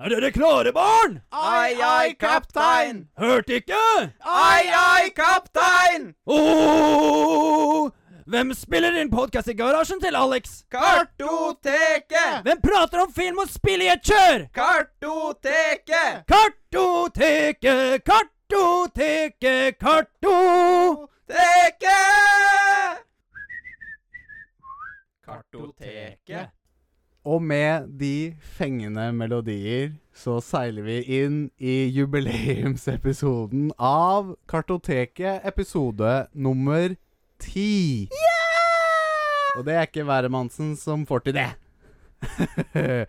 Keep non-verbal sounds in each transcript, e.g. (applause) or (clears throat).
Er dere klare, barn? Ai, ai, kaptein! Hørte ikke? Ai, ai, kaptein! Åh! Oh! Hvem spiller inn podkast i garasjen til Alex? Kartoteket! Hvem prater om film og spill i et kjør? Kartoteket! Kartoteket, kartoteket, karto... Teket! Kartoteket. Og med de fengende melodier så seiler vi inn i jubileumsepisoden av Kartoteket, episode nummer ti. Og det er ikke hvermannsen som får til det. (laughs)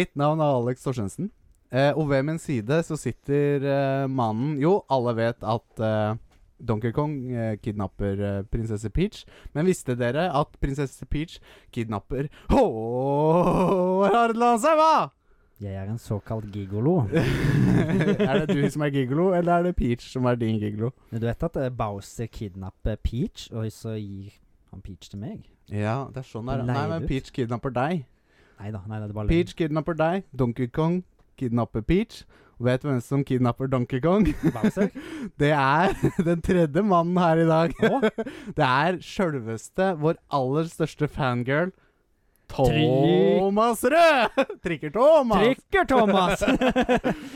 Mitt navn er Alex Torstensen, eh, og ved min side så sitter eh, mannen Jo, alle vet at eh, Donkey Kong eh, kidnapper eh, prinsesse Peach, men visste dere at prinsesse Peach kidnapper Håvard Landshaug? Jeg er en såkalt gigolo. (laughs) er det du som er gigolo, eller er det Peach som er din gigolo? Men du vet at eh, Bowser kidnapper Peach, og så gir han Peach til meg? Ja, det er sånn det er. Nei, Leid men ut. Peach kidnapper deg. Nei da, nei, da, det er bare løgn. Peach kidnapper deg. Donkey Kong kidnapper Peach. Og vet du hvem som kidnapper Donkey Kong? (laughs) Bowser? Det er (laughs) den tredje mannen her i dag. Å? (laughs) Det er sjølveste vår aller største fangirl, Trikk- Thomas (laughs) Rød! Trikker-Thomas. Trykker, (laughs) Thomas!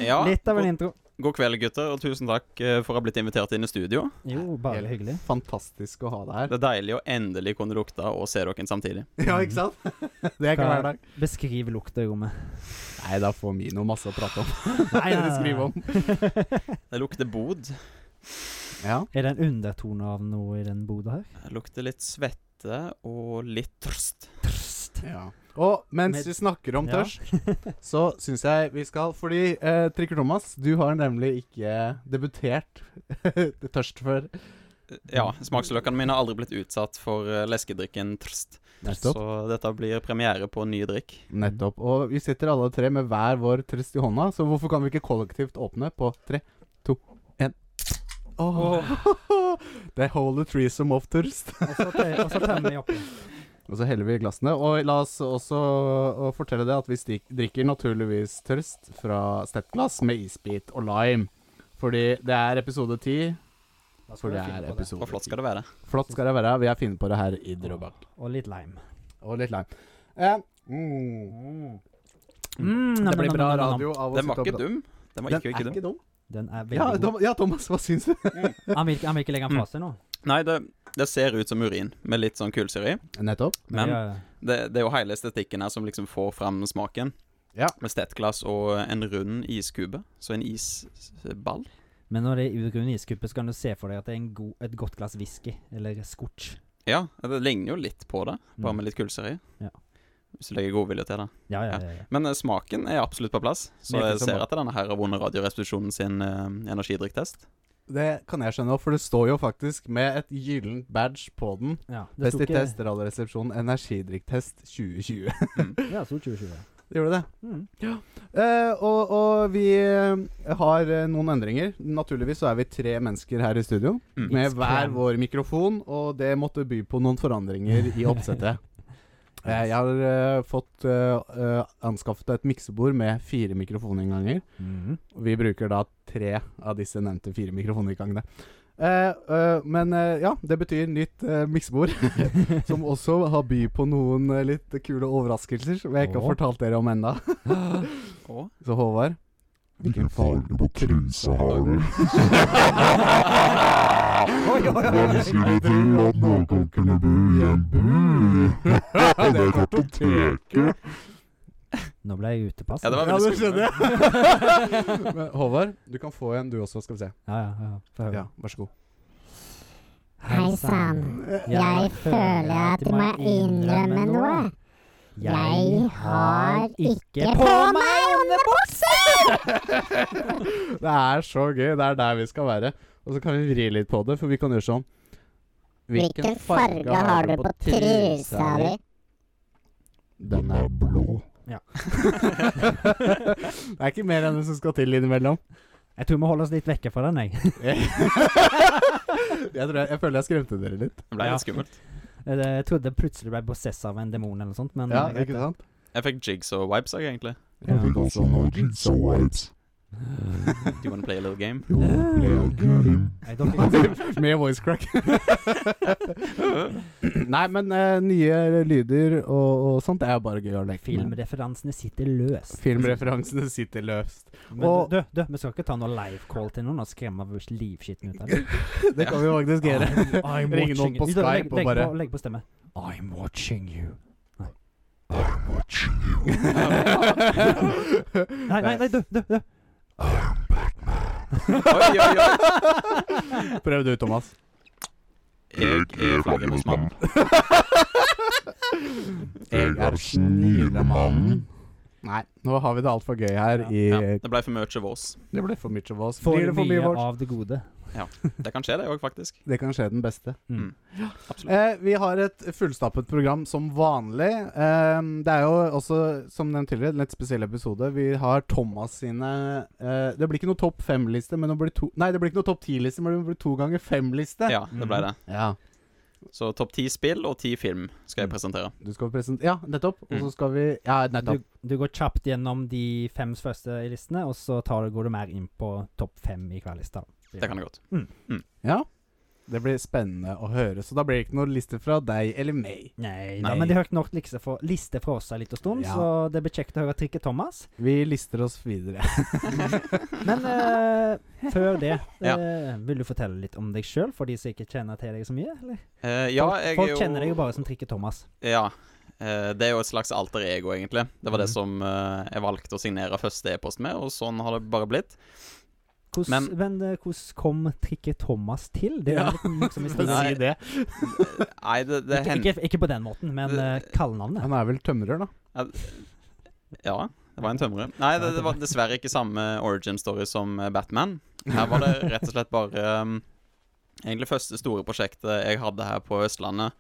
Ja, Litt av god, en intro. god kveld, gutter, og tusen takk eh, for å ha blitt invitert inn i studio. Jo, bare hyggelig. Fantastisk å ha deg her. (laughs) Det er deilig å endelig kunne lukte og se dere samtidig. Ja, ikke sant? (laughs) Det er ikke hver dag. Beskriv lukta i (laughs) rommet. Nei, da får Mino masse å prate om. Nei, (laughs) Eller skrive om. Det lukter bod. Ja. Er det en undertone av noe i den boda her? Det lukter litt svette og litt tørst. Trst. Ja. Og mens Med- vi snakker om Ja. tørst, så syns jeg vi skal Fordi eh, Trikker Thomas, du har nemlig ikke debutert (laughs) tørst før. Ja, smaksløkene mine har aldri blitt utsatt for eh, leskedrikken tørst. Nettopp. Så dette blir premiere på ny drikk. Nettopp. Og vi sitter alle tre med hver vår tørst i hånda, så hvorfor kan vi ikke kollektivt åpne på tre, to, én Åh (laughs) The whole threesome of tørst. (laughs) Og så te- og så tømmer vi oppi. Og så heller vi i glassene. Og la oss også og fortelle det at vi stik, drikker naturligvis tørst fra steppglass med isbit og lime. Fordi det er episode ti. Da skal For vi det finne er på episode Hvor flott 10. skal det være? Flott skal det være. Vi er fine på det her i Drøbak. Og litt lime. Og litt lime. Eh, mm. Mm. Det blir bra radio. radio av å Den var sitte og ikke prate. dum. Den var Den ikke, ikke er dum. ikke dum. Den er Ja, Mm. veldig god. Tom- ja, Thomas, hva syns du? Han vil, ikke- han vil ikke legge den fra seg nå. Nei, det, det ser ut som urin, med litt sånn kullsyre i. Nettopp. Men det er- det, det er jo hele estetikken her som liksom får fram smaken. Ja. Med stettglass og en rund iskube. Så en isball. men når det er urgrunn iskuppe, så kan du se for deg at det er en god, et godt glass whisky. Eller scotch. Ja, det ligner jo litt på det, bare Mm. med litt kullsyre i. Ja. Hvis du legger godvilje til det. Ja, ja, ja. ja. Men eh, smaken er absolutt på plass, så Meget jeg som ser bra. at denne her har vunnet Radioresepsjonen sin eh, energidrikktest. Det kan jeg skjønne, for det står jo faktisk med et gyllent badge på den. ja. Det Best sto i ikke test, Radioresepsjon, energidrikktest 2020. Ja, det sto 2020. (laughs) Gjorde det? Mm. Eh, og, og vi eh, har eh, noen endringer. Naturligvis så er vi tre mennesker her i studio Mm. med It's hver cram. vår mikrofon, og det måtte by på noen forandringer (laughs) i oppsettet. Eh, jeg har eh, fått eh, eh, anskaffet et miksebord med fire mikrofoninnganger. Mm. Vi bruker da tre av disse nevnte fire mikrofoninngangene. Eh, eh, men eh, ja, det betyr nytt eh, miksebord, (laughs) som også har by på noen eh, litt kule overraskelser som jeg ikke Åh. har fortalt dere om enda. Og Så Håvard Hvilken farge på trusa har (laughs) du? Oi, oi, oi, Hva skulle til at noen kunne bo i en bu? Det er kartoteket. Nå ble jeg utepass. Ja, det var Ja, veldig det skjønner skummelt. jeg. (laughs) Men Håvard, du kan få en du også, skal vi se. ja, ja, ja. Få høre. Ja, vær så god. Hei sann, jeg føler at jeg må innrømme noe. Jeg har ikke på meg underbukser! (laughs) Det er så gøy. Det er der vi skal være. Og så kan vi vri litt på det, for vi kan gjøre sånn. Hvilken farge har du på trusa di? Den er (laughs) blå. Det er ikke mer enn det som skal til innimellom. Jeg tror vi holder oss litt vekke fra den, jeg. (laughs) jeg, tror jeg, jeg føler jeg skremte dere litt. Det ble Ja. litt skummelt. Eh, Jeg trodde plutselig ble possessa av en demon eller noe sånt, men Ja, Mm, det er greit, ikke det. sant? (laughs) Jeg fikk jigs og vibes, jeg, egentlig. I think (laughs) also know Jigsaw Wipes. Do you wanna play a little game? You (laughs) wanna play a game? Nei, dere, Med voice crack. (laughs) Nei, men eh, nye lyder og, og sånt det er jo bare gøy å leke med. filmreferansene sitter løst. Filmreferansene sitter løst. Men Og- du, du, vi skal ikke ta noe livecall til noen og skremme livskitten ut av dem. Det kan vi faktisk gjøre. (laughs) I'm Ringe watching noen på you. Du, Skype og legg, bare- legg, på, legg på stemme. I'm watching you. I'm watching you. (laughs) Nei, nei, (laughs) nei, du, du, du. I'm Batman. Oi, oi, oi. Prøv du, Thomas. Jeg er flaggermusmann. flaggermusmann. Jeg er snilemannen. Nei, nå har vi det altfor gøy her i Ja, det ble for mye av oss. Det ble for mye av oss. For Blir det for mye mye av oss? av det gode. Det kan skje, det òg, faktisk. Det kan skje den beste. Mm. Absolutt. Eh, vi har et fullstappet program som vanlig. Eh, det er jo også, som nevnt tidligere, en litt spesiell episode. Vi har Thomas sine eh, Det blir ikke noe topp fem-liste, men det blir to Nei, det blir ikke noe topp ti-liste, men det blir to ganger fem-liste. Ja, det ble det. Ja. Så topp ti spill og ti film skal jeg presentere. Du skal present... Ja, nettopp. Og så Mm. skal vi Ja, Du, nettopp. du går kjapt gjennom de fem første i listene, og så tar, går du mer inn på topp fem i hver liste. Det kan jeg godt. Ja. Det blir spennende å høre, så da blir det ikke noe liste fra deg eller meg. Nei, Nei. Da, men de hørte nok liste fra, liste fra oss en liten stund, Ja. så det blir kjekt å høre trikket Thomas. (laughs) Vi lister oss videre. Men eh, før det, Ja. eh, vil du fortelle litt om deg sjøl, for de som ikke kjenner til deg så mye? Eller? Eh, ja, folk jeg folk er jo kjenner deg jo bare som Trikke Thomas. Ja. eh, det er jo et slags alter ego, egentlig. Det var det Mhm. som eh, jeg valgte å signere første e-post med, og sånn har det bare (laughs) blitt. Hvordan, men eh, hvordan kom Trikke Thomas til? Det er Ja. en litt morsom For historie. å Nei, si det. Nei, det, det Ikke, hendte ikke, ikke på den måten, men eh, kallenavnet. Han er vel tømrer, da. Ja, det var en tømrer. Nei, det, det var dessverre ikke samme origin story som eh, Batman. Her var det rett og slett bare um, Egentlig første store prosjektet jeg hadde her på Østlandet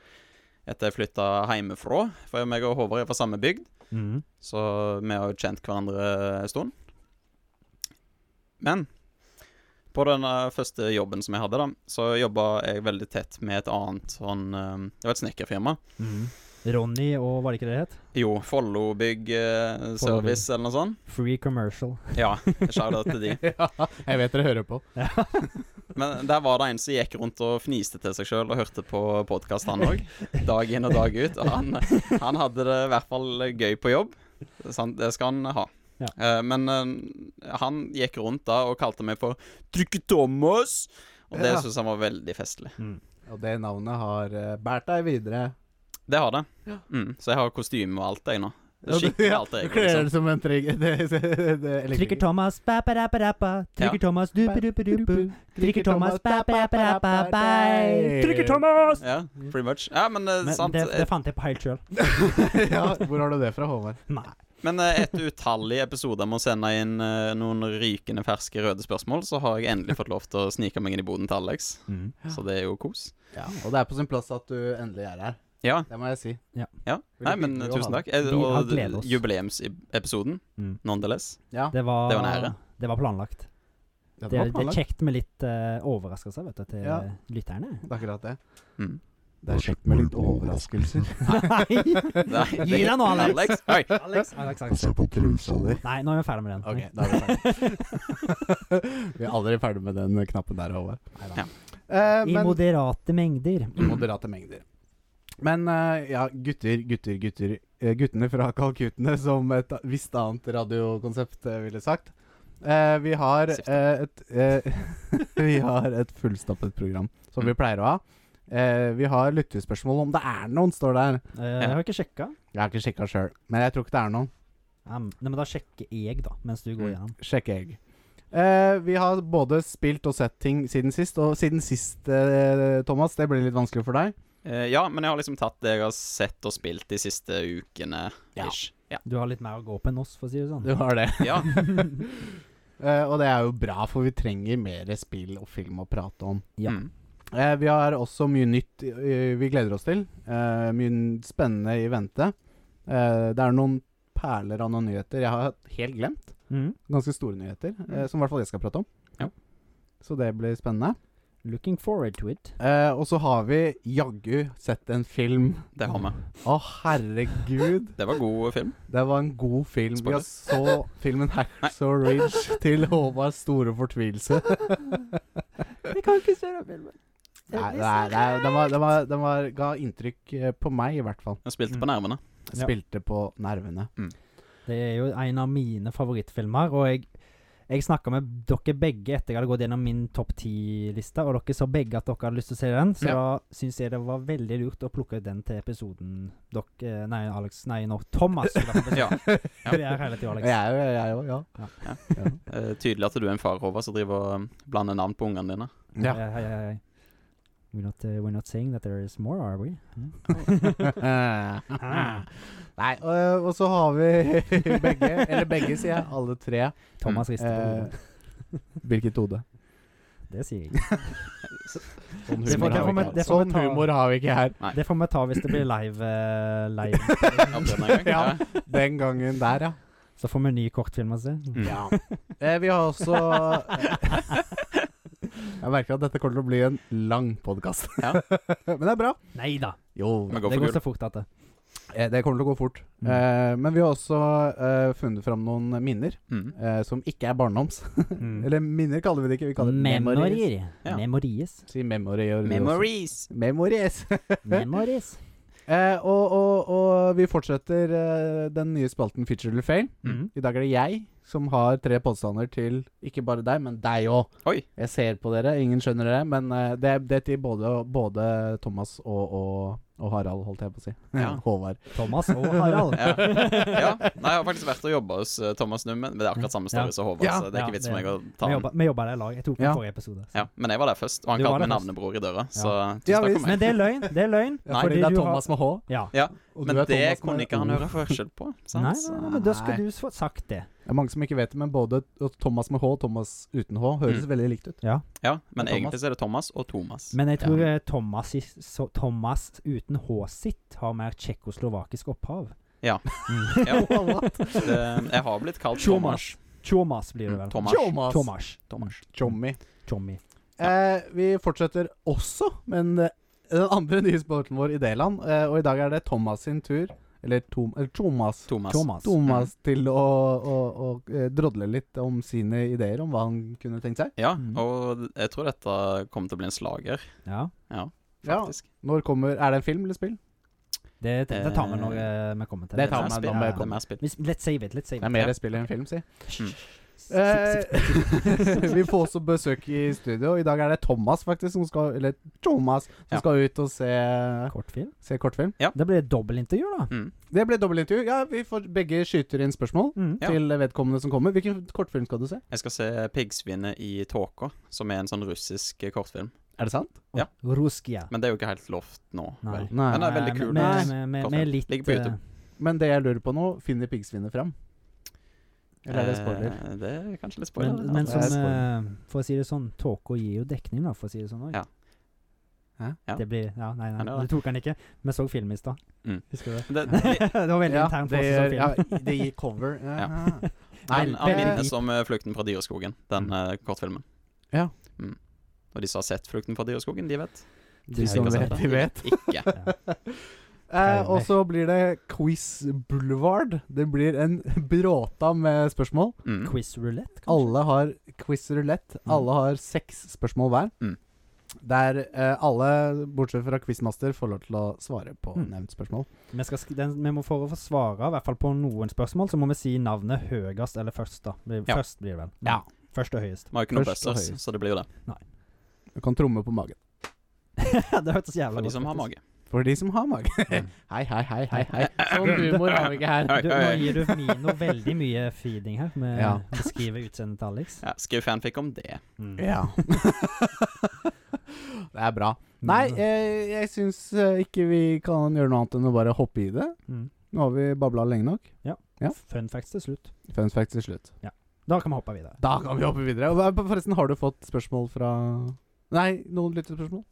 etter jeg flytta hjemmefra. For meg og Håvard er fra samme bygd. Mm. Så vi har jo kjent hverandre en stund. Men på den eh, første jobben som jeg hadde, da, så jobba jeg veldig tett med et annet sånn eh, Det var et snekkerfirma. Mm. Ronny og hva var det ikke det het? Jo, Follo Bygg eh, Service eller noe sånt. Free Commercial. Ja, shout-out til de. (laughs) Ja, jeg vet dere hører på. Men der var det en som gikk rundt og fniste til seg sjøl og hørte på podkast, han òg. Dag inn og dag ut. Og han, han hadde det i hvert fall gøy på jobb. Sant, det skal han ha. Ja. Eh, men eh, han gikk rundt da og kalte meg for Trykke Thomas. Og det Ja. synes han var veldig festlig. Mm. Og det navnet har eh, båret deg videre. Det har det. Mm, så jeg har kostyme og alt, jeg nå. Det er Skikkelig Ja, alt Du jeg (laughs) kler liksom. deg som en trygg det- det- det- det- Trikker elektriker. Thomas, ba-ba-da-ba-da-ba. Trikker Thomas, du-bu-du-bu-du-bu. Trikker Thomas, ba-ba-ba-da-ba-bye. Trikker Thomas! Ja, pretty much. Ja, men, eh, Men sant. det, eh, det fant jeg på helt sjøl. (laughs) ja, hvor har du det fra, Håvard? Nei. Men eh, etter utallige episoder med å sende inn eh, noen rykende ferske røde spørsmål, så har jeg endelig fått lov til å snike meg inn i boden til Alex. Mm. Så det er jo kos. Ja, og det er på sin plass at du endelig er her. Ja. Det må jeg si. ja. Nei, men Veldig hyggelig å tusen ha takk. Eh, Vi har Og gledet oss. jubileumsepisoden, Mm. nonetheless. Ja, Det var, Det var en ære. det var planlagt. Det, det var det er planlagt. kjekt med litt eh, overraskelser vet du, til eh, Ja. lytterne. Det er akkurat det. (laughs) Mm. Det er kjekt med litt overraskelser. Nei! (laughs) Nei, Gi deg nå, Alex. Oi. Alex, (laughs) Alex, Få Alex. se på trusa di. Nei, nå er vi ferdig med den. Ok, da er vi ferdig. (laughs) vi er aldri ferdig med den knappen der, Håvard. Neida. Ja. Eh, I moderate mengder. I (clears throat) moderate mengder. Men eh, ja, gutter, gutter, gutter. Eh, guttene fra Kalkutene, som et visst annet radiokonsept eh, ville sagt. Eh, vi har Sifte. eh, et eh, (laughs) Vi har et fullstappet program, som vi pleier å ha. Eh, vi har lyttespørsmål om det er noen, står der. Eh, jeg har ikke sjekka. Jeg har ikke sjekka sjøl, men jeg tror ikke det er noen. Um, nei, men da sjekker jeg, da, mens du går Mm. gjennom. Sjekk jeg. Eh, vi har både spilt og sett ting siden sist, og siden sist, eh, Thomas, det blir litt vanskelig for deg. Eh, Ja, men jeg har liksom tatt det jeg har sett og spilt de siste ukene. Ish. Ja. Du har litt mer å gå på enn oss, for å si det sånn. Du har det. ja. (laughs) Eh, og det er jo bra, for vi trenger mer spill og film å prate om. (laughs) Ja. Mm. Eh, vi har også mye nytt eh, vi gleder oss til. Eh, mye n- spennende i vente. Eh, det er noen perler av noen nyheter jeg har helt glemt. Mm. Ganske store nyheter, eh, som i hvert fall jeg skal prate om. Mm. Ja. Så det blir spennende. Looking forward to it. Eh, og så har vi jaggu sett en film. Det har vi. Å, herregud. Det var god film. Det var en god film. Vi Spoiler. har så filmen Hacksaw Ridge til Håvards store (laughs) fortvilelse. Jeg kan ikke se den filmen. Nei, nei, nei den, var, den, var, den var, ga inntrykk eh, på meg, i hvert fall. Mm. Den spilte på nervene. Ja. Spilte på nervene. Det er jo en av mine favorittfilmer, og jeg, jeg snakka med dere begge etter jeg hadde gått gjennom min topp ti-liste, og dere sa begge at dere hadde lyst til å se den, så Ja. da syns jeg det var veldig lurt å plukke ut den til episoden dere eh, Nei, Alex. Nei, nå Thomas. skulle (laughs) jeg få (laughs) Ja. si. Det er hele tiden, Alex. Jeg er jo jeg òg, ja. Eh, tydelig at du er en far, Håvard, som driver og eh, blander navn på (laughs) ungene dine. ja. Eh, hei, hei, hei. We're not, uh, we're not saying that there is more, are we? (laughs) Hm? Nei, og, og så har vi (laughs) begge, eller begge, sier jeg. Alle tre. Mm. Thomas rister på Eh, hodet. hvilket hode? Det sier jeg ikke. Sånn Det får- humor, det får har vi- vi, ikke. det får vi Sånn ta. humor har vi ikke her. Det får vi ta hvis det blir live. eh, live. (laughs) Ja, på den en gang. (laughs) Ja. Den gangen der, ja. Så får vi ny kortfilm å se. Mm. (laughs) Eh, vi har også (laughs) Jeg merker at dette kommer til å bli en lang podkast. Ja. (laughs) men det er bra. Nei da. Jo, Vi går Det for går gull. så fort at det. eh, det kommer til å gå fort. Mm. Eh, men vi har også eh, funnet fram noen minner Mm. eh, som ikke er barndoms. Mm. Eller minner kaller vi det ikke. Vi kaller det memories. Memorier. Ja. Memories. (laughs) Si memorier. du også. Memories. Memories. (laughs) Memories. eh, og, og, og vi fortsetter eh, den nye spalten Feature eller fail. Mm. I dag er det jeg som har tre påstander til ikke bare deg, men deg òg. Oi. Jeg ser på dere, ingen skjønner det, men eh, det, det er til både, både Thomas og, og, og Harald, holdt jeg på å si. (laughs) Ja. Håvard. Thomas og Harald. Ja. ja. Nei, jeg har faktisk vært og jobba hos eh, Thomas Nummen, men det er akkurat samme Ja. story som Håvard. Ja. Så det er Ja, ikke vits for det- meg å ta Vi den. jobba- Vi jobba der i lag. Jeg tok den Ja. forrige episode. så. Ja, men jeg var der først, og han Du var kalte der meg først. navnebror i døra, så Ja, tusen takk visst. for Men meg. det er løgn. Det er løgn. Ja, Nei. fordi det er du har- Thomas med H. Ja. Og Men du er det Thomas kunne med ikke O. han høre forskjell på. Nei, Sant? nei, nei, men da skal Nei. du få sagt det. Det er mange som ikke vet det, men både Thomas med H og Thomas uten H høres Mm. veldig likt ut. Ja, men Det er egentlig så er det Thomas og Thomas. Men jeg tror eh, Thomas, i, så, Thomas uten H sitt har mer tjekkoslovakisk opphav. Mm. (laughs) Ja, det, jeg har blitt kalt Thomas. Thomas blir det vel. Thomas. Thomas. Thomas. Thomas. Tjommi. Tommy. Eh, vi fortsetter også med en, eh, den andre nye sporten vår i D-land, eh, og i dag er det Thomas sin tur. Eller, Tom, eller Thomas. Thomas. Thomas. Thomas til å, å, å eh, drodle litt om sine ideer om hva han kunne tenkt seg. Ja, Mm. og jeg tror dette kommer til å bli en slager, Ja. faktisk. Når kommer Er det en film eller spill? Det, det, det tar vi når eh, vi kommer til Det tar er vi mer når spill. Vi vi Det er mer spill. s- Let's save it. Let's save Det er it. mer Ja. spill enn film, (laughs) si. Mm. Eh, (laughs) vi får også besøk i studio. I dag er det Thomas faktisk som skal Eller Thomas som Ja. skal ut og (laughs) se, Kortfilm. se kortfilm. Det blir et dobbeltintervju, da. Mm. Det ble dobbeltintervju. Ja, vi får begge skyter inn spørsmål Mm. Ja. til vedkommende som kommer. Hvilken kortfilm skal du se? Jeg skal se 'Piggsvinet i tåka', som er en sånn russisk eh, kortfilm. Er det sant? Ja. Ruskia. Men det er jo ikke helt lovt nå. Nei. Vel. Nei. Men det er veldig Nei, kul. men- Nei. men- men- Kort men film. litt, Ligger på YouTube. eh, Men det jeg lurer på nå, finner piggsvinet fram? Eller er det spoiler? Eh, det er kanskje litt spoiler. Men, men det som er spoiler. eh, For å si det sånn, tåka gir jo dekning, da, for å si det sånn òg. Ja. Hæ? Ja. Det blir Ja, nei, Ja, nei. det Du var tok den ikke. Vi så film i stad. Mm. Husker du det? (laughs) det, det (laughs) var veldig internt for oss å se film. ja, det gir cover. (laughs) Ja. Aha. Nei, han, han veldig minner deep. som eh, 'Flukten fra dyreskogen', den eh, kortfilmen. Mm. Ja. Mm. Og de som har sett 'Flukten fra dyreskogen', de vet. de Ja, som ikke sant, vet, de vet. Ikke. Eh, og så blir det Quiz Boulevard. Det blir en (laughs) bråta med spørsmål. (laughs) Mm. Quiz roulette, kanskje? Alle har quiz roulette. Mm. Alle har seks spørsmål hver. Mm. Der eh, alle, bortsett fra quizmaster, får lov til å svare på Mm. nevnt spørsmål. Vi, skal sk den, vi må for å få svare, i hvert fall på noen spørsmål, så må vi si navnet høyest eller først, da. Blir, Ja. Først blir det vel. Ja. Først og høyest. Vi har jo ikke noe Først og buzzers, høyest. så det blir jo det. Du kan tromme på magen. (laughs) det hørtes jævla For de godt som har faktisk. mage. For de som har mage. Mm. (laughs) hei, hei, hei, hei. hei Sånn humor har vi ikke her. Hei, Du, nå hei. gir du Mino veldig mye feeding her, med (laughs) Ja. å beskrive utseendet til Alex. Ja, skriv fanfic om det. Mm. Ja. (laughs) det er bra. Nei, Mm. eh, jeg syns eh, ikke vi kan gjøre noe annet enn å bare hoppe i det. Mm. Nå har vi babla lenge nok. ja. Fun facts til slutt. Fun fact til slutt. Da kan vi hoppe videre. Da kan vi hoppe videre. Og hva- Forresten, har du fått spørsmål fra Nei, noen lyttespørsmål?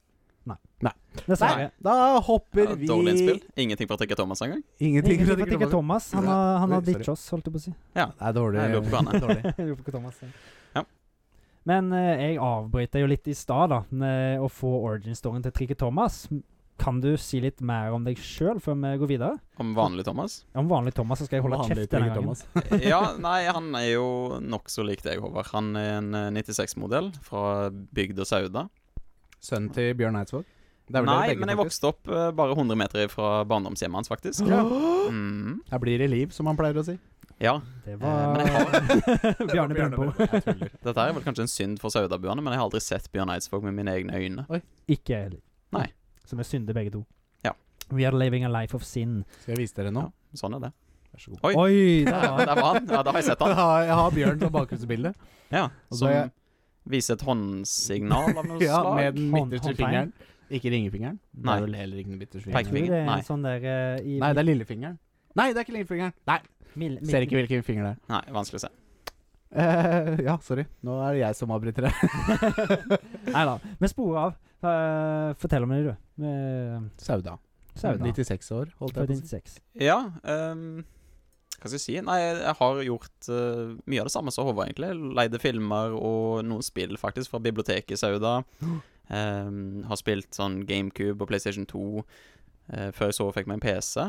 Dessverre. Da hopper Ja, vi dårlig innspill. Ingenting for å trekke Thomas engang. Ingenting. Ingen fikk ikke Det Thomas. Han har, han har Sorry. ditcha oss, holdt jeg på å si. er (laughs) (laughs) dårlig. Nei, jeg lurer på hva han dårlig. Jeg lurer på hva Thomas er. Ja. Men eh, jeg avbryter jo litt i stad, da, med å få origin-storyen til Trikke Thomas. Kan du si litt mer om deg sjøl før vi går videre? Om vanlig Thomas? Eh, Om vanlig Thomas, så skal jeg holde Vanlig kjeft denne Tricky gangen. Thomas. ja, nei, han er jo nokså lik deg, Håvard. Han er en eh, 96-modell fra bygda Sauda. Sønnen til Bjørn Eidsvåg. Det er vel Nei, dere begge, men jeg faktisk. vokste opp eh, bare 100 meter fra barndomshjemmet hans, faktisk. Ja. Mm, Jeg blir i liv, som han pleier å si. ja, Det Eh, var men jeg (laughs) Bjarne Brøndbo. dette her er vel kanskje en synd for saudabuene, men jeg har aldri sett Bjørn Eidsvåg med mine egne øyne. Ikke jeg heller. Nei. Så vi synder begge to. Ja. We are living a life of sin. Skal jeg vise dere nå? Ja, sånn er det. Vær så god. Oi. Oi! Ja, da. der var han. Ja, da har jeg (laughs) sett Jeg han. har, jeg har Bjørn som bakgrunnsbilde. Ja, Og så Som er jeg- viser et håndsignal av noe (laughs) Ja, slag. med den Hånd- midterste håndtegn. fingeren. Ikke ringefingeren. (laughs) Nei. Det er vel heller ikke den midterste Tror Pekefingeren. fingeren. Det er Nei. en sånn der eh, i Nei, det er lillefingeren. Nei, det er ikke lillefingeren. Nei, mil- mil- (laughs) Ser ikke hvilken finger det er. Nei, vanskelig å se. Eh, ja, sorry. Nå er det jeg som avbryter det. Nei da. Vi sporer av. Eh, fortell om det, du. Uh, Sauda. Sauda. 96 år, holdt jeg på å si. 96. Ja, ehm, hva skal jeg si? Nei, jeg har gjort eh, mye av det samme som Håvard, egentlig. Leide filmer og noen spill, faktisk, fra biblioteket i Sauda. (gasps) Ehm, har spilt sånn GameCube og PlayStation 2 eh, før jeg så fikk meg en PC.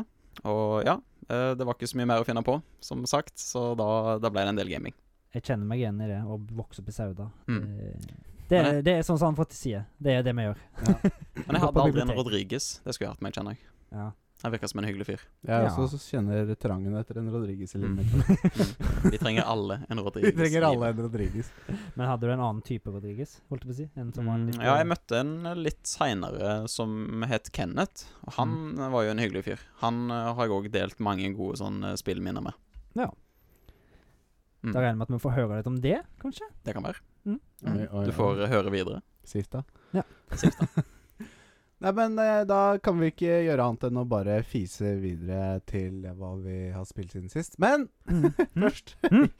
Og ja, eh, det var ikke så mye mer å finne på, som sagt, så da, da ble det en del gaming. Jeg kjenner meg igjen i det, å vokse opp i Sauda. Mm. Eh, Det, er- det er sånn som han får til side. Det er det vi gjør. Men jeg Gå på hadde aldri en bibliotek. Rodriguez. Det skulle jeg hatt meg, kjenner jeg. Ja. Han virker som en hyggelig fyr. Jeg Ja. også kjenner trangen etter en Rodriguez i livet Mm. mitt. Vi trenger alle en Rodriguez. (laughs) Vi trenger i alle livet. en Rodriguez. Men hadde du en annen type Rodriguez? Holdt jeg på å si? En som var Mm, litt, Ja, jeg møtte en litt seinere som het Kenneth. Og han Mm. eh, var jo en hyggelig fyr. Han eh, har jeg òg delt mange gode sånne spillminner med. Ja. Mm, Da regner jeg med at vi får høre litt om det, kanskje? det kan være. Oi, oi, Du oi. får eh, høre videre. Sifta. Ja. (laughs) Nei, men eh, da kan vi ikke gjøre annet enn å bare fise videre til hva vi har spilt siden sist. Men (laughs) (laughs) (laughs) først (laughs)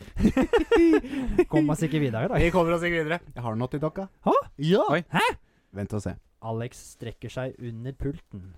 Kommer oss ikke videre i dag. Vi kommer oss ikke videre. Jeg har noe til dere. Hæ? Ja. Oi. Hæ? Vent og se. Alex strekker seg under pulten.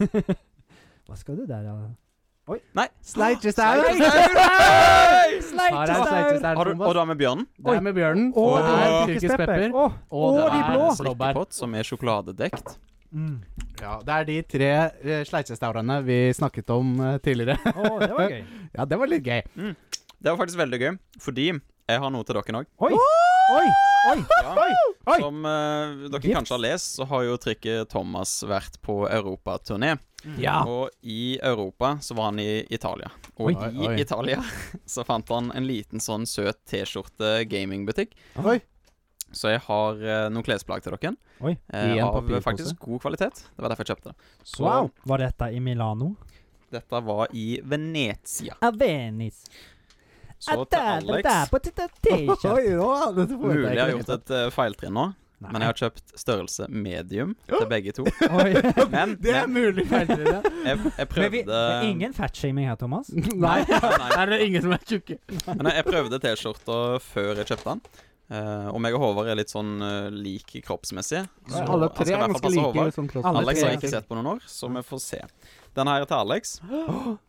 Hva skal du der, da? Sleitjestaur! Her er Sleitjestaur! sleitjestaur, Har du, og Thomas. du har med bjørnen? Det er med bjørnen. Og Og det er Åh. Tyrkisk tyrkisk pepper. Åh, Og det de er blå. blåbær. Slikkepott som er sjokoladedekt. Mm. Ja, det er de tre eh, sleitjestaurene vi snakket om eh, tidligere. (laughs) Åh, det var gøy. Ja, det var litt gøy. Det var faktisk veldig gøy, fordi jeg har noe til dere òg. Oi! Oi! Oi! Oi! Oi! Som eh, dere Gifts. kanskje har lest, så har jo trikket Thomas vært på europaturné. Ja. Og i Europa så var han i Italia. Og Ah. Oi. i Oi. Italia (laughs) så fant han en liten sånn søt T-skjorte gamingbutikk. Oi. Så jeg har eh, noen klesplagg til dere. Oi. Eh, I en av papirpose. faktisk god kvalitet. Det var derfor jeg kjøpte det. Så Wow. Var dette i Milano? dette var i Venezia. A Venice. Så til Alex Oi, nå, dette får Mulig jeg jeg har ikke. gjort et eh, feiltrinn nå, men jeg har kjøpt størrelse medium til begge (laughs) to. Oi. Men, Det er men (laughs) mulig feiltrinn. jeg, jeg Men vi, det prøvde er ingen fatshaming her, Thomas. Nei, Nei. er det ingen som er tjukke? Men jeg, jeg prøvde T-skjorta før jeg kjøpte den. Eh, og meg og Håvard er litt sånn uh, like kroppsmessig. Så Alle han tre skal i er hvert fall ganske passe like. Håvard. Sånn Alle Alex tre er har jeg ikke ganske- sett på noen år, så vi får se. Den her er til Alex. (gasps)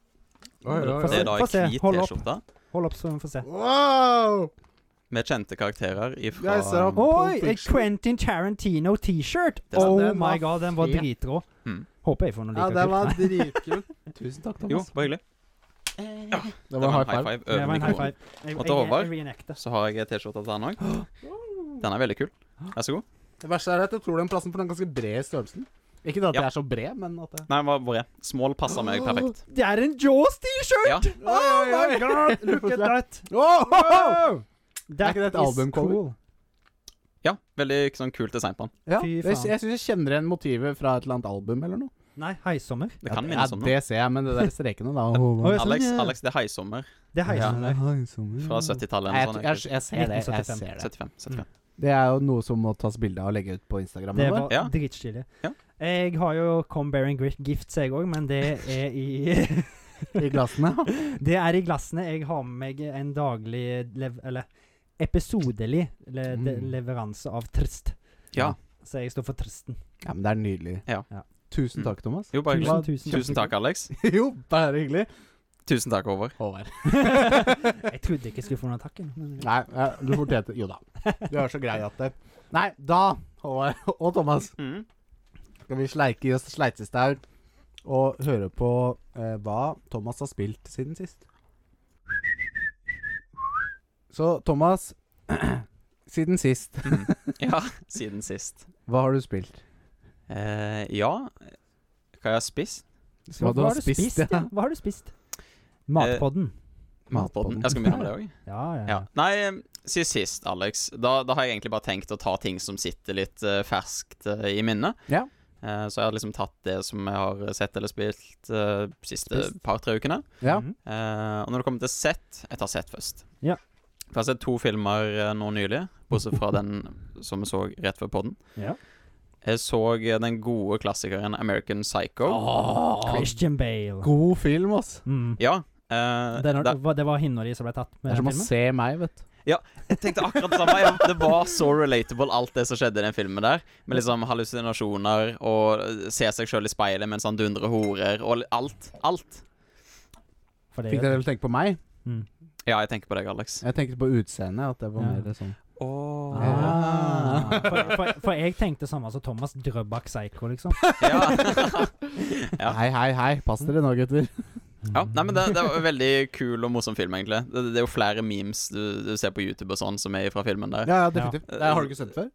Det er da Få ei se. hvit Hold opp. T-skjorte Hold opp, så vi får se. Wow! med kjente karakterer ifra Jeg ser opp. Pulp Oi! Et Fiction. Quentin Tarantino T-shirt! Det er Oh sant. Den var my god, den var fet. dritrå. Mm. Håper jeg får noe Ja, like den kult. var Nei, (laughs) dritkul. Tusen takk, Jo, Thomas. bare hyggelig. det var en high five. five Det over var en high mikrofonen. five. Jeg, Og jeg, til Håvard. jeg reenacter. Så har jeg T-skjorta til han òg. (gasps) Den er veldig kul. Vær så god. Det verste er at jeg tror den plassen får den ganske bred størrelsen. Ikke at jeg Ja. er så bred, men at jeg Nei, den var bred. Small passer (gasps) meg (gasps) perfekt. Det er en Jaws-T-shirt! Ja. Oh my god, look at that! Wow! That ikke det et is albumcover? cool. ja, veldig sånn kult design på den. Ja, Fy jeg, faen. jeg syns jeg kjenner igjen motivet fra et eller annet album eller noe. Nei, Heisommer. Det kan ja, minnes om det noe. ser jeg, men det der strekene, (laughs) da Oi, sånn, Alex, ja. Alex, det er Heisommer Det er Heisommer. fra 70-tallet. Mm. Nei, jeg, eller sånn, noe jeg, sånt, jeg ser det. Jeg 1975. ser det. 75. 75. Det er jo noe som må tas bilde av og legge ut på Instagram. Det eller noe. var Ja. dritstilig. Ja. Jeg har jo Come Bearing Gifts, jeg òg, men det er i (laughs) I glassene. (laughs) Det er i glassene. Jeg har med meg en daglig lev Eller episodelig le de- Mm. leveranse av trist. Ja. Så jeg står for tristen. Ja, men det er nydelig. Ja. Ja. Tusen Mm. (laughs) takk, Thomas. Jo, bare hyggelig. tusen, Tusen takk, Alex. jo, bare hyggelig. Tusen takk, Håvard. Håvard. (laughs) Jeg trodde ikke jeg skulle få noen takk. jeg. Men- (laughs) Nei, ja, du fortjente Jo da. Du er så grei at det Nei, da, Håvard (laughs) og Thomas, Mm. skal vi sleike i oss sleitestaur og høre på eh, hva Thomas har spilt siden sist. Så Thomas, (clears throat) siden sist, Ja, siden sist. hva har du spilt? Eh, ja Hva jeg har spist? Hva du har spist, ja? ja. Eh, Hva har du spist? Matpodden. Matpodden. Jeg skal begynne med det òg. (laughs) Ja, ja. Ja. ja. Nei, eh, siden sist, Alex, da, da har jeg egentlig bare tenkt å ta ting som sitter litt eh, ferskt eh, i minnet. Ja. Eh, så jeg har liksom tatt det som jeg har sett eller spilt eh, siste Spist. par-tre ukene. Ja. Mhm. Eh, og når det kommer til sett Jeg tar sett først. Ja. For jeg har sett to filmer eh, nå nylig, bortsett fra den som vi så rett før podden. Ja. Jeg så eh, den gode klassikeren American Psycho. Ah. Christian Bale. God film, ass. Mm. Ja. eh, Den, da, hva- det var hinna di som ble tatt Det med den er som å filmen? se meg, vet du. jeg tenkte akkurat det samme. Ja, det var så relatable, alt det som skjedde i den filmen der. Med liksom hallusinasjoner og eh, se seg sjøl i speilet mens han dundrer horer, og li- alt. Alt. For det- Fikk dere til å tenke på meg? Mm. Ja, jeg tenker på deg, Alex. Jeg tenkte på utseendet, at det var Ja. mer sånn Oh. Ah. For, for, for jeg tenkte samme som Thomas Drøbak Psycho, liksom. (laughs) (laughs) Ja. Ja. Hei, hei, hei. Pass dere nå, gutter. Ja, nei, Mm. men det, det var en veldig kul og morsom film, egentlig. Det, det er jo flere memes du, du ser på YouTube og sånn, som er fra filmen der. Ja, ja, definitivt. Ja. Eh, Har du ikke sett det før?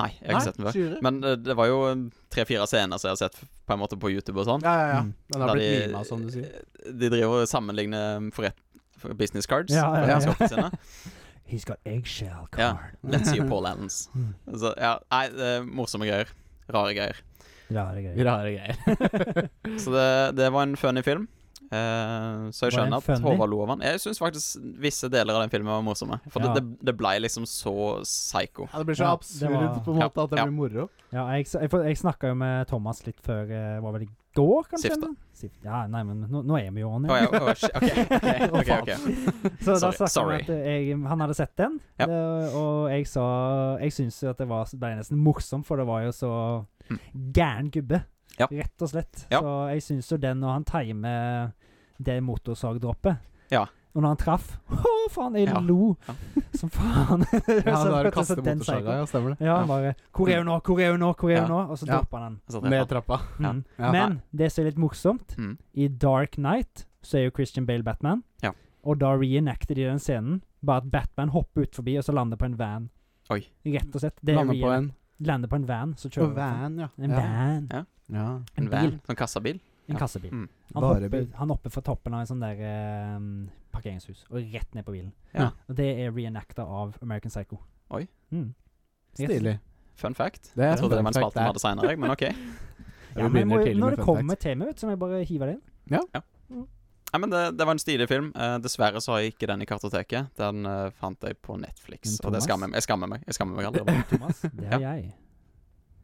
Nei, jeg har ikke sett den før. Sure. Men eh, det var jo tre-fire scener som jeg har sett på en måte på YouTube og sånn. Ja, ja, ja. Mm. Den har Der blitt de- mima, som du (laughs) sier. De driver og sammenligner forret, for business cards. Ja, ja, for ja. skattesinne. He's got eggshell Ja. card. Let's see Paul Allens. Så, ja, nei, det er morsomme greier. Rare greier. Rare greier. Rare greier. Så det, det var en funny film. Eh, så jeg Var den skjønner at funny? Håvard lo av den. Jeg syns faktisk visse deler av den filmen var morsomme. For Ja. det, det, det blei liksom så psycho. ja, det blir så Ja, absurd det var- på en måte Ja, at det ja. blir moro. ja, (laughs) jeg s- jeg, for- jeg snakka jo med Thomas litt før eh, Var vel i går, kanskje? Sifta. eller? Sifta. Ja, nei, men nå, nå er vi jo on Å, air. ja, å, (laughs) shit, ok, ok, ok, ok. Så da Sorry, snakka vi sorry. at eh, jeg, han hadde sett den, Ja. det, og jeg sa Jeg syns jo at det var, det ble nesten morsomt, for det var jo så Mm. gæren gubbe. Ja. Rett og slett. Ja. Så jeg syns jo den, når han timer det motorsagdroppet Ja. Og når han traff (laughs) Å, faen! Jeg Ja. lo Ja. som faen. Ja, (laughs) Så han har vet du, så kastet den motorsaga, psyko- ja, stemmer det. Ja, han bare 'Hvor er hun nå? Hvor er hun nå?' Hvor er hun Ja. nå? Og så Ja. dropper han den. Så Ned treffer trappa. Ja. Mm. Ja. Men det som er litt morsomt, han. Mm. i Dark Knight så er jo Christian Bale Batman. Ja. Og da reenacter de den scenen. Bare at Batman hopper ut forbi, og så lander på en van. Oi. Rett og slett. Det er Landa på reenact- en lander på en van, så På kjører han. van, ja. En ja. van. Ja. ja. En En van? bil. Sånn kassabil? En Ja. kassebil. Mm. Han, Bare hopper, bil. han hopper fra toppen av en sånn der ehm, parkeringshus, og rett ned på bilen. Ja. Og det er reenacta av American Psycho. Oi. Mm. Yes. Stilig. Fun fact. Det er Jeg trodde fun det var en fact, spalte vi det. hadde seinere, men OK. Nei, Ja, men jeg må, når det kommer tema, vet du, så må jeg bare hive (laughs) det inn. men det, det var en stilig film. Eh, dessverre så har jeg ikke den i kartoteket. Den eh, fant jeg på Netflix, Men og det Thomas? skammer meg. Jeg skammer meg Jeg skammer meg (laughs) allerede. Thomas, det har jeg.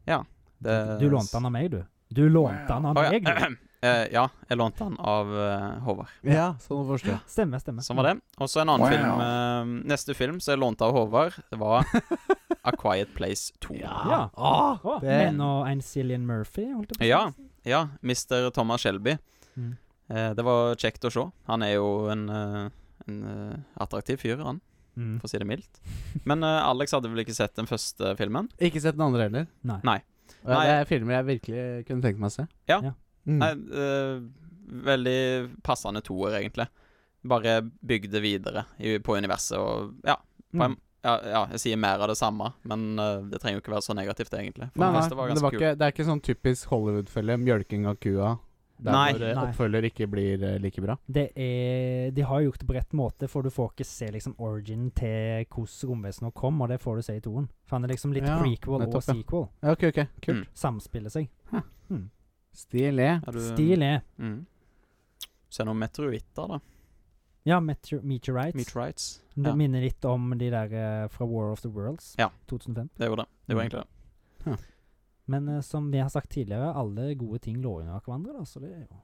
Ja, det- Du lånte den av meg, du. Du lånte den av Å, meg, du. ja. (clears throat) Eh, ja, jeg lånte den av eh, Håvard. Ja, sånn å forstå. Stemmer, stemmer. Sånn var det. Og så en annen Wow. film eh, Neste film som jeg lånte av Håvard, (laughs) var A Quiet Place 2. Ja. Ah, Å, det, men og en Cillian Murphy, holdt jeg på å si. Ja. Ja, Mr. Thomas Shelby. Mm. Eh, det var kjekt å se. Han er jo en, eh, en eh, attraktiv fyr, han, Mm. for å si det mildt. (laughs) Men eh, Alex hadde vel ikke sett den første filmen? ikke sett den andre heller. Nei. Nei. Og Nei. Det er filmer jeg virkelig kunne tenkt meg å se. Ja. Ja. Mm. Nei, eh, veldig passende toer, egentlig. Bare bygde videre i, på universet og ja, på Mm. en, ja, ja, jeg sier mer av det samme, men eh, det trenger jo ikke være så negativt, egentlig. For Nei, den nei, første var det, ganske var kul. ikke, det er ikke sånn typisk Hollywood-følge, mjølking av kua, der Nei. hvor eh, Nei. oppfølger ikke blir eh, like bra. Det er, de har gjort det på rett måte, for du får ikke se liksom origin til hvordan romvesenet kom, og det får du se i toen. For han er liksom litt Ja, prequel nettopp, og ja. sequel. Ja, ok, ok, kult. Mm. Samspiller seg. Stilig. Er du- Stilig. Mm. Så er det noen meteoritter, da. Ja, Meteor Meteorites. Meteorites. Det Ja, minner litt om de der eh, fra War of the Worlds Ja. 2005. det gjorde det. Det Mm. gjorde egentlig det. Men eh, som vi har sagt tidligere, alle gode ting lå under hverandre, da, så det er jo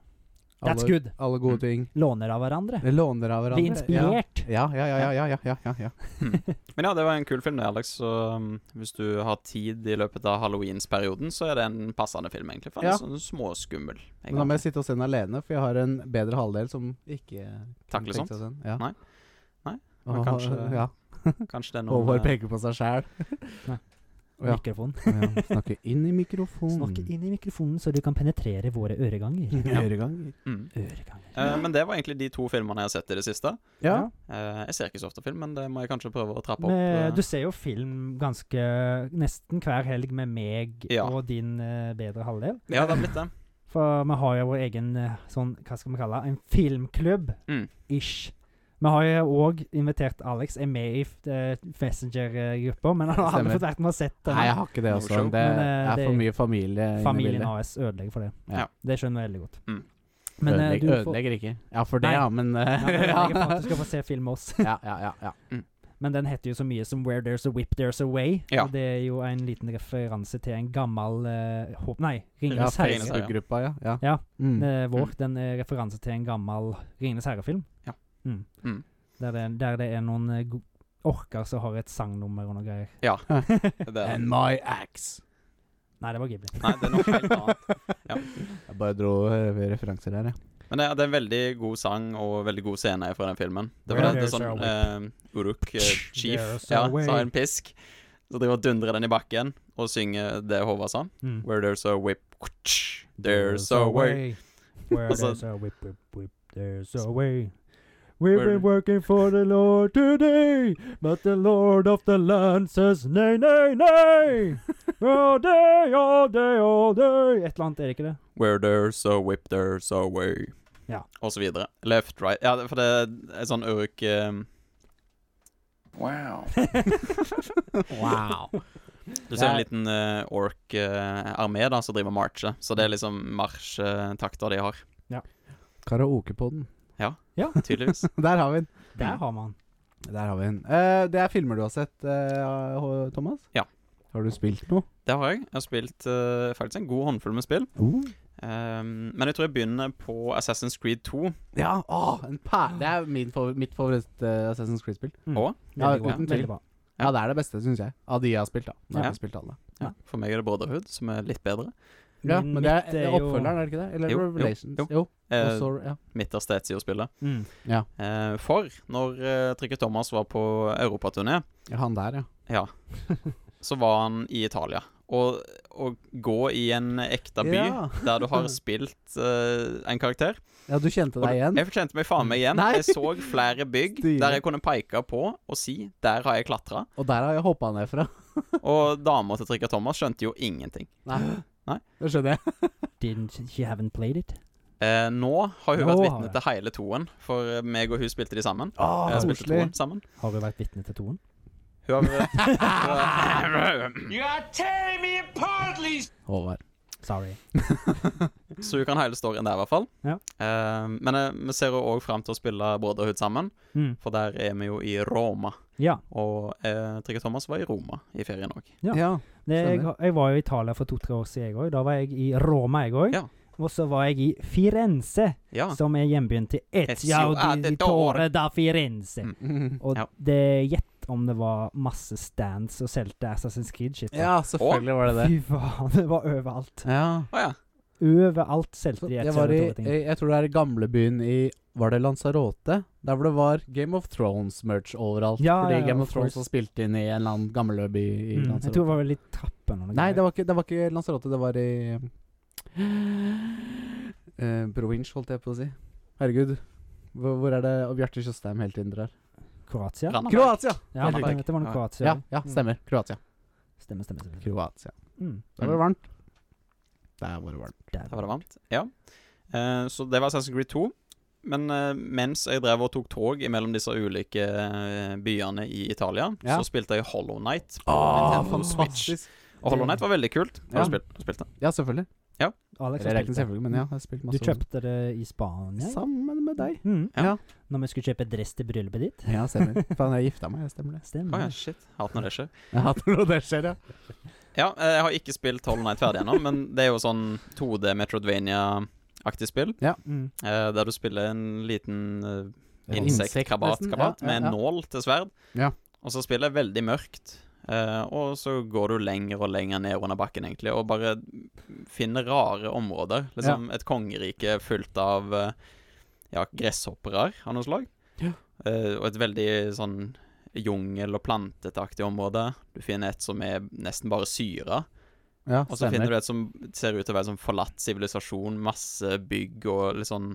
Alle, That's good. Alle Mm. gode ting. Låner av hverandre. Det låner av Blir hverandre. inspirert. Ja, ja, ja. ja, ja, ja, ja, ja, ja. Men ja, det var en kul film, det, Alex. Så um, hvis du har tid i løpet av halloweensperioden, så er det en passende film, egentlig. For den Ja. er sånn småskummel. Men da må jeg sitte og se den alene, for jeg har en bedre halvdel som ikke Takler tenker sånt? seg den. Ja. Nei. Nei, men Og, kanskje- ja. Kanskje det er noen Håvard eh, peker på seg sjæl. Ja. Mikrofon. Ja, snakke inn i mikrofonen. Snakk inn i mikrofonen, så du kan penetrere våre (laughs) øreganger. Øreganger. mm. Øreganger. Eh, Men det var egentlig de to filmene jeg har sett i det siste. Ja. Eh, jeg ser ikke så ofte film, men det må jeg kanskje prøve å trappe opp. eh. Men, du ser jo film ganske nesten hver helg med meg Ja. og din eh, bedre halvdel. Ja, det har blitt det. For vi har jo vår egen eh, sånn, hva skal vi kalle det, en filmklubb. Mm. Ish. Vi har jo òg invitert Alex, er med i eh, Messenger-gruppa, men han har Stemmer. aldri fått vært med og sett den. Nei, jeg har ikke det No også. show. Det Men, eh, er det- for mye familie inne Eh, i Familien bildet. AS ødelegger for det. Ja. Det skjønner jeg veldig godt. Mm. Men, eh, Ødelegger, du får- ødelegger ikke. Ja, for det, Nei. ja, men eh, (laughs) Ja, men ødelegger for at du skal få se film med oss. ja, ja, ja, ja. Men den heter jo så mye som 'Where There's a Whip There's a Way'. Ja. Og det er jo en liten referanse til en gammel eh, hå- Nei, ja 'Ringenes Ringenes herre'. Herre. Facebook-gruppa, ja. ja. Ja. Mm. Eh, vår. Den er referanse til en gammel 'Ringenes herre'-film. Ja. Mm. Mm. Der, det, der det er noen eh, go- orker som har et sangnummer og noe greier. Ja. Det er, And my axe. (laughs) Nei, det var Ghibli. nei, det er noe helt annet. Jeg bare dro eh, referanser her, jeg. Men det, er- det er en veldig god sang og veldig god scene fra den filmen. Det var Where det, det er there's sånn eh, Uruk eh, Chief There's a ja, som har way. en pisk. Så driver og dundrer den i bakken og synger det Håvard sa. Mm. Where there's a whip, there's a way. Where Altså- there's a whip, whip, whip, there's a way. We've been working for the Lord today, but the Lord of the land says nei, nei, (laughs) nei. All day, all day, all day. Et eller annet, er det ikke (laughs) det? Where there's a whip, there's a way. Ja. Og så videre. Left, right. Ja, det- for det er en sånn Uruk eh, Wow. Wow. Du ser en Jeg- liten eh, ork-armé da, som driver og marcher. Så det er liksom marsjtakter de har, Karaokepoden. tydeligvis. Der har vi den. Der har man. Der har vi den. Eh, det er filmer du har sett, eh, H- Thomas? Ja. Har du spilt noe? det har jeg. Jeg har spilt eh, faktisk en god håndfull med spill. Uh. Ehm, men jeg tror jeg begynner på Assassin's Creed 2. Ja, åh, en perle. Det er min favor mitt favoritt eh, Assassin's Creed-spill. Mm. Å? Ja, Veldig bra. uten tvil. Veldig bra. Ja, det er det beste, syns jeg. Av de jeg har spilt, da. Nå har Ja. jeg ikke spilt alle. Ja. For meg er det Brotherhood, som er litt bedre. Ja, Min- men det er, mitt er det er jo- oppfølgeren, er det ikke det? Eller Jo, jo, Revelations? jo. Jo. Eh, Og så- ja. Midterste Etsy å spille. Mm. Eh, for når eh, Trikke Thomas var på europaturné, ja, han der, ja. ja, så var han i Italia. Og å gå i en ekte by Ja. der du (laughs) har spilt eh, en karakter Ja, du kjente Og deg igjen? Jeg kjente meg faen meg igjen. Nei. Jeg så flere bygg Stilig. der jeg kunne peke på og si 'der har jeg klatra'. Og der har jeg hoppa ned fra. Og dama til Trikke Thomas skjønte jo ingenting. Nei. (gasps) Nei. Det skjønner jeg. Didn't she haven't played it? Eh, nå har Nå hun har vært Ah, vitne jeg. til hele toen, for eh, meg og hun spilte de sammen. Å, Eh, spilte toen sammen. Har hun vært vitne til toen? Hun har, (laughs) Håvard. Sorry. (laughs) så hun kan hele storyen der, i hvert fall. Ja. Eh, men eh, vi ser jo òg fram til å spille Brotherhood sammen, Mm. for der er vi jo i Roma. Ja. Og eh, Trygve Thomas var i Roma i ferien òg. Ja. Ja. (laughs) Det, jeg, Stemmer. jeg var jo i Italia for to-tre år siden, jeg òg. Da var jeg i Roma, jeg òg. Ja. Og så var jeg i Firenze, Ja. som er hjembyen til Etiao Ezio di Auditore. Torre da Firenze. Mm. Mhm. Og Ja. det gjett om det var masse stands og solgte Assassin's Creed-shit. ja, selvfølgelig var det det. Fy faen, det var overalt. Ja. Å ja. Overalt solgte Så de jeg Ezio var i Auditore-ting. jeg, jeg tror det er i gamlebyen i Var det Lanzarote? Der hvor det var Game of Thrones-merch overalt. Ja, fordi ja, Game of of Thrones course. var spilt inn i en eller annen gamleby i Mm, jeg Lanzarote. tror det var vel i trappen. Nei, det var ikke, det var ikke Lanzarote, det var i eh, Provins, holdt jeg på å si. Herregud. Hvor, hvor er det og Bjarte Tjøstheim hele tiden drar? Kroatia? Randaberg. Kroatia! Ja, Helt det riktig. det var noe Ja. Kroatia. Ja, ja, stemmer. Kroatia. Stemmer, stemmer. stemmer. Kroatia. Mm. Der var det varmt. Der var det varmt. Der. Da var det varmt. Ja. Eh, så det var Assassin's Creed 2. Men eh, mens jeg drev og tok tog mellom disse ulike eh, byene i Italia, Ja. så spilte jeg Hollow Night. Åh, Nintendo Switch. Og Hollow Knight var veldig kult. Har Ja. du spilt, spilt det? Ja, selvfølgelig. Alex, Eller har jeg regner spilt det. selvfølgelig, men ja, jeg har spilt Du masse. kjøpte det i Spania? Sammen med deg. Mm. Ja. Når vi skulle kjøpe dress til bryllupet ditt? Ja, stemmer. (laughs) Faen, jeg gifta meg, jeg stemmer det. Å Stemmer. ja, shit. Hater når det skjer. Jeg hater når (laughs) det skjer, ja. Ja, eh, jeg har ikke spilt Hollow Knight ferdig ennå, men det er jo sånn 2D Metrodvania aktig spill. Mm. eh, der du spiller en liten eh, Et insekt, insekt krabat, nesten, krabat ja, ja, med en ja. nål til sverd. Ja. Og så spiller jeg veldig mørkt. eh, og så går du lenger og lenger ned under bakken, egentlig, og bare finner rare områder. Liksom et kongerike fullt av eh, ja, gresshoppere av noe slag. Ja. Eh, og et veldig sånn jungel- og plantetaktig område. Du finner et som er nesten bare syre. Ja, Og så finner du et som ser ut til å være sånn forlatt sivilisasjon. Masse bygg og litt sånn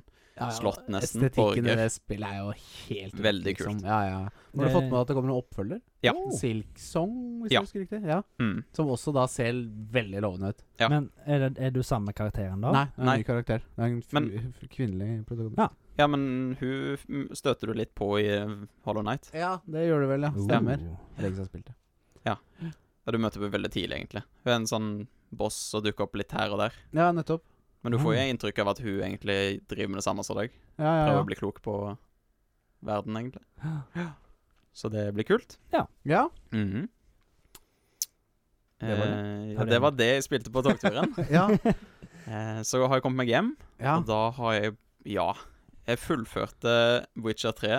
slott nesten, Estetikken i borger. det spillet er jo helt ute, Veldig liksom. kult. Ja, ja. Har du Det- fått med deg at det kommer en oppfølger? Ja. Silk Song, hvis Ja. jeg husker riktig. Ja. mm. Som også da ser veldig lovende ut. Ja. Men er, det, er du samme karakteren da? Nei, det er en Nei. ny karakter. Det er en fru- Men- fru- kvinnelig protagonist. Ja. Ja, men hun f- m- støter du litt på i eh, Hollow Night. Ja, det gjør det vel, ja. Stemmer. Oh. Det er Lenge siden jeg har spilt det. Ja, du møter henne veldig tidlig, egentlig. Hun er en sånn boss og dukker opp litt her og der. Ja, nettopp. Men du får jo inntrykk av at hun egentlig driver med det samme som deg. Ja, Ah. ja, Prøver ja. å bli klok på verden, egentlig. Så det blir kult. ja. Mhm. Det var det. Eh, ja, det var det jeg spilte på togturen. (laughs) ja. eh, så har jeg kommet meg hjem, ja. og da har jeg Ja. Jeg fullførte Witcher 3,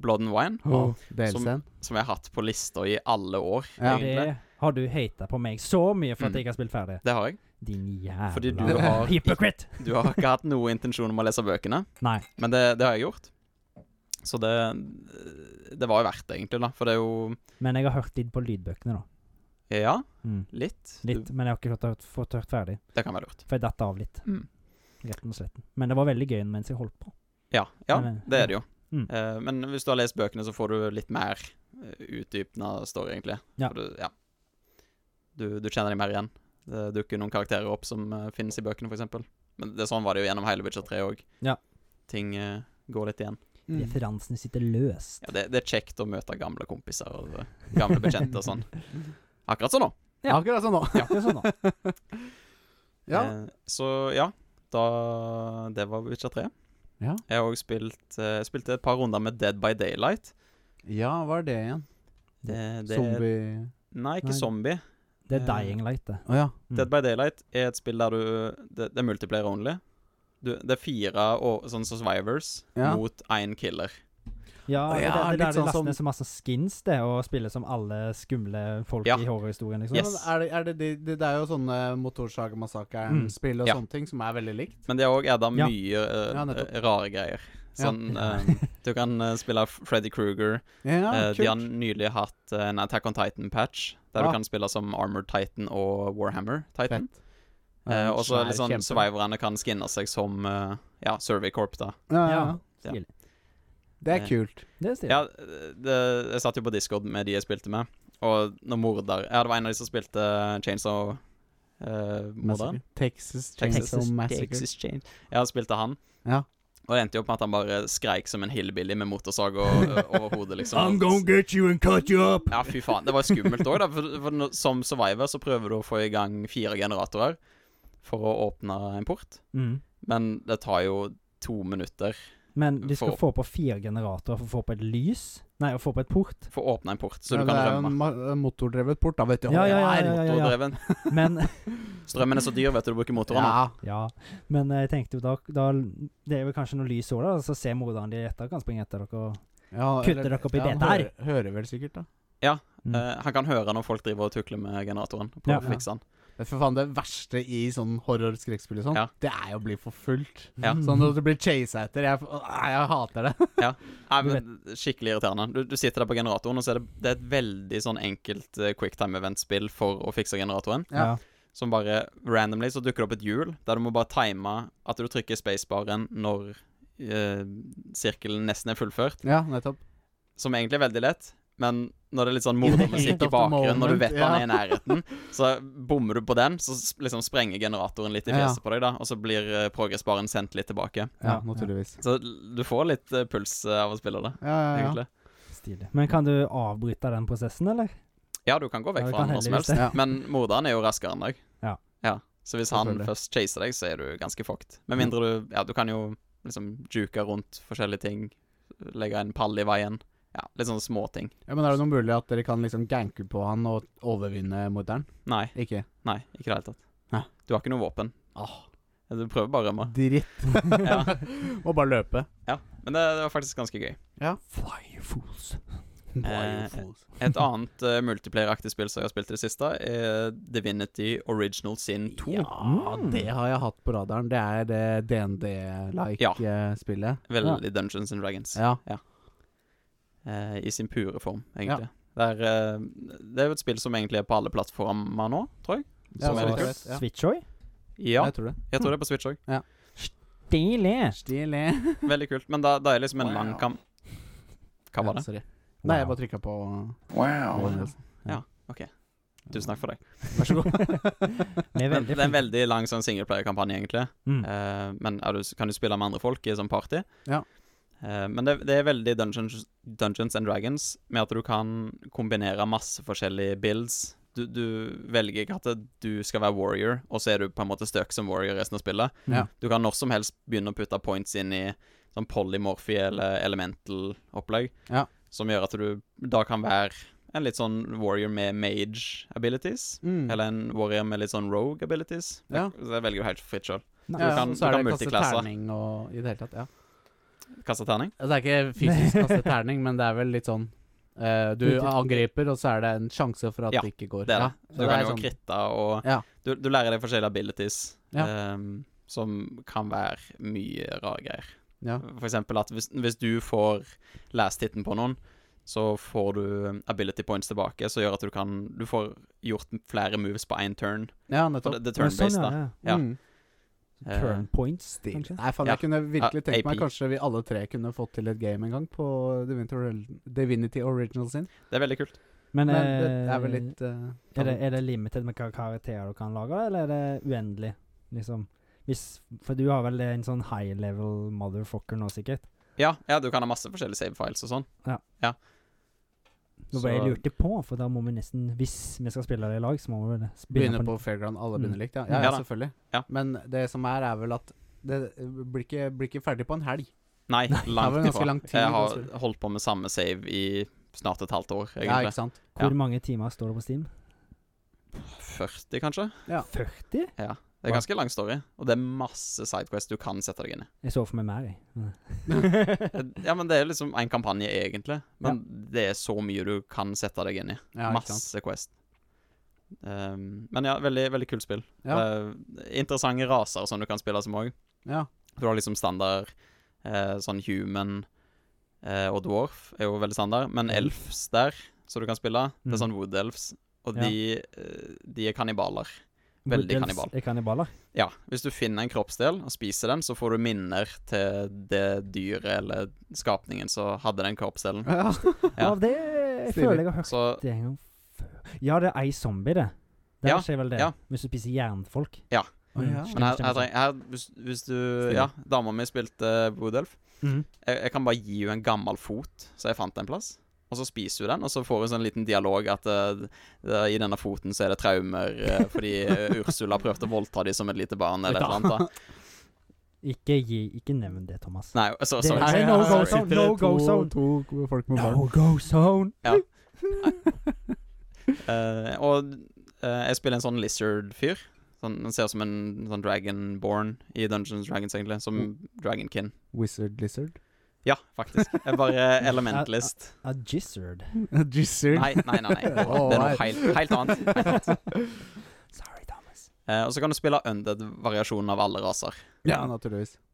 Blood and Wine, Oh, DLC-en. som jeg har hatt på lista i alle år, Ja. egentlig. Det har du hata på meg så mye for at Mm. jeg ikke har spilt ferdig. Det har jeg. Din jævla Fordi du har- (laughs) Hypocrite! Du har ikke hatt noen intensjon om å lese bøkene, Nei. men det, det har jeg gjort. Så det Det var jo verdt det, egentlig, da. For det er jo Men jeg har hørt litt på lydbøkene, da. Ja, Mm. litt. Litt, Du, men jeg har ikke fått hørt, fått hørt ferdig. det kan være lurt. For jeg datt av litt. Mm. Rett og slett. Men det var veldig gøy mens jeg holdt på. Ja, ja Men, eh, det er det jo. mm. Eh, men hvis du har lest bøkene, så får du litt mer uh, utdypende story, egentlig. Ja. For du, ja. Du, du kjenner dem mer igjen. Det dukker noen karakterer opp som eh, finnes i bøkene, f.eks. Men det, sånn var det jo gjennom hele Witcher 3 òg. Ja. Ting eh, går litt igjen. Mm. Referansene sitter løst. Ja, det, det er kjekt å møte gamle kompiser og eh, gamle bekjente og sånn. Akkurat sånn nå. Ja. Akkurat sånn nå. Ja. Det er sånn, da. (laughs) Ja. Eh, så ja, da Det var Witcher 3. Ja. Jeg har òg spilt eh, spilte et par runder med Dead by Daylight. ja, hva er det igjen? Det, det, Zombie Nei, ikke Nei. zombie. (laughs) Det er Eh, dying light, det. Å ja. Mm. Dead by Daylight er et spill der du Det, det er multiplayer only. Du, det er fire og, sånn survivors Ja. mot én killer. Ja, Å det, ja, det, det er litt der de sånn laster som- ned så masse skins, det, og spiller som alle skumle folk Ja. i horrorhistorien, liksom. Yes. Men Er det, er det, de- det, det er jo sånne Mm. Motorsagmassakren-spill og Ja. sånne ting som er veldig likt. Men de har òg adda Ja. mye eh, Ja, nettopp. rare greier. Ja. (laughs) Sånn eh, Du kan eh, spille Freddy Kruger. Ja, Eh, de har kult. nylig hatt eh, en Attack on Titan-patch, der Ah. du kan spille som Armored Titan og Warhammer Titan. Fett. Eh, og så Svær litt sånn kjempe. survivorene kan skinne seg som eh, ja, Survey Corp, da. Ja, ja. Ja. ja. Stilig. Det Eh, er kult. Det er stilig. Ja, eh, det, jeg satt jo på Discord med de jeg spilte med, og når morder Ja, det var en av de som spilte Chainsaw eh, Morderen. Massacre. Texas Texas- Chainsaw (laughs) Massacre. Texas Chain. Ja, spilte han. Ja. Og det endte jo opp med at han bare skreik som en hillbilly med motorsag (laughs) og, over hodet, liksom. get you and cut you up! Ja, fy faen. Det var skummelt òg, da. For, for når- som survivor så prøver du å få i gang fire generatorer for å åpne en port, Mm. men det tar jo to minutter. Men de skal For- få på fire generatorer for å få på et lys. Nei, å få på et port. For å åpne en port, så Ja, du kan det er jo en rømme. ma- en motordrevet port, da, vet du. Ja, ja, ja, ja, ja, ja. Motordreven. (laughs) Men (laughs) Strømmen er så dyr, vet du. Du bruker motoren. da. Ja. Ja, men eh, jeg tenkte jo da, da Det er vel kanskje noe lys òg, da. Så ser morderen de etter, kan springe etter dere. og- Ja, Kutter eller- dere opp i ja, det han der? hører- Hører vel sikkert, da. Mm. Eh, han kan høre når folk driver og tukler med generatoren. Prøv Ja. å fikse den. Men for faen, det verste i sånn horror-skrekkspill og sånn, Ja. det er jo å bli forfulgt. Ja. Sånn at du blir chasa etter. Jeg, nei, jeg hater det. Nei, Du men Skikkelig irriterende. Du, du sitter der på generatoren, og så er det, det er et veldig sånn enkelt eh, quicktime event-spill for å fikse generatoren. Ja. Som bare randomly så dukker det opp et hjul, der du må bare time at du trykker spacebaren når eh, sirkelen nesten er fullført. Ja, nettopp. Som egentlig er veldig lett, men når det er litt (laughs) sånn Heat mordermusikk of i the bakgrunnen, når moment, du vet han er i ja. nærheten, så bommer du på den, så s- liksom sprenger generatoren litt i Ja. fjeset på deg, da, og så blir eh, progressbaren sendt litt tilbake. Ja, Ja, naturligvis. Så l- du får litt eh, puls eh, av å spille det, Ja, ja, ja. egentlig. Stilig. Men kan du avbryte den prosessen, eller? Ja, du kan gå vekk Ja, du fra kan han når som heldigvis helst, det. Ja. men morderen er jo raskere enn deg. Ja. Så hvis han Selvfølgelig. Mm. først chaser deg, så er du ganske fucked. Med mindre du Ja, du kan jo liksom juke rundt forskjellige ting, legge en pall i veien. Ja, litt sånne småting. (laughs) ja, Men er det noe mulig at dere kan liksom ganke på han og overvinne morderen? Nei, Ikke? nei, ikke i det hele tatt. Nei. Du har ikke noe våpen. Åh. Eh, Du prøver bare å rømme. Dritt. (laughs) Ja. Må bare løpe. Ja, men det, det var faktisk ganske gøy. Fire fools. Eh, (laughs) Et annet eh, multiplayer-aktig spill som jeg har spilt i det siste, er Divinity Original Sin 2. Ja, det har jeg hatt på radaren. Det er det Ja. DND-like-spillet. Veldig Dungeons and Dragons. eh, Ja. eh, I sin pure form, egentlig. Det, er, eh, det er jo et spill som egentlig er på alle plattformer nå, tror jeg. Ja, Som så er litt det. kult. kult, ja. Switch Oi? Ja, Jeg tror det. jeg tror det er på Switch òg. Stilig. Stilig. Veldig kult. Men da, da er liksom en lang Wow. kamp. Hva var Ja, det? sorry. Nei, jeg bare trykka på Wow. Tusen takk for det. (laughs) Vær (laughs) så god. Det er Men veldig det er en veldig lang sånn singleplayer-kampanje, egentlig. Mm. Eh, men er du, kan du spille med andre folk i sånn party? Ja. Eh, men det, det er veldig Dungeons, Dungeons and Dragons, med at du kan kombinere masse forskjellige builds. Du, du velger ikke at du skal være warrior, og så er du på en måte støk som warrior resten av spillet. Ja. Du kan når som helst begynne å putte points inn i sånn polymorphy eller elemental-opplegg, Ja. som gjør at du da kan være en litt sånn warrior med mage abilities. Mm. Eller en warrior med litt sånn rogue abilities. Ja. Det, det velger du helt fritt sjøl. Nei, du sånn, kan- og du så er det kan kaste multiklasse. terning og i det hele tatt. Ja. Kaste terning. Ja, Altså, Det er ikke fysisk kaste terning, men det er vel litt sånn eh, Du Multi- angriper, og så er det en sjanse for at Ja, det ikke går. Det er det. Ja, så Så du det kan er jo sånn- kritte og Ja. du, du lærer deg forskjellige abilities Ja. ehm, som kan være mye rare greier. Ja. For eksempel at hvis, hvis du får last hiten på noen, så får du um, ability points tilbake, som gjør at du kan Du får gjort flere moves på én turn. ja, For nettopp. det, det er Men sånn, turn-based, ja, da. ja. ja. Mm. Eh, Turn points. kanskje? Nei, faen, Ja. jeg kunne virkelig Ja, tenkt meg AP. Kanskje vi alle tre kunne fått til et game en gang på Divinity, Oril- Divinity Original sin. Det er veldig kult. Men, Men eh, det er vel litt eh, er, det, er det limited med hva karakterer du kan lage, eller er det uendelig? Liksom hvis, For du har vel en sånn high level motherfucker nå, sikkert? Ja, ja, du kan ha masse forskjellige save files og sånn. Nå ble jeg Så- lurt på, for da må vi nesten Hvis vi skal spille det i lag, så må vi vel Begynner en- på fairground, alle Mm. begynner likt. Ja, ja, Ja ja da. selvfølgelig. Ja. Men det som er, er vel at det blir ikke, blir ikke ferdig på en helg. Nei, var langt ganske ifra. lang tid, Jeg har ganske- holdt på med samme save i snart et halvt år, Ja, ikke egentlig. sant? Hvor Ja. mange timer står det på Steam? 40, kanskje? 40? Ja. Det er ganske lang story, og det er masse sidequests du kan (laughs) sette deg inn i. Jeg så for meg mer, jeg. Men- Ja, men det er liksom en kampanje, egentlig. Men det er så mye du kan sette deg inn i. Ja, ikke sant? Masse quest. Um, men ja, veldig, veldig kult spill. Ja. Eh, interessante raser som du kan spille som òg. Ja. Du har liksom standard eh, sånn human eh, og dwarf er jo veldig standard, men Mhm. elfs der, som du kan spille, det er Mm. Mhm. sånn wood elfs, og Ja. de, eh, de er kannibaler. (laughs) Veldig Woodels kannibal. Er kannibaler? Ja, hvis du finner en kroppsdel og spiser den, så får du minner til det dyret eller skapningen som hadde den kroppsdelen. (laughs) Ja. Ja. Ja, det jeg Stilig. føler jeg har hørt Så det en gang før. Ja, det er ei zombie, det. Det Ja, skjer vel det. ja. Hvis du spiser jernfolk. Ja. Mm, Å, ja. stemmer, Men her, her, stemmer, treng- her hvis, hvis du Ja, dama mi spilte Woodelf. stemmer. Mm. Jeg, jeg kan bare gi henne en gammel fot som jeg fant en plass. Og så spiser hun den, og så får hun sånn liten dialog at eh, det- i denne foten så er det traumer eh, fordi eh, Ursula prøvde å voldta dem som et lite barn, eller et eller annet. da. Ikke, gi, ikke nevn det, Thomas. Nei, så, Det er sorry. Nei, no go her sorry. zone, sitter no det go to- zone. To folk med barn. No go zone! Eh, og eh, jeg spiller en sånn lizard-fyr. Sånn, han ser ut som en sånn dragonborn i Dungeons Dragons, egentlig. Som Mm. Dragonkin. Wizard (laughs) Lizard. Ja, faktisk. Jeg er bare eh, elementlist. A gizzard. Gizzard. Nei, nei, nei. nei. Det er noe helt, helt annet. Helt annet. Sorry, Thomas. Eh, og så kan du spille undead-variasjonen av alle raser. Ja, naturligvis. Mm.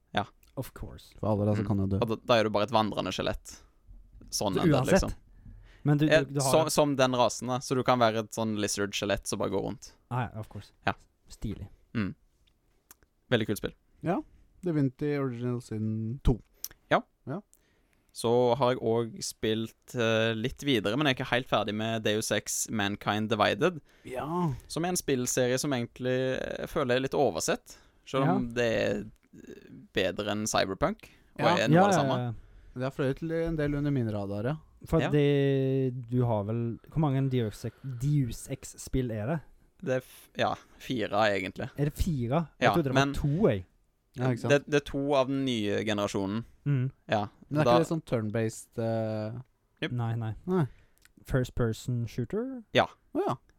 Of course. For alle da så kan jo dø. Og da, da er du bare et vandrende skjelett. Sånn Så undead, uansett, liksom. Men du, Eh, du, du har som, som den rasen, da. Så du kan være et sånn lizard-skjelett som bare går rundt. ah, ja, Of course. Ja. Stilig. Veldig kult spill. Divinity Original Sin 2. Så har jeg òg spilt eh, litt videre, men jeg er ikke helt ferdig med Deus Ex Mankind Divided. Ja. Som er en spillserie som egentlig eh, føler er litt oversett. Selv om det er eh, bedre enn Cyberpunk. Og Ja. er Eh, noe av det samme. ja. Det har fløyet til en del under min radar, ja. For Ja. det Du har vel Hvor mange Deus Ex- Deus Ex-spill er det? Det er f ja, fire, egentlig. Er det fire? Jeg Ja, trodde det var men- to, jeg. ja ikke sant? Det, det er to av den nye generasjonen. Mm. Ja. Men det er ikke da- det sånn turn-based eh, Jep. Nei, nei. Nei. First person shooter? Å ja.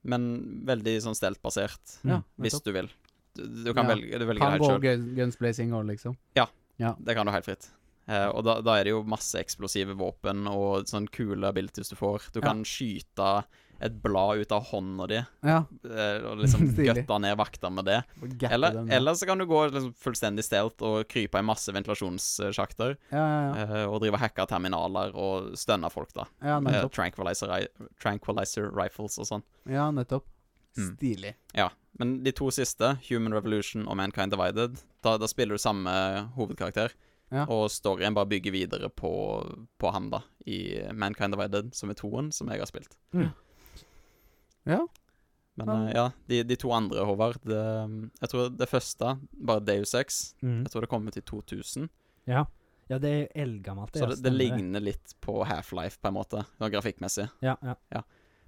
men veldig sånn steltbasert, ja Mm. hvis nettopp. du vil. Du, du kan Ja. velge, du velger Kan helt gå sjøl. gun, gunsblazing òg, liksom. Det kan du helt fritt. Eh, og da, da er det jo masse eksplosive våpen og sånn kule abilities du får. Du Ja. kan skyte et blad ut av hånda di Ja. eh, og liksom (laughs) Stilig. gøtte ned vakter med det. og gappe Eller, dem, da. eller så kan du gå liksom fullstendig stealth og krype i masse ventilasjonssjakter. Ja, ja, ja. eh, og drive og hacke terminaler og stønne folk, da. ja Med nettopp. Eh, tranquilizer, ri- tranquilizer rifles og sånn. Ja, nettopp. Mm. Stilig. Men de to siste, Human Revolution og Mankind Divided, da, da spiller du samme hovedkarakter. Ja. Og storyen bare bygger videre på, på han, da, i Mankind Divided, som er toen, som jeg har spilt. Mm. Ja. Men Men- eh, ja, de, de to andre, Håvard det, Jeg tror det første, bare Deus Ex, Mm. jeg tror det kom ut i 2000. Ja. ja, det er eldgammelt. Så ja, det, det stemmer ligner litt på Half-Life, på en måte, sånn grafikkmessig. Ja, ja.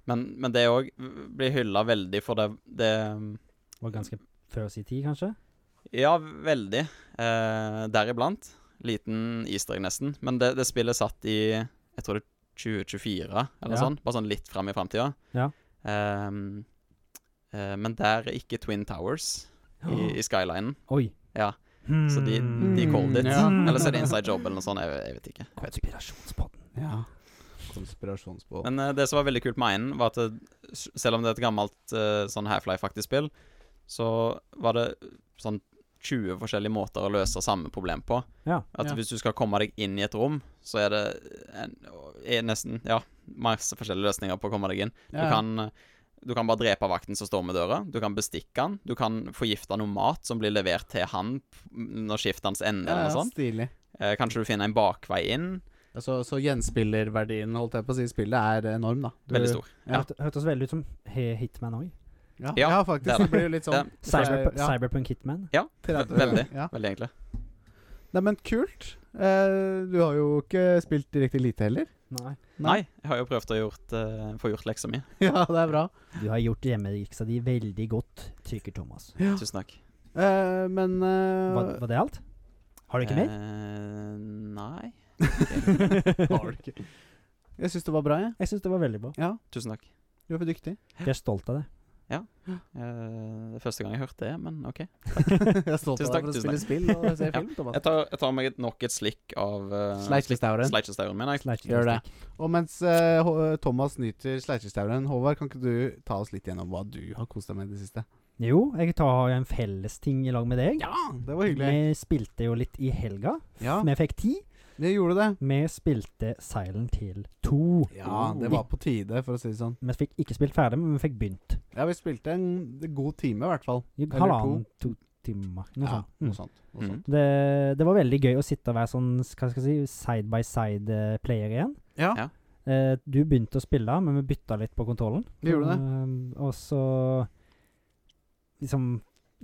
Men, men det òg blir hylla veldig for det, det Var ganske før sin tid, kanskje? Ja, veldig. Eh, Deriblant. Liten easter egg, nesten. Men det, det spillet satt i jeg tror det er 2024, eller Ja. sånn. Bare sånn litt fram i framtida. Ja. Ehm, eh, men der er ikke Twin Towers (gasps) i, i skylinen. Oi. Ja, så de, de Hmm. called it. Ja. Eller så er det Inside Job eller noe sånt. Jeg, jeg vet ikke. Konspirasjonspodden. Ja. Konspirasjonsbåt. Men eh, det som var veldig kult med einen, var at det, s- selv om det er et gammelt eh, sånn Half-Life-aktig spill, så var det sånn 20 forskjellige måter å løse samme problem på. Ja. At Ja. hvis du skal komme deg inn i et rom, så er det en, er nesten Ja, masse forskjellige løsninger på å komme deg inn. Du Ja, ja. kan eh, du kan bare drepe vakten som står med døra. Du kan bestikke han. Du kan forgifte noe mat som blir levert til han p- når skiftet hans ender, ja, eller noe ja, sånt. stilig. Eh, kanskje du finner en bakvei inn. Ja, Så, så gjenspillerverdien, holdt jeg på å si, i spillet er enorm, da. Du- Veldig stor. Ja. Hørte- Hørtes veldig ut som he- Hitman òg. Ja, Ja, ja, faktisk. det Det, er det. blir jo litt sånn Cyber, Ja, Cyberpunk Hitman. Ve- 30, Veldig, Ja. veldig egentlig. Nei, men kult. Eh, du har jo ikke spilt direkte lite heller. (laughs) Nei. Nei, Nei. jeg har jo prøvd å gjort, eh, få gjort leksa mi. ja, det er bra. Du har gjort hjemmeleksa di veldig godt, trykker Thomas. Ja. Tusen takk. Eh, men eh, Var, var det alt? Har du ikke mer? Eh, nei. (laughs) har du ikke. Jeg syns det var bra, jeg. Jeg syns det var veldig bra. Ja, Tusen takk. du er for dyktig. (laughs) Jeg er stolt av det. Eh, det er første gang jeg har hørt det, men OK. jeg er stolt av Tusen takk, deg for å tusen spille spill og se (laughs) Ja. film. Thomas. Jeg tar, jeg tar meg et, nok et slikk av uh, Sleikjestauren. Sleitjestauren min. Jeg. Slasher Gjør det. stick. Og mens eh, Hå- Thomas nyter Sleikjestauren, Håvard, kan ikke du ta oss litt gjennom hva du har kost deg med i det siste? Jo, jeg tar jo en fellesting i lag med deg. Ja, det var hyggelig. Vi spilte jo litt i helga. Ja, Vi fikk ti. det gjorde det. Vi spilte Silent Hill 2. Ja, det var på tide, for å si det sånn. Vi fikk ikke spilt ferdig, men vi fikk begynt. Ja, vi spilte en god time, i hvert fall. I Eller halvannen, to timer. Noe ja, sånt. Mm. noe sånt. Noe sånt. Mm. Det, det var veldig gøy å sitte og være sånn hva skal jeg si, side by side eh, player igjen. Ja. Ja. Eh, du begynte å spille, men vi bytta litt på kontrollen. Vi gjorde det. Eh, og så liksom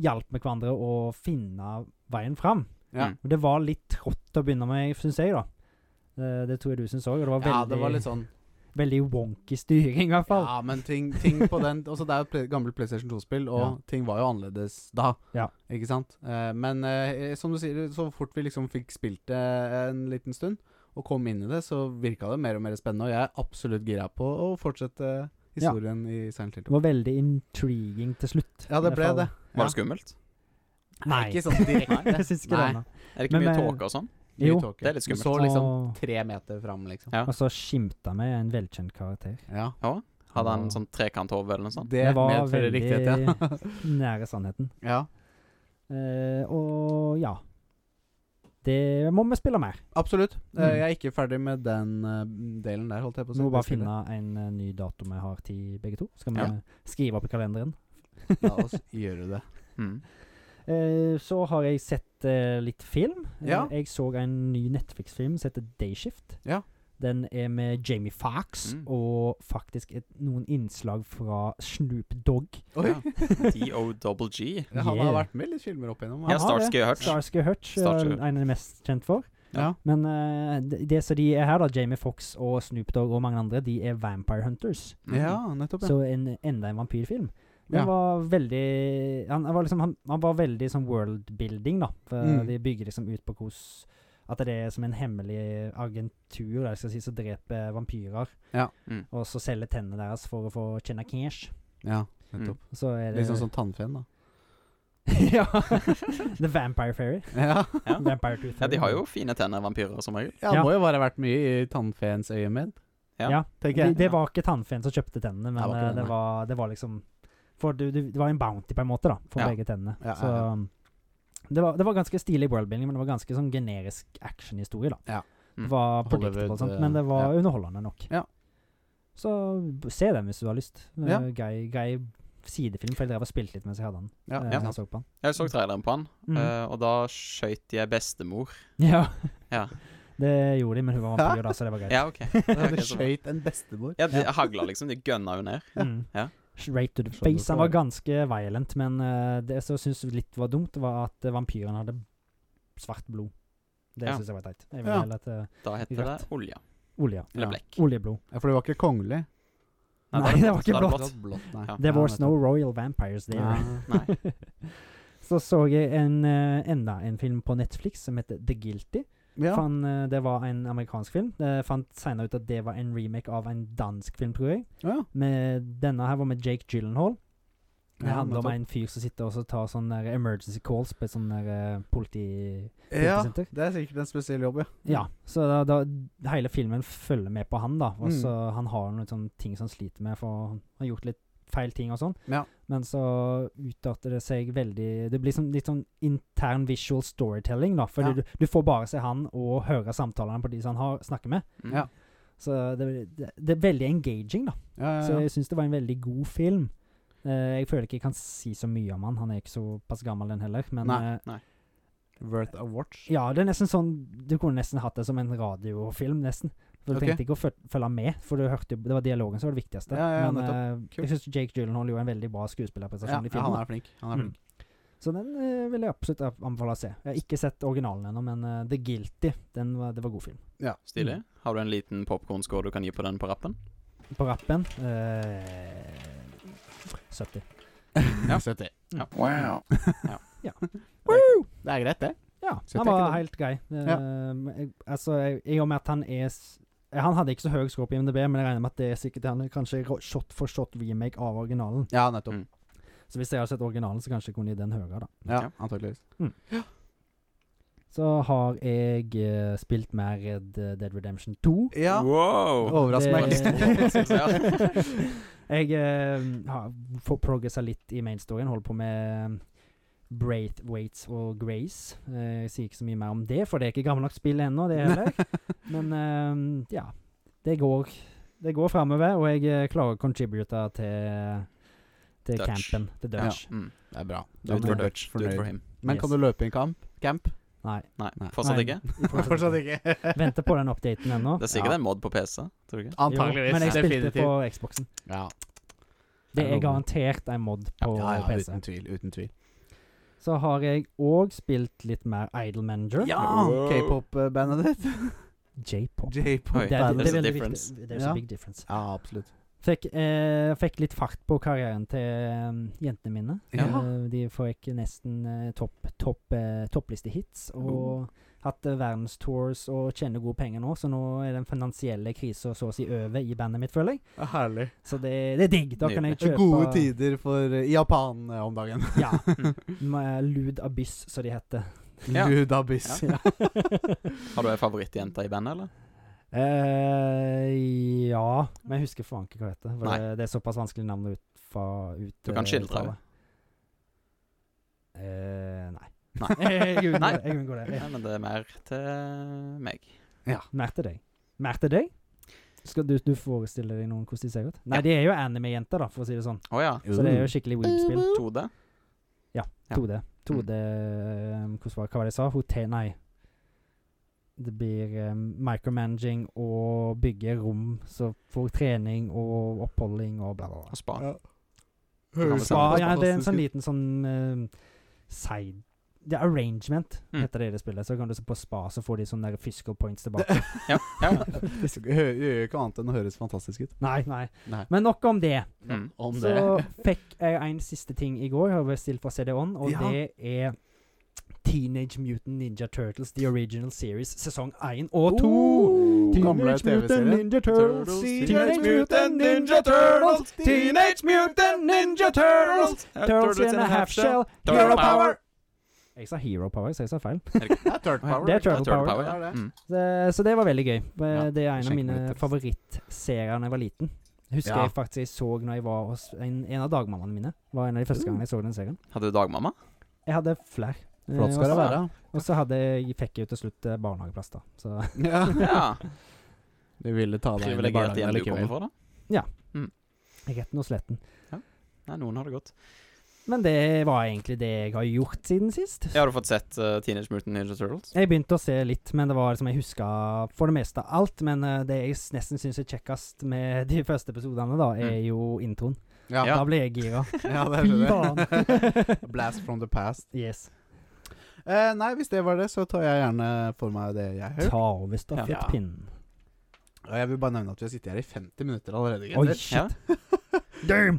hjalp vi hverandre å finne veien fram. Ja. Mm. Og det var litt trått å begynne med, syns jeg, da. Eh, det tror jeg du syns òg. Og det var veldig, ja, det var litt sånn veldig wonky styring, i hvert fall. Ja, men ting, ting på den Også Det er jo et ple- gammelt PlayStation 2-spill, og Ja. ting var jo annerledes da. Ja. Ikke sant? Eh, men eh, som du sier, så fort vi liksom fikk spilt det en liten stund, og kom inn i det, så virka det mer og mer spennende, og jeg er absolutt gira på å fortsette historien i Silent Hill Det 2. var veldig intriguing til slutt. Ja, i det hvert ble fall. det. Var det Ja. skummelt? Nei. Ikke sånn (laughs) direkte. Jeg syns ikke Nei. det. nå. Er det ikke Men, mye eh, tåke og sånn? Mye Jo. tåke. Det er litt Du skummelt. så liksom Og- tre meter fram, liksom. Ja. Og så skimta vi en velkjent karakter. Ja. Hadde han var- sånn trekanthove eller noe sånt? Det, Det var medfører veldig- riktighet, ja. (laughs) Nære sannheten. (laughs) ja. Eh, og ja. Det må vi spille mer. Absolutt. Eh, Mm. Jeg er ikke ferdig med den eh, delen der, holdt jeg på å Vi si. må bare Det spillet. finne en eh, ny dato vi har til begge to. Skal vi Ja. skrive opp i kalenderen. La oss gjøre det. (laughs) Mm. (laughs) Eh, så har jeg sett eh, litt film. Eh, Ja. Jeg så en ny Netflix-film som heter Dayshift. Ja. Den er med Jamie Fox Mm. og faktisk et, noen innslag fra Snoop Dogg. (laughs) Oi. Ja. D.O.G. Ja, han har Yeah. vært med i litt filmer opp igjennom. Ja, har det. Starsky og Hutch. Starsky Hutch, eh, Starsky en Hutch. av de mest kjent for. Ja. Men eh, det, det som de er her, da, Jamie Fox og Snoop Dogg og mange andre, de er Vampire Hunters. Mm. ja, nettopp. Ja. Så en, enda en vampyrfilm. Den Ja. var veldig han, han var liksom, han, han var veldig sånn worldbuilding, da. For Mm. De bygger liksom ut på hvordan At det er som en hemmelig agentur der, skal jeg si, som dreper vampyrer. Ja. Mm. Og så selger tennene deres for å få tjene cash. Mm. ja, nettopp. Så er det sånn Litt sånn som tannfen, da. (laughs) (laughs) ja. (laughs) The Vampire (laughs) Fairy. Ja, (laughs) Ja. Vampire Tooth ja, de Fairy. har jo fine tenner, vampyrer, som regel. ja det Ja. må jo bare ha vært mye i tannfeens øyemed, Ja. Ja. tenker Det, jeg. det var ikke tannfeen som kjøpte tennene, men Det var ikke eh, det, det, nei. var, det var liksom For du, du, det var en bounty på en måte, da, for Ja. begge tennene. Ja, ja, Så ja. um, det var, det var ganske stilig worldbuilding, men det var ganske sånn generisk actionhistorie, da. Ja. Mm. Det var Hollywood, predictable og sånt, eh, men det var ja. underholdende nok. Ja. Så b- se den hvis du har lyst. Eh, Ja. Grei, grei sidefilm, for jeg drev og spilte litt mens jeg hadde den. Ja, eh, ja. mens jeg så på den. Jeg så traileren på han, Mhm. eh, og da skøyt jeg bestemor. (laughs) Ja. Ja. Det gjorde de, men hun var vampyr, da, så det var greit. (laughs) (laughs) Ja, (laughs) OK. Ja, Ok, det så bra. skøyt en bestemor. Ja, de hagla liksom. De gønna jo ned. Mm. Ja. Sånn Straight to the Skjønner face. Han hva var det er. ganske violent, men eh, det som jeg syns litt var dumt, var at eh, vampyren hadde svart blod. Det Ja. synes syns jeg var teit. Jeg vil Ja. heller at eh, Da heter det Rødt. olje. olje. Eller Ja. blekk. Oljeblod. Ja, for det var ikke kongelig. Nei, det var ikke da er det blått. Blått, nei. Ja. There Ja, was nettopp. no royal vampires there. Ja. Nei. (laughs) så så jeg en, eh, enda en film på Netflix som heter The Guilty. Ja. Fan, eh, det var en amerikansk film. Jeg fant senere ut at det var en remake av en dansk film, tror jeg. Ja. Med, denne her var med Jake Gyllenhaal. Det Ja, handler om nettopp. en fyr som sitter og så tar sånne der emergency calls på et sånn der eh, politi... Ja, Senter. det er sikkert en spesiell jobb, ja. Ja, så da, da hele filmen følger med på han, da. Og Mm. så Han har noen sånne ting som han sliter med, for han har gjort litt feil ting og sånn. Ja. Men så utarter det seg veldig Det blir sånn, litt sånn intern visual storytelling, da. Fordi du, Ja. du får bare se han og høre samtalene på de som han har, snakker med. Mm. Ja. Så det, det, det er veldig engaging, da. Ja, ja, Så ja. jeg syns det var en veldig god film. Eh, jeg føler ikke jeg kan si så mye om han. Han er ikke såpass gammel, den heller. Men Nei. eh, Worth a watch. ja, det er nesten sånn Du kunne nesten hatt det som en radiofilm, nesten. For Du Ok. trengte ikke å føl- følge med, for du hørte jo Det var dialogen som var det viktigste. Ja, ja, Men nettopp. eh, jeg syns Jake Gyllenhaal gjorde en veldig bra Ja, skuespillerprestasjon i han filmen. er flink. Han er Mm. flink. Så den eh, vil jeg absolutt anbefale å se. Jeg har ikke sett originalen ennå, men eh, The Guilty, den var, det var god film. Stilig. Mm. Har du en liten popkornskål du kan gi på den på rappen? På rappen eh, 70. Ja. 70. Ja. Wow. Det er greit, det. Ja, 70 er han ikke var dum. helt grei. Eh, Ja. men jeg- altså, jeg- i og med at han er s- eh, Han hadde ikke så høy score på IMDb, men jeg regner med at det er sikkert han er kanskje ro- shot for shot remake av originalen. Ja, nettopp. Mm. Så hvis jeg hadde sett originalen, så kanskje jeg kunne gi den høyere, da. Ja, Ja. antakeligvis. Så har jeg eh, spilt mer Red eh, Dead Redemption 2. Ja, Wow! overrasker meg Det- ikke. (laughs) jeg eh, har får progressa litt i mainstoryen. Holder på med Braithwaite og Grace. Eh, jeg sier ikke så mye mer om det, for det er ikke gammelt nok spill ennå, det heller. Men eh, ja. Det går, det går framover, og jeg eh, klarer å contribute til, til Dutch. campen. Til Dutch. Mm. (laughs) Det er bra. Do Da it for er jeg Dutch. Do it for fornøyd. him. Men kan Yes. du løpe i en kamp? Camp? Nei. Nei, Nei. (laughs) fortsatt Nei, ikke? (laughs) Fortsatt (laughs) ikke. Venter på den updaten ennå. Det er sikkert Ja. en mod på PC. Tror du (laughs) ikke? Jo, Antakeligvis. Men jeg spilte Definitivt. på Xboxen. Ja. Det Ja, er garantert en mod på ja, ja, PC. uten tvil. Uten tvil. Så har jeg òg spilt litt mer Idol Manager. Ja! Wow. K-pop-bandet (laughs) ditt. J-pop. Oi. Det er, J-pop-bandet det There's er a veldig difference. viktig. There's Ja. a big difference. Ja, absolutt. Fikk, eh, fikk litt fart på karrieren til eh, jentene mine. Ja. Eh, de fikk nesten eh, topp topp, eh, topplistehits. Og hatt eh, verdenstours og tjener gode penger nå, så nå er den finansielle krisa så å si over i bandet mitt, føler jeg. Ja, Herlig. Så det, det er digg. Da kan jeg kjøpe Gode tider for eh, Japan eh, om dagen. Ja. Med Lud Abyss, som de heter. (laughs) Ja. (laughs) Ludabiss. Ja. Har du ei favorittjente i bandet, eller? Eh, ja Men jeg husker faen ikke hva det heter. For Nei. det, det er såpass vanskelig navn å ut, fra, ut Du kan eh, skildre uttale. det. Eh, nei. Nei. jeg unngår Nei. det. Jeg unngår det. Nei, men det er mer til meg. Mer til deg. Mer til deg? Skal du, du forestille deg noen hvordan de ser ut? Nei, Ja. de er jo anime-jenter, da, for å si det sånn. Å ja. Så det er jo skikkelig weeb-spill. 2D? Ja. 2D. 2D um, Hvordan var det hva var det jeg sa? Hotell Nei. Det blir um, micromanaging og bygge rom så for trening og oppholding og bla, bla, bla. Og spa? Ja. Høres Spa, Fantastisk. ja, det er en sånn liten sånn um, side Det er arrangement, Mm. heter det i det spillet. Så kan du se på spa, så får de sånne der physical points tilbake. (laughs) Ja. ja. Det gjør jo ikke annet enn å høres fantastisk ut. nei, nei. Nei. Men nok om det. Mm. Om (laughs) Så fikk jeg en siste ting i går. Jeg har bestilt fra CD-ON, og Ja. det er Teenage Mutant Ninja Turtles The Original Series sesong 1 og 2. Gamle Teenage Mutant TV-serier. Ninja Oh, Turtles. Teenage Mutant Ninja Turtles. Teenage Mutant Ninja Turtles. Turtles in a half shell. Turtle Hero power. power. Jeg sa Hero Power, så jeg sa feil. Det er Turtle Power. Det er Turtle Turtle Power. Power, Det ja. er det. Mm. Så, så det var veldig gøy. Eh, Ja, Det er en av skjenk mine meg litt. favorittserier da jeg var liten. Husker Ja. jeg faktisk jeg så når jeg var hos en, en av dagmammaene mine. Var en av de første gangene jeg så den serien. Hadde du (laughs) dagmamma? Jeg hadde flere. Eh, Flott skal og det så- være. Og så hadde, jeg- fikk jeg jo til slutt eh, barnehageplass, da. Så (laughs) Ja. Ja. De ville ta deg inn i Privilegert barnehagen hjem du kommer likevel. fra, da? retten og sletten. Nei, noen har det godt. Men det var egentlig det jeg har gjort siden sist. Ja, Har du fått sett eh, Teenage Mutant Ninja Turtles? Jeg begynte å se litt, men det var som jeg huska for det meste alt. Men eh, det jeg s- nesten syns er kjekkest med (laughs) de første episodene, da, er jo introen. Ja, Ja. Da ble jeg gira. ja, det Fy er (laughs) det. (laughs) faen. Blast from the past. yes. Eh, nei, hvis det var det, så tar jeg gjerne for meg det jeg hører. Ta over stafettpinnen. Og jeg vil bare nevne at vi har sittet her i 50 minutter allerede. Oi, gutter. Ja. shit. Damn!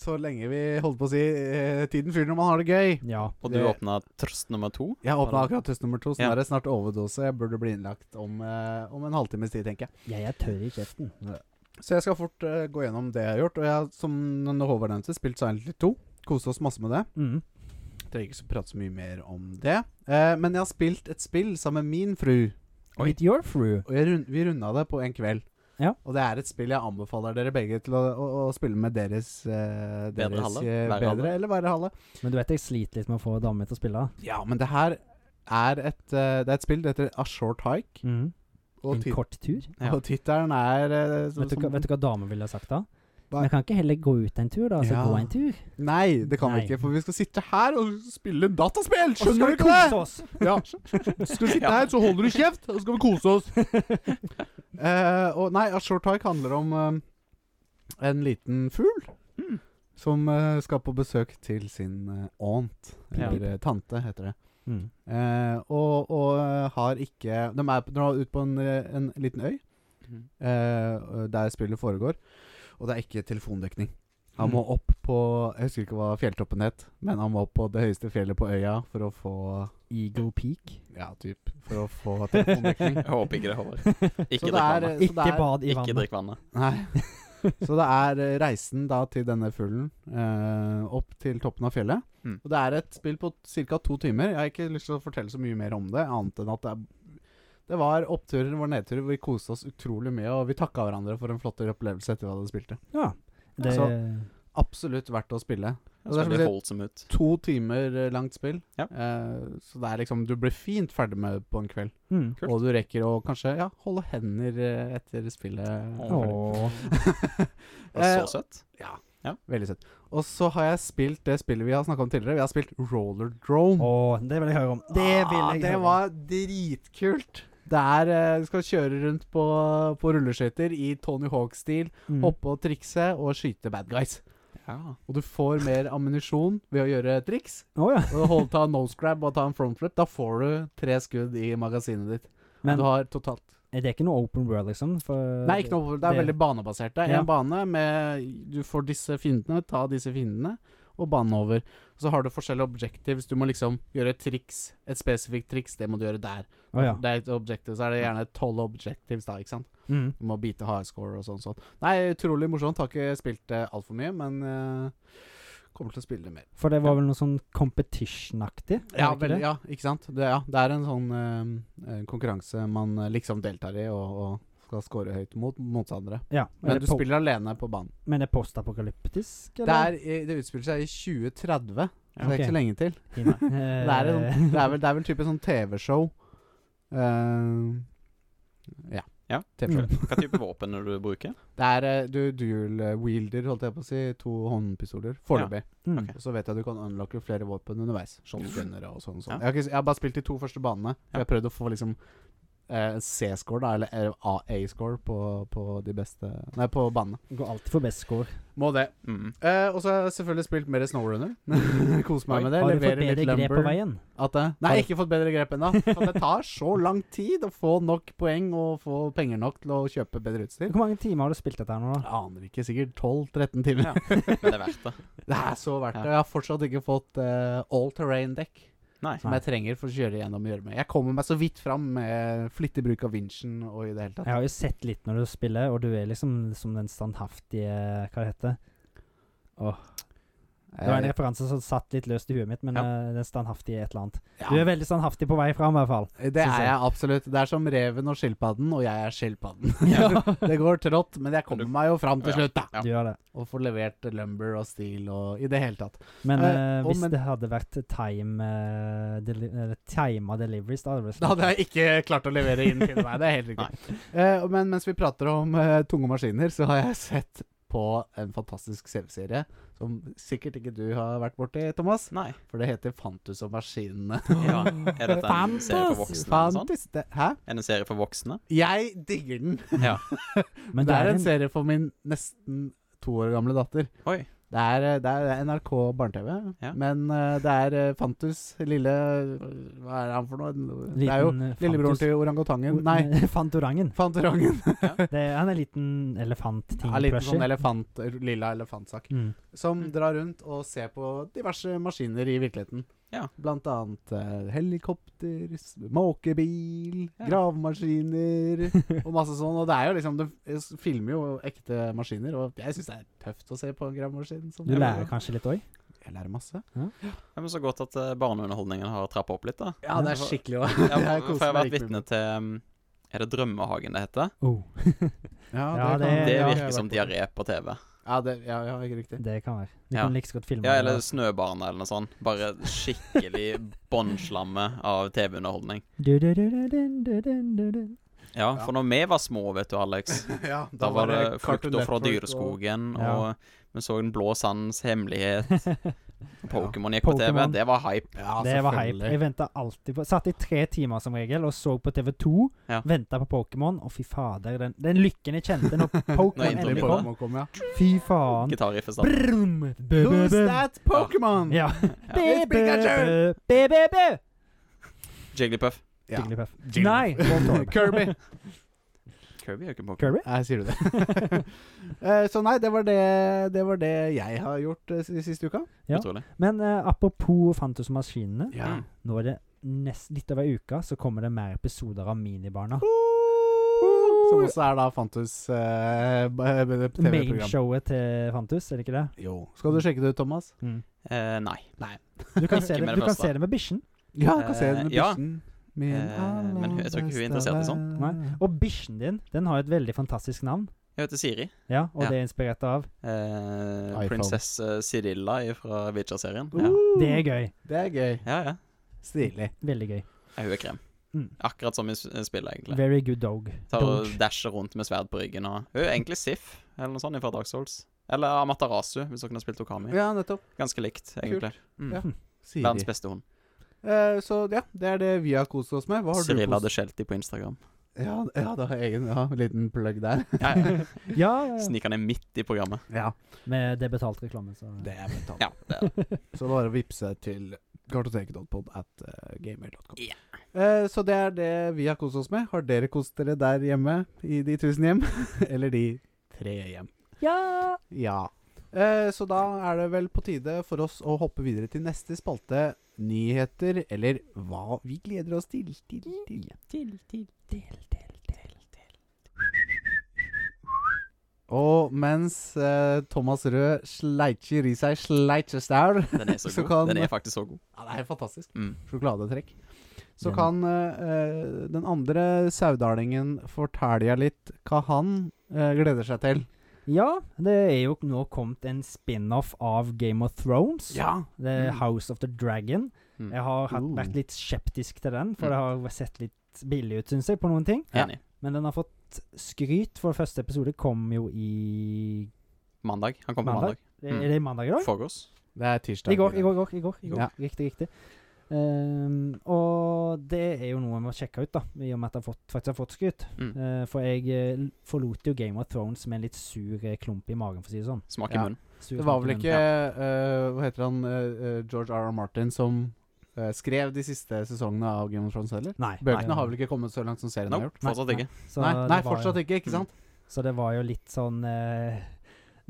Så lenge vi holdt på å si eh, 'tiden fyr når man har det gøy'. Ja. Og du Det- åpna trøst nummer to? Jeg åpna akkurat test nummer to, så nå Ja. er det snart overdose. Jeg burde bli innlagt om, eh, om en halvtimes tid, tenker jeg. Jeg er tørr i kjeften. Så jeg skal fort eh, gå gjennom det jeg har gjort. Og jeg har, som når Håvard nevnte, spilt Silent Hill 2. Koste oss masse med det. Mm. Trenger ikke så prate så mye mer om det. Eh, men jeg har spilt et spill sammen med min fru. Oi. Meet your fru. Og jeg rund, vi runda det på en kveld. Ja. Og det er et spill jeg anbefaler dere begge til å, å, å spille med deres, eh, deres Bedre halve, eh, verre halve. bedre eller verre halve. Men du vet jeg sliter litt med å få damer til å spille? Ja, men det her er et, eh, det er et spill. Det heter A Short Hike. Mm. Og, En tit kort tur? Ja. og tittelen er eh, som, Vet du, hva- Sånn som, vet du hva damer ville ha sagt da? Hva? Vi kan ikke heller gå ut en tur, da. Altså Ja. gå en tur. Nei, det kan Nei. vi ikke. For vi skal sitte her og spille dataspill! Og så skal Skjønner vi du ikke det? kose oss. Ja. Skal vi sitte her, så holder du kjeft, og så skal vi kose (laughs) oss. Eh, og nei, A Short Hike handler om eh, en liten fugl som eh, skal på besøk til sin eh, aunt. Ja. Eller eh, tante, heter det. Mm. Eh, og og eh, har ikke De er, på- de er ute på en, eh, en liten øy eh, der spillet foregår, og det er ikke telefondekning. Mm. Han må opp på Jeg husker ikke hva fjelltoppen het, men han må opp på det høyeste fjellet på øya for å få Eagle Peak. ja, typ. For å få telefondekning. Jeg håper ikke det holder. Mm. (laughs) Så (laughs) Ikke det er- eh, så det drikk vannet. Ikke er- bad i Ikke vannet. drikk vannet. Nei. (laughs) Så det er eh, reisen da til denne fuglen eh, opp til toppen av fjellet. Mm. Og det er et spill på ca. to timer. Jeg har ikke lyst til å fortelle så mye mer om det, annet enn at det er det var oppturer det var nedturer. Vi koste oss utrolig mye, og vi takka hverandre for en flottere opplevelse etter vi hadde spilt det. Ja. altså, Det, Absolutt verdt å spille. Og det (laughs) Så er som å det si- holdt som ut. To timer eh, langt spill. Ja. Eh, så det er liksom Du blir fint ferdig med på en kveld. mm. Kult. Og du rekker å kanskje ja, holde hender eh, etter spillet. Åh. Åh. Det var Eh, så søtt. Veldig søtt. Og så har jeg spilt det spillet vi har snakka om tidligere. Vi har spilt Roller Drone. Åh, det vil jeg høre om. Det vil Ah, jeg det høre om. var dritkult. Det er eh, Du skal kjøre rundt på, på rulleskøyter i Tony Hawk-stil. Mm. Hoppe og trikse og skyte bad guys. Ja. Og du får mer (laughs) ammunisjon ved å gjøre triks. Åh, ja. Og holde, ta en nose grab og ta en frontflip. Da får du tre skudd i magasinet ditt. Men- du har totalt Er det ikke noe open world, liksom? For Nei, ikke noe, det er veldig banebasert. Det er Ja. en bane med Du får disse fiendene, ta disse fiendene, og banen over. Og så har du forskjellige objectives. Du må liksom gjøre et triks. Et spesifikt triks, det må du gjøre der. Åh, ja. Det er et objective, så er det gjerne tolv objectives da, ikke sant. Mm. Du må bite hardscore og sånn sånn. Nei, utrolig morsomt. Har ikke spilt det altfor mye, men eh, kommer til å spille det mer. For det var vel noe sånn competition-aktig? var Ja, det ikke vel, det? ja, ikke sant. Det, ja, det er en sånn eh, en konkurranse man eh, liksom deltar i, og, og skal score høyt mot motstandere. ja. Men er du det po- spiller alene på banen. Men det er postapokalyptisk, Det, er, i- det utspiller seg i 2030. så Det er ok. ikke så lenge til. Eh, (laughs) Det er, en, sånn- det er, vel, det er vel type sånn TV-show. Eh, ja. Mm. Ja. TV-show. Hva type våpen er det du bruker? Det er eh, du dual-wielder, holdt jeg på å si. To håndpistoler. Foreløpig. mm. ok. Så vet jeg at du kan unlocke flere våpen underveis. Shotgunner og sånn. sånn. Jeg, Ja. har ikke, jeg har bare spilt de to første banene. for Jeg har prøvd å få liksom eh, C-score, da, eller AA-score på, på de beste Nei, på banene. Går alltid for best score. Må det. Mm. Eh, og så har jeg selvfølgelig spilt mer Snowrunner. (laughs) Kose meg med det. Har du leverer fått bedre litt grep på lumber. veien? At det, nei, ikke fått bedre grep ennå. For det tar så lang tid å få nok poeng og få penger nok til å kjøpe bedre utstyr. Hvor mange timer har du spilt dette her nå, da? Jeg aner ikke. Sikkert 12-13 timer. Men det er verdt det. Det er så verdt det. Jeg har fortsatt ikke fått eh, all terrain dekk. Nei. som jeg trenger for å kjøre gjennom gjørme. Jeg kommer meg så vidt fram med flittig bruk av vinsjen og i det hele Jeg tatt. har jo sett litt når du spiller, og du er liksom som den standhaftige Hva det heter det? var en Eh, referanse som satt litt løst i huet mitt, men eh, den standhaftige et eller annet. Du Eh, ja, er veldig standhaftig på vei fram, i hvert fall. det synes er jeg. jeg absolutt. Det er som reven og skilpadden, og jeg er skilpadden. (laughs) det går trått, men jeg kommer Men meg jo fram til Ja. slutt, da. Ja. Du gjør det. Og får levert lumber og steel og i det hele tatt. Men Eh, eh, og hvis men- det hadde vært time uh, deli eller tima deliveries, da hadde det blitt (laughs) Da hadde jeg ikke klart å levere inn til meg. Det er helt riktig. Eh, men mens vi prater om eh, tunge maskiner, så har jeg sett på en fantastisk CV-serie som sikkert ikke du har vært borti, Thomas. Nei. For det heter Fantus og maskinene. (laughs) Ja. Er sånn? dette en serie for voksne? eller noe sånt? Fantus, det, hæ? Er det en serie for voksne? Jeg digger den. (laughs) Ja. Men det er en serie for min nesten to år gamle datter. Oi. Det er, eh, det er NRK barne-TV, Ja. men eh, det er eh, Fantus, lille Hva er han for noe? Det er jo liten, eh, lillebroren fantus- til orangutangen. Nei, (laughs) (laughs) Fantorangen. Fantorangen. Det er, han er en liten elefant-ting. Ja, litt sånn crusher. elefant, lilla elefantsak. (laughs) Mm. Som Mm. drar rundt og ser på diverse maskiner i virkeligheten. Ja. Blant annet eh, helikopter, s- måkebil, Ja. gravemaskiner (laughs) og masse sånn. Og det er jo liksom Det f- filmer jo ekte maskiner, og jeg syns det er tøft å se på en gravemaskin. som- Du lærer kanskje litt òg? Jeg lærer masse. Ja, men så godt at eh, barneunderholdningen har trappa opp litt, da. (laughs) Ja, det er skikkelig å (laughs) Det er Ja, for jeg har koselig vært vitne til um, Er det Drømmehagen det heter? Oh. Ja, det- kan- Det ja, har virker jeg som vært på. diaré på TV. Ja, det, ja, ja, ikke riktig. Det kan være. Du Ja. kan like så godt filme Ja, det, eller da. Snøbarnet eller noe sånt. Bare (laughs) skikkelig bånnslamme av TV-underholdning. Du, du, du, du, du, du, du, du, du. Ja, for når vi var små, vet du, Alex, ja, da var det Cartoon frukter fra Network dyreskogen, Ja. og vi så Den blå sandens hemmelighet. (laughs) Pokémon gikk på TV. Pokémon. Det var hype. Ja, det var hype. selvfølgelig. Jeg venta alltid på Satt i tre timer som regel og så på TV2. Ja. ventet Venta på Pokémon, og fy fader, den, den lykken jeg kjente når Pokémon Når introen endelig begynner. kom. Pokémon kom, ja. Fy faen. Gitarriff i starten. Brum, bø, bø, Who's bø. that Pokémon? Ja. It's Pikachu! BBB! Jigglypuff. Ja. Jigglypuff. Jigglypuff. Nei! Voltorb. (laughs) (laughs) Kirby. Kirby er jo ikke en Pokémon. Kirby? Nei, sier du det. (laughs) Eh, så nei, det var det, det var det jeg har gjort eh, si- siste uka. Ja. Utrolig. Mm. Men eh, apropos Fantusmaskinene. Ja. Nå er det nest, litt over ei uke, så kommer det mer episoder av (laughs) Minibarna. Som også er da Fantus eh, b- b- TV-program. Mainshowet til Fantus, er det ikke det? Jo. Skal du sjekke det ut, Thomas? Eh, nei. Du kan se Ikke det, med det du kan første. se det med bikkjen. Ja, du kan se den Eh, med ja. bikkjen. Min Eh, men hun- jeg tror ikke hun er aller interessert i sånt. beste Nei. venn. Og bikkjen din den har jo et veldig fantastisk navn. Jeg heter Siri. Ja, Og Ja. det er inspirert av. Eh, iPhone. prinsesse Cirilla fra Witcher-serien. Ja. Uh, Det er gøy. det er gøy. ja, ja. Stilig. Veldig gøy. Ja, Hun er krem. Mm. Akkurat som i s- eh, spillet, egentlig. Very good dog. Tar og dog. dasher rundt med sverd på ryggen og Hun er egentlig Sif, eller noe sånt, fra Dark Souls. Eller Amaterasu, hvis dere har spilt Okami. Ja, nettopp. Ganske likt, egentlig. Mm. Ja. Verdens Siri. beste hund. Eh, så ja, det er det vi har kost oss med. Hva har Cirilla du de Shelty på Instagram. kost Ja, ja, det har jeg egen ja, liten plugg der. Ja, ja. (laughs) Ja, Sniker ned midt i programmet. ja, med det betalt reklame, så (laughs) det er betalt. Ja, det er det. Så bare å vippse til kartoteket.pod at eh, gmail.com. Ja. Eh, så det er det vi har kost oss med. Har dere kost dere der hjemme i de tusen hjem? (laughs) Eller de tre hjem? Ja! Ja. Eh, så da er det vel på tide for oss å hoppe videre til neste spalte. Nyheter, eller hva vi gleder oss til. til, til. Og mens eh, Thomas Rød sleitjer i seg sleitjestaur Den er så Så god. kan- Den er faktisk så god. (laughs) Ja, det er helt fantastisk. Mm. sjokoladetrekk. Så Den- kan eh, eh, den andre saudalingen fortelle jeg litt hva han eh, gleder seg til. Ja, det er jo nå kommet en spin-off av Game of Thrones. Ja. Det er Mm. House of the Dragon. Mm. Jeg har hatt, Ooh. vært litt skeptisk til den, Mm. for det har sett litt billig ut, syns jeg, på noen ting. Ja. Enig. Men den har fått skryt, for første episode kom jo i Mandag. Han kommer på Mandag? mandag. Mm. Er det mandag i dag? Forgårs. Det er tirsdag. I går, i går, i går. I går, i går. Ja. Riktig, riktig. Ehm, og det er jo noe jeg må sjekke ut, da, i og med at jeg har fått, faktisk har fått skryt. Mm. Eh, for jeg eh, l- forlot jo Game of Thrones med en litt sur eh, klump i magen, for å si det sånn. Smak i Ja. munnen. Sur Det var klump i vel munnen. ikke eh, Hva heter han? eh, eh, George R. R. Martin som eh, skrev de siste sesongene av Game of Thrones heller? Nei. Bøkene har vel ikke kommet så langt som serien har Nope, gjort? Nei, fortsatt ikke. Så Nei, det var nei Mm, fortsatt jo, ikke, ikke sant? Så det var jo litt sånn eh,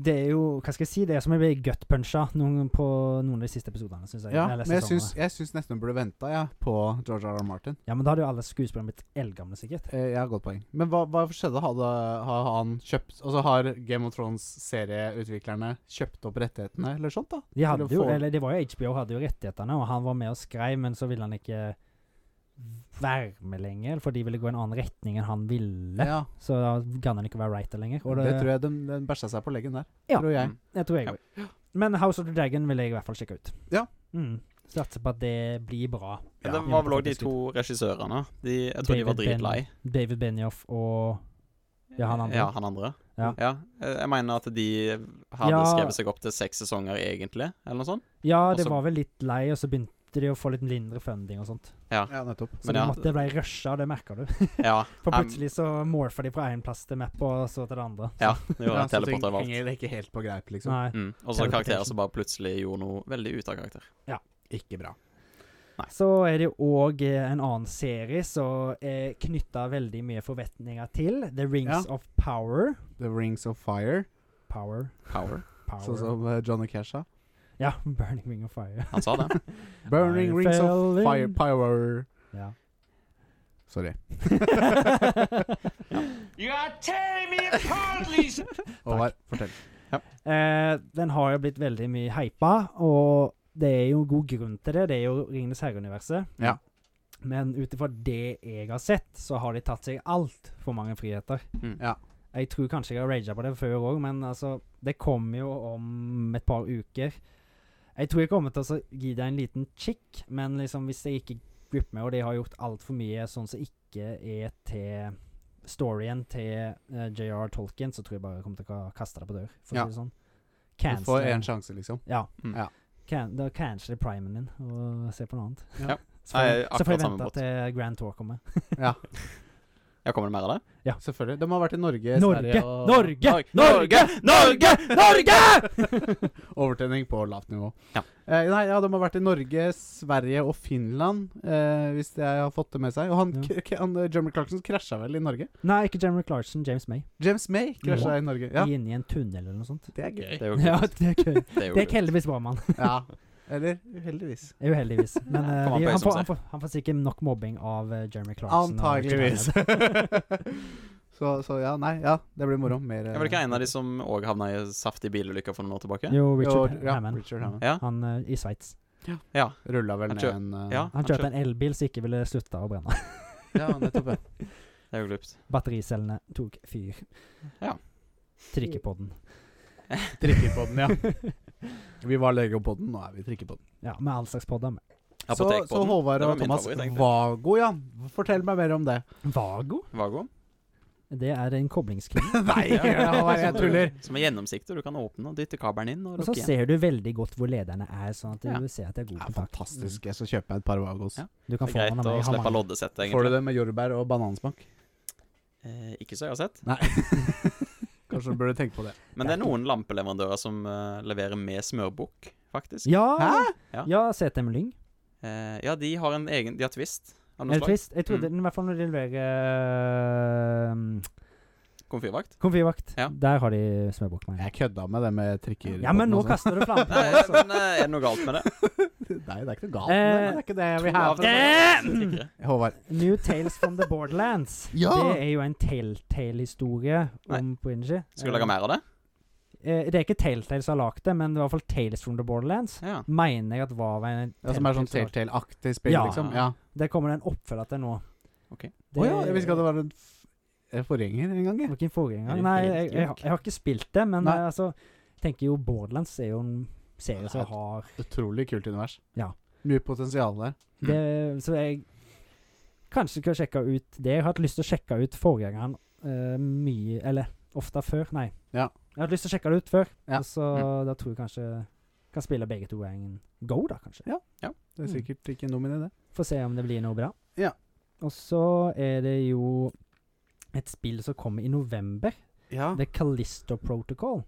Det er jo Hva skal jeg si? Det er som jeg ble gut-puncha noen, på noen av de siste episodene. Synes jeg. Ja, eller men jeg sesongene. syns, jeg syns nesten du burde venta ja, på George R. R. Martin. Ja, men da hadde jo alle skuespillerne blitt eldgamle, sikkert. Eh, Jeg har godt poeng. Men hva, hva skjedde? Hadde, har han kjøpt Altså har Game of Thrones-serieutviklerne kjøpt opp rettighetene eller sånt, da? De hadde Eller jo, får- eller det var jo HBO hadde jo rettighetene, og han var med og skrev, men så ville han ikke være med lenger, for de ville gå i en annen retning enn han ville. Ja, Så da gadd han ikke å være writer lenger. Og det, tror jeg de, de bæsja seg på leggen der. Ja. Tror jeg. Mm. Det tror jeg Ja. òg. Men House of the Dragon vil jeg i hvert fall sjekke ut. Ja. Mm. Satser på at det blir bra. Men Ja. det var vel òg de to regissørene. De, jeg tror de var David Benn- dritlei. David Benioff og Ja, han andre. Eh, Ja, han andre. Ja. Jeg jeg mener at de hadde Ja. skrevet seg opp til seks sesonger, egentlig, eller noe sånt. Ja, det Også- var vel litt lei, og så begynte de å få litt mindre funding og sånt. Ja, nettopp. Så det Men ja. måtte ble rusha, det merka du. (laughs) Ja, Um, For Em, plutselig så morfa de fra én plass til map, og så til det andre. ja det Ja, gjorde så altså, ting teleporter overalt. henger ikke helt på greip, liksom. Nei. Mm. Og så Teleportation. karakterer som bare plutselig gjorde noe veldig ut av karakter. Ikke bra. Så er det òg en annen serie som er knytta veldig mye forventninger til. The Rings of Power. The Rings of Fire, Power. Power. Power. sånn som eh, Johnny Cash sa. Ja, (laughs) Burning Ring of Fire. Han sa det. Burning I Rings fell of in- Fire Power. Ja. (laughs) Sorry. Håvard, fortell. Eh, den har jo blitt veldig mye hypa, og det er jo god grunn til det. Det er jo Ringenes herre-universet. Ja. Men ut ifra det jeg har sett, så har de tatt seg altfor mange friheter. Mm. Ja. Jeg tror kanskje jeg har raga på det før òg, men altså Det kommer jo om et par uker. Jeg tror jeg kommer til å så gi deg en liten kick, men liksom hvis jeg ikke gripper med, og de har gjort altfor mye sånn som ikke er til storyen til eh, J.R. Tolkien, så tror jeg bare jeg kommer til å ka- kaste deg på dør, for å Ja. si det sånn. Du får Cancel- én sjanse, liksom. ja. Mm. Ja. Can, da canceler primen din og ser på noe annet. Ja. Så får, Nei, jeg- så får jeg akkurat samme vente båt. til Grand Tour kommer. Ja, kommer det mer av det? Selvfølgelig. De har vært i Norge, Norge! Sverige og Norge! Norge! Norge! Norge! (laughs) Norge! (laughs) Overtenning på lavt nivå. Ja. Eh, nei, ja, de har vært i Norge, Sverige og Finland, eh, hvis jeg har fått det med seg. Og han, Ja. k- k- han eh, Jeremy Clarkson krasja vel i Norge? Nei, ikke Jeremy Clarkson. James May. James May krasja i Norge. Ja. Ja, Inne i en tunnel eller noe sånt. det er gøy. Det er jo Ja, kult. (laughs) det er gøy. Det er jo Det er kult. ikke heldigvis bra, mann. Ja. Eller uheldigvis. (laughs) Uheldigvis. Men eh, Kom an på vi, øyet han, som får, ser. han, får, han får sikkert nok mobbing av eh, Jeremy Clarkson. og Antageligvis. Richard (laughs) så, så ja, nei, ja. Det blir moro. Mer Jeg var det ikke en av de som òg havna i saftig bilulykke for noen år tilbake? Hammond. Jo, Richard Jo, eh, ja, Hammond. Richard Hammond. Ja. Han eh, i Sveits. Ja. Rulla vel Han ned kjø- en eh, ja Han kjørte en elbil som ikke ville slutte å brenne. (laughs) ja, nettopp. Ja. Det er jo glupt. Battericellene tok fyr. Ja. Trikkepodden. (laughs) Trikkepodden, ja. Vi var Legopodden, nå er vi Trikkepodden. Ja, med all slags podder. med. Så, så Apotekpodden Håvard Det var og min Thomas favoritt, egentlig. Vago, ja. Fortell meg mer om (laughs) det. Vago? var god. Det er en (laughs) koblingskniv. nei, Ja. gjør det, Håvard, jeg tuller. Som er gjennomsiktig. Du kan åpne og dytte kabelen inn og Og så lukke igjen. ser du veldig godt hvor lederne er, sånn at du Ja. ser at det er god Ja, kontakt. fantastisk. Jeg skal kjøpe meg et par Vagos. Ja. Mm. Du kan Det er få den greit av å meg. Jeg har slippe mange. loddesettet, Får du egentlig. det med jordbær og banansmak? Eh, ikke så jeg har sett. Nei. (laughs) Kanskje du burde tenke på det. Men det er noen lampeleverandører som eh, leverer med smørbukk, faktisk. Ja! Hæ? Ja. Ja, CTM Lyng. Eh, ja, de har en egen De har Twist. Av noe Eller slag. Twist. Jeg trodde i hvert fall når de leverer øh, Komfyrvakt. komfyrvakt, Ja. der har de smørbukk med. Jeg kødda med det med trikker. Ja, men nå og sånn. kaster du (laughs) flammen på Nei, meg, altså. men eh, er det noe galt med (laughs) det? (laughs) Nei, det er ikke noe galt. Eh, med det, det er ikke det jeg vil ha. Av for det- det. Sikkert. Håvard. New Tales from the Borderlands. (laughs) Ja! Det er jo en Telltale-historie om Prinji. Skulle du lage mer av det? Eh, det er ikke Telltale som har lagd det, men det var i hvert fall Tales from the Borderlands. Ja. Mener jeg at var en Ja, som er som sånn lagde- Telltale-aktig spill, Ja. liksom. Ja. Der kommer det en oppfølger til nå. Ok. Å ja, jeg visste ikke at det var en f- en forgjenger en gang. det jeg. var ikke en Er forgjenger. det Nei, helt jeg, jeg, junk? jeg har ikke spilt det, men Nei. eh, altså jeg tenker jo Borderlands er jo en Ja, serie det er som et- har Utrolig kult univers. Ja. Mye potensial der. Mm. det, Så jeg kanskje skal sjekke ut det. Jeg har hatt lyst til å sjekke ut forgjengeren eh, mye Eller ofte før, nei. Ja. Jeg har hatt lyst til å sjekke det ut før, Ja. Mm. og så da tror jeg kanskje kan spille begge to en go, da, kanskje. Det er Mm. sikkert ikke noe med det. Får se om det blir noe bra. Ja. Og så er det jo et spill som kommer i november. Ja. The Callisto Protocol.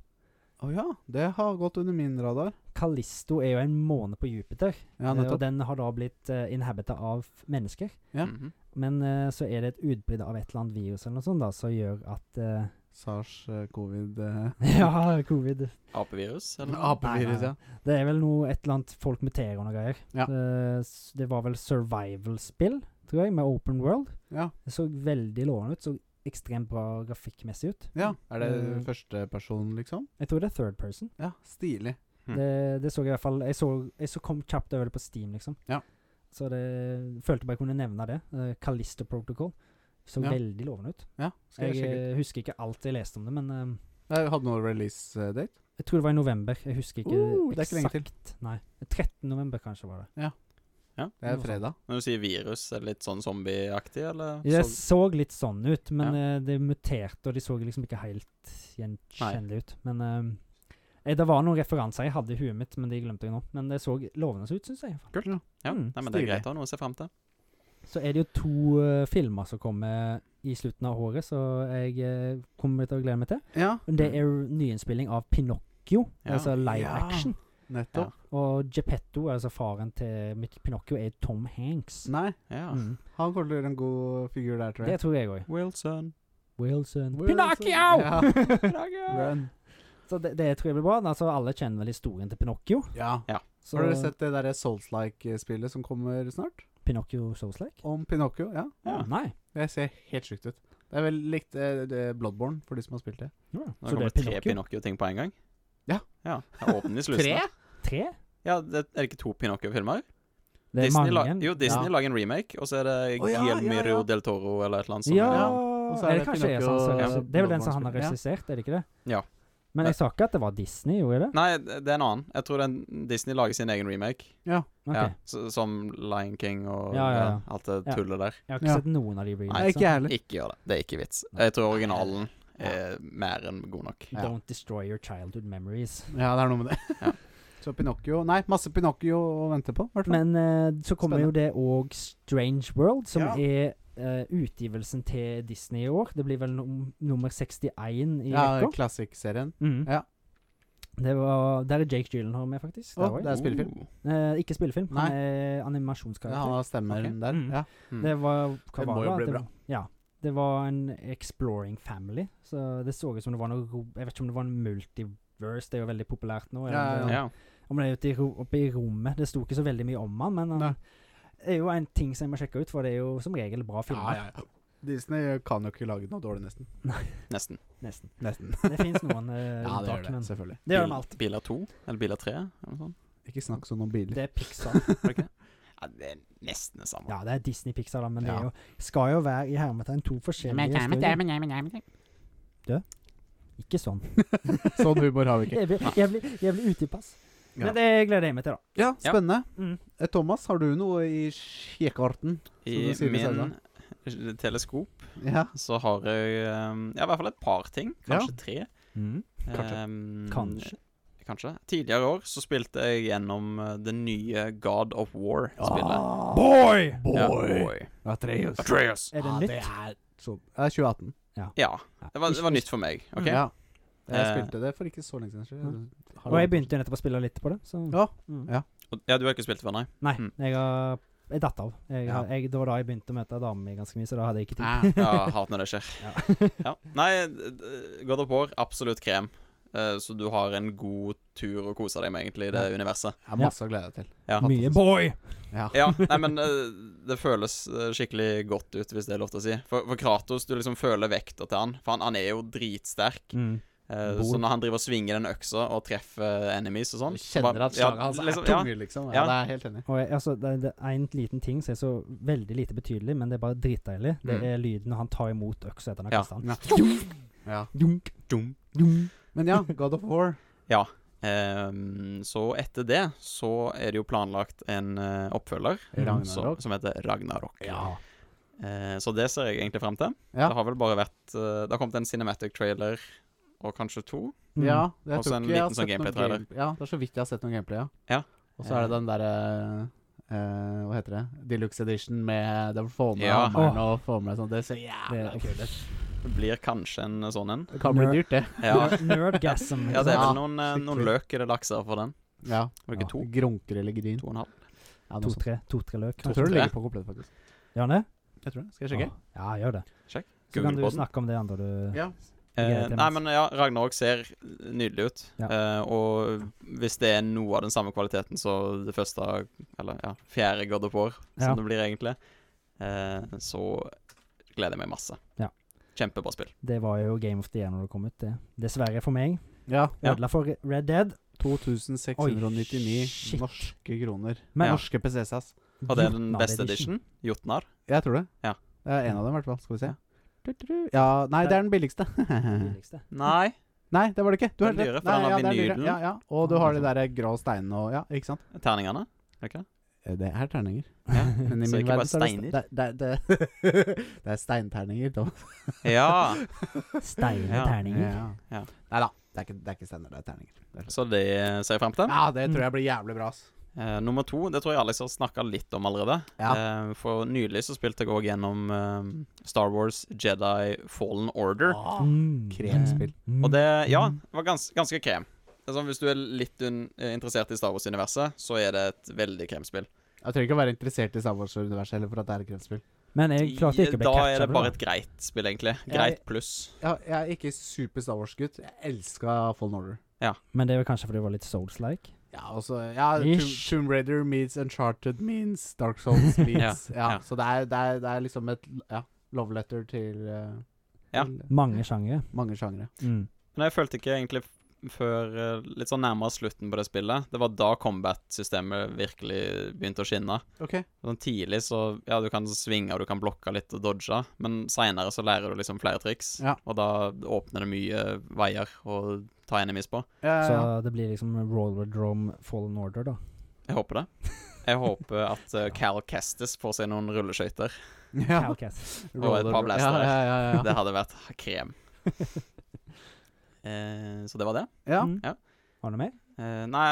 Å ja, det har gått under min radar. Callisto er jo en måne på Jupiter, eh, Ja, og nettopp. den har da blitt uh, inhabita av mennesker. Ja. Mhm. Men eh, (laughs) så er det et utbrudd av et eller annet virus eller noe sånt da, som gjør at eh, Sars, eh, covid eh, ja, covid. Apevirus? eller noe? (laughs) Apevirus, nei. ja. Det er vel noe et eller annet folk med T-er og noe greier. Ja. Eh, s- det var vel survival-spill, tror jeg, med open world. ja. Det så veldig lovende ut. Så ekstremt bra grafikkmessig ut. Ja. Er det Eh, første person, liksom? Jeg tror det er third person. Ja, stilig. Mm. Det, det så jeg i hvert fall Jeg så, jeg så kom kjapt over det på Steam, liksom. Ja. Så det følte bare jeg kunne nevne det. Eh, Callisto Protocol så Ja. veldig lovende ut. Ja, skal jeg Jeg sjekke ut. eh, husker ikke alt jeg leste om det, men eh, Jeg hadde noe release eh, date. jeg tror det var i november. Jeg husker ikke Uh, det er ikke lenge eksakt. til. Nei. 13. november, kanskje, var det. Det er Noe sånt. fredag. Når du sier virus, er det litt sånn zombieaktig, eller? Det Så- så litt sånn ut, men eh, det muterte, og de så liksom ikke helt gjenkjennelige ut. Men eh, eh, det var noen referanser jeg hadde i huet mitt, men de glemte jeg nå. Men det så lovende ut, syns jeg. ja, mm, nei, men det er stilig. greit å ha noe å se fram til. Så er det jo to eh, filmer som kommer i slutten av året, så jeg eh, kommer til å glede meg til. Ja, Det er nyinnspilling av Pinocchio, Ja. altså live Mm. Ja. action. nettopp. Og Geppetto, altså faren til Mic- Pinocchio, er Tom Hanks. Nei, Ja. Mm. han kommer til å gjøre en god figur der, tror Det jeg. tror jeg òg. Wilson. Wilson. Wilson. Ja. (laughs) Pinocchio! (laughs) Run. Så det, det tror jeg blir bra. Altså, alle kjenner vel historien til Pinocchio. Ja. Så Har dere sett det derre Souls-like-spillet som kommer snart? Pinocchio Souls-like? Om Pinocchio? Ja. Ja. Nei. Det ser helt sjukt ut. Det er vel likt eh, det- Bloodborne, for de som har spilt det. Så Nå det kommer er det tre Pinocchio? Pinocchio-ting på en gang. Ja. ja. Jeg åpner (laughs) i slutten. da. Tre? Ja, det, er det ikke to Pinocchio-filmer? Det er Disney la- mange. Jo, Disney Ja. lager en remake, og så er det Å, ja, ja, Guillermo ja. del Toro eller et eller Sånn, annet. som Ja, er- Og så er er det det kanskje er sånn, Pinocchio- så, Ja. Det er vel den som han har Ja. regissert, er det ikke det? Ja. Men jeg sa ikke at det var Disney, gjorde jeg det? Nei, det er en annen. Jeg tror det er en, Disney lager sin egen remake. Ok. Ja, s- som Lion King og Ja, ja, ja. alt det Ja. tullet der. Jeg har ikke Ja. sett noen av de Nei, ikke remixene. jeg heller. Ikke gjør det. Det er ikke vits. Jeg tror originalen er mer enn god nok. Ja. Don't destroy your childhood memories. Ja, det er noe med det. Ja. Så Pinocchio Nei, masse Pinocchio å vente på, i hvert fall. Men eh, så kommer jo det òg Strange World, som Ja. er eh, utgivelsen til Disney i år. Det blir vel num nummer 61 i Ja, rekka. Classic-serien. Mm. ja. Det var, der er Jake Gyllenhaal med, faktisk. Å, Der var jeg. det er spillefilm. Oh. Eh, ikke spillefilm, han er Ja, han animasjonskarakter. har stemmer Ok. der. Mm. Ja. Det var hva Det var må det, jo da? bli det, bra. Ja. Det var en exploring family, så det så ut som det var noe ro- Jeg vet ikke om det var en multiverse, det er jo veldig populært nå. eller Ja, om det- Ja. Om det er ute i, ro- oppe i rommet. Det sto ikke så veldig mye om han, men han, Nei. det er jo en ting som jeg må sjekke ut, for det er jo som regel bra filmer. Disney kan jo ikke lage noe dårlig, nesten. Nesten. Nesten. Nesten. Det fins noen uh, (laughs) ja, unntak, det gjør det. men Selvfølgelig. det gjør Bil- de alt. Biler 2, eller Biler 3, eller noe sånt. Ikke snakk sånn om biler. Det er (laughs) Pixar. (laughs) Ja, det er nesten det samme. Ja, det er Disney-Pixar, da, men det Ja. er jo, skal jo være i hermetegn to forskjellige studier. Ikke sånn. Sånn humor har vi ikke. Jeg blir, jeg blir, jeg blir utilpass. Ja. Men det gleder jeg meg til, da. Ja, Ja. spennende. Mm. Eh, Thomas, har du noe i kjekkarten? Som I du sier i min teleskop Ja. så har jeg um, ja, i hvert fall et par ting. Kanskje tre. Kanskje. Um, Mm. Kanskje. kanskje. Tidligere år så spilte jeg gjennom uh, det nye God of War-spillet. Ah, Boy! Ja, boy! boy. Atreus. Atreus. Er det Ja, nytt? Det er, så, det er 2018. Ja. Det var, det var nytt for meg. Mm, OK? eh, Ja. Jeg Eh. spilte det for ikke så lenge siden. Og jeg begynte jo nettopp å spille litt på det, så Ja. Mm. Ja. Og- Ja, du har ikke spilt det før, nei? Nei, Mm. jeg har jeg datt av. Jeg, Ja. jeg, det var da jeg begynte å møte damer mi ganske mye, så da hadde jeg ikke tid. Ah. (laughs) Ja, hat når det skjer. Ja. Ja. Nei, d- d- God of War, absolutt krem. Eh, Så du har en god tur å kose deg med, egentlig, i det universet. Jeg har masse å glede deg til. Ja. Mye boy! Ja. Ja, nei, men eh, det føles eh, skikkelig godt ut, hvis det er lov til å si. For, for Kratos, du liksom føler vekta til han. For han, han er jo dritsterk. Mm. Eh, Bor. Så når han driver og svinger den øksa og treffer enemies og sånn Du kjenner at slaget hans er ja, tunge, liksom. Ja, Ja. det er jeg helt enig. i. Og jeg, altså, det, det er en liten ting som er så veldig lite betydelig, men det er bare dritdeilig. Det Mm. er lyden når han tar imot øksa etter han har Ja. kastet den. Ja. Dunk, Dum. dunk. Men ja, God of War. Ehm, så etter det så er det jo planlagt en eh, oppfølger som, Ragnarok. som heter Ragnarok. Ja. Eh, så det ser jeg egentlig frem til. Ja. Det har vel bare vært eh, Det har kommet en cinematic trailer og kanskje to. Mm. Ja, jeg Også tror en ikke jeg har liten sånn sett noen gameplay-trailer. game- Ja, det er så vidt jeg har sett noen gameplay, ja. Ja. Og så er det den derre eh, Hva heter det? Deluxe Edition med den formen Ja. hammeren og formen og sånn. Det ser jævla Det- kult ut. Det blir kanskje en sånn en. Det kan bli Nerd. dyrt, det. Ja, Nerdgasm. ja det er Ja, vel noen, eh, noen skikkelig. løk i det lakser for den. Ja. Var det ikke to? Grunker eller grin. To og en halv? Ja, noe sånt. To-tre to-tre løk. Jeg kanskje. tror det tre. ligger på komplett, faktisk. Gjør han det? Jeg tror det. Skal jeg sjekke? Åh, Ja, gjør det. Sjekk. Så kan du Google på den. snakke om det andre du Ja. Eh, gleder jeg nei, meg. men ja, Ragnarok ser nydelig ut. Ja. Eh, og hvis det er noe av den samme kvaliteten som det første Eller ja, fjerde God of War, Ja. som det blir egentlig, eh, så gleder jeg meg masse. Ja. Kjempebra spill. Det var jo Game of the Year når det kom ut, det. Dessverre for meg. Ja. Ja. Ødela for Red Dead. 2699 Oi, shit. norske kroner. Men Ja. Norske PCSAs. Og det er den Jotnar beste edition. Jotnar. Jeg tror det. Ja. Det er en av dem, i hvert fall. Skal vi se. Du-du-du. Ja, nei, det er den billigste. (laughs) Billigste. Nei. nei, det var det ikke. Du har Den helt dyre, rett. for Nei, den har ja, det er dyrere. vinylen. Ja, ja. Og du har de der grå steinene og Ja, ikke sant? Terningene. Er det ikke det? Eh, Det er terninger. Ja. (laughs) Men i Så min ikke bare verden så er (laughs) det ste- Det, det, det, det er steinterninger, Thomas. Ja, Steine Ja. terninger. Ja. Nei da. Det er ikke, det er ikke steiner, det er terninger. (laughs) så det ser jeg frem til. Ja, det tror jeg blir jævlig bra, ass. Eh, nummer to, det tror jeg Alex har snakka litt om allerede. Eh, for nylig så spilte jeg òg gjennom eh, Star Wars Jedi Fallen Order. Ah, Mm. Kremspill. Mm. Og det, ja, det var gans, ganske krem. Altså, hvis du er litt un eh, interessert i Star Wars-universet, så er det et veldig kremspill. Jeg trenger ikke å være interessert i Star Wars-universet heller for at det er et kremspill. Men jeg klarte ikke å bli Da er catcha det bare på et det. greit spill, egentlig. Jeg- Greit pluss. Jeg, jeg er ikke super Star Wars-gutt. Jeg elska Fallen Order. Men det er vel kanskje fordi det var litt Souls-like. Ja, altså ja, Tomb, Ish. Tomb Raider meets Uncharted means Dark (laughs) Souls meets ja, Ja, ja. Så det er, det, er, det er liksom et ja, love letter til, eh, Ja. til Mange sjangere. mange sjangere. Mm. Men jeg følte ikke egentlig f- før eh, litt sånn nærmere slutten på det spillet. Det var da combat-systemet virkelig begynte å skinne. Ok. Eh, Sånn tidlig så Ja, du kan svinge, og du kan blokke litt og dodge, men seinere så lærer du liksom flere triks, Ja. og da åpner det mye veier å ta enemies på. Ja, Så ja. det blir liksom Roller Drum Fallen Order, da. Jeg håper det. Jeg håper at eh, Cal Kestis får seg noen rulleskøyter. (laughs) ja. Cowcats. Og et par ja, blastere. ja, ja, ja. (laughs) Det hadde vært krem. Eh, så det var det. ja. Mm. ja. Har du mer? Eh, nei,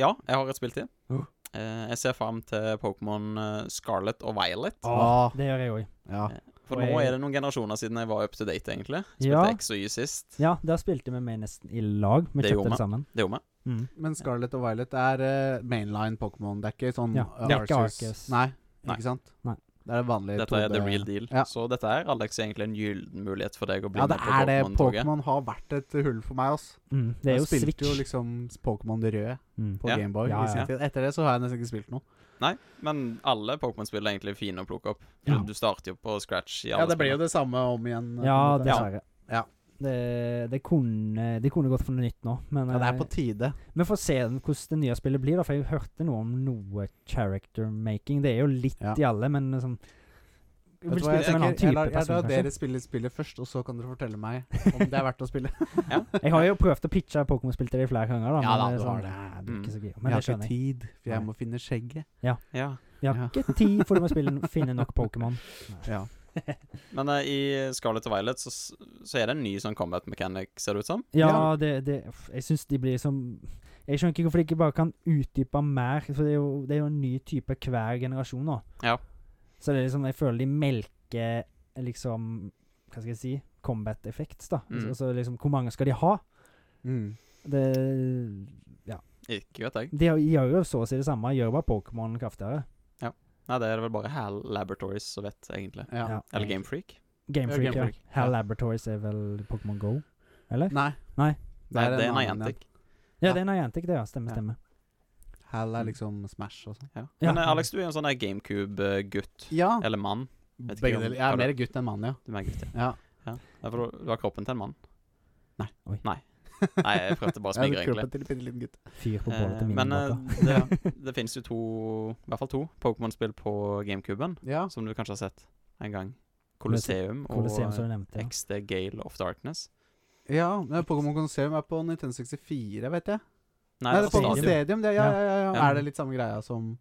ja, jeg har et spill til. Oh. Eh, jeg ser fram til Pokémon eh, Scarlet og Violet. Ah. Det gjør jeg òg. ja. For og nå jeg- er det noen generasjoner siden jeg var up to date, egentlig. Spilte Ja. X og Y sist. Ja, der spilte vi med nesten i lag. Vi Det gjorde kjøpte vi. det sammen. Det gjorde vi. Mm. Men Scarlet og Violet er eh, mainline Pokémon. Det er ikke sånn Ja. eh, Det er ikke Arceus. Arceus. Nei, Nei. ikke sant? Nei. Det er vanlig Dette er 2D the real deal. Ja. Så dette er Alex egentlig en gyllen mulighet for deg å bli Ja, det med på er det. Pokémon-toget. Pokémon har vært et hull for meg, ass. Mm. Det er jeg jo spilte Switch. jo liksom Pokémon Rød Mm. på Ja. Gameboy Ja, i ja, sin ja. tid. Etter det så har jeg nesten ikke spilt noe. Nei, men alle Pokémon-spill er egentlig fine å plukke opp. Ja. Du starter jo på scratch i Ja, alle det ble jo spillene. det samme om igjen. eh, på en Ja, måte. dessverre. Ja. Det, det, kunne, det kunne gått for noe nytt nå, men Ja, det er eh, på tide. vi får se hvordan det nye spillet blir. da For jeg hørte noe om noe character making. Det er jo litt Ja. i alle, men liksom Jeg vil Vet du hva spille jeg som en annen tenker? Jeg type lar, jeg person, lar kanskje. dere spille spillet først, og så kan dere fortelle (laughs) meg om det er verdt å spille. Jeg har jo prøvd å pitche Pokémon-spill til deg flere ganger, da. men Ja da, er du sånn, har det. Mm. Nei, det blir ikke så gøy. Jeg Men det har ikke skjønner jeg. tid, for jeg Nei. må finne skjegget. Ja. Vi har Ja. ikke tid for det med å spille, finne nok Pokémon. Ja. Men eh, i Scarlet og Violet så, så er det en ny sånn combat mechanic, ser det ut som. Ja, Ja. det, det f- Jeg syns de blir som Jeg skjønner ikke hvorfor de ikke bare kan utdype mer, for det er jo, det er jo en ny type hver generasjon nå. Ja. Så det er liksom Jeg føler de melker liksom Hva skal jeg si Combat effects, da. Mm. Altså liksom Hvor mange skal de ha? Mm. Det Ikke vet jeg. De har- gjør jo så å si det samme, gjør bare Pokémon kraftigere. Nei, det er det vel bare Hal Laboratories som vet, egentlig. Ja. Ja. Eller Game Freak. Game Ja, Freak, Game ja. Freak, Hell ja. Laboratories er vel Pokémon Go? Eller? Nei. Nei. Nei, det er en annen Niantic. Ja, Ja. det er Niantic, det, ja. Stemmer, Ja. stemmer. en. Hal er liksom Smash og sånn. Ja. Men eh, Alex, du er jo en sånn der GameCube-gutt. Ja, Eller mann. vet ikke begge om- deler. Jeg har er du- mer gutt enn mann, ja. Du er en gutt, ja. ja. Nei, for du, du har kroppen til en mann. Nei. Oi. Nei. Nei, jeg prøvde bare å (laughs) Jeg smigre, hadde egentlig. kroppen til en bitte liten gutt. Fyr på bålet Eh, til Men eh, minibåter. (laughs) det, det finnes jo to, i hvert fall to, Pokémon-spill på GameCuben, Ja. som du kanskje har sett en gang. Colosseum og eh, Colosseum, som du nevnte. Ja. XD Gale of Darkness. ja men Pokémon Conceum er på Nintendo 64, vet jeg. Nei, Nei, det det er Pokémon var Stadium. Stadium. Stadium. Det, ja, ja, ja, ja. Ja. Er det litt samme greia som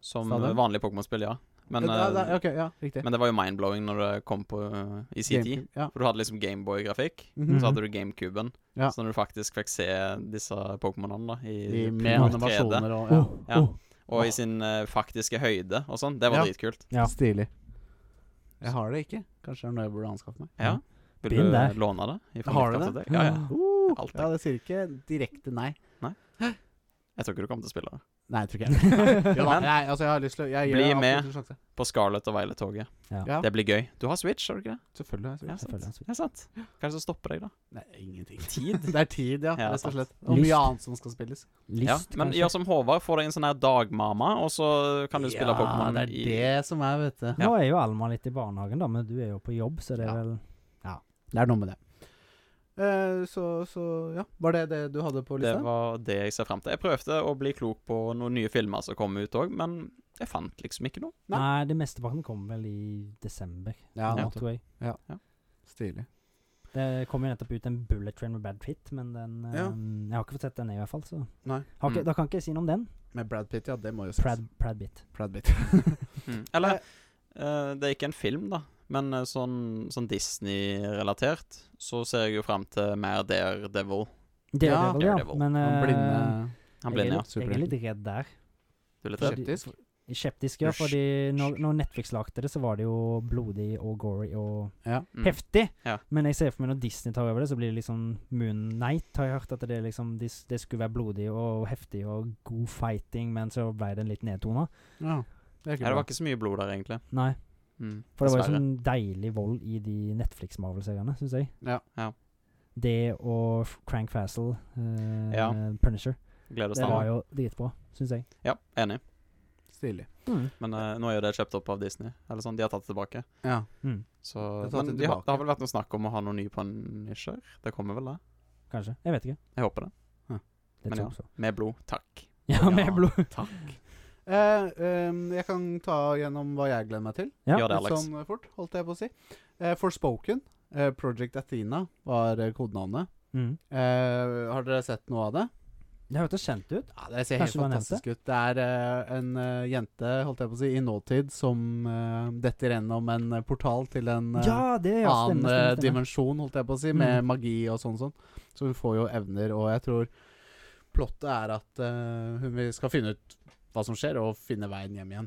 Som Stadium? eh, vanlig Pokémon-spill, ja. Men, ja, da- eh, Ok, ja, riktig. men det var jo mind-blowing når det kom på eh, i sin tid. Gamecube, Ja. For du hadde liksom Gameboy-grafikk, Mhm. så hadde du GameCuben. Ja. Så når du faktisk fikk se disse Pokémonene da, i I, med pure 3D, animasjoner og Oh, ja. Ja. Åh, og i sin eh, faktiske høyde og sånn, det Ja. var dritkult. Ja. Stilig. Jeg har det ikke. Kanskje det er noe jeg burde anskaffe meg. Ja. Vil Been du eh, there. låne det? ifra Har mitt du kaffe det? (gasps) til deg? Ja, ja. Uh, Alt, ja, det sier ikke direkte nei. Jeg tror ikke du kommer til å spille det. Nei, jeg tror (laughs) ikke jeg Jo da, Men- Nei, altså, jeg har lyst til å jeg gir Bli deg absolutt med. en sjanse. På Scarlett og Violet-toget. Ja. Ja. Det blir gøy. Du har Switch, har du ikke det? Selvfølgelig. har jeg Ja, Switch. sant. Selvfølgelig altså. har jeg Switch. Det er sant. Hva er det som stopper deg, da? Nei, (laughs) ingenting. (laughs) Tid? Det er tid, ja. Ja, rett og sant. slett. Og mye Lyst. annet som skal spilles. Ja, Lyst, men kanskje? gjør som Håvard, få deg en sånn her dagmamma, og så kan du spille Pokémon Ja, det i er det som er, vet du. Ja. Nå er jo Alma litt i barnehagen, da, men du er jo på jobb, så det er Ja. vel Det er noe med det. Eh, så, så ja. Var det det du hadde liksom. på Det lista? var det jeg ser frem til. Jeg prøvde å bli klok på noen nye filmer som kom ut òg, men jeg fant liksom ikke noe. Nei. Nei, det mesteparten kommer vel i desember. Ja, nå, nettopp. tror jeg. Stilig. Det kom jo nettopp ut en Bullet Train med Brad Pitt, men den eh, Ja. Jeg har ikke fått sett den, i hvert fall. Så. Nei. Har ikke, Mm. Da kan ikke jeg si noe om den. Med Brad Pitt, ja. Det må jo ses. Brad, Brad Pitt. Brad Pitt. (laughs) Eller eh, Det er ikke en film, da, men eh, sånn, sånn Disney-relatert, så ser jeg jo frem til mer Daredevil. Det Ja. er det vel, ja. Daredevil. Men Han eh, blinde Han jeg, er blinde, ja. litt, jeg er litt redd der. Du er litt redd? Skeptisk. Skeptisk, ja. Fordi når, når Netflix lagde det, så var det jo blodig og gory og Ja. Mm. heftig. Ja. Men jeg ser for meg når Disney tar over det, så blir det liksom Moon Knight, har jeg hørt. At det, er liksom, de s- det skulle være blodig og heftig og god fighting, men så ble det litt nedtona. Ja. Det er ikke Ja, det bra. var ikke så mye blod der, egentlig. Nei. Mm, For det var jo dessverre. sånn deilig vold i de Netflix-Marvel-seriene, syns jeg. Ja. Ja. Det og F- Crank Fastle, eh, Ja. Punisher. Gleder oss Det var til det. jo dritbra, syns jeg. Ja, enig. Stilig. Men eh, nå er jo det kjøpt opp av Disney. Eller sånn, De har tatt det tilbake. Ja. Mm, Så, har tatt men det de har, tilbake. det har vel vært noe snakk om å ha noen ny Punisher? Det kommer vel, det? kanskje. Jeg vet ikke. Jeg håper det. Det Men tror jeg så. Med blod. Takk. Ja, (laughs) Ja. med blod. Takk. Eh, ehm, jeg kan ta gjennom hva jeg gleder meg til. Ja, Gjør det, Litt Alex. sånn eh, fort, holdt jeg på å si. Eh, Forspoken, eh, Project Athena, var eh, kodenavnet. Mm. Eh, har dere sett noe av det? Det hørtes kjent ut. Ja, Det ser Kanskje helt du har nevnt fantastisk ut. Det er eh, en eh, jente holdt jeg på å si, i nåtid som eh, detter gjennom en eh, portal til en eh, Ja, det ja, annen stemmer, eh, stemmer, stemmer. dimensjon, holdt jeg på å si, med Mm. magi og sånn sånn. Så hun får jo evner, og jeg tror plottet er at eh, hun vil- skal finne ut hva som skjer, og finne veien hjem igjen.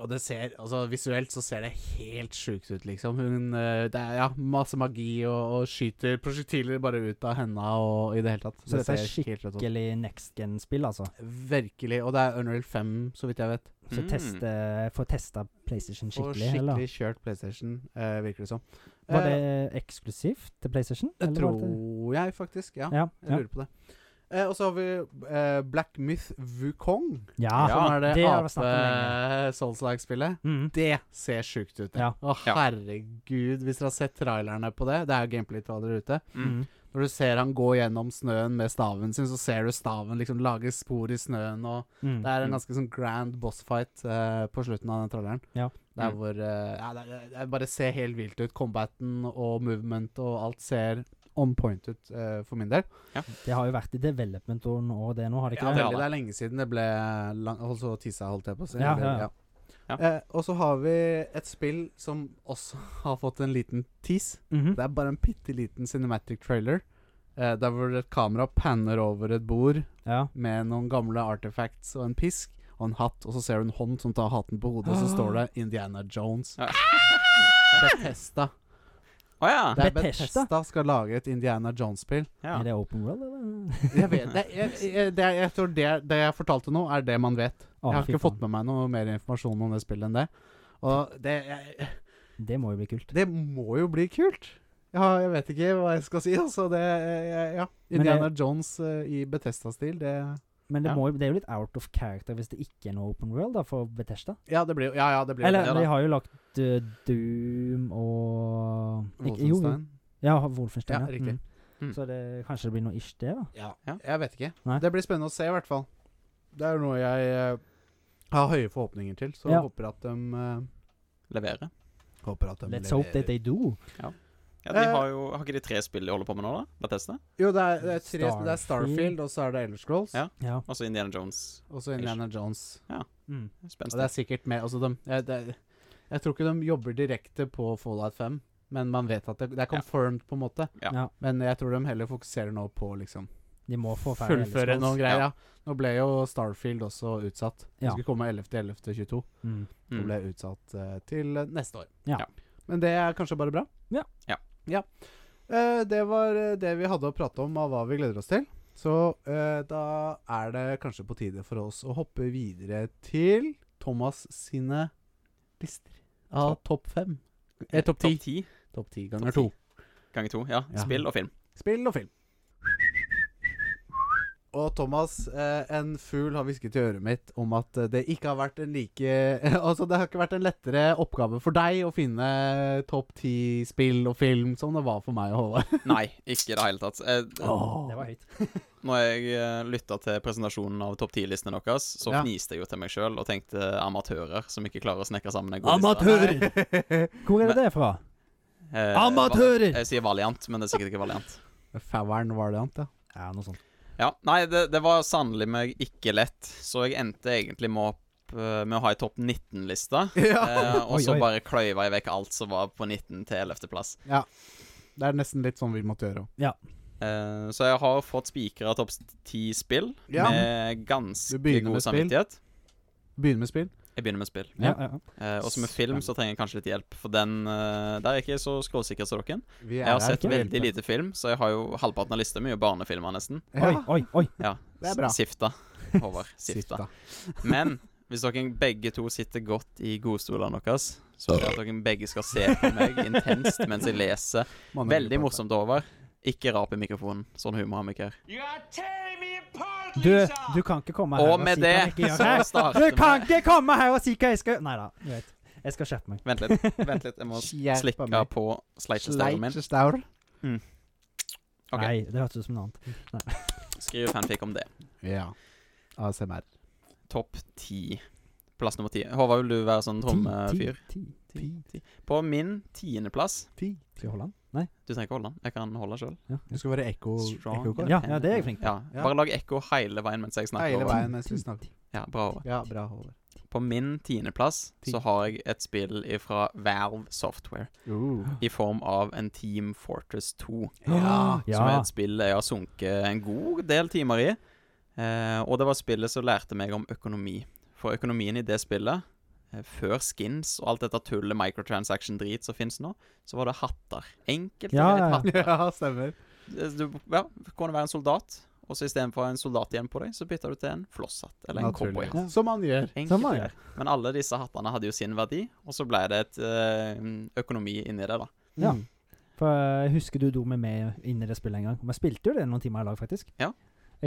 Og det ser, altså Visuelt så ser det helt sjukt ut, liksom. Hun, eh, det er ja, masse magi og, og skyter prosjektiler bare ut av henda og i det hele tatt. Så dette er ser helt rått ut. Skikkelig next gen-spill, altså. Virkelig. Og det er Unreal 5, så vidt jeg vet. Så Mm. teste, få testa PlayStation og skikkelig. skikkelig Eller? kjørt PlayStation, eh, virker det som. Var Eh, det eksklusivt til PlayStation? Det eller var det- tror jeg faktisk, ja. Ja. Jeg ja. lurer på det. Eh, og så har vi eh, Black Myth Wukong, ja. som er det, det har vi snakket om lenge. ape-Souls-like-spillet. Mm. Det ser sjukt ut. det. Ja. Å, Ja. herregud, hvis dere har sett trailerne på det Det er jo gameplay-trailere ute. Mm. Mm. Når du ser han gå gjennom snøen med staven sin, så ser du staven liksom lage spor i snøen, og Mm. det er Mm. en ganske sånn grand boss-fight eh, på slutten av den traileren. Ja. Der Mm. hvor eh, ja, det, det- det bare ser helt vilt ut. Combaten og movement og alt ser on point ut eh, for min del. Det har jo vært i development år nå, det nå, har det ikke Ja, det? har veldig, det er lenge siden det ble lang, holdt så tissa, holdt jeg på å si. Ja, Eller- ja, ja. Ja. Eh, og så har vi et spill som også (laughs) har fått en liten tease. Mhm. Det er bare en bitte liten cinematic trailer. Eh, der hvor et kamera panner over et bord Ja. med noen gamle artifacts og en pisk og en hatt, og så ser du en hånd som tar hatten på hodet, og så står det Indiana Jones. Ja. Bethesda. Å ja. Det er Bethesda? Bethesda skal lage et Indiana Jones-spill. ja. Er det open world, eller? Jeg vet det. Jeg, jeg, det, er- jeg tror det, det jeg fortalte nå, er det man vet. Å, Jeg har fy ikke fått faen. med meg noe mer informasjon om det spillet enn det. Og det, jeg, Det må jo bli kult. det må jo bli kult. Ja, jeg vet ikke hva jeg skal si. Altså, det jeg- Ja. Men Indiana Jones eh, i Betesta-stil, det Men det, Ja. må jo, det er jo litt out of character hvis det ikke er noe open world da, for Bethesda. Ja, det blir jo Ja, ja, det blir jo Eller, ja det. da. de har jo lagt eh, Doom og ikke- jo, Wolfenstein. Ja, Wolfenstein. Ja, Mm. riktig. Mm. Så det, kanskje det blir noe ish, det, da. Ja. Ja. Jeg vet ikke. Nei. Det blir spennende å se, i hvert fall. Det er jo noe jeg eh, har høye forhåpninger til, så Ja. håper at de eh, Levere. Håper at de Let's hope that they do. Ja, de Eh. har jo Har ikke de tre spill de holder på med nå, da? Bethesda? Jo, det er, det er, tre, det er Starfield. Starfield, og så er det Elder Scrolls, Ja. Ja. Og så Indiana Jones. og så Indiana Jones. Mm. Og det Spenstig. er sikkert mer altså de, jeg, det, jeg tror ikke de jobber direkte på Fallout 5, men man vet at det, det er Ja. confirmed, på en måte. Ja. Ja. Men jeg tror de heller fokuserer nå på liksom De må få ferdig fullføre Elder Scrolls. noen greier. Ja. Nå ble jo Starfield også utsatt. Det Ja. skulle komme 11.11.22, Mm. og Mm. ble utsatt eh, til eh, neste år. Ja. Ja. Men det er kanskje bare bra? Ja. Ja. Ja. Eh, det var eh, det vi hadde å prate om av hva vi gleder oss til. Så eh, da er det kanskje på tide for oss å hoppe videre til Thomas sine lister av topp fem. Eh, topp ti. Topp ti Topp ti ganger Topp to. ganger to. Ja. Ja. (laughs) Spill og film. Spill og film. Og Thomas, eh, en fugl har hvisket i øret mitt om at eh, det ikke har vært en like (laughs) Altså, det har ikke vært en lettere oppgave for deg å finne topp ti spill og film som det var for meg å holde. Nei, ikke i det hele tatt. Eh, Det var høyt. Når jeg lytta til presentasjonen av topp 10-listene deres, så Ja. fniste jeg jo til meg sjøl og tenkte amatører som ikke klarer å snekre sammen en (laughs) god Amatører! (laughs) Hvor er det det fra? liste. Eh, Amatører! Val- Jeg sier Valiant, men det er sikkert ikke Valiant. Fauren var det annet, ja. Ja, noe sånt. Ja, Nei, det, det var sannelig meg ikke lett, så jeg endte egentlig med, opp, eh, med å ha ei topp 19-liste. (laughs) Eh, og Oi, så oi. bare kløyva jeg vekk alt som var på 19 til 11.-plass. Det er nesten litt sånn vi måtte gjøre òg. Eh, så jeg har fått spikra topp 10 spill Ja. med Du ganske begynner god med spill. samvittighet. Begynne med spill. Jeg begynner med spill. Ja, ja, ja. Eh, og som med film så trenger jeg kanskje litt hjelp, for den eh, Der er jeg ikke så skråsikker som dere. Vi Jeg har her sett for å veldig hjelpe. lite film, så jeg har jo halvparten av lista mi er jo barnefilmer, nesten. Oi, Ja, oi, oi. Ja, Det er bra. s- Sifta. (laughs) Håvard. Sifta. Sifta. Men hvis dere begge to sitter godt i godstolene deres, så vil jeg at dere begge skal se på meg intenst mens jeg leser. Mannen Veldig vil prate. morsomt, Håvard. Ikke rap i mikrofonen. Sånn humor har vi ikke her. Du, du kan ikke komme her Og med si hva jeg det ikke gjør (laughs) så her. Du starter kan vi ikke komme her og si hva jeg skal Nei da, jeg vet. Jeg skal skjerpe meg. Vent litt, vent litt. Jeg må (laughs) Hjelpe slikke meg. på sleitjestaven min. Sleitestaur. Ok. Nei, det hørtes ut som noe annet. Skriv fanfic om det. Ja. ASMR. Topp ti. Plass nummer ti. Håvard, vil du være sånn trommefyr? Ti, ti, ti, ti. På min tiendeplass Skal jeg holde den? Nei? Du trenger ikke holde den. Jeg kan holde den sjøl. Ja. Du skal være ekko... Strong. ekkokar. Ja, ja, det er jeg flink til. Ja. Ja. Bare lag ekko hele veien mens jeg snakker. Hele over. veien mens vi snakker. Ja, bra over. Ja, bra, Håvard. På min tiendeplass Ti. så har jeg et spill fra Valve Software i form av en Team Fortress 2. Ja. Ah, (laughs) Som er Ja. et spill jeg har sunket en god del timer i. Eh, og det var spillet som lærte meg om økonomi. For økonomien i det spillet, eh, før skins og alt dette tullet microtransaction-drit som fins nå, så var det hatter. Enkelt og Ja, greit ja, ja. hatter. Ja, stemmer. Eh, Du ja, kunne være en soldat, og så istedenfor en soldat igjen på deg, så bytta du til en flosshatt eller en Naturlig. cowboyhatt. Som man gjør. Enkelt Samme og her. greit. Men alle disse hattene hadde jo sin verdi, og så ble det et eh, økonomi inni det, da. Ja. Mm. For jeg husker du dro meg med inn i det spillet en gang. Vi spilte jo det noen timer i lag, faktisk. Ja. Ja.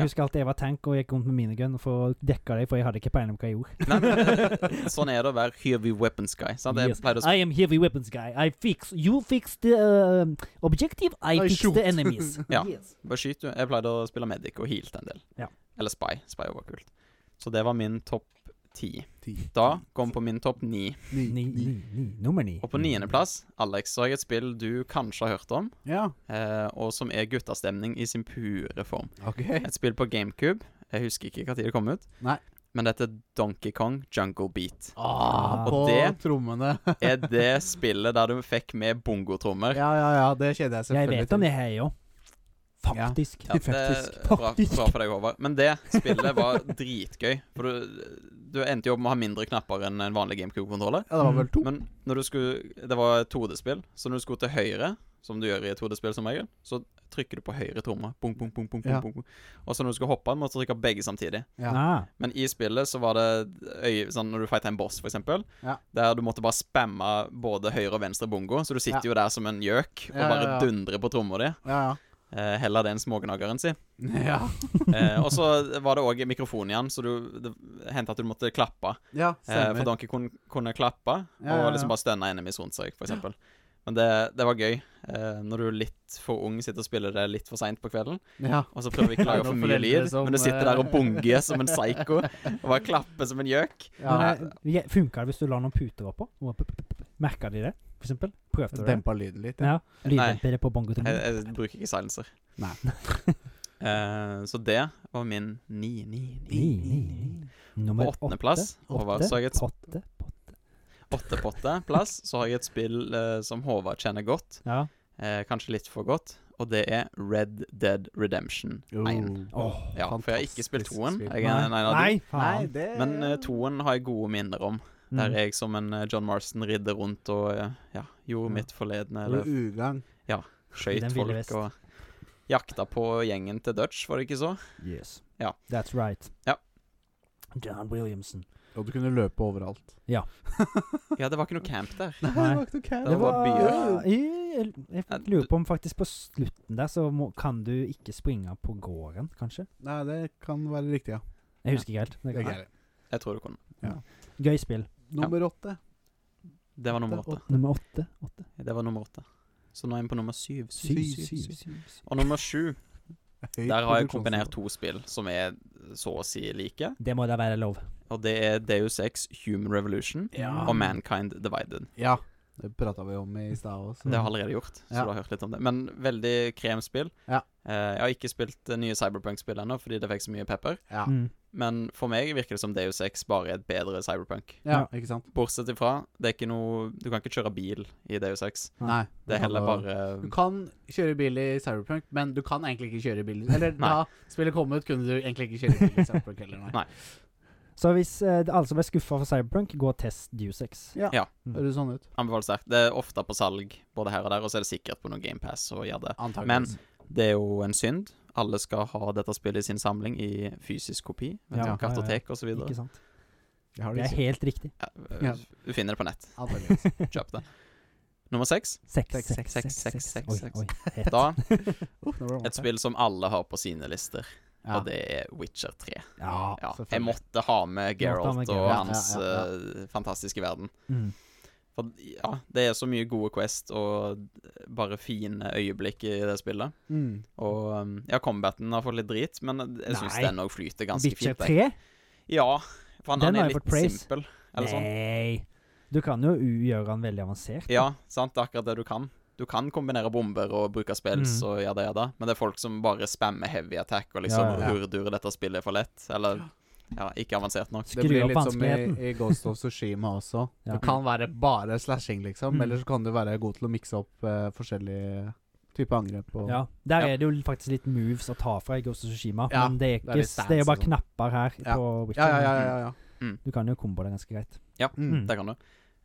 Jeg husker alltid jeg var tank og gikk rundt med minigun for å dekke deg, for jeg hadde ikke peiling på hva jeg gjorde. Nei, men, eh, sånn er det å være heavy weapons guy. Sant? Jeg Yes. pleide å I am heavy weapons guy. I fix You fix the uh, objective, I, I fix shoot. the enemies. (laughs) Ja. Yes. sp- bare skyte. Jeg pleide å spille medic og healte en del. Ja. Eller spy. Spy var kult. Så det var min topp ti. Ti. Da kom på min topp ni. Ni. Ni, ni, ni. Nummer ni. Og på niendeplass, Alex, så har jeg et spill du kanskje har hørt om, Ja. eh, og som er guttastemning i sin pure form. OK. Et spill på GameCube. Jeg husker ikke når det kom ut. Nei. Men dette er Donkey Kong Jungle Beat. Ah, Og på det- trommene. (laughs) Er det spillet der du fikk med bongotrommer? ja, ja, ja. Det kjenner jeg Jeg selvfølgelig vet om det her, jo. Faktisk. Ja, det er bra, bra for deg, Håvard. Men det spillet var dritgøy. For du, du endte jo opp med å ha mindre knapper enn en vanlig GameCube-kontroller. Ja, det var vel to. Men når du skulle Det var et 2D-spill, så når du skulle til høyre, som du gjør i et 2D-spill som regel, så trykker du på høyre tromme. Bung, bung, bung, bung, bung, Ja. bung, bung. Og så når du skulle hoppe, måtte du trykke begge samtidig. Ja. Ah, Men i spillet så var det øy, sånn når du fighta en boss, for eksempel, Ja. der du måtte bare spamme både høyre og venstre bongo, så du sitter Ja. jo der som en gjøk og Ja, ja, bare ja. dundrer på tromma di. Ja, Eh, heller det enn smågnageren (laughs) si. ja. Ja, Eh, og så var det òg mikrofon igjen, så du, det hendte at du måtte klappe. ja Eh, for stemmer. Donkey kunne, kunne klappe Ja, ja, ja. og liksom bare stønne enemies rundt seg, f.eks. Men det, det var gøy. Eh, når du er litt for ung, sitter og spiller det litt for seint på kvelden, (laughs) Ja. og så prøver vi Det er ikke å lage for noen mye foreldre lyd, som, men du sitter der og eh, (laughs) bunger som en psycho og bare klapper som en gjøk. ja. Men eh, funka det hvis du la noen puter oppå? Merka de det, for eksempel? Prøvde du det? Dempa lyden litt. Ja. Ja. Lyddempere på Jeg, bongotrommen? jeg bruker ikke silencer. Nei. Eh, så det var min 9-9-9. Ni, ni, ni. Nummer På åttendeplass Håvard, så har jeg et Potte, potte. åtte-potte-plass, så har jeg et spill eh, som Håvard kjenner godt. Ja. eh, kanskje litt for godt, og det er Red Dead Redemption 1. Oh, Åh, ja, for jeg har ikke spilt fantastisk toen. spill. Jeg er en en av de. Nei, faen. det Men eh, toen har jeg gode minner om. Der Mm. jeg som en eh, John Marston ridder rundt og eh, ja, gjorde Ja. mitt forledne. Eller Eller ugagn. skøyt Den ville folk vest. og jakta på gjengen til Dutch, var det ikke så? Mm. Yes. Ja. That's right. Ja. John Williamson. Og du kunne løpe overalt. Ja, det var ikke noe camp der. Nei, Nei. (laughs) det var ikke noe camp. Det var bare byer. jeg, jeg, Ja, jeg du- lurer på om faktisk på slutten der så må, kan du ikke springe på gården, kanskje? Nei, det kan være riktig, ja. Jeg husker ikke helt. Det Det er kan- greit. Jeg tror du kunne. Gøy spill. Nummer åtte. Det var nummer åtte. Nummer åtte. åtte. Det var nummer åtte. Så nå er vi på nummer syv. Syv, Syv, syv, syv, syv, syv. Og nummer sju, Høyt der har jeg produksjonsnivå. kombinert to spill som er så å si like. Det må da være lov. Og det er Deus Ex Human Revolution Ja. og Mankind Divided. Ja. Det prata vi om i stad òg. Det har jeg allerede gjort, så Mm. Ja. du har hørt litt om det. Men veldig kremspill. Ja. Eh, jeg har ikke spilt det nye Cyberpunk-spill ennå fordi det fikk så mye pepper. Ja. Mm. Men for meg virker det som Deus Ex bare er et bedre Cyberpunk. ja, ikke sant? Bortsett ifra, det er ikke noe Du kan ikke kjøre bil i Deus Ex. Nei. Det er heller bare eh, Du kan kjøre bil i Cyberpunk, men du kan egentlig ikke kjøre bil Eller da spillet kom ut, kunne du egentlig ikke kjøre bil i Cyberpunk heller, nei. Nei. Så hvis eh, det- alle som ble skuffa for Cyberpunk, gå og test Dusex. Ja. Ja. Høres sånn ut. Anbefaler sterkt. Det er ofte på salg både her og der, og så er det sikkert på noen GamePass og gjør det. Antakeligvis. Det er jo en synd. Alle skal ha dette spillet i sin samling i fysisk kopi. Vet Ja, du, ja, ja. kartotek og så Ikke videre. sant? Jeg har Det det er ikke. helt riktig. Ja, øh, Ja. Du finner det på nett. (laughs) Antakeligvis. Kjøp det. Nummer seks. Seks, Seks, seks, seks, seks, seks, seks. seks, Oi, seks. oi. Hett. Da Uff, nå ble det et vanskelig. spill som alle har på sine lister, Ja. og det er Witcher 3. Ja. Ja, selvfølgelig. jeg måtte ha med Måtte ha Geralt med og Geralt. hans Ja, ja, eh, fantastiske verden. Mm. For ja, det er så mye gode quest og bare fine øyeblikk i det spillet. Mm. Og um, ja, combaten har fått litt drit, men jeg syns Nei. den òg flyter ganske Witcher fint. 3? jeg. Ja, for han, Den han har er jo fått litt praise. simpel, eller sånn. Nei. Du kan jo u- gjøre han veldig avansert. Ja, sant, det er akkurat det du kan. Du kan kombinere bomber og bruke spells Mm. og ja da, ja da, men det er folk som bare spammer heavy attack og liksom Ja, ja, ja. hurdur dette spillet er for lett, eller ja, ikke avansert nok. Det Skru blir opp litt som i, vanskeligheten. i Ghost of Tsushima også. Ja. Det kan være bare slashing, liksom. Mm. Eller så kan du være god til å mikse opp eh, forskjellige typer angrep. Og, Ja, Der Ja. er det jo faktisk litt moves å ta fra i Ghost of Tsushima, Ja, men det er, ikke, det er litt det stance er, jo bare og sånn. knapper her Ja. på ja, Witcher. ja, ja. ja, ja. Du kan jo kombo det ganske greit. Mm. Mm. Det kan du.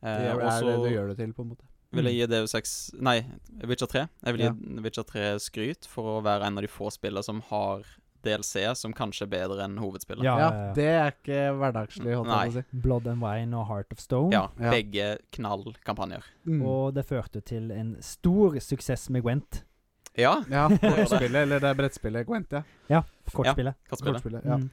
Det Eh, er og det du så gjør det til, på en måte. vil jeg gi Deus Ex Nei, Witcher 3. Jeg vil gi Ja. Witcher 3 skryt for å være en av de få spillene som har DLC som kanskje er bedre enn hovedspillet. Ja, Ja, ja, ja. Det er ikke hverdagslig, holdt jeg på å si. Blood and Wine og Heart of Stone. Ja, Ja. begge knall kampanjer. Mm. Og det førte til en stor suksess med Gwent, Ja, (laughs) Ja, kortspillet, eller det er brettspillet Gwent, ja. kortspillet. kortspillet. Kortspillet, ja. (laughs) Mm.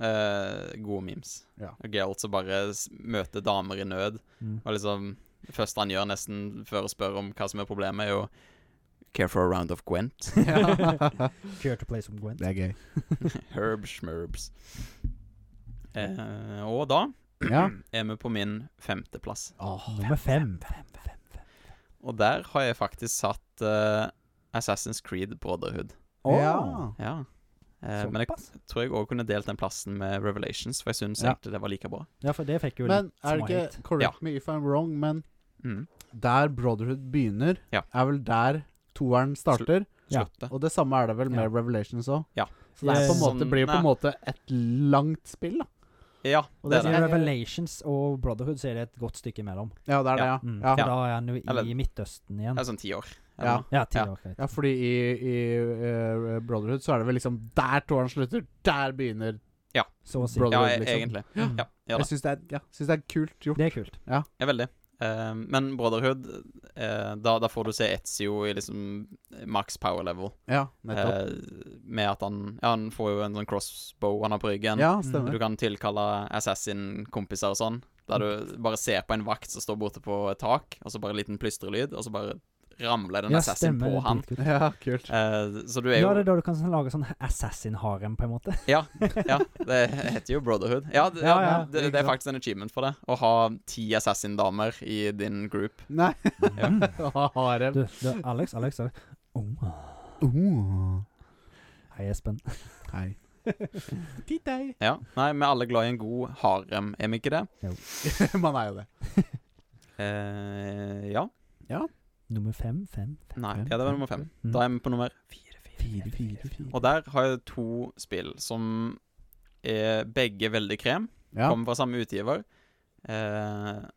Eh, gode memes. Ja. Og Geralt som bare s- møter damer i nød. Mm. Og liksom Det første han gjør nesten før å spørre om hva som er problemet, er jo Care for a round of (laughs) Gwent? (laughs) Ja. Care to play som Gwent. det er gøy. Herb schmerbs. Eh, og da Ja. er vi på min femteplass. Nummer fem. Og der har jeg faktisk satt eh, Assassin's Creed Brotherhood. Åh, Ja. Ja. Eh, men jeg såpass. tror jeg òg kunne delt den plassen med Revelations, for jeg syns Ja. egentlig det var like bra. Ja, for det fikk jo Men litt er det småhet. ikke Correct me if I'm wrong, men Mm. der Brotherhood begynner, Ja. er vel der toeren starter. Ja. Sluttet. Og det samme er det vel med Ja. Revelations òg. Ja. Så det Eh, er på en Yes. måte, Sånn, blir jo på en nei. måte et langt spill, da. Ja, Og det I er det. er- Revelations og Brotherhood så er det et godt stykke imellom. Ja, det er det, ja. Mm. Ja, For ja. da er han jo i Eller- Midtøsten igjen. Det er sånn ti år. Ja. eller noe. Ja, ti Ja. år. greit. fordi i, i eh, Brotherhood så er det vel liksom der toeren slutter, der begynner Så å si. Brotherhood. ja Brotherhood, liksom. e- egentlig. Mm. Ja, ja da. Jeg syns det, er- ja, synes det er kult gjort. Det er kult. Ja, veldig. Eh, men Brotherhood, eh, da, da får du se Etzio i liksom max power level. Ja, nettopp. Eh, med at han Ja, han får jo en sånn crossbow han har på Mm. ryggen. ja, Du stemmer. kan tilkalle assassin-kompiser og sånn. Der du bare ser på en vakt som står borte på et tak, og så bare en liten plystrelyd, og så bare ramler den Ja, assassin stemmer. på det er han. dritkult. Ja, kult. Eh, så du er Ja, jo det er da du kan sånn lage sånn assassin-harem, på en måte. Ja, (laughs) ja, det heter jo Brotherhood. Ja, det, Ja, ja, det, det er faktisk en achievement for det. Å ha ti assassin-damer i din group. Nei, (laughs) Mm. harem. Du, du, Alex, Alex, Alex. Oh. Oh. Hei, Espen. (laughs) Hei. Titt deg. Ja. Nei, vi er alle glad i en god harem, er vi ikke det? (laughs) Man er jo det. Eh, ja. Nummer fem, fem, Nei, Fem, Mm. ja, det var fem, nummer fem. fem. Da er vi på nummer fire. fire, fire, fire. Og der har jeg to spill som er begge veldig krem. Ja. Kommer fra samme utgiver. Eh,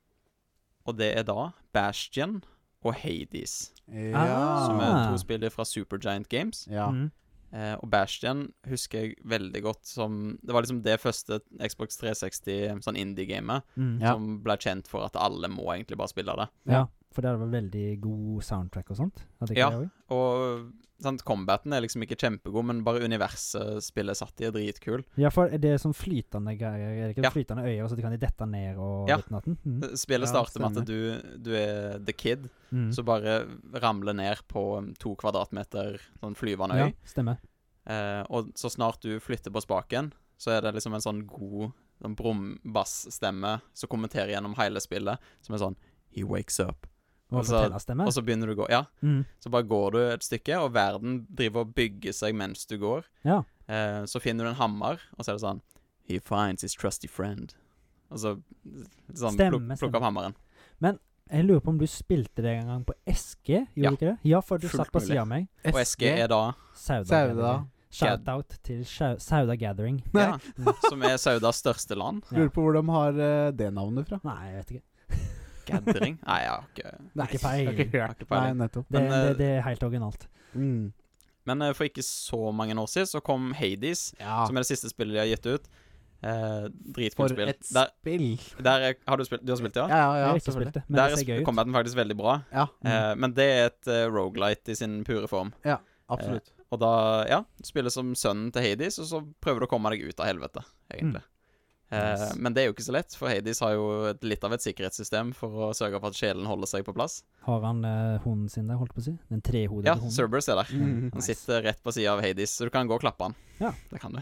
og det er da Bastion og Hades, Ja. som Ah. er to spillere fra Supergiant Games. ja. Mm. Eh, og Bastion husker jeg veldig godt som Det var liksom det første Xbox 360 sånn indie-gamet Mm. Ja. som ble kjent for at alle må egentlig bare spille det. Ja, for det var veldig god soundtrack og sånt. Hadde ikke Ja. det også? Og sant, combaten er liksom ikke kjempegod, men bare universet spillet satt i er dritkul. ja, for er det er sånn flytende greier. Er det ikke Ja. flytende øyer, så de kan de dette ned og Ja. ditt natten? Mm. Spillet Ja, starter med at du, du er the kid, Mm. som bare ramler ned på um, to kvadratmeter sånn flyvende øy. ja, stemmer. Eh, og så snart du flytter på spaken, så er det liksom en sånn god sånn brumbassstemme som kommenterer gjennom hele spillet, som er sånn He wakes up. Og Og så- fortellerstemme. Og så begynner du å gå. Ja, Mm. så bare går du et stykke, og verden driver og bygger seg mens du går. Ja. Eh, så finner du en hammer, og så er det sånn He finds his trusty friend. Og så sånn, Stemme, plukk, stemme. plukk opp hammeren. Jeg lurer på om du spilte det en gang på SG? Gjorde Ja. du ikke det? Ja, for du Fullt satt på mulig. sida av meg. Og SG er da Sauda. Sauda. Gathering. Shout-out til Sjau- Sauda Gathering. Nei. ja, Som er Saudas største land. Ja. Lurer på hvor de har eh, det navnet fra. Nei, jeg vet ikke. Gathering. Nei, jeg har ikke Nei, Ikke feil. jeg har ikke hørt. har ikke Nei, peiling. nettopp. Det, Men, det, eh, det er helt originalt. Mm. Men eh, for ikke så mange år siden så kom Hades, Ah. Ja, som er det siste spillet de har gitt ut. Eh, Dritkult for spill. et Der, spill. der er, har du spilt Du har spilt Ja, det, ja? ja, Jeg ja har ikke spilt selvfølgelig. det, men der det er ser gøy sp- ut. Mm. combaten faktisk veldig bra. Ja, Eh, men det er et uh, rogelite i sin pure form. absolutt. Og da, ja, du spiller som sønnen til Hades, og så prøver du å komme deg ut av helvete, egentlig. Eh, Nice. Men det er jo ikke så lett, for Hades har jo et, litt av et sikkerhetssystem for å sørge for at sjelen holder seg på plass. Har han eh, hunden sin der, holdt på å si? Den trehodede Ja, hunden? Cerberus er der. Mm. Han Nice. sitter rett på sida av Hades, så du kan gå og klappe han. Ja. Det kan du.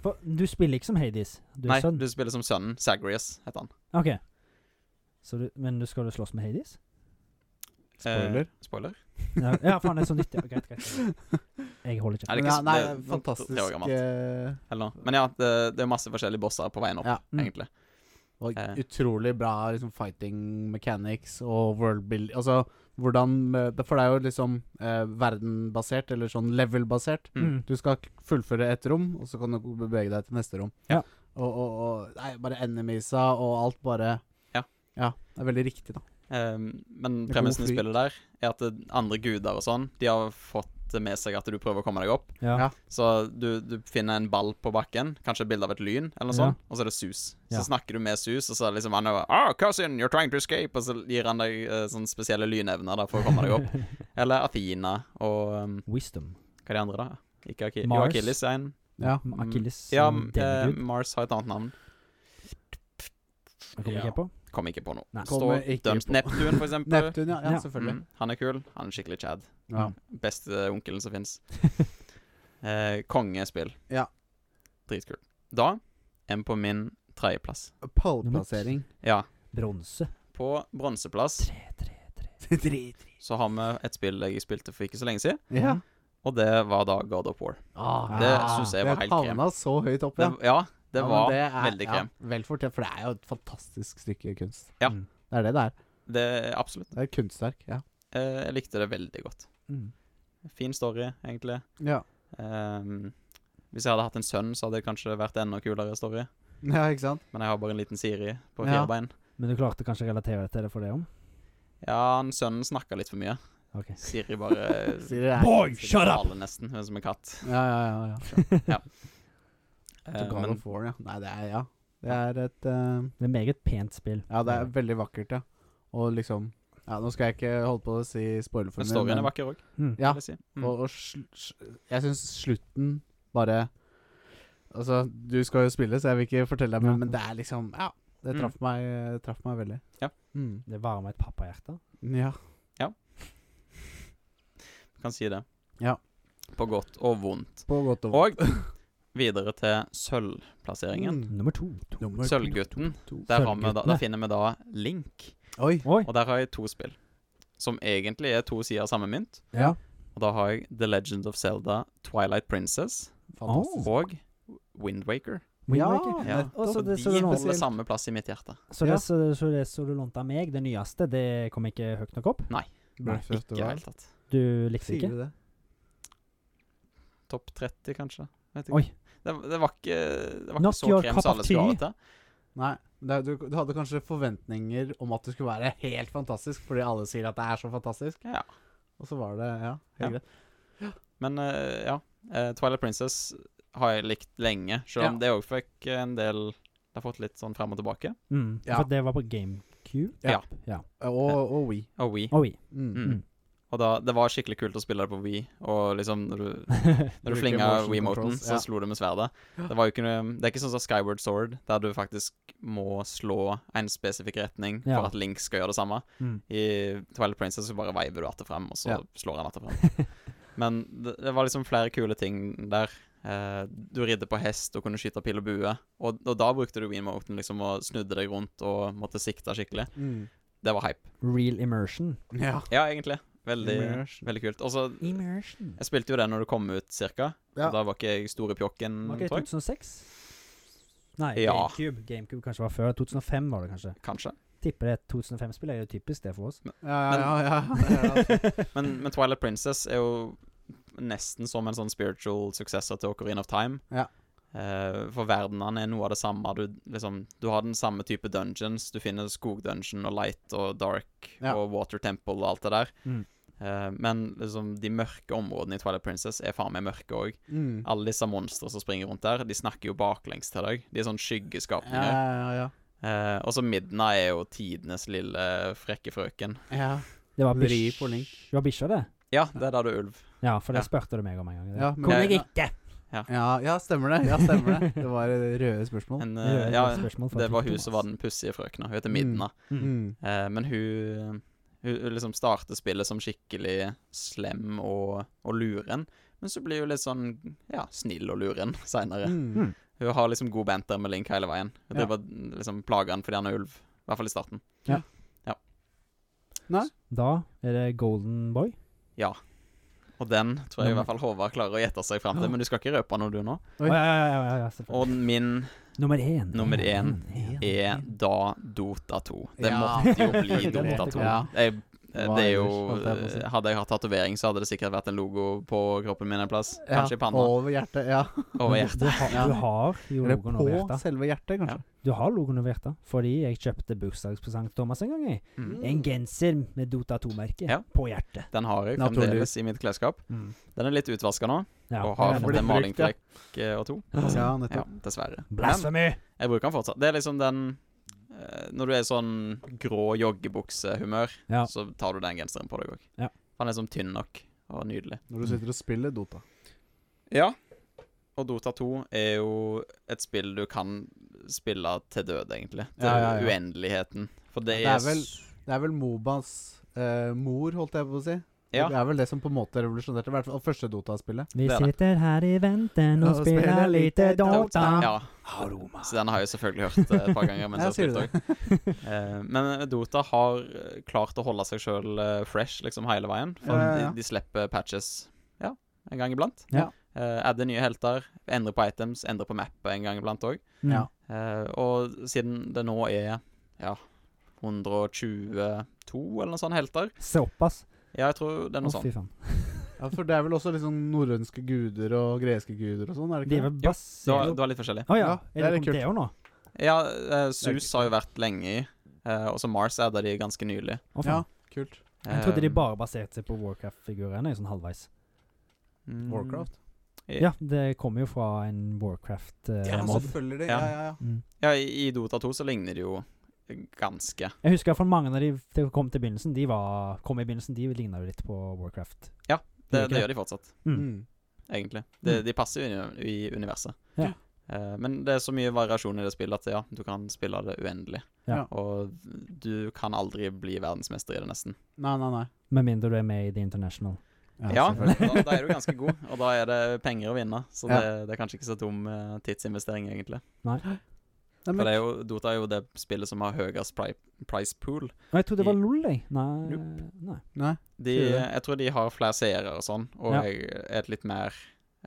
For du spiller ikke som Hades, du er Nei, sønn? du spiller som sønnen. Sagrius heter han. Ok. Så du, men du skal du slåss med Hades? Spoiler. Eh, spoiler? Ja, ja faen, det er så nyttig. Ja, greit, greit. Jeg holder Er ikke. det ikke Ja, så- nei, det er noen fantastisk tre år gammelt. eh, Eller noe. Men ja, det, det er masse forskjellige bosser på veien opp, Ja. Mm. egentlig. Og Eh. utrolig bra liksom, fighting mechanics og world build Altså hvordan eh, det- For det er jo liksom eh, verdenbasert, eller sånn level-basert. Mm. Mm. Du skal k- fullføre et rom, og så kan du gå- bevege deg til neste rom. Ja. Og, og, og Nei, bare enemisa og alt bare Ja. ja. Det er veldig riktig, da. Ehm, men Det er premissen i god flyt. spillet der er at det- andre guder og sånn, de har fått med seg at du prøver å komme deg opp. Ja. Ja. Så du, du finner en ball på bakken, kanskje et bilde av et lyn, eller noe Ja. sånt, og så er det sus. Så Ja. snakker du med sus, og så er det liksom han over, oh, cousin, you're trying to escape, og så gir han deg eh, sånne spesielle lynevner da, for å komme deg (laughs) opp. Eller Athena og ehm, Wisdom. hva er de andre, da? Ikke Aki jo, Mars. Achilles er en. Ja. Mm, Achilles. Ja, som eh, demigud. Mars har et annet navn. Jeg kommer ja. ikke på. Kom ikke på noe. Nei. Kommer Står ikke dømt på. Neptun, for eksempel. Neptun, ja. ja, Ja. selvfølgelig. Mm, han er kul. Han er skikkelig chad. Ja. Beste onkelen som (laughs) fins. Eh, kongespill. Ja. Dritkult. Da en på min tredjeplass. Pallplassering. Ja. Bronse. På bronseplass Tre, tre, tre. (laughs) så har vi et spill jeg spilte for ikke så lenge siden, Ja. og det var da God of War. Ah, Det ja. synes jeg var helt krem. Havna så høyt opp, Det, ja. ja, det Ja, men var det er- veldig krem. Ja, vel fortjent, for det er jo et fantastisk stykke kunst. Ja. Mm. Det er det det er. det Absolutt. Det er et kunstverk. Ja. Eh, jeg likte det veldig godt. Mm. Fin story, egentlig. Ja, (laughs) Ehm, hvis jeg hadde hatt en sønn, så hadde det kanskje vært enda kulere story. ja ikke sant? Men jeg har bare en liten Siri på fire Ja. bein. Men du klarte kanskje å relatere deg til det for det om? Ja, han sønnen snakka litt for mye. Ok. Siri (laughs) bare Sier det er. Boy, Sikkert shut up! taler nesten, men som en katt. Ja, ja, ja. ja. Eh, Så God men of War, ja. Nei, det er ja. Det er et eh, Det er meget pent spill. Ja, det er veldig vakkert, ja. Og liksom Ja, nå skal jeg ikke holde på å si men spoilerfilmen, storyen er vakker òg, Mm. Ja. vil jeg si. Mm. Og, og sl sl jeg syns slutten bare Altså, du skal jo spille, så jeg vil ikke fortelle deg, men, men det er liksom Ja. Det Mm. traff meg, traff meg veldig. Ja. Mm. Det varmer et pappahjerte. ja. Kan si det. Ja. På godt og vondt. På godt og Og (laughs) videre til sølvplasseringen. Mm. Nummer to. to. Nummer to. Sølvgutten. Der, har vi da, Sølvguttene. der finner vi da Link. Oi. Oi. Og der har jeg to spill, som egentlig er to sider av samme mynt. Ja. Og da har jeg The Legend of Zelda, Twilight Princess Fantastisk. og Wind Waker. Wind Ja. Waker. Oh. Ja. Ah, nettopp. Og Så så de det som er noe holder spesielt. samme plass i mitt hjerte. Så Ja. det, så, så det som du lånte av meg, det nyeste, det kom ikke høyt nok opp? Breath of the Ikke i det Wild. hele tatt. Du likte det Sier ikke? du det? Topp 30, kanskje. Vet ikke. Oi. Det, det var ikke, det var Not ikke så your krem cup som of alle skulle ha tea. det til. Nei. Men det, du, du hadde kanskje forventninger om at det skulle være helt fantastisk, fordi alle sier at det er så fantastisk. Ja. Og så var det Ja, helt Ja. greit. Men eh, ja, eh, Twilight Princess har jeg likt lenge, selv Ja. om det òg fikk en del Det har fått litt sånn frem og tilbake. Mm, Ja. For det var på GameCube. Ja. Og, og We. Og We. Oi. (laughs) Mm. Mm. Mm. Og da, det var skikkelig kult å spille det på We, og liksom når du Når du Bruke flinga motion Wiimoten, controls, så ja. slo du med sverdet. Det, var jo ikke, noe- det er ikke sånn som Skyward Sword, der du faktisk må slå en spesifikk retning Ja. for at Link skal gjøre det samme. Mm. I Twilight Princess så bare veiver du atter frem, og så Ja. slår han atter frem. Men det, det var liksom flere kule ting der. Eh, du ridde på hest og kunne skyte pil og bue, og, og da brukte du Wiimoten liksom og snudde deg rundt og måtte sikte skikkelig. Mm. Det var hype. Real immersion. Ja. Ja, egentlig. Veldig, Immersion. veldig kult. Og så Immersion. Jeg spilte jo det når det kom ut, cirka. Ja. Og Da var ikke jeg store pjokken, Var ikke det tror jeg. 2006? Nei, Ja. GameCube. GameCube kanskje var før. 2005 var det kanskje. Kanskje. Tipper det 2005-spill er jo typisk det for oss. Ja, ja, ja. ja, ja. (laughs) Men, men Twilight Princess er jo nesten som en sånn spiritual successor til Ocarina of Time. Ja. Eh, for verdenene er noe av det samme. Du, liksom, du har den samme type dungeons. Du finner skogdungeon og light og dark Ja. og water temple og alt det der. Mm. Eh, men liksom, de mørke områdene i Twilight Princess er faen meg mørke òg. (laughs) Mm. Alle disse monstrene som springer rundt der, de snakker jo baklengs til deg. De er sånn ja, skyggeskapninger. ja, ja. Eh, og så Midna er jo tidenes lille frekke frøken. ja. Det var Vri bish- på link. Det var bikkja, det. Ja, det er der du er ulv. Ja, for det Ja. spurte du meg om en gang. Ja, men- Kunne Ja, eh, jeg ikke! ja, ja, stemmer det. Ja, stemmer (laughs) det. Det var eh, røde spørsmål. Men, Det var eh, et ja, spørsmål fra det var hun Thomas. som var den pussige frøkna. Hun heter Mm. Midna. Mm. Mm. Eh, men hun, hun hun liksom starter spillet som skikkelig slem og, og luren. Men så blir hun litt sånn ja, snill og luren (laughs) seinere. Mm. Hun har liksom god banter med Link hele veien. Hun Ja. driver og liksom plager han fordi han er ulv. I hvert fall i starten. Da er det Golden Boy. Og den tror jeg i Nummer- hvert fall Håvard klarer å gjette seg fram til, men du skal ikke røpe noe, du nå. Å, Oi. ja, ja, ja, ja, ja, selvfølgelig. Og min Nummer én. Nummer én, én én, én. er da Dota 2. Det Ja. måtte jo (laughs) bli Det måtte Dota 2. komme. Jeg, eh, Hva det er jo eh, ellers, holdt jeg på å si. Hadde jeg hatt tatovering, så hadde det sikkert vært en logo på kroppen min en plass. Ja, Kanskje i panna. Over hjertet, ja. Over Men Du, (laughs) hjertet. du, har, Ja. du har jo Eller logoen på over hjertet. selve hjertet, kanskje. Du har logoen over hjertet, fordi jeg kjøpte bursdagspresang til Thomas en gang. jeg. Mm. En genser med Dota 2-merket Ja. på hjertet. Den har jeg Naturlig. fremdeles i mitt klesskap. Den er litt utvaska nå, Ja. og har den fått blir en brukt, ja. malingflekk eh, og to. Ja, Ja, nettopp. dessverre. Men Blasphemy! jeg bruker den fortsatt. Det er liksom den eh, Når du er sånn grå joggebuksehumør, Ja. så tar du den genseren på deg òg. Ja. Han er sånn tynn nok og nydelig. Når du sitter og spiller Dota. Ja. Og Dota 2 er jo et spill du kan spille til død, egentlig. Til Ja, ja, ja. uendeligheten. For det, Det er, er vel- s- Det er vel Mobas eh, mor, holdt jeg på å si. Ja. Det er vel det som på en måte revolusjonerte i hvert fall første Dota-spillet. Vi det er det. sitter her i venten og Og spiller spiller lite lite Dota. Ja. Så den har jeg selvfølgelig hørt eh, et par ganger. (laughs) mens Ja, jeg sier du spilte også. Eh, Men Dota har eh, klart å holde seg sjøl fresh liksom hele veien. For Ja, ja, ja. De, de slipper patches ja, en gang iblant. Ja. Eh, Adder nye helter, endrer på items, endrer på mappet en gang iblant òg. Mm. Ja. Eh, og siden det nå er ja, 122 eller noe sånt helter Såpass. Ja, jeg tror det er Å, noe sånt. fy faen. Ja, For det er vel også liksom norrønske guder og greske guder og sånn, er det De er ikke det? vel Ja, Det var, basert det var litt forskjellig. Å ja. Ja, det Er er det litt kommet det òg nå? Ja, eh, Sus har jo vært lenge i, eh, og så Mars adda de ganske nylig. Å, Ja. faen. Kult. Jeg trodde de Eh, bare baserte seg på Warcraft-figurene, sånn halvveis. mm, Warcraft. Ja, det kommer jo fra en Warcraft-mod. Ja, altså, mod selvfølgelig. Ja. ja, ja. mm. Ja, i i Dota 2 så ligner de jo ganske. Jeg husker iallfall mange av de som kom til begynnelsen, de var, kom i begynnelsen, de ligna jo litt på Warcraft. Ja, Det, Gjorde ikke det gjør de fortsatt, Mm. egentlig. De, Mm. de passer jo inn i, i universet. Ja. Eh, men det er så mye variasjon i det spillet at ja, du kan spille det uendelig. Ja. Og du kan aldri bli verdensmester i det, nesten. Nei, nei, nei. Med mindre du er med i The International. Ja, selvfølgelig. da, da er du (laughs) ganske god, og da er det penger å vinne. Så Ja. det, det er kanskje ikke så dum eh, tidsinvestering, egentlig. Nei, For men, det er jo, Dota er jo det spillet som har høyest pri price pool. Og jeg trodde det var I- LOL, jeg. Nei, nei. nei. De, Sier du det? jeg tror de har flere seere og sånn, og Ja. jeg er et litt mer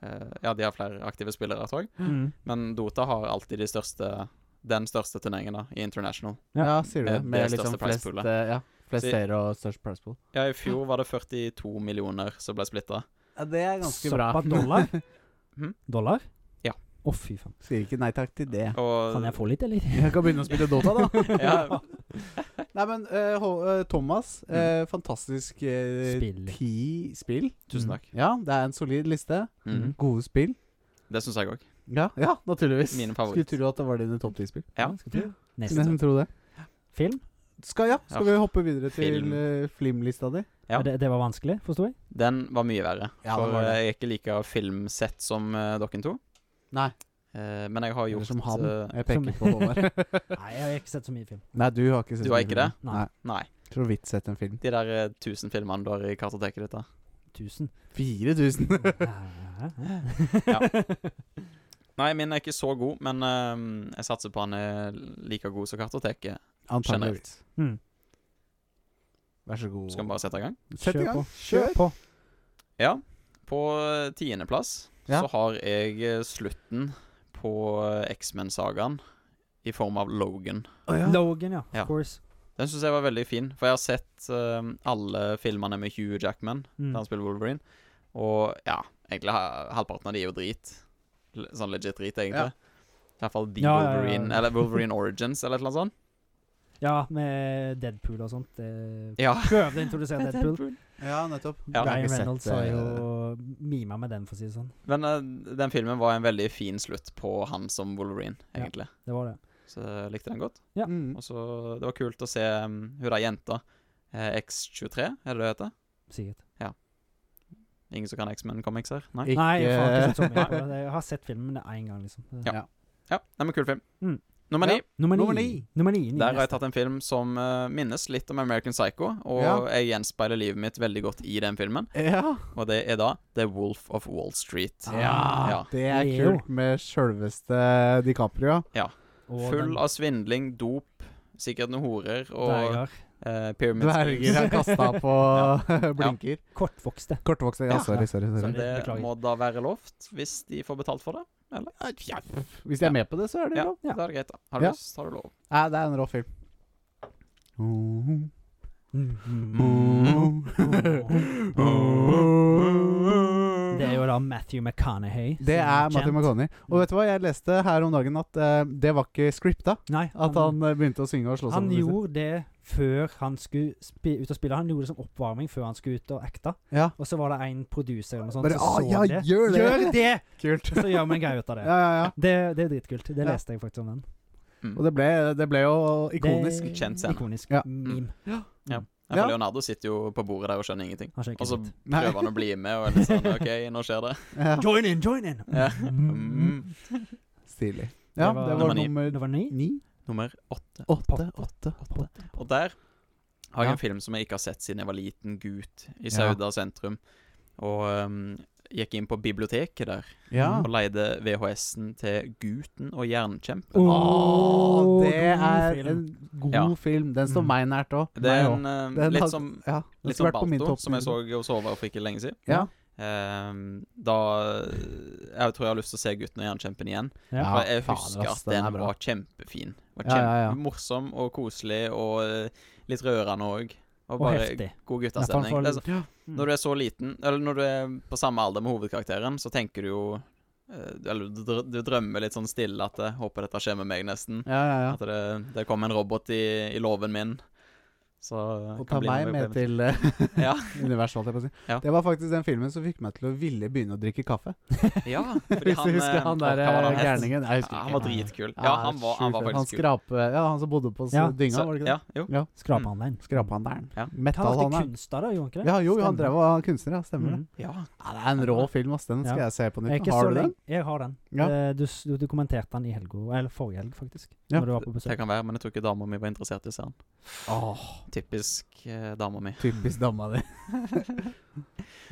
eh, Ja, de har flere aktive spillere, tror jeg. Mm. Men Dota har alltid de største den største turneringen da, i International. Ja. Ja, sier du Det- det. det Med er liksom største flest, price-poolet. eh, ja, flest Så- seere og størst price pool. Ja, I fjor var det 42 millioner som ble splitta. Ja, det er Såpass dollar? Mhm. Dollar? Ja. Å, fy faen. (laughs) Sier ikke nei takk til det. Og Kan jeg få litt, eller? Jeg kan begynne å spille Dota, da. (laughs) ja, (laughs) Nei, men eh, Ho- eh, Thomas, eh, Mm. fantastisk eh, Spill. liksom. ti spill. tusen takk. Ja, det er en solid liste. Mhm. Gode spill. Det syns jeg òg. Ja, ja naturligvis. Mine Skulle favoritt. tro at det var dine topp ti-spill. Ja. Skulle Neste. nesten tro det. Film? Skal, ja, skal Ja. vi hoppe videre til Film. eh, Flim-lista di? Ja. Det, det var vanskelig, forsto (laughs) jeg? Den var mye verre. Ja, den for var det. eh, jeg er ikke like filmsett som eh, dere to. Nei. Eh, men jeg har Eller gjort som han. eh, Jeg peker på (laughs) Håvard. Nei, jeg har ikke sett så mye film. Nei, du har ikke sett Du har så mye ikke film. det? Nei. Nei. Nei. Så vidt sett en film. De der eh, 1000 filmene du har i kartoteket ditt. da 1000. 4000! (laughs) Ja. Nei, min er ikke så god, men eh, jeg satser på han er like god som kartoteket. Antakeligvis. Mm. Hmm. Vær så god. Skal vi bare sette i gang? Sett i Kjør gang. på. Kjør på. Ja. På eh, tiendeplass Ja. så har jeg eh, slutten på eh, X-Men-sagaen i form av Logan. Å, ja. Logan, ja. Of Ja. course. Den syns jeg var veldig fin, for jeg har sett eh, alle filmene med Hugh Jackman. Mm. Da han spiller Wolverine. Og ja, egentlig ha- halvparten av de er jo drit. L- Sånn legit drit, egentlig. I hvert fall The Ja, ja, ja, ja. Wolverine, eller Wolverine Origins, eller et eller annet sånt. (laughs) Ja, med Deadpool og sånt. Det... Ja. Prøvde å (laughs) introdusere Deadpool. ja, nettopp. Ja. Jeg har Ryan ikke sett, Reynolds eh, har jo mima med den, for å si det sånn. Men eh, den filmen var en veldig fin slutt på han som Wolverine, Ja. egentlig. Det var det. Så jeg likte den godt. Ja. Mm. Og så Det var kult å se um, hun der jenta, eh, X23, er det det heter? Sikkert. Ingen som kan X-Men comics her? Nei? Ikke- Nei, jeg har ikke sett (laughs) så mye på det. Jeg har sett filmen én gang, liksom. Ja. Ja, nei, men kul film. Mm. Nummer Ja. ni. Nummer Nummer ni. ni. Nummer ni. Der har jeg tatt en film som eh, minnes litt om American Psycho, og Ja. jeg gjenspeiler livet mitt veldig godt i den filmen. Ja. Og det er da The Wolf of Wall Street. Ah. Ja. Det er Leo. kult med sjølveste DiCaprio. Full av svindling, dop, sikkert noen horer og Dverger. eh, pyramid Dverger schemes. er kasta (laughs) på blinker. Kortvokste. Kortvokste. Ja, Ja. sorry, sorry. Så sorry. (laughs) det Beklager. må da være lovt, hvis de får betalt for det. Ja, Hvis de er med på det, så er det Ja, lov. da Ja. er det greit, da. Har du Ja. lyst, har du lov. Nei, det er en rå film. Mm. Det er jo da Matthew McConaughey. (laughs) Det som er Matthew kjent. McConney. Og vet du hva, jeg leste her om dagen at eh, det var ikke scripta. Nei, At han eh, begynte å synge og slå han sammen. gjorde det før han skulle spi ut og spille. Han gjorde det som oppvarming før han skulle ut og acte. Ja. Og så var det en producer eller noe sånt Bare, som ah, så ja, det. gjør det! Gjør det! Kult. Og så gjør vi en greie ut av det. Ja, ja, ja. det. Det er dritkult. Det Ja. leste jeg faktisk om den. Mm. Og det ble, det ble jo ikonisk. Det- Kjent scene. Ikonisk Ja. meme. Ja, for Ja. Leonardo sitter jo på bordet der og skjønner ingenting. Han skjønner Og så ikke dritt. Nei. prøver han å bli med, og er litt sånn OK, nå skjer det. (laughs) Ja. Join in, join in! Ja. Mm. Mm. Stilig. Ja, Det var- det Nummer var ni. nummer Det var ny. ni. Nummer åtte. Åtte, åtte, åtte. Og der har jeg Ja. en film som jeg ikke har sett siden jeg var liten gutt i Ja. Sauda sentrum. Og ehm, gikk inn på biblioteket der Ja. og leide VHS-en til Guten og Jernkjempen. Åh, Åh, god det er film. en god Ja. film. Den står Mm. meg nært òg. Det er en, ehm, Den litt har- som, Ja, den skulle litt som vært på min Balto, topp som jeg så liste. hos Håvard for ikke lenge siden. Ja. Ehm, da Jeg tror jeg har lyst til å se Gutten og Jernkjempen igjen. Ja, For jeg fader, husker ass, at den, er bra. var kjempefin. Var Ja, ja, ja. Kjempemorsom og koselig og eh, litt rørende òg. Og Og bare Altså, heftig. Derfor god han guttastemning. får Det er så- Ja. Mm. Når du er så liten, eller når du er på samme alder med hovedkarakteren, så tenker du jo eh, Eller du, dr- du drømmer litt sånn stille at jeg håper dette skjer med meg, nesten. Ja, ja, ja. At det, det kom en robot i, i låven min. Så det Og kan ta bli meg noe med problem. til (laughs) Ja. (laughs) universet, holdt jeg på å si. Ja. Det var faktisk den filmen som fikk meg til å ville begynne å drikke kaffe. Ja, (laughs) fordi Hvis du han, husker eh, han der hva- hva var det han het? gærningen. Nei, jeg Ja, husker han ikke. var dritkul. Ja, han var, han var sjukt. faktisk kul. han skrape, Ja, han som bodde på Ja. ja. dynga, Så- var det ikke det? Ja, jo. Skrapehandelen. Skraphandleren. Ja. Han Metal, var han alltid er. kunstner, da, gjorde han ikke det? Ja, jo, han Stemmer. drev og var kunstner, ja. Stemmer det. Mhm. Ja. Ja, det er en rå film, ass. Den skal Ja. jeg se på Jeg er nytt. ikke så Har du den? lenge- Jeg har den. Ja. Eh, Du, s- du, du kommenterte den i helga, eller forrige helg, faktisk. Ja. Når du var på besøk. Det kan være, men jeg tror ikke dama mi var interessert i å se han. Åh, Typisk eh, dama mi. typisk dama (laughs) di.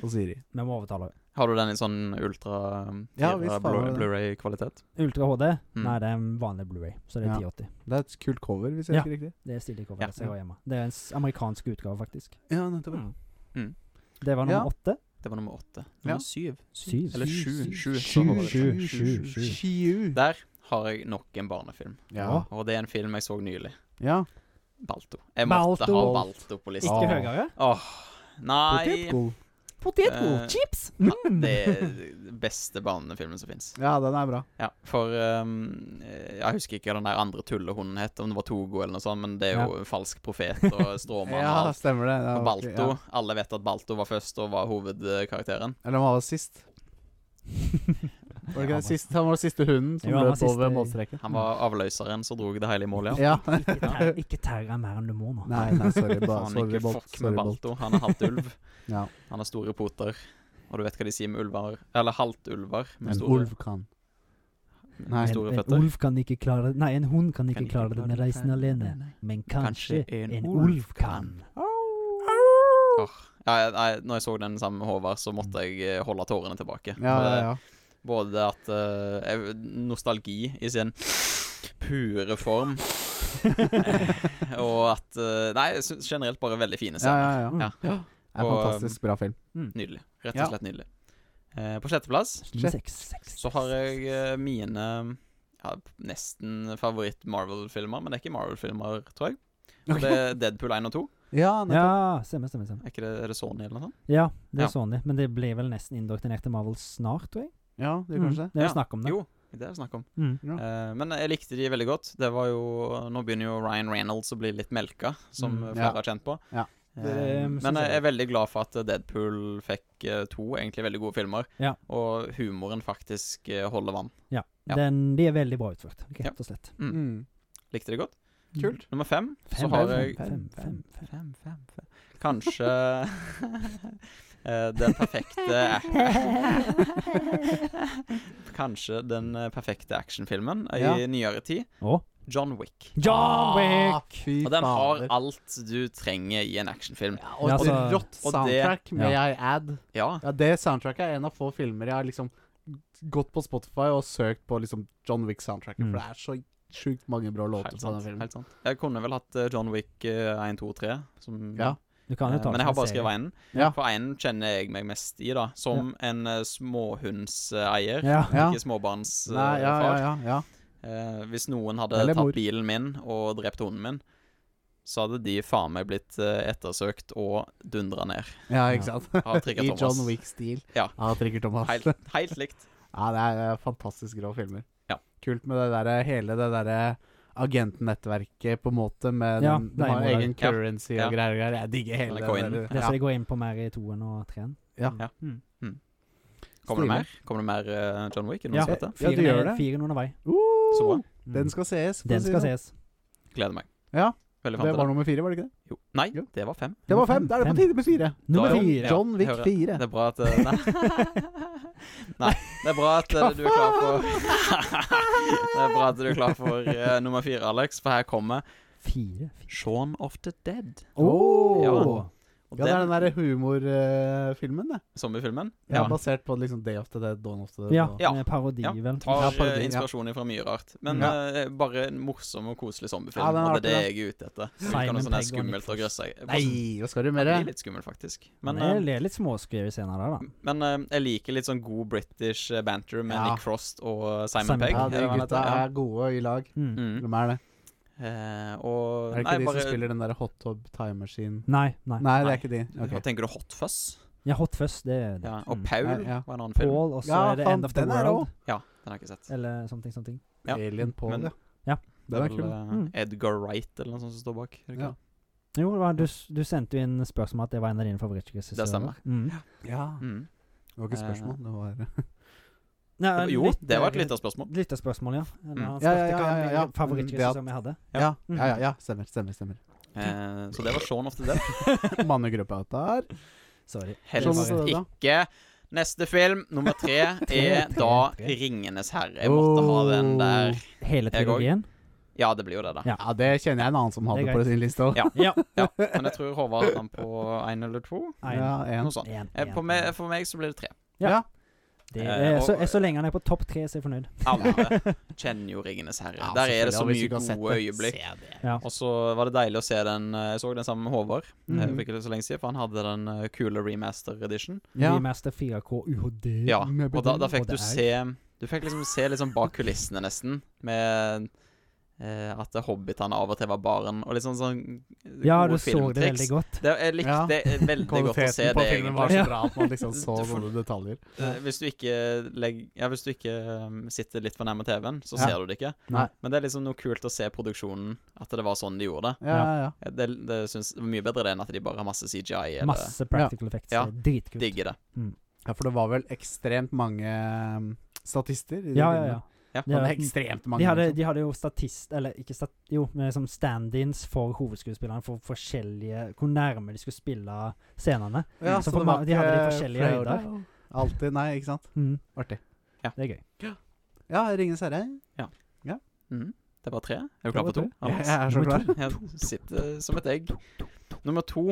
og Siri. Vi må overtale henne. Har du den i sånn ultra um, Ja, 4 visst, faen var Blu- det. Blu-ray-kvalitet? Ultra HD? Mm. Nei, det er en vanlig Blu-ray så det er Ja. 1080. Det er et kult cover, hvis jeg Ja. husker riktig. Det er stilig cover. Ja. så jeg har hjemme. Det er en s- amerikansk utgave, faktisk. Ja, nettopp. Mm. Mm. Det var nummer Ja. åtte. Det var nummer åtte. Ja. Nummer syv. Syv. Eller sju. Sju. Sju, Sånn var det. sju, sju, sju. Sju. Der har jeg nok en barnefilm. Ja. Og det er en film jeg så nylig. ja. Balto. Jeg måtte Balto. ha Balto på lista. Ikke Åh. høyere? Åh, nei Potetgull. Potetgullchips! Eh, (laughs) Ja, det er den beste barnefilmen som fins. Ja, den er bra. Ja, for ehm, Jeg husker ikke hva den der andre tullehunden het, om det var Togo eller noe sånt, men det er jo falsk profet og stråmann og (laughs) Ja, alt. stemmer det. Ja, Og ok, Balto. Ja. Alle vet at Balto var først og var hovedkarakteren. Eller han var sist. (laughs) Var det ikke Ja, det sist? Han var siste hunden som Jo, han var løp over siste- målstreken. Han var avløseren som dro det hele i mål, ja. Mm. Ja. Ikke tær- Ikke terra mer enn du må nå. Nei, nei, sorry. Ba, Faen, sorry, ikke Bolt. fuck med Sorry, Bolt. Balto. Han er halvt ulv. (laughs) Ja. Han har store poter. Og du vet hva de sier med ulver Eller halvt ulver med En store, ulv kan med Nei. store En, en føtter. ulv kan ikke klare Nei, en hund kan ikke Kan ikke klare klare denne det. reisen alene. Men kanskje, en, ulv kan. Ja, jeg- jeg, når jeg så den sammen med Håvard, så måtte jeg eh, holde tårene tilbake. Ja, For ja, det- (laughs) ja. Både at eh, jeg- Nostalgi i sin pure (laughs) form. og at eh, Nei, jeg synes generelt bare veldig fine ja, scener. ja, ja. Ja. Det er Og, fantastisk bra film. Nydelig. Rett Ja. og slett nydelig. Eh, på sjetteplass Nummer seks. seks. så har jeg eh, mine ja, nesten favoritt-Marvel-filmer, men det er ikke Marvel-filmer, tror jeg. Og Det (laughs) er Deadpool 1 og 2. (laughs) Ja, eh, nettopp. Ja, stemmer, stemmer. stemmer. Er, ikke det, er det Sony eller noe sånt? Ja, det Ja. er Sony. Men det ble vel nesten indoktrinert til Marvel snart, tror jeg. Ja, det er kanskje Mm. Det er Ja. jo snakk om det. Jo, det er det snakk om. Mm. Ja. Eh, men jeg likte de veldig godt. Det var jo Nå begynner jo Ryan Reynolds å bli litt melka, som Mm. flere Ja. har kjent på. Ja. Eh, Det, eh, synes men jeg jeg er veldig glad for at Deadpool fikk eh, to egentlig veldig gode filmer, Ja. og humoren faktisk eh, holder vann. Ja. Den, de er veldig bra utført, Ja. rett og slett. Mm. Mm. Mm. Likte det godt. Kult. Nummer fem, så Fem, har fem, jeg fem, fem, fem. Fem, fem, fem. Kanskje (laughs) eh, den perfekte (laughs) ac- Kanskje den eh, perfekte actionfilmen i Ja. nyere tid. Og John Wick. John Wick! Ah, Fy Og den har fader. alt du trenger i en actionfilm. Ja, og Ja, et altså- rått Og det- soundtrack, may Ja. I add. Ja. Ja, Det soundtracket er en av få filmer jeg har liksom gått på Spotify og søkt på liksom John Wick-soundtracket, Mm. for det er så sjukt mange bra låter Helt på den sant, filmen. helt sant. Jeg kunne vel hatt eh, John Wick eh, 1, 2, 3. Som, Ja. Du kan eh, jo ta men det som jeg har bare en skrevet serie. én. Ja. For én kjenner jeg meg mest i, da. Som en uh, småhundseier. Ja. Ja. Ikke småbarnsfar. Nei, ja, ja, ja, ja. Eh, hvis noen hadde Eller tatt mor. bilen min og drept hunden min, så hadde de faen meg blitt eh, ettersøkt og dundra ned ja Ja. ikke sant? av (laughs) Trigger I Thomas. John Wick-stil. Ja. ja Trigger Thomas. Helt, helt likt. Ja, det er eh, fantastisk grå filmer. Ja. Kult med det der, eh, hele det derre agentnettverket, på en måte, med Ja, den, det de er har jo- egen Ja. currency Ja. og greier og greier. Jeg digger Eller hele coin. det Det er der. eh, så jeg går inn på mer i toen og treen. Ja. Ja. Mm. Kommer Stilig. det mer Kommer det mer eh, John Wick? Er det noen Ja. som vet det? Ja, du Firen gjør er- det. Firen er under vei. Uh, Så bra. Mm. Den skal sees. for å Den si skal det. ses. Gleder meg. Ja, Veldig fan Det til var nummer fire, var det ikke det? Jo. Nei, Jo. det var fem. Det var fem. Da er det på Fem. tide med fire. Nummer Da- fire. Ja. John Wick hører. 4. Det er bra at eh, (laughs) Nei. nei. Det er bra at eh, du er klar for (laughs) Det er bra at du er klar for eh, nummer fire, Alex, for her kommer Fire. Shaun of the Dead. Åh. Ja. Og Ja, det er den den derre humorfilmen, det. zombiefilmen. Ja. Ja. Basert på liksom Day of the Dead, Dawn of the Dead. Ja, og- Ja. en parodi, Ja. vel. Tar Ja, eh, parodi, ja. inspirasjon fra mye rart. Men eh, bare en morsom og koselig zombiefilm. Ja, den er og det er det artig, jeg er ute etter. Simon Ikke noe sånn der Pegg og Nick skummelt og Frost. grøsse. Nei, hva skal du Det med er det? litt skummelt, faktisk. Men Men, det er- eh, det er litt småskrevet senere der, da. men eh, jeg liker litt sånn god british eh, banter med Ja. Nick Frost og eh, Simon Simon Pegg. Pegg. Ja, er det de hva han heter? gutta Ja. er gode i lag. Mm. Mm. De er det. Eh, og Er det nei, ikke de bare, som spiller den derre Hot Tub Time Machine? Nei, nei. Nei, det Nei. er ikke de. Hva Ok. tenker du? Hot Fuzz? Ja, Hot Fuzz, det er det. Ja, og Mm. Paul Nei, ja. var en annen film. Paul, og så Ja, er det faen, End of the den er World. Ja, den har jeg ikke sett. Eller something, something. Ja. Alien Paul, Men- ja. Ja. Det Den er er vel kul. eh, Mm. Edgar Wright eller noe sånt som står bak. er det ikke Ja. det? Jo, det var, du, s- du sendte jo inn spørsmål om at det var en av dine favorittregissører. Det stemmer. Mm. Ja. Mm. Det var ikke et spørsmål, det var Nei, Det var- Jo, lytter- det var et eh, lytterspørsmål. Lytterspørsmål, ja. Eller Mm. Han Ja, spurte ja, ja, hva ja, min ja. favorittregissør Det at- jeg (laughs) hadde. (laughs) Ja, ja, ja. ja. Stemmer, stemmer. stemmer Eh, så det var Shaun of the Dead. Mannegruppa der. (laughs) Sorry. Sånn (laughs) Helst var det da. ikke. Neste film, nummer (laughs) tre, er Tre, da tre, tre. 'Ringenes herre'. Jeg måtte ha Oh. den der. Hele Jeg går. trilogien? Ja, det blir jo det, da. Ja. Ja, det kjenner jeg en annen som hadde Det er på sin liste òg. (laughs) Ja. Ja. (laughs) (laughs) Men jeg tror Håvard hadde den på én eller to. En, en. Noe sånt. en, en, Eh, På meg, for meg så blir det tre. Ja. Ja. Det Eh, er, så, og- så lenge han er på topp tre, så er jeg fornøyd. Alle kjenner jo 'Ringenes herre'. Ja, der er det selvfølgelig, så og hvis du mye ikke har sett gode det, øyeblikk. se det. (laughs) Ja. Og så var det deilig å se den. eh, Jeg så den sammen med Håvard eh, Mhm. for ikke så lenge siden, for han hadde den eh, kule remaster edition. Ja. Remaster 4K UHD. Ja, med og da, da bedring, fikk og du det er- se Du fikk liksom se litt sånn bak kulissene, nesten, med eh, at hobbitene av og til var barn, og litt sånn sånn Ja, gode du så det filmtriks. veldig godt. Det, jeg Ja. likte eh, veldig godt å se Kvaliteten det, på filmen var egentlig. så egentlig. bra at man (laughs) liksom så Du får- sånne detaljer. Eh, Hvis du ikke, legg, ja, hvis du ikke um, sitter litt for nærme TV-en, så Ja. ser du det ikke. Nei. Men det er liksom noe kult å se produksjonen, at det var sånn de gjorde det. Ja, ja, ja. Eh, Det, det synes, det var mye bedre det enn at de bare har masse CGI eller Masse practical effects. Ja. Dritkult. digger det. ja, for det var vel ekstremt mange um, statister i det Ja, ja, filmet. ja. Ja. Det Det var er- ekstremt mange. de, hadde, liksom. de hadde jo statist... Eller ikke stat... Jo, men som stand-ins for hovedskuespillerne for forskjellige Hvor nærme de skulle spille scenene. ja, så for mange- de hadde de forskjellige høyder. Alltid. Nei, ikke sant. Mm. Artig. Det er gøy. Ja, Ringenes herre. Mm. Mhm. Det var tre. Er du klar for to? Jeg, Anders? jeg er så Nummer (laughs) klar. Jeg sitter eh, som et egg. Nummer to.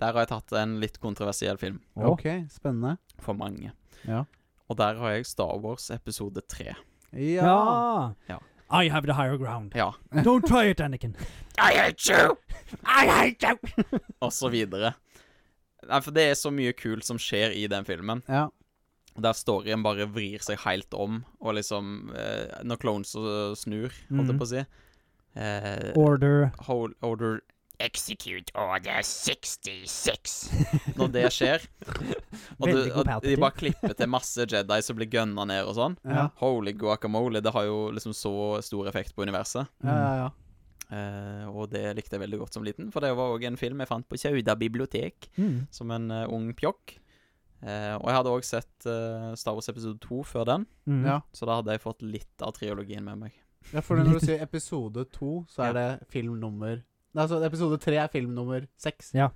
Der har jeg tatt en litt kontroversiell film. Å, Ok, spennende. For mange. Ja. Og der har jeg Star Wars episode tre. Ja. Ja. Ja. I have the higher ground. Ja. Don't try it, Anniken. I hate you! I hate you! (laughs) Og så videre. Nei, for det er så mye kult som skjer i den filmen. ja. Der storyen bare vrir seg helt om, og liksom eh, Når clones eh, snur, (laughs) holdt Mm. jeg på å si. Eh, Mm. Order hold, order Execute order 66. Når det skjer. og, du, Veldig god og de Palpatine. bare klipper til masse Jedi som blir gunna ned og sånn. Ja. Holy guacamole. Det har jo liksom så stor effekt på universet. Ja, ja, ja. Eh, og det likte jeg veldig godt som liten, for det var òg en film jeg fant på Sauda bibliotek mm. som en eh, ung pjokk. Eh, og jeg hadde òg sett eh, Star Wars episode 2 før den, Mm. Ja. så da hadde jeg fått litt av triologien med meg. ja, (laughs) for når du sier episode to, så er det film nummer Nei, altså episode tre er film nummer seks. Ja.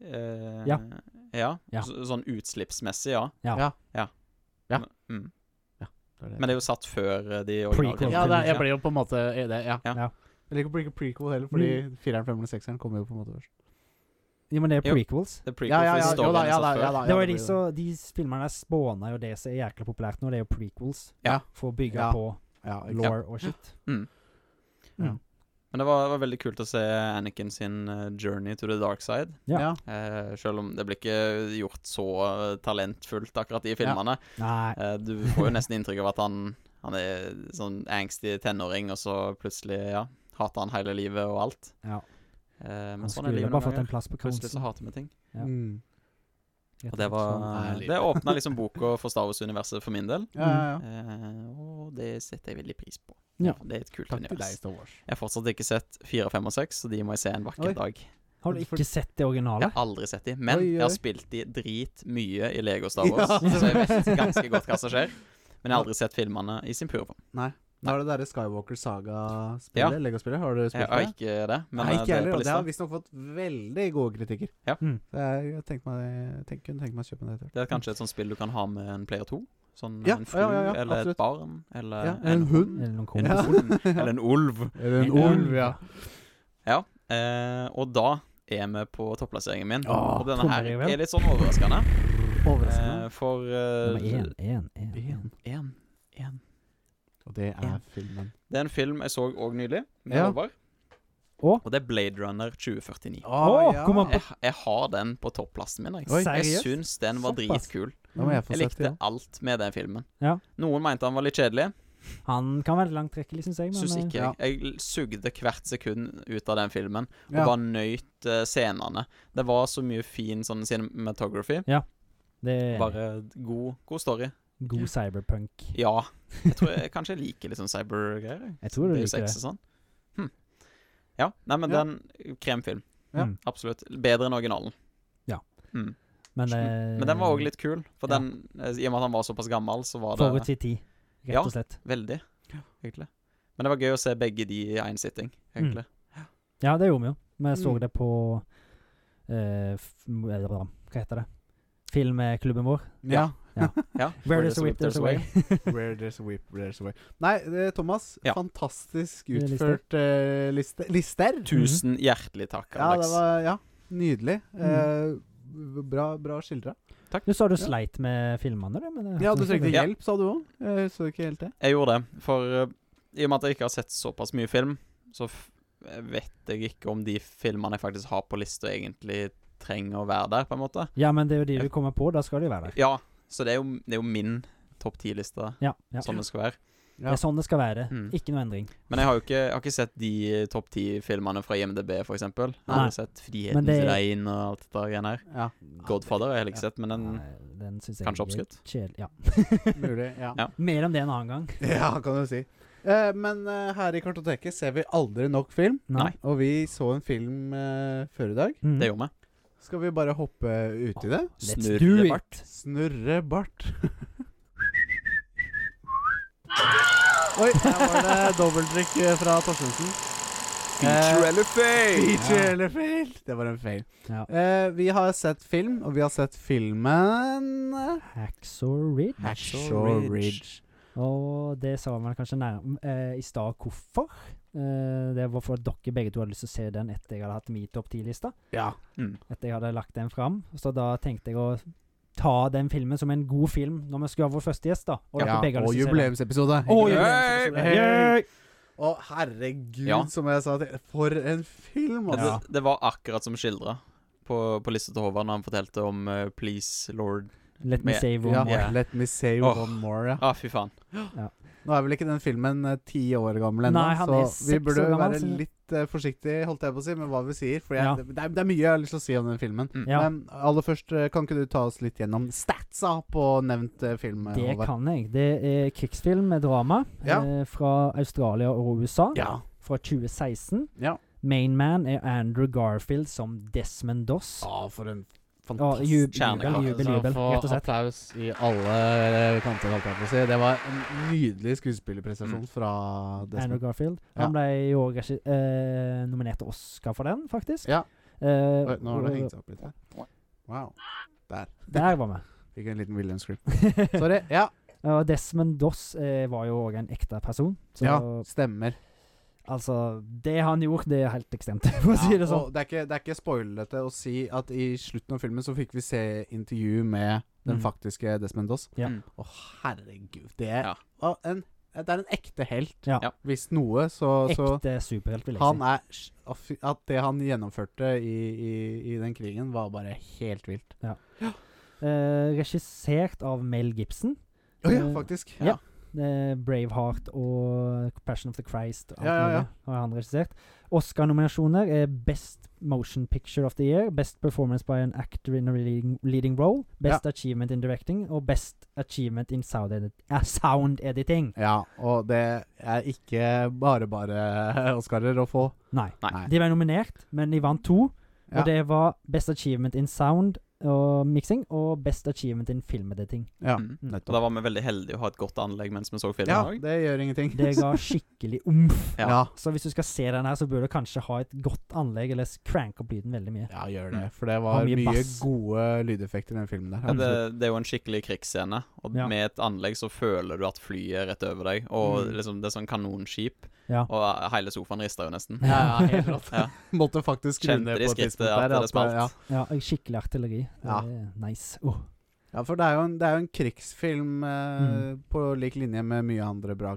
Eh, Ja. ja. Ja. Så, sånn utslippsmessig, ja. Ja. Ja. Ja. Ja. Men, mm. Det er det. Men det er jo satt før eh, de Prequel. originale. Ja, det, er- jeg ble jo på en måte i det, ja. Ja. Ja. Mm. Jeg liker ikke prequel heller, fordi fireren, femmeren og sekseren kommer jo på en måte først. Jo, men det er Jo. prequels. Det er prequel, for jo historien da, er ja satt da, før. ja da, ja, Det var jo de det blir som De filmerne der spåna jo det som er jækla populært nå, det er jo prequels. Ja. For å bygge Ja. på ja, ikke sant. law og shit. Mm. Mm. Men det var, var veldig kult å se Anakin sin eh, journey to the dark side. Ja. ja. Eh, selv om det blir ikke gjort så eh, talentfullt akkurat i filmene. Nei. Eh, du får jo nesten inntrykk av at han, han er sånn angsty tenåring, og så plutselig ja, hater han hele livet og alt. Ja. Eh, men Han sånn er skulle livet bare noen fått en sånn. ganger. plass på Plutselig så council. hater vi ting. Ja. Mm. rett Og det slett. var Sånn er livet. Det åpna liksom boka for Star Wars-universet for min del. Ja, ja, ja. Eh, og det setter jeg veldig pris på. Ja. Det er et kult Takk til univers. deg, Star Wars. Jeg har fortsatt ikke sett 4, 5 og 6, så de må jeg se en vakker Oi. dag. Har du ikke sett det Jeg originale? har aldri sett de, men Oi, oi. jeg har spilt de dritmye i Lego Star Wars, Ja. så jeg vet ganske godt hva som skjer. Men jeg har aldri sett filmene i sin pure form. Nå er det derre Skywalker Saga-spillet, Ja. Lego-spillet. Har du Jeg spilt har det? ikke det, men Nei, eh, ikke det er heller. på Og det har lista. visstnok fått veldig gode kritikker. Ja. Mm. Så jeg, jeg tenkte meg, jeg tenk, kunne tenke meg å kjøpe en etter. Det er kanskje et sånt spill du kan ha med en player 2. Sånn Ja, en ja, fru ja, ja, eller absolutt. et barn eller Ja, en hund. Eller noen Eh, En kompiser? hund, eller en ulv. Eller en ulv, ja. Eh, og da er vi på topplasseringen min. Åh, og denne kommer her jeg vel? er litt sånn overraskende. Eh, (laughs) Overraskende. for Nummer eh, én, én, én, én. en, en. Og det Ja. er filmen. Det er en film jeg så òg nylig, med Ja. Håvard. Å? Og det er Blade Runner 2049. Å, Å, kom an på- Jeg, jeg har den på topplassen min. Jeg, Oi. jeg Seriøst? syns den var Såpass. dritkul. Da må jeg få Jeg sett det. likte alt med den filmen. Ja. Noen mente han var litt kjedelig. Han kan være langtrekkelig, syns jeg. Men, Syns eh, ikke jeg. Jeg sugde hvert sekund ut av den filmen, og Ja. bare nøyt eh, scenene. Det var så mye fin sånn cinematography. eh, Det er Bare god, god story. god cyberpunk. Ja. Jeg tror jeg kanskje jeg liker litt sånn cybergreier. jeg. Jeg tror du Deus liker Ex det. og sånn. Hm. Ja. Nei, men Ja. den Kremfilm. Ja. Mm. Absolutt. Bedre enn originalen. Hm. Men, Men den var òg litt kul, for Ja. den, eh, i og med at han var såpass gammel, så var det Forut sin tid, rett Ja. og slett. veldig. Egentlig. Men det var gøy å se begge de i én sitting, egentlig. Ja, det gjorde vi jo. Vi så Mm. det på eh, f- eller Hva hva heter det? Filmklubben vår. Ja. Ja. Where Where there's a whip, there's a way. Where there's a whip, there's a way. Nei, det, Thomas. Ja. Fantastisk Lister. utført eh, liste. lister. Tusen hjertelig takk, Ja, det Alex. var Ja, nydelig. Eh, bra bra skildra. Du sa du Ja. sleit med filmene, du. Men det- Ja, du trengte Ja. hjelp, sa du òg. Jeg så ikke helt det. Jeg gjorde det, for eh, i og med at jeg ikke har sett såpass mye film, så f eh, vet jeg ikke om de filmene jeg faktisk har på lista, egentlig trenger å være der, på en måte. Ja, men det er jo de du kommer på. Da skal de jo være der. Ja, så det er jo, det er jo min topp ti-liste, Ja. ja. sånn det skal være. Ja. Det er sånn det skal være. Mm. Ikke noe endring. Men jeg har jo ikke, jeg har ikke sett de eh, topp ti filmene fra IMDb, for eksempel. Jeg Nei. har sett 'Friheten Men det- til regn' og alt dette greiene her. Ja, Godfather har jeg heller ikke sett, men den Nei, den synes jeg kanskje er oppskrytt. Kjedelig. Ja. mulig. Ja, Ja. (laughs) Mer om det en annen gang. (laughs) ja kan du si. Eh, men eh, her i Kartoteket ser vi aldri nok film. Nei. Og vi så en film eh, før i dag. Mm. Det gjorde vi. Skal vi bare hoppe uti det? Let's Snurre do bart. it! Snurre bart. Oi, her var det (laughs) dobbelttrykk eh, fra Torstensen. Eh, Feature eller fail? Feature eller fail? Det var en feil. Ja. Eh, vi har sett film, og vi har sett filmen eh, Hacksaw Ridge. Hacksaw Ridge. Og det sa man kanskje nær, eh, i stad hvorfor. Eh, det var for at dere begge to hadde lyst til å se den etter jeg hadde hatt min topp ti-lista. Ja. Mm. Etter jeg hadde lagt den fram. Så da tenkte jeg å ta den filmen som en god film når vi skulle ha vår første gjest, da. Og, dere ja. begge hadde lyst til Og å se den. jubileumsepisode. Og Hey! jubileumsepisode. Hey! Yay! Å, herregud, Ja. som jeg sa til For en film, Ja, altså. det, det var akkurat som skildra på, på lista til Håvard når han fortalte om eh, 'Please, Lord'. Let me Med- say one Ja, more. Ja. Let me say Åh. one more, ja. Ah, fy faen. Nå er vel ikke den filmen eh, ti år gammel ennå, Nei, han så er vi seks burde år gammel, være så- litt eh, forsiktige, holdt jeg på å si, med hva vi sier. For jeg, Ja. det, er, det er mye jeg har lyst til å si om den filmen. Mm. Ja. Men aller først, eh, kan ikke du ta oss litt gjennom statsa på nevnt eh, film? eh, Det Håvard? kan jeg. Det er krigsfilm med drama Ja. eh, fra Australia og USA Ja. fra 2016. Ja. Mainman er Andrew Garfield som Desmond Doss. Å, for en Ja, Ah, fantastisk jubel, kjernekraft. jubel, jubel, Så jubel, få rett og slett. applaus i alle eh, kanter, holdt jeg på å si. Det var en nydelig Mm. skuespillerprestasjon fra Andrew Desmond. Garfield. Han Ja. ble i år regi- eh, nominert til Oscar for den, faktisk. Ja. Eh, Oi, nå har det hengt og- seg opp litt her. Wow. Der var vi. Fikk en liten Williams (laughs) Grip. (laughs) Sorry. Ja. Og Desmond Doss eh, var jo òg en ekte person. Så ja. Stemmer. altså Det han gjorde, det er helt ekstremt, (laughs) for å si Ja, det sånn. og det er ikke, det er ikke spoilete å si at i slutten av filmen så fikk vi se intervju med den Mm. faktiske Desmond Doss. Ja. Mm. Å, herregud. Det er, Ja. å, en, det er en ekte helt. Ja. Ja. Hvis noe, så, så Ekte superhelt, vil jeg han si. er, s- å, fy- At det han gjennomførte i, i, i den krigen, var bare helt vilt. Eh, regissert av Mel Gibson. Å ja, Eh, faktisk. ja. Eh, Braveheart og Passion of the Christ. Alt Ja, ja, ja. mulig har han regissert. Oscar-nominasjoner er Best Motion Picture of the Year, Best Performance by an Actor in a Leading, leading Role, Best Achievement in Directing og Best Achievement in Sound, edit eh, sound Editing. Ja, og det er ikke bare bare Oscarer å få. Nei. Nei. De ble nominert, men de vant to. Ja. Og det var Best Achievement in Sound og Mixing og Best Achievement in Film Editing. Ja, Mm. Og nettopp. da var vi veldig heldige å ha et godt anlegg mens vi så filmen. Ja, det også. gjør ingenting. Det ga (laughs) skikkelig omf. Ja. ja. Så hvis du skal se den her, så bør du kanskje ha et godt anlegg, eller s- crank opp lyden veldig mye. Ja, gjør det. Mm. For det var Og mye, mye bass. gode lydeffekter i den filmen der. Ja, det, absolutt. det er jo en skikkelig krigsscene, og Ja. med et anlegg så føler du at flyet er rett over deg. Og Mm. liksom det er sånn kanonskip, Ja. og hele sofaen rister jo nesten. Ja, ja, helt (laughs) rått. Ja. Måtte faktisk skru Kjente ned de på et skrittet tidspunkt at der. eh, det smalt? ja. Ja, og skikkelig artilleri. Det Ja. er nice. Åh. ja, for det er jo en, det er jo en krigsfilm eh, på lik linje med mye andre bra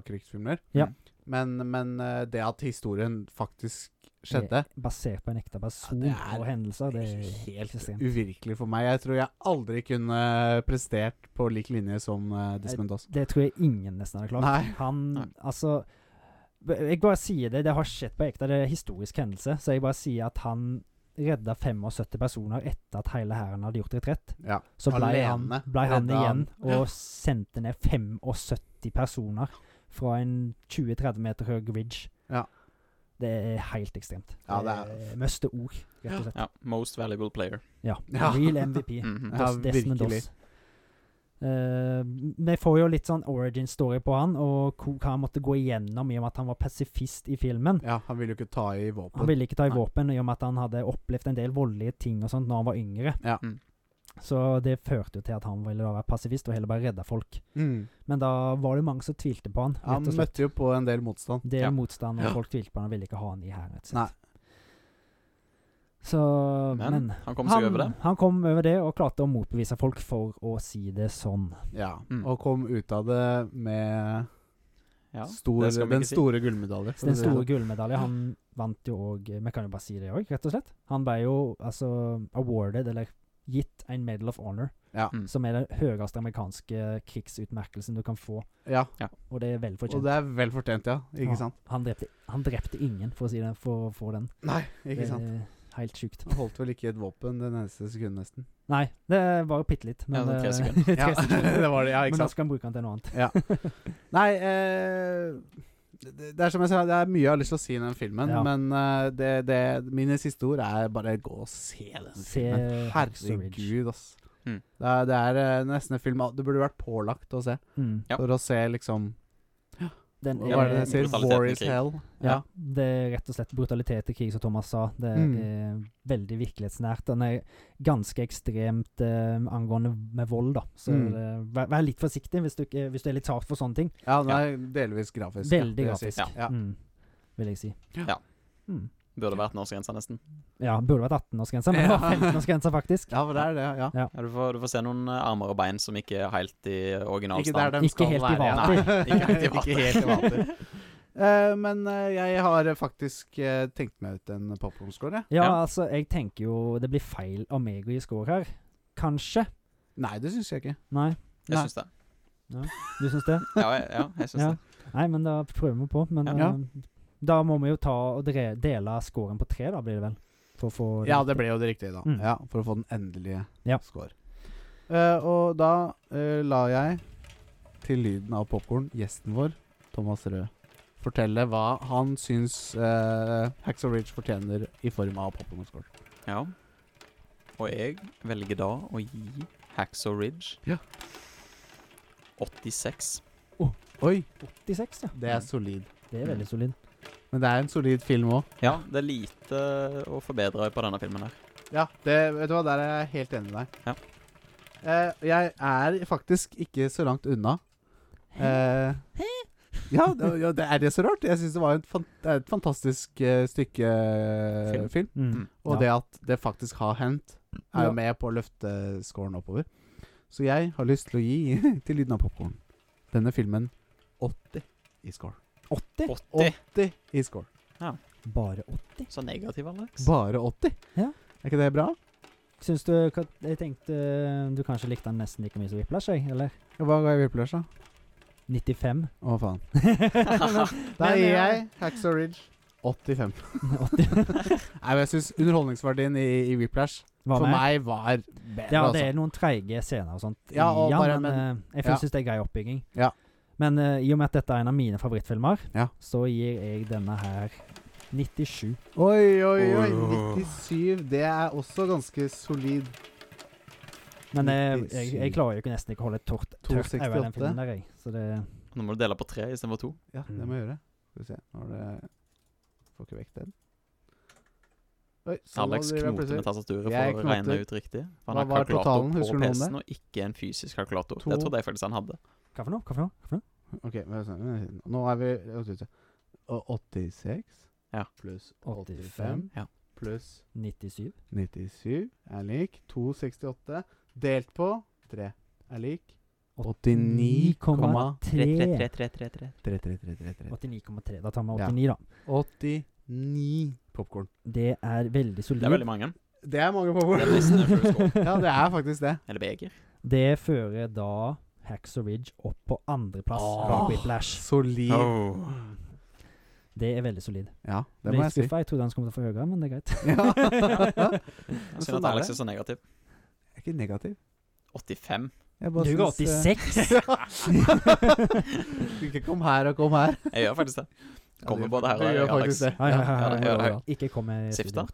Mm. krigsfilmer. Ja. Men, men eh, det at historien faktisk skjedde, Basert på en ekte person Ja, det er og hendelser. Det er helt ekstremt. uvirkelig for meg. Jeg tror jeg aldri kunne prestert på lik linje som eh, Desmond Doss. Det tror jeg ingen nesten hadde klart. Nei. Han, Nei. altså b- Jeg bare sier det, det har skjedd på ekte. Det er en historisk hendelse. Så jeg bare sier at han redda 75 personer etter at hele hæren hadde gjort retrett. Ja. Så ble han, Alene ble han redda igjen han. og sendte ned 75 personer fra en 20-30 meter høy ridge. Ja. Det er helt ekstremt. Ja, det er Møste ord, rett og slett. Ja, Most valuable player. Ja. Ja. Real MVP. Mhm. Ja, Dos, Desmond virkelig. Doss. Eh, vi får jo litt sånn origin story på han, og ko- hva han måtte gå igjennom i og med at han var pasifist i filmen. Ja, han ville jo ikke ta i Han våpen. ville ikke ta i Nei. våpen i og med at han hadde opplevd en del voldelige ting og sånt når han var yngre. Ja. Mm. Så det førte jo til at han ville da være pasifist og heller bare redde folk. Mm. Men da var det jo mange som tvilte på han. Han Rett og slett. møtte jo på en del motstand. Det er Ja. motstand, og Ja. folk tvilte på han og ville ikke ha han i hæren, rett og Nei. slett. Så Men, Men han kom seg over det. han kom over det og klarte å motbevise folk for å si det sånn. Ja, Mm. og kom ut av det med Ja, stor, det skal vi den ikke si. store gullmedalje. Så den store gullmedaljen Han vant jo eh, òg Vi kan jo bare si det òg, rett og slett. Han ble jo altså awarded, eller gitt, en Medal of Honor sånn. Ja. Mm. Som er den høyeste amerikanske krigsutmerkelsen du kan få. ja. Og det er vel Og fortjent. det er vel fortjent, ja. Ikke Ja. sant? Han drepte, han drepte ingen, for å si det, for å få den. Nei, ikke Det sant. er Helt sjukt. Han holdt vel ikke et våpen det neste sekundet, (laughs) nesten. Nei, det var bitte litt. Men, Ja, sånn tre eh, (laughs) sekunder. tre Ja, (laughs) sekunder. det var det, ja, men ikke da sant. skal han bruke den til noe annet. Nei, eh, det det er som jeg sa, det er mye jeg har lyst til å si i den filmen, Ja. men eh, det, det, mine siste ord er bare gå og se den Se filmen. Hacksaw Ridge. Herregud, ass. Mm. Det er, det er eh, nesten en film du burde vært pålagt å se, Mm. Ja. for å se liksom Den Hva Ja, er det men den sier? brutaliteten War i is krig. hell. Ja. Det er rett og slett brutalitet i krig, som Thomas sa. Det er Mm. veldig virkelighetsnært. Den er ganske ekstremt eh, angående med vold, da. Så Mm. det- vær, vær litt forsiktig hvis du, ikke, hvis du er litt hard for sånne ting. Ja, den er delvis grafisk. ja, Veldig det vil jeg si. grafisk, Ja. Mm, vil jeg si. Ja. Mm. Burde vært norskgrensa, nesten. Ja, burde vært 18-årsgrense, men det var Ja. 15-årsgrense, faktisk. Ja, for det er det, ja. Ja, du, får, du får se noen eh, armer og bein som ikke er helt i original Ikke der stand. de Ikke skal helt i være. vater. Nei, Ikke helt i vater. (laughs) ikke helt i vater. Eh, men eh, jeg har faktisk eh, tenkt meg ut en popkornscore. Ja, Ja. altså, jeg tenker jo det blir feil av meg å gi score her. Kanskje. Nei, det syns jeg ikke. Nei, Jeg syns det. du syns det? Ja, jeg, ja, (laughs) jeg syns Ja. det. Nei, men da prøver vi på. Men Ja. eh, da må vi jo ta og dre dele scoren på tre, da, blir det vel? For å få Ja, det ble jo det riktige, da. Mm. Ja, For å få den endelige Ja. score. Eh, og da eh, lar jeg, til lyden av popkorn, gjesten vår, Thomas Røe, fortelle hva han syns uh, Hacks of Ridge fortjener i form av popkornscore. Ja. Og jeg velger da å gi Hacksaw Ridge Ja. 86. Oi, 86, ja. det er solid. Det er veldig solid. Men det er en solid film òg. Ja, det er lite å forbedre på denne filmen her. Ja, det, vet du hva, der er jeg helt enig med deg. Ja. Eh, jeg er faktisk ikke så langt unna. Eh, ja, det, ja, det er det så rart? Jeg syns det var en fan, det er et fantastisk eh, stykke eh, film. Film. Mm. Mm. Og Ja. det at det faktisk har hendt, Ja. er jo med på å løfte scoren oppover. Så jeg har lyst til å gi, (laughs) til lyden av popkorn, denne filmen 80 i score. 80? 80! 80 i score. Bare 80? Så negativ, Alex. Bare 80? Ja. Er ikke det bra? Syns du hva- Jeg tenkte eh, du kanskje likte den nesten like mye som Whiplash, jeg? Eller Hva ga jeg Whiplash, da? (laughs) 95? Å, faen. Men- Da Men, eh, gir ja. jeg Hacksaw Ridge 85. 80 (laughs) Nei, men jeg syns underholdningsverdien i, i Whiplash Hva for med? meg var bedre. Ja, det altså. er noen treige scener og sånt. Ja, og bare- men, eh, jeg ja. syns det er grei oppbygging. Ja. Men eh, i og med at dette er en av mine favorittfilmer, Ja. så gir jeg denne her 97. Oi, oi, oi. Åh. 97. Det er også ganske solid. Men jeg, jeg, 97. jeg klarer jo ikke nesten ikke å holde et tørt tørt øye i den 268. filmen der, jeg. Så det Nå må du dele på tre istedenfor to. Ja, det må jeg gjøre. Skal vi se Nå er det Får ikke vekk den. Oi, sånn Alex nå driver jeg knoter med plutselig. tastaturet for Jeg å regne knoter. ut riktig. For Hva han var har kalkulator totalen? Husker du på noe om PC-en, og ikke en fysisk kalkulator. To. Det trodde jeg faktisk han hadde. Hva for noe? Hva for noe? Hva for noe? Ok, men sånn, Nå er vi vet du, og 86 Ja. pluss 85 85. Ja. pluss 97. 97 er lik 268 delt på 3 er lik 89,3. 33333. 89,3. Da tar vi 89, da. 89 popkorn. Det er veldig Det er solid. veldig mange. Det er mange Det er nesten en full score. (laughs) ja, det er faktisk det. Eller beger. Det fører da Hacksaw Ridge opp på andreplass Åh. bak Whiplash. Solid. Det er veldig solid. Ja, det Ble må litt jeg si. skuffa. Jeg trodde han skulle få høyere, men det er greit. (laughs) Ja. Synd Sånn at er Alex det. er så negativ. Jeg er ikke negativ. 85. Jeg Du ga eh, (laughs) 86! Ja. Ikke kom her og kom her. Jeg gjør faktisk det. (laughs) Kommer Ja, både her du og gjør Alex. faktisk det. Hei, hei, hei, Ja, hei. det gjør det. Ikke kom med Sifta?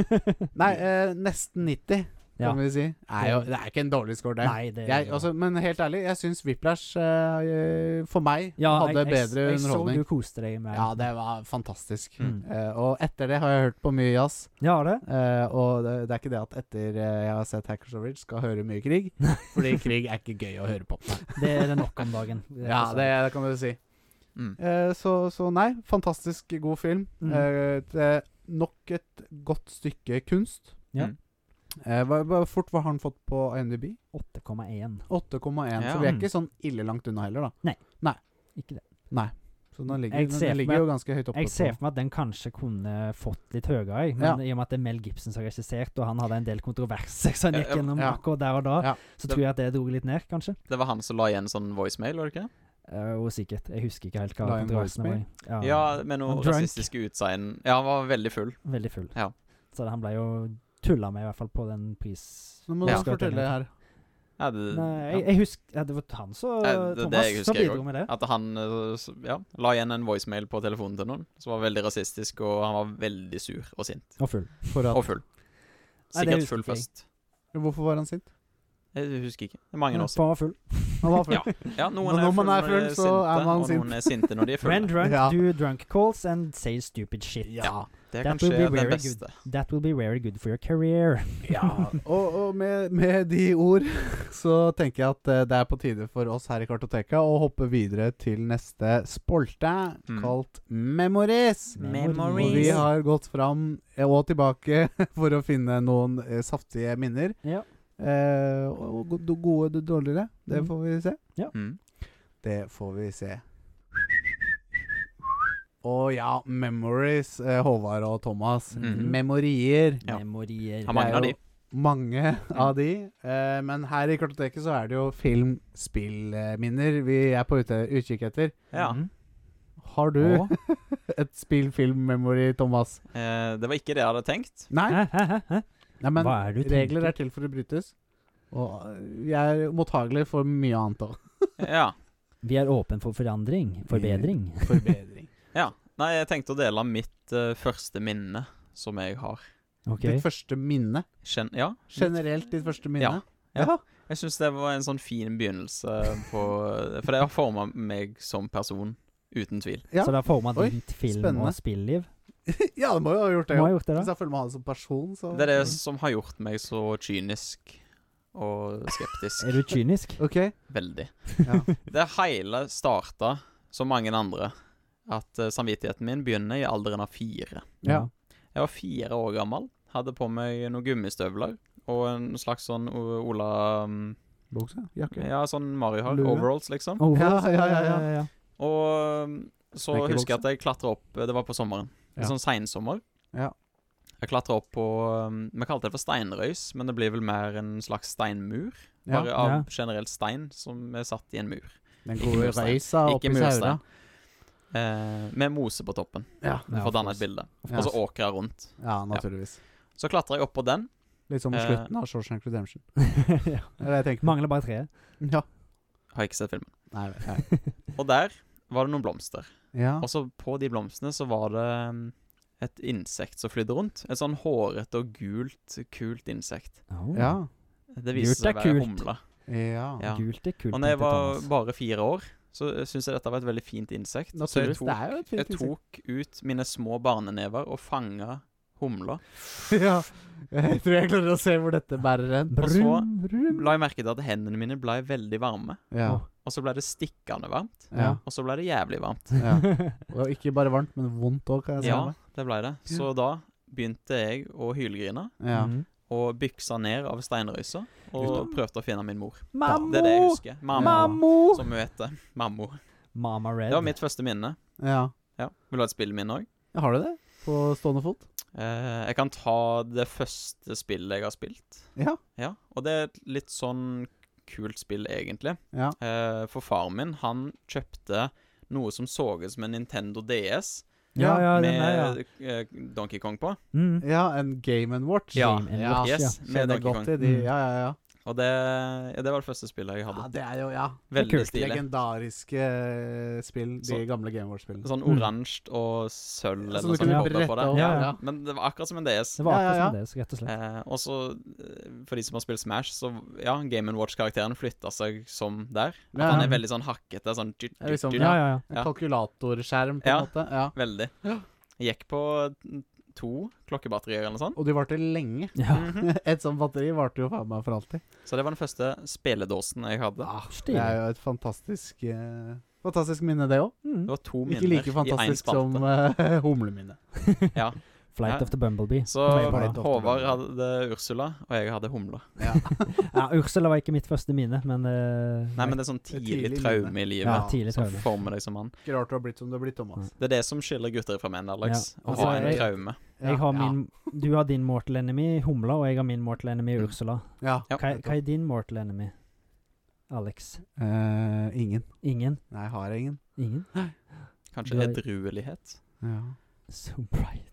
(laughs) Nei, eh, nesten 90, Ja. kan vi si. Er jo, det er ikke en dårlig score, det. Nei, det Jeg, altså, men helt ærlig, jeg syns Whiplash eh, eh, for meg Ja, hadde jeg- bedre jeg, jeg underholdning. så du koste deg med Ja, det var fantastisk. Mm. Eh, og etter det har jeg hørt på mye jazz. Ja, (laughs) det? eh, og det, det er ikke det at etter eh, jeg har sett Hackers of Ridge, skal høre mye krig. (laughs) Fordi krig er ikke gøy å høre på. Det er det nok om dagen. Ja, Altså, det, det kan du si. Mm. Eh, så, så nei, fantastisk god film. Mm. Eh, det er nok et godt stykke kunst. Ja. Mm. Eh, hva, hva, fort hva har han fått på IMDb? 8,1. 8,1. Ja. Så vi er Mm. ikke sånn ille langt unna heller, da. Ikke det. Nei. Så den ligger, Jeg ser den for ligger meg- jo ganske høyt oppe. Jeg ser på- for meg at den kanskje kunne fått litt høyere, jeg. men i og med at det er Mel Gibson som har regissert, og han hadde en del kontroverser som han Ja, gikk ja, gjennom ja. akkurat der og da, Ja. så Det- tror jeg at det dro litt ned, kanskje. Det var han som la igjen sånn voicemail, var det ikke? Eh, og sikkert. Jeg husker ikke helt hva Lion kontroversen var. i. Ja, Ja, med noen Han drunk. rasistiske utsagn. Ja, han var veldig full. Veldig full. Ja. Så han ble jo tulla med, i hvert fall på den pris... Nå må du Ja. fortelle her. Ja, det, Nei, jeg, ja. jeg husker ja, Det var han som Eh, det- det Thomas husker som jeg bidro også. med det. At han eh, s- ja, la igjen en voicemail på telefonen til noen som var veldig rasistisk, og han var veldig sur og sint. Og full. For at, Og full. Nei, det Sikkert husker full ikke jeg. først. hvorfor var han sint? Jeg husker ikke. Det er mange år siden. Han var full. Han var full. Ja. Ja, noen Men er når man full er når full, de så er sinte, man og noen sint. er sinte når de er When full. drunk, Ja. do drunk calls and say stupid shit. That Det kan will be skje very den good. beste. That will be very good for your career. (laughs) og og med, med de ord (laughs) så tenker jeg at eh, det er på tide for oss her i Kartoteka å hoppe videre til neste spolte, Mm. kalt (laughs) Memories. Memories. Og vi har gått fram eh, og tilbake (laughs) for å finne noen eh, saftige minner. Ja. Eh, og og go- gode og dårligere. Det Mm. får vi se. Mm. Det får vi se. Å ja, memories, eh, Håvard og Thomas. Mhm. Memorier. Ja. Memorier. Han mangler Det de. er jo- Mange av de. Eh, men her i Kartoteket så er det jo film, spill, eh, minner vi er på ute, utkikk etter. Ja. Mhm. Har du (laughs) Å. et spill, film, memory, Thomas? Eh, det var ikke det jeg hadde tenkt. Nei? Hæ, hæ, hæ, hæ? Nei men Hva er det du regler tenker? er til for å brytes. Og eh, vi er mottagelige for mye annet òg. Ja. Vi er åpen for forandring. Forbedring. Forbedring. ja. Nei, jeg tenkte å dele mitt eh, første minne som jeg har. Ok. (laughs) Ditt første minne. Kjen ja. Generelt ditt første minne. Ja. Jeg syns det var en sånn fin begynnelse på eh, For det har forma meg som person, uten tvil. Ja. Så det har forma Oi, ditt film- spennende. og spilliv. (laughs) ja, det må jo ha gjort det. Må ja. ha gjort det, Hvis (laughs) da. jeg føler meg han som person, så Det er det som har gjort meg så kynisk og skeptisk. Er du kynisk? OK. Veldig. Ja. (laughs) Det hele starta, som mange andre, at eh, samvittigheten min begynner i alderen av fire. Ja. Jeg var fire år gammel, hadde på meg noen gummistøvler og en slags sånn O- Ola mm, Bukse? Jakke? Ja, sånn Mario har. Lue. Overalls, liksom. Oh, Ja, altså, ja, ja, (laughs) ja. Og um, så Snekkerboksen. husker jeg at jeg klatra opp eh, Det var på sommeren. Ja. En sånn seinsommer. Ja. Jeg klatra opp på um, Vi kalte det for steinrøys, men det blir vel mer en slags steinmur. Ja. Bare av Ja. generelt stein som er satt i en mur. Den Ikke gode murstein. reisa Ikke oppi Saura. murstein. Eh, med mose på toppen, Ja. for å danne et bilde. Ja. Og så åkra jeg rundt. ja, naturligvis. Så klatra jeg opp på den. Litt som Eh. slutten av Shawshank Redemption. ja. Det er det jeg tenker. Mangler bare treet. på. Ja. Har ikke sett filmen. Nei, (laughs) nei. Og der var det noen blomster. Ja. Og så på de blomstene så var det mm, et insekt som flydde rundt. Et sånn hårete og gult, kult insekt. Oh. Ja. Det viser Gult er seg å være kult. humle. ja. Ja. Gult er kult. Og når tenkte jeg var Thomas. bare fire år, så syns jeg dette var et veldig fint insekt. Så jeg Naturligvis. tok, Det er jo et jeg fint insekt. tok ut mine små barnenever og fanga humler. ja. Jeg tror jeg klarer å se hvor dette bærer hen. Og så Brum, brum. la jeg merke til at hendene mine ble veldig varme. Ja. Og så ble det stikkende varmt. Ja. Og så ble det jævlig varmt. ja. (laughs) Og ikke bare varmt, men vondt òg, kan jeg si. Ja, meg. det ble det. Så da begynte jeg å hylgrine. Ja. Mhm. Og byksa ned av steinrøysa. Og prøvde å finne min mor. Mammo! Det er det jeg husker. Mammo, Mammo! som hun heter. Mammo. Mama Red. Det var mitt første minne. ja. Ja. Vil du ha et spillminne òg? Ja, Har du det? På stående fot? Eh, jeg kan ta det første spillet jeg har spilt. Ja. Ja, Og det er et litt sånn kult spill, egentlig. Ja. Eh, for faren min, han kjøpte noe som så ut som en Nintendo DS Ja, ja, den med der, ja. eh, Donkey Kong på. Mm. Ja, en Game and Watch. Ja, Game and ja. Watch, yes, med Kjenner Donkey godt Kong. til de. Mm. Ja, ja, ja. Og det, ja, det var det første spillet jeg ja hadde. det er jo ja. Veldig kult. stilig. legendariske eh, spill, de Så- gamle Game Watch-spillene. Sånn Mm. oransje og sølv eller Som du noe sånt. kunne koblet på brette det. opp. Ja, Ja, ja. ja. Men det var akkurat som en DS. Det var Ja, akkurat ja, ja. som det, så rett og slett. Eh, og så, eh, for de som har spilt Smash, så ja, Game Watch-karakteren flytta seg som der. At Ja, han ja. er veldig sånn hakkete. Sånn dyrt, Ja, liksom, dyrt, dyrt. Ja, ja, ja. En Ja. kalkulatorskjerm, på en Ja. måte. Ja. Veldig. Ja. Jeg Gikk på to klokkebatterier eller noe sånt. Og de varte lenge. (laughs) ja. Mhm. Et sånt batteri varte jo faen meg for alltid. Så det var den første speledåsen jeg hadde. Ah, Stilig. det (laughs) er jo et fantastisk eh, Fantastisk minne, det òg. Mm. Det var to Ikke minner like i én fantastisk (laughs) spalte. som eh, humleminnet. Ja. Flight Ja. of the Bumblebee. Så Kom igjen, da. Flight of- Håvard hadde Ursula, og jeg hadde humla. ja, Ursula var ikke mitt første mine, men eh, Nei, men det er sånn tidlig tidlig traume i minne. ja, livet. tidlig Som traume. former deg som mann. Ikke rart du har blitt som du har blitt, Thomas. Det er det som skiller gutter fra menn, Alex. Ja. Å ha Altså, en jeg- traume. Jeg har min, du har din mortal enemy Humla, og jeg har min mortal enemy Ursula. Ja. Mm. Ja. Hva, er- hva er din mortal enemy? Alex? Eh, ingen. Ingen? Nei, jeg har ingen. Ingen? Kanskje Du er- edruelighet. Ja. So bright.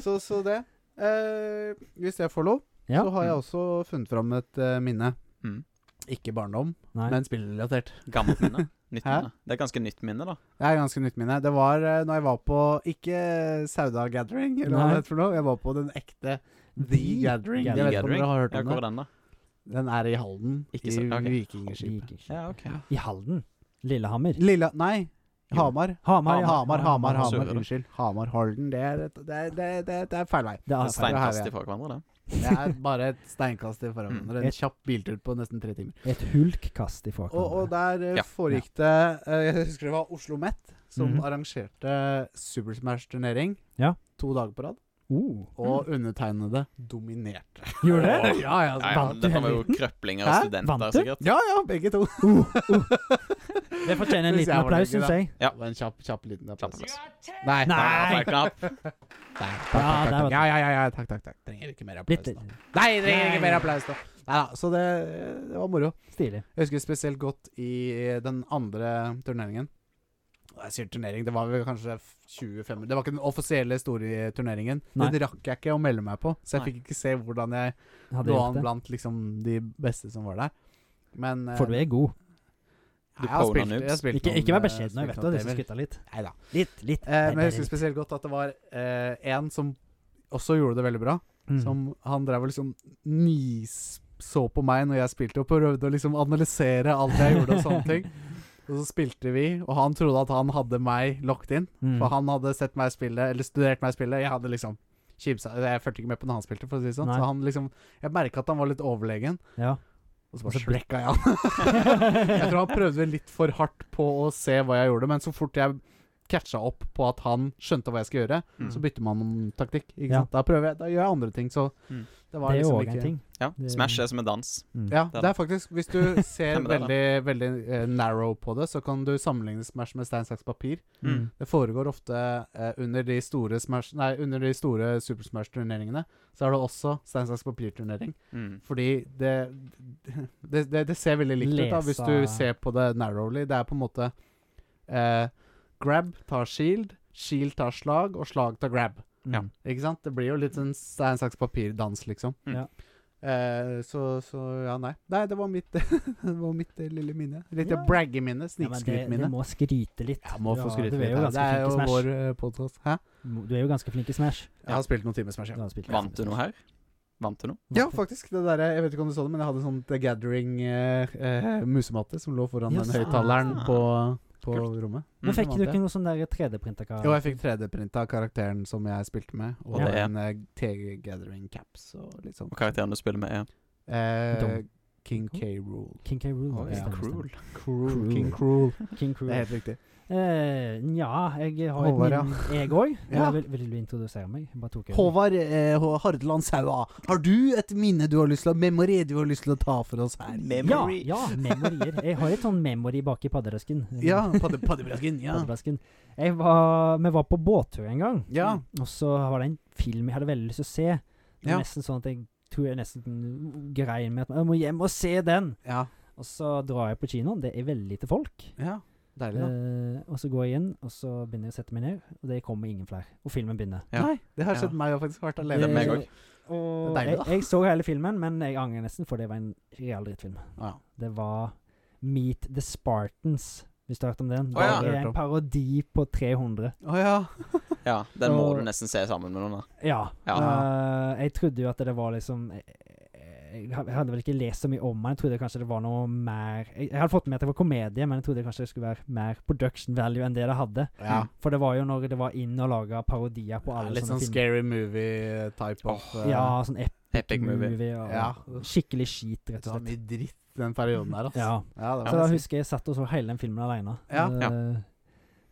Så, så det. Eh, hvis jeg får lov, Ja. så har jeg også funnet fram et eh, minne. Mm. Ikke barndom, Nei. men spillrelatert. Gammelt minne. Nytt Hæ? minne. Det er ganske nytt minne, da. Det er ganske nytt minne. Det var uh, når jeg var på Ikke Sauda Gathering, eller hva Nei. det heter for noe. Jeg var på den ekte The Gathering. Gathering. Jeg vet ikke om Gathering? dere har hørt Ja, om hvor er det. den, da? Den er i Halden, Ikke i så- ok. Vikingskipet. Ja, ok. I Halden. Lillehammer. Lilla Nei, Hamar. Hamar. Hamar, ja. Hamar, Hamar. Hamar, Hamar. Søre. Unnskyld. Hamar Halden. Det er, et- det er, det er, det er, det er feil vei. Det er Hamar. Steinkast ifra hverandre, det. Det er bare et steinkast i forhånd. Mm. En kjapp biltur på nesten tre timer. et hulkkast ifra Og, hverandre. og der eh, Ja. foregikk det eh, Jeg husker det var Oslo Met som Mhm. arrangerte Super Smash-turnering Ja. to dager på rad. Oh, Og undertegnede dominerte. (laughs) gjorde det? ja, ja, Ja, så ja, vant men du dette var jo hele- krøplinger og Hæ? studenter, Vant du? sikkert. ja, ja, begge to. Uh, Det fortjener en Hvis liten jeg var applaus, lykkelig, syns da. jeg. Ja. Det var en kjapp, kjapp liten Kjapp applaus. applaus. Nei. Ja, Nei. feil knapp. Nei, takk, Ja, takk, der takk. var det. ja, ja, ja, ja, takk, takk, takk. Trenger ikke mer applaus, Litt eh, da. Nei, trenger ikke mer applaus, da. Nei da, så det, det var moro. stilig. Jeg husker spesielt godt i den andre turneringen. Og Jeg sier turnering, det var vel kanskje 25 Det var ikke den offisielle store turneringen. Nei. Den rakk jeg ikke å melde meg på, så jeg Nei. fikk ikke se hvordan jeg Hadde lå gjort an det. blant liksom de beste som var der. Men eh, For du er god. Du jeg har pona spilt- jeg har noobs. spilt Ikke, noen, ikke vær eh, beskjeden nå, jeg spilt vet du. noen Du skal timer. skutte litt. Neida. Litt, litt. Mm. Eh, men jeg Bare husker spesielt godt at det var eh, en som også gjorde det veldig bra. litt. Mm. Som han drev og liksom nis så på meg når jeg spilte, og prøvde å liksom analysere alt jeg gjorde og (laughs) sånne ting. Og så spilte vi, og han trodde at han hadde meg locked in. Mm. For han hadde sett meg spille, eller studert meg spille. Jeg hadde liksom kjipsa Jeg fulgte ikke med på når han spilte, for å si det sånn. Nei. Så han liksom Jeg merka at han var litt overlegen, Ja. og så bare Så ble- slekka jeg han. (laughs) jeg tror han prøvde litt for hardt på å se hva jeg gjorde, men så fort jeg catcha opp på at han skjønte hva jeg skulle gjøre, Mm. så bytter man om taktikk. Ikke Ja. sant? Da prøver jeg, da gjør jeg andre ting. Så Mm. det var Det er jo liksom òg ikke en ting. Ja, Det- Smash er som en dans. Mm. Ja, Det er det er faktisk Hvis du (laughs) ser Stemmer det, da. veldig, veldig eh, narrow på det, så kan du sammenligne Smash med stein, saks, papir. Mm. Det foregår ofte eh, under de store Smash Nei, under de store Super Smash-turneringene. Så er det også stein, saks, papir-turnering. Mm. Fordi det det, det det ser veldig likt ut da hvis du Lesa- ser på det narrowly. Det er på en måte eh, Grab tar shield, shield tar slag, og slag tar grab. Mm. Ja. Ikke sant? Det blir jo litt sånn stein, saks, papir-dans, liksom. Mm. Ja. Eh, så, så ja, nei. Nei, det var mitt, (laughs) det var mitt eh, lille minne. Litt Ja. braggeminne. Ja, men det, det Snikskrytminne. må skryte litt. Jeg må Ja, få skryte Du er litt. jo ja. ganske Det er flink i jo Smash. vår eh, podcast. Hæ? Du er jo ganske flink i Smash. Jeg har spilt noen timer Smash, Du ja. har spilt Vant ganske du noe her? Vant du noe? mye. Ja, faktisk. Det der, jeg vet ikke om du så det, men jeg hadde sånn The Gathering-musematte eh, som lå foran Ja, den sant. høyttaleren på, på Kult. rommet. Men fikk Mm, vant du jeg. ikke noe sånn der 3D-printa kar? Jo, jeg fikk 3D-printa karakteren som jeg spilte med, og Ja. en eh, T-Gathering-caps og litt sånn. Og karakteren du spiller med, er Eh, Dom- King K. Rule. King K. Rool. Oi, stemmer, cruel. stemmer. Cruel. King Cruel. King Cruel. Det er helt riktig. Eh, nja, jeg har et Håvard, ja. minne, jeg òg. (laughs) Ja. Vil, vil du introdusere meg? Jeg bare tok over. Håvard eh, Hå- Hardeland Saua, har du et minne du har lyst til å Memory du har lyst til å ta for oss her? Ja, ja, memorier. Jeg har et sånn memory bak i paddedasken. (laughs) Ja, padde, (laughs) paddebrasken. Ja. Paddedasken. Jeg var, vi var på båttur en gang, Ja. og så var det en film jeg hadde veldig lyst til å se. Det var Ja. Nesten sånn at jeg tror jeg nesten grein med at jeg må hjem og se den. ja. Og så drar jeg på kinoen, det er veldig lite folk. ja. Deilig, da. Eh, og så går jeg inn, og så begynner jeg å sette meg ned, og det kommer ingen flere. Og filmen begynner. Ja. Nei, det har Ja. skjedd meg. Jeg har faktisk vært Det alene. er meg med òg. Eh, Og Det er deilig, da. jeg, jeg så hele filmen, men jeg angrer nesten, for det var en real drittfilm. Ja. Det var Meet the Spartans, hvis du har hørt om den. Å, ja. Det er en parodi på 300. Å ja. Ja, den må Og- du nesten se sammen med noen, da. Ja. Ja. Eh, jeg trodde jo at det var liksom jeg, jeg jeg hadde vel ikke lest så mye om den. Jeg trodde kanskje det var noe mer Jeg, jeg hadde fått med at det var komedie, men jeg trodde kanskje det skulle være mer production value enn det det hadde. ja. For det var jo når det var inn og laga parodier på alle Litt sånn sånne filmer. scary movie-type of eh, Ja, sånn epic, Epic movie. movie. og, Ja. sånn Skikkelig skit, Det rett og var slett. mye dritt den perioden der, altså. Ja. Ja, det Så var da det. husker jeg satt og så hele den filmen alene Ja. Eh,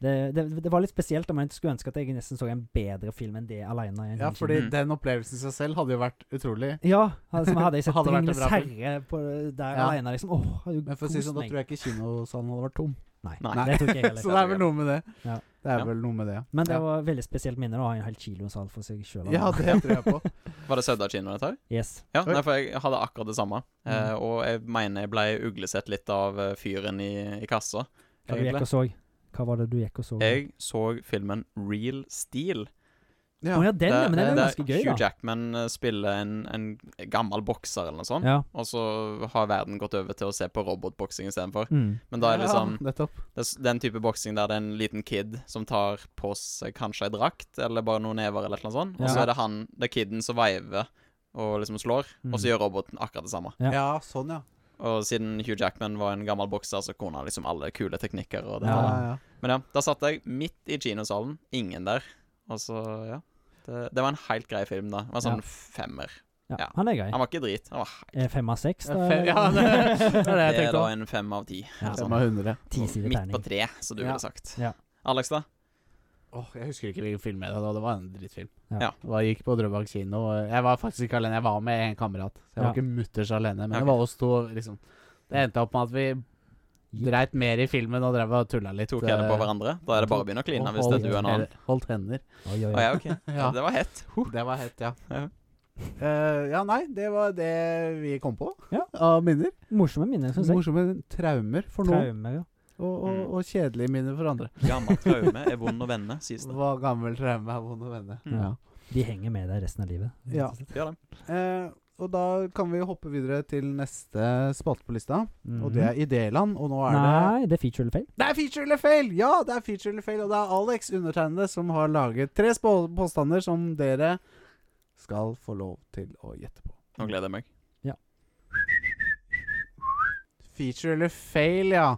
Det, det, det var litt spesielt, om jeg skulle ønske at jeg nesten så en bedre film enn det alene. sånn Ja, fordi Mm. den opplevelsen i seg selv hadde jo vært utrolig. ja, altså, hadde jeg sett (laughs) Hadde vært en 'Ringenes bra film. herre' på, der Ja. alene, liksom Åh, hadde jo Men for å si det kost sånn, da meg. tror jeg ikke kinosalen hadde vært tom. Nei, Nei. (laughs) det tror ikke jeg (laughs) Så heller. det er vel noe med det. Ja. Det er Ja. vel noe med det, ja. Men det ja. var veldig spesielt minne å ha en hel kilo sal for seg sjøl. ja, det tror jeg (laughs) på. Var det Sauda kino dette her? Yes. Ja, Oi. nei, for jeg hadde akkurat det samme. Eh, Mm. og jeg mener jeg ble uglesett litt av eh, fyren i, i kassa. Hva du gikk egentlig. og så? Hva var det du gikk og så? Jeg så filmen Real Steel. Å ja, den, ja, men den er jo der ganske gøy, Hugh da. Jackman eh, spiller en, en gammel bokser eller noe sånt. Ja. Og så har verden gått over til å se på robotboksing istedenfor. Mm. Men da er det liksom Ja, nettopp. det er s- den type boksing der det er en liten kid som tar på seg kanskje ei drakt, eller bare noen never, eller noe sånt. Og så Ja. er det han, det er kiden som veiver og liksom slår, mm. og så gjør roboten akkurat det samme. Ja. Ja. sånn, ja. Og siden Hugh Jackman var en gammel bokser, så kunne han liksom alle kule teknikker og det. ja, Ja. der. ja, Men ja, da satt jeg midt i kinosalen. Ingen der. Og så, ja. Det, det var en helt grei film, da. Det var sånn Ja. femmer. Ja. Ja. Han er grei. Han var ikke drit. Han var helt Eh, Fem av seks, da? ja. Fem- eller? ja det, det (laughs) er det jeg Det er tenkte da òg. en fem av ti. Ja. eller Fem sånn. av hundre. (laughs) Ti sider Midt på terning. tre, som du Ja. ville sagt. Ja. Alex, da? Åh, jeg husker ikke hvilken film det var. Det var en drittfilm. Ja. Ja. Og Jeg gikk på Drøbak kino. og Jeg var faktisk ikke alene, jeg var med en kamerat. Så Ja. jeg var ikke mutters alene. Men Ok. det var oss to, liksom. Det endte opp med at vi dreit mer i filmen og drev og tulla litt. Tok jeg det på eh, hverandre? Da er det bare å begynne å kline hvis det er du og en annen. Holdt hender. Oi, oi, Å, oi. ja, ok. ja. Det var hett. Det var hett, ja. Ja. Eh, ja, nei, det var det vi kom på Ja. av minner. Morsomme minner, syns jeg. Morsomme traumer for noen, Traumer, ja. og, og, Mm. og kjedelige minner for andre. (laughs) Gammel traume er vond å vende, sies det. Hva gammel traume er vond å vende. Mm. Ja. De henger med deg resten av livet. rett og Ja. slett. Gjør det. Eh, og da kan vi hoppe videre til neste spalte på lista, og Mhm. det Mm. er Idéland. Og nå er det Nei, det er feature eller fail. Det er feature eller fail! Ja, det er feature eller fail, og det er Alex, undertegnede, som har laget tre spå- påstander som dere skal få lov til å gjette på. Nå gleder jeg meg. Feature eller fail, ja.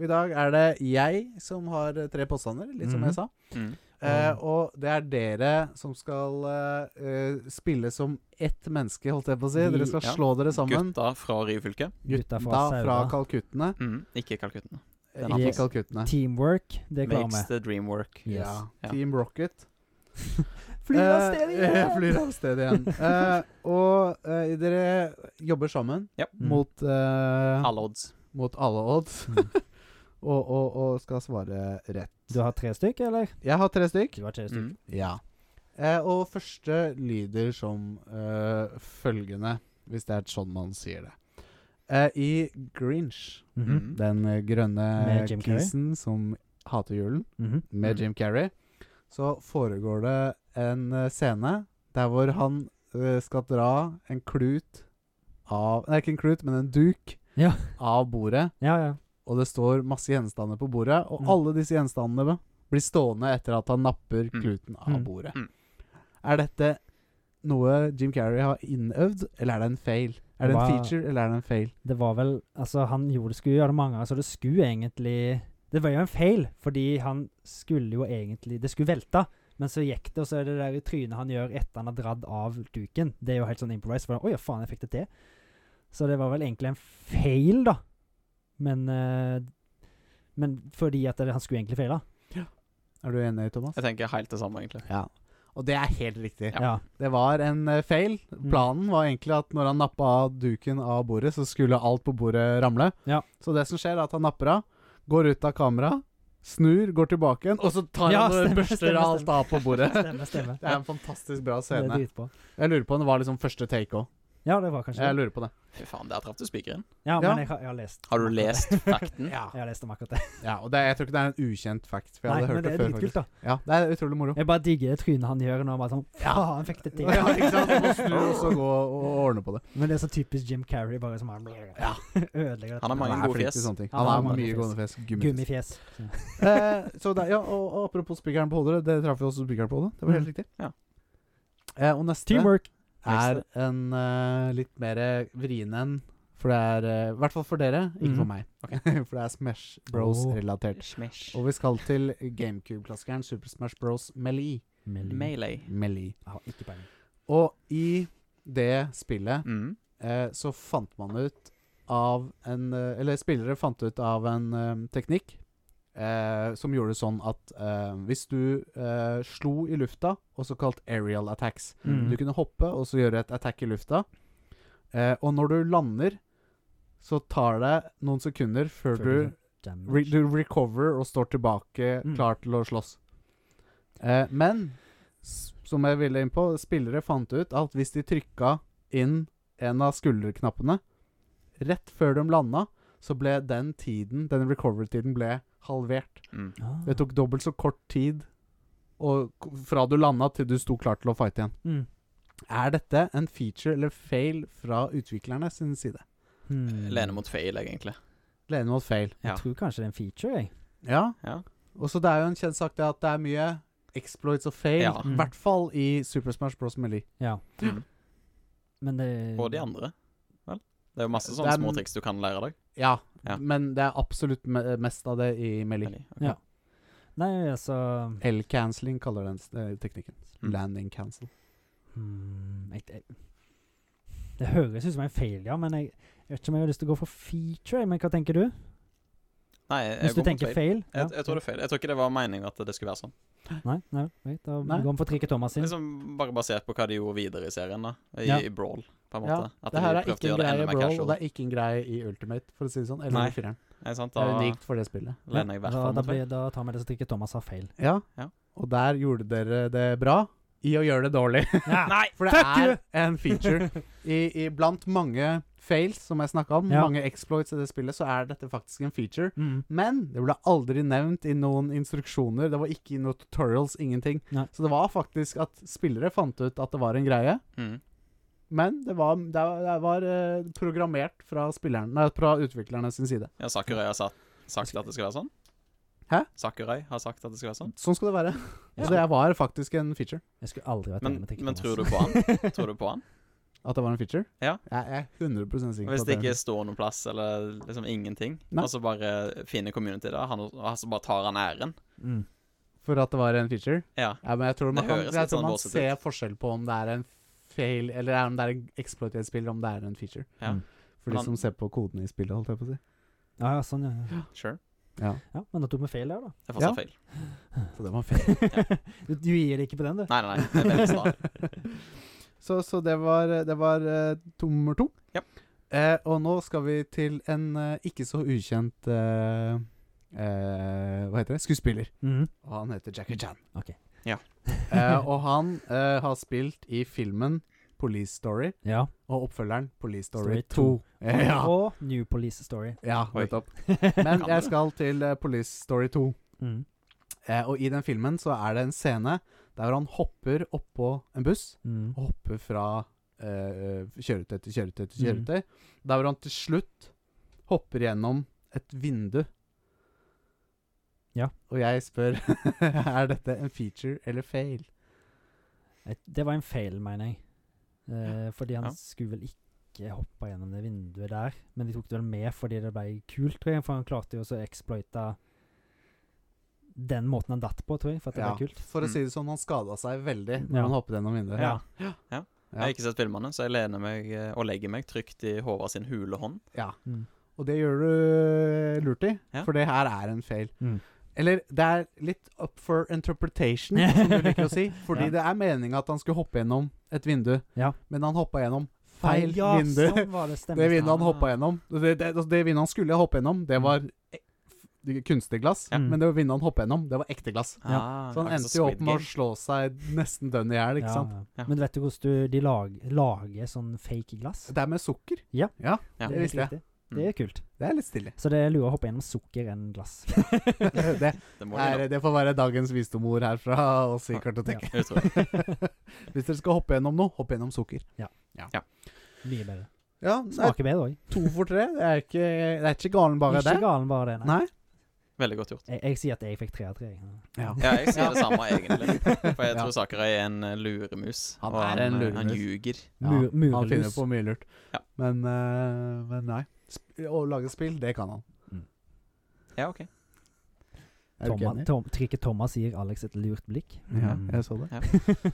I dag er det jeg som har eh, tre påstander, litt som Mhm. jeg sa. Mm. Eh, og det er dere som skal eh, eh, spille som ett menneske, holdt jeg på å si. Vi- Dere skal ja. slå dere sammen. Gutta fra Ryfylke. Gutta fra Da fra Sauda. Kalkuttene. Mm. Ikke Kalkuttene. Eh, Den har Ikke fått- Kalkuttene. Teamwork, det klarer Makes vi. the dream work. Yes. Ja. Ja. Team Rocket. Fly av (laughs) sted Eh, igjen! eh, flyr av sted igjen. Eh, og eh, dere jobber sammen Ja. Mm. mot, eh, Alle odds. mot alle odds. Mm. (laughs) og, og, og skal svare rett. Du har tre stykk, eller? Jeg har tre stykk. Du har tre stykk. Mm. Ja. Eh, og første lyder som eh, følgende, hvis det er sånn man sier det. Eh, I Grinch, Mhm, Mm. den eh, grønne Med Jim Carrey. kisen som hater julen, mhm. med Mm. Jim Carrey, så foregår det en eh, scene der hvor han eh, skal dra en klut av Nei, ikke en klut, men en duk Ja. av bordet. Ja, ja. Og det står masse gjenstander på bordet, og Mm. alle disse gjenstandene blir stående etter at han napper Mm. kluten av Mm. bordet. Mm. Er dette noe Jim Carrey har innøvd, eller er det en fail? Er det en Hva- feature, eller er det en fail? Det var vel Altså, han gjorde, skulle gjøre det mange ganger, så det skulle egentlig Det var jo en feil, fordi han skulle jo egentlig Det skulle velte, men så gikk det, og så er det der i trynet han gjør etter han har dratt av duken. Det er jo helt sånn improvised. For Oi, ja, faen, jeg fikk det til. Så det var vel egentlig en feil, da. Men eh, Men fordi at det, han skulle egentlig feile. Er du enig, Thomas? Jeg tenker helt det samme, egentlig. Ja. Og det er helt riktig. Ja. Mm. Det var en eh, feil. (laughs) Planen var egentlig at når han nappa av duken av bordet, så skulle alt på bordet ramle. Ja. Så det som skjer, er at han napper av, går ut av kamera, snur, går tilbake igjen, og så tar Ja, han og stemmer, børster stemmer, alt stemmer. av på bordet. Mm. (laughs) Stemmer, stemmer. Det er en fantastisk bra Det er (laughs) scene. dritbra. Jeg lurer på om det var liksom første take òg. Ja, det var kanskje Jeg det. lurer på det. Fy faen, der traff du spikeren. Ja, Ja. men jeg har, jeg har lest. Har du lest fakten? Ja. Jeg har lest om akkurat det. ja og det, jeg tror ikke det er en ukjent fact. For jeg Nei, hadde men hørt det det, er før. dritkult, da. faktisk. Ja, det er utrolig moro. Jeg bare digger det trynet han gjør når han bare sånn Faen, fikk det til. (laughs) Ja, ikke sant? Så må (laughs) snu og så gå og og ordne på det. Men det er så typisk Jim Carrey, bare som han Ja. (laughs) ødelegger Han har mange Han er gode flink fjes. til sånne ting. Han Han har er mange mye fjes. gående fjes. Gummifjes. Gummifjes. Så. (laughs) Eh, så det, ja, og, og apropos spikeren på hodet, det traff jo også spikeren på hodet. Det var helt riktig. Ja. Eh, og neste Mm. Teamwork. er en eh, litt mer vrien en. For det er eh, I hvert fall for dere, Mhm. ikke for meg. (laughs) for det er Smash Bros-relatert. Smash. Og vi skal til GameCube-klassikeren Super Smash Bros. Melee. Melee. Melee. Jeg har ikke peiling. Og i det spillet Mm. eh, så fant man ut av en eh, Eller spillere fant ut av en eh, teknikk eh, som gjorde det sånn at eh, hvis du eh, slo i lufta, også kalt aerial attacks Mm. Du kunne hoppe og så gjøre et attack i lufta. Eh, og når du lander, så tar det noen sekunder før Før du, du- sånn re du recover og står tilbake Mm. klar til å slåss. Eh, men s- som jeg ville inn på, spillere fant ut at hvis de trykka inn en av skulderknappene rett før de landa, så ble den tiden, den recover-tiden, ble halvert. Mm. Ah. Det tok dobbelt så kort tid og, k- fra du landa til du sto klar til å fighte igjen. Mm. Er dette en feature eller fail fra utviklerne sin side? Hmm. Mm. Lene mot feil, egentlig. Lene mot fail. Ja. Jeg tror kanskje det er en feature, jeg. Ja. Ja. Og så det er jo en kjent sak det at det er mye exploits og fail. Ja. Mm. I hvert fall i Super Smash Bros. Melee. Ja. Mm. Men det Og de andre, vel? Det er jo masse Det sånne er- små triks du kan lære deg. Ja. Ja. Men det er absolutt me mest av det i Melee. Eller, ok. Ja. Nei, altså L-canceling kaller den s- eh, teknikken. Mm. Landing cancel. hmm, jeg, jeg, Det høres ut som en fail, ja, men jeg, jeg vet ikke om jeg har lyst til å gå for feature. Men hva tenker du? Nei, jeg, jeg Hvis du går mot tenker feil. fail? Jeg, jeg tror det er feil. Jeg tror ikke det var meningen at det skulle være sånn. Nei, nei, nei, da Nei. går vi for trikket Thomas sin. Liksom Bare basert på hva de gjorde videre i serien, da. I, Ja. i Brawl, på en Ja, måte. At Det de her er prøvde å ikke en gjøre det greie i enda mer Brawl, casual. og det er ikke en greie i Ultimate, for å si det sånn. Eller Nei. i fireren. Ikke sant? Det er Da unikt for det spillet. lener jeg i hvert da, fall da, mot feil. blir, da tar vi det som trikket Thomas har feil. Ja. Ja. Og der gjorde dere det bra i å gjøre det dårlig. (laughs) Nei! For det Fuck er you! en (laughs) feature. I, i, blant mange fails som jeg snakka om, Ja. mange exploits i det spillet, så er dette faktisk en feature. (laughs) Mm. Men det ble aldri nevnt i noen instruksjoner. Det var ikke i noen tutorials, ingenting. Nei. Så det var faktisk at spillere fant ut at det var en greie. Mm. Men det var, det var- det var eh, programmert fra, spilleren, nei, fra utviklerne sin side. Ja, Sakurai har sagt, sagt at det skal være sånn? Hæ? Sakurai har sagt at det skal være sånn? Sånn skal det være. Ja. Så det var faktisk en (laughs) feature. Jeg skulle aldri vært Men, enig med trikket men tror du Thomas. på han? Tror du (laughs) på han? At det var en feature? Ja. Jeg er 100 sikker på Hvis at det er en ikke står noen plass, eller liksom ingenting, Nei. og så bare finner community det, han- og så bare tar han æren? Mm. For at det var en feature? Ja. Ja, men jeg tror man, Det kan, høres jeg litt tror sånn man våsete ser forskjell på om det er en fail, eller om det er en exploit i et spill, eller om det er en feature. Ja. Mm. For de Han- som ser på kodene i spillet, holdt jeg på å si. Ja, ja, sånn, ja. Sure. Ja, ja. Men da tok vi feil der, da. Det er fortsatt Ja. feil. så det var fail. du, du gir det ikke på den, du. Nei, nei, nei. Det er veldig (laughs) smart. så, så det var, det var eh, nummer to. Ja. Eh, og nå skal vi til en eh, ikke så ukjent eh, eh, Hva heter det? Skuespiller. Mhm. Og han heter Jackie (laughs) Chan. Ok. Ja. eh, og han eh, har spilt i filmen Police Story (laughs) Ja. og oppfølgeren Police Story, Story 2. (laughs) Ja, Og New Police (laughs) Story. ja Oi. nettopp. Men (laughs) Kan jeg det. skal til eh, Police Story 2. Mm. Eh, og i den filmen så er det en scene der hvor han hopper oppå en buss. Mm. Og hopper fra eh, kjøretøy til kjøretøy til Mm. kjøretøy. Der hvor han til slutt hopper gjennom et vindu. Ja. Og jeg spør (laughs) Er dette en feature eller fail? Et- Det var en feil, mener jeg. Eh, fordi han Ja. skulle vel ikke hoppe gjennom det vinduet der. Men de tok det vel med fordi det ble kult, tror jeg. For han klarte jo også å exploite den måten han datt på, tror jeg. For at det Ja, ble kult. For å Mm. si det sånn, han skada seg veldig når Ja. han hoppet gjennom vinduet. Ja. Jeg har ikke sett filmene, så jeg lener meg eh, og legger meg trygt i Håvard sin hulehånd. Ja. Mm. Og det gjør du eh, lurt i, Ja. for det her er en feil. Mm. Eller det er litt up for interpretation, som du liker (laughs) å si. Ja. Fordi det er meninga at han skulle hoppe gjennom et vindu, Ja. men han hoppa gjennom feil ja, vindu. Sånn var det, stemmer. det vinduet han Ah. hoppa gjennom Det, det, det vinduet han skulle hoppe gjennom, Mm. det var eh, f- kunstig glass. Ja. Men det vinduet han hoppa gjennom, det var ekte glass. Ja. Ah, Så han sånn akkurat endte som jo Squid opp med å Game. slå seg nesten dønn i hjel, ikke Ja, sant. ja. Ja. Men vet du hvordan du, de lag, lager sånn fake glass? Det er med sukker. Ja. Mm. det er visste helt jeg. riktig. Det er kult. Det er litt (laughs) stille. Så det er lurere å hoppe gjennom sukker enn glass. (laughs) det, Det må er, du det får være dagens visdomord her fra oss i Kartoteket. gjøre. (laughs) Hvis dere skal hoppe gjennom noe, hopp gjennom sukker. Mye bedre. Ja, nei, Smaker bedre òg. to for tre. Det er ikke, det er ikke galen bare Ikke det. galen bare det, nei. Nei. Veldig godt gjort. Jeg, jeg sier at jeg fikk tre av tre. jeg. Ja. Ja, jeg sier det samme, (laughs) egentlig. For jeg Ja. tror Sakurai er en eh, luremus. Han og er en eh, Han luremus. ljuger. Mur, Han finner murelus. på mye lurt. Ja. Men, eh, men nei. Sp å lage spill, det kan han. Ja, OK. Er du ikke Thomas, enig? Tom, trikket Thomas gir Alex et lurt blikk. Ja, (laughs) Mm. jeg så det. Ja.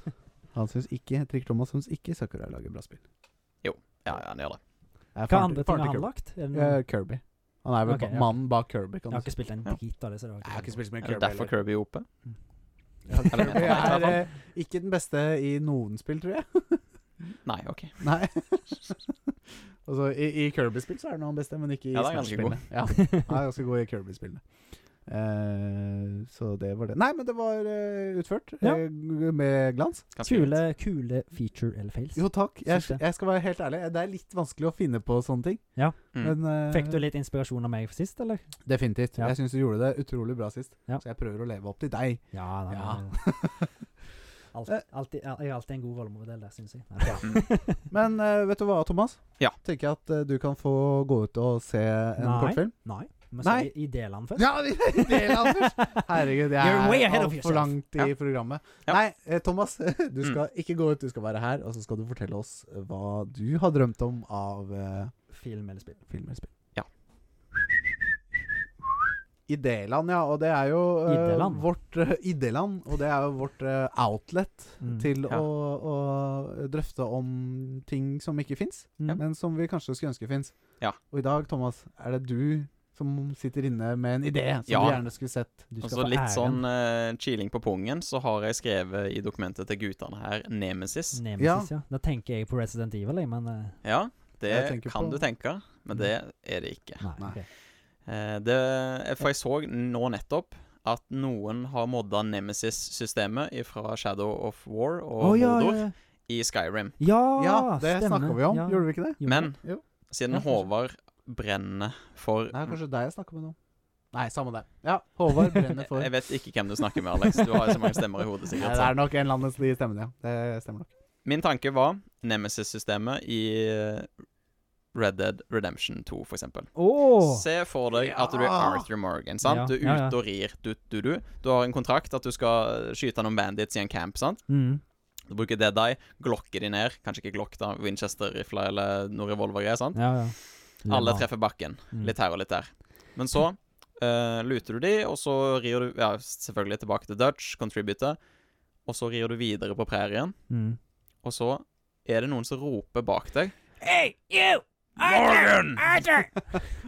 Han syns ikke Trikk Thomas syns ikke Sakurai lager bra spill. Ja, ja, han gjør det. Det er Hva faren andre til- ting faren har han til lagt? Er det Kirby. noe? Eh, Kirby. Han er vel Ok, ba- ja. mannen bak Kirby. Jeg Kan har du si. ikke spilt en Ja. drit av det. Så det var Jeg har ikke ikke spilt så mye Er det Kirby. (laughs) derfor Kirby er OP? heller. Kirby er- Kirby i hvert er fall. eh, ikke den beste i noen spill, tror jeg. Nei, OK. Nei. (laughs) altså, i, i Kirby-spill så er den han beste, men ikke i Ja, den er ganske Smash-spillene. Ja, han er ganske god i Kirby-spillene. Eh, så det var det. Nei, men det var eh, utført Ja. eh, g- med glans. Ganske Kule, greit. kule feature eller fails. Jo, takk. Jeg, Syns det. jeg skal være helt ærlig. Det er litt vanskelig å finne på sånne ting. Ja. Mm. Men eh, Fikk du litt inspirasjon av meg sist, eller? definitivt. Ja. Jeg syns du gjorde det utrolig bra sist, Ja. så jeg prøver å leve opp til deg. Ja. nei, (laughs) Alt, Eh. alltid, jeg er alltid en god rollemodell der, syns jeg. Mm. Men eh, vet du hva, Thomas? Ja. Tenker jeg at eh, du kan få gå ut og se en Nei. kortfilm. Nei. Vi Nei. skal i delene først. Ja, vi deler han først! Herregud, jeg You're way er ahead of altfor yourself. Mm. langt i Ja. programmet. Ja. Nei, eh, Thomas, (laughs) du skal ikke gå ut, du skal være her, og så skal du fortelle oss eh, hva du har drømt om av eh, (laughs) Film eller spill. film eller spill. Ja. Idéland, ja. Og det er jo eh, Idéland. vårt eh, Idéland, og det er jo vårt eh, outlet Mm. til Ja. å, å drøfte om ting som ikke fins, Ja. men som vi kanskje skulle ønske fins. Ja. Og i dag, Thomas, er det du som sitter inne med en idé som Ja. du gjerne skulle sett. Du skal Altså få Litt æren. sånn eh, chilling på pungen, så har jeg skrevet i dokumentet til guttene her Nemesis. Mm. Nemesis, ja. Da tenker jeg på Resident Evil, jeg, men eh, Ja, Jeg det tenker kan på- du tenke, Mm. men det er det ikke. Nei. Nei. ok. Eh, Det, for jeg så nå nettopp at noen har modda Nemesis-systemet fra Shadow of War og Å, ja, Mordor ja, i Skyrim. ja. Ja, det snakka vi om, Ja. Mm. gjorde vi ikke det? Jo, Men Jo. siden Ja, kanskje. Håvard brenner for Nei, kanskje deg jeg snakka med nå. Nei, samme det. Ja, Håvard brenner for (laughs) Jeg vet ikke hvem du snakker med, Alex. Du har jo så mange stemmer i hodet, Nei, sikkert. Det Så. er nok en landets de stemmene, ja. Det stemmer nok. Min tanke var Nemesis-systemet i eh, Red Dead Redemption 2, for eksempel. Åh! Se for deg at du er Ja. Arthur Morgan. sant? Ja, Du er ja, ja. ute og rir. Du, du, du. du har en kontrakt at du skal eh, skyte noen bandits i en camp. sant? Mm. Du bruker Dead Eye, glokker de ned. Kanskje ikke glokk, da. Winchester-rifle eller noe revolvergreier. sant? Ja, ja. Alle Lemma. treffer bakken. Mm. Litt her og litt der. Men så eh, luter du de, og så rir du ja, selvfølgelig tilbake til Dutch, contributor. Og så rir du videre på prærien, Mm. og så er det noen som roper bak deg. Hey, you! Morgan!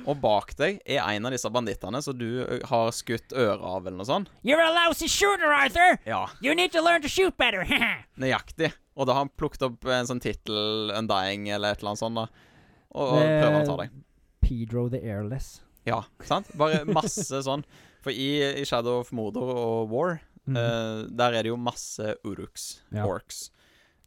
Og bak deg er en av disse bandittene som du ø, har skutt øret av, eller noe sånt. You're a lousy shooter, Arthur! Ja, You need to learn to shoot better! (laughs) nøyaktig. Og da har han plukket opp en sånn tittel, Undying, eller et eller annet sånt, da. Og, og Det- prøver å ta deg. Eh, Pedro the Airless. Ja, sant? Bare masse (laughs) sånn. For i, i Shadow of Mordor og War, Mm. eh, der er det jo masse uruks, Ja. orcs.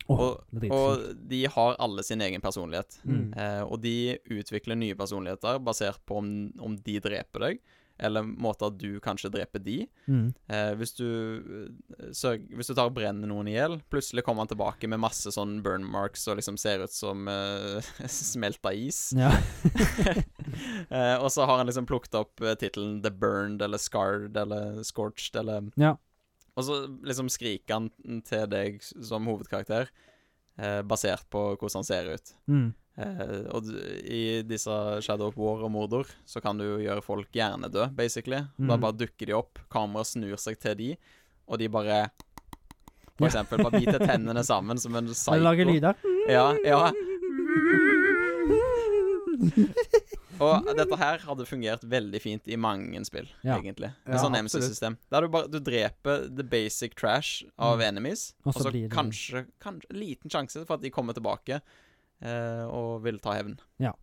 Åh, og- det er Og de har alle sin egen personlighet. Mm. Eh, og de utvikler nye personligheter basert på om, om de dreper deg, eller måter du kanskje dreper de. Mm. Eh, hvis, du, eh, sørg, hvis du tar og brenner noen i hjel, plutselig kommer han tilbake med masse sånn burn marks og liksom ser ut som eh, (laughs) smelta is. Ja. (laughs) (laughs) Eh, og så har han liksom plukket opp eh, tittelen The Burned eller Scarred eller Scorched eller Ja. Og så liksom skriker han til deg s- som hovedkarakter, eh, basert på hvordan han ser ut. Mm. Eh, og du, i disse Shadow of War og Mordor så kan du jo gjøre folk hjernedød, basically. Da Mhm. bare dukker de opp, kameraet snur seg til de, og de bare For eksempel (laughs) bare biter tennene sammen som en psycho. Skal du lage lyder? Ja, ja. Og dette her hadde fungert veldig fint i mange spill, Ja. egentlig. Ja, Et sånn absolutt. MC-system. Der du bare du dreper the basic trash av enemies, Mm. Og og så så blir det- kanskje, kanskje liten sjanse for at de kommer tilbake eh, og vil ta hevn. (laughs)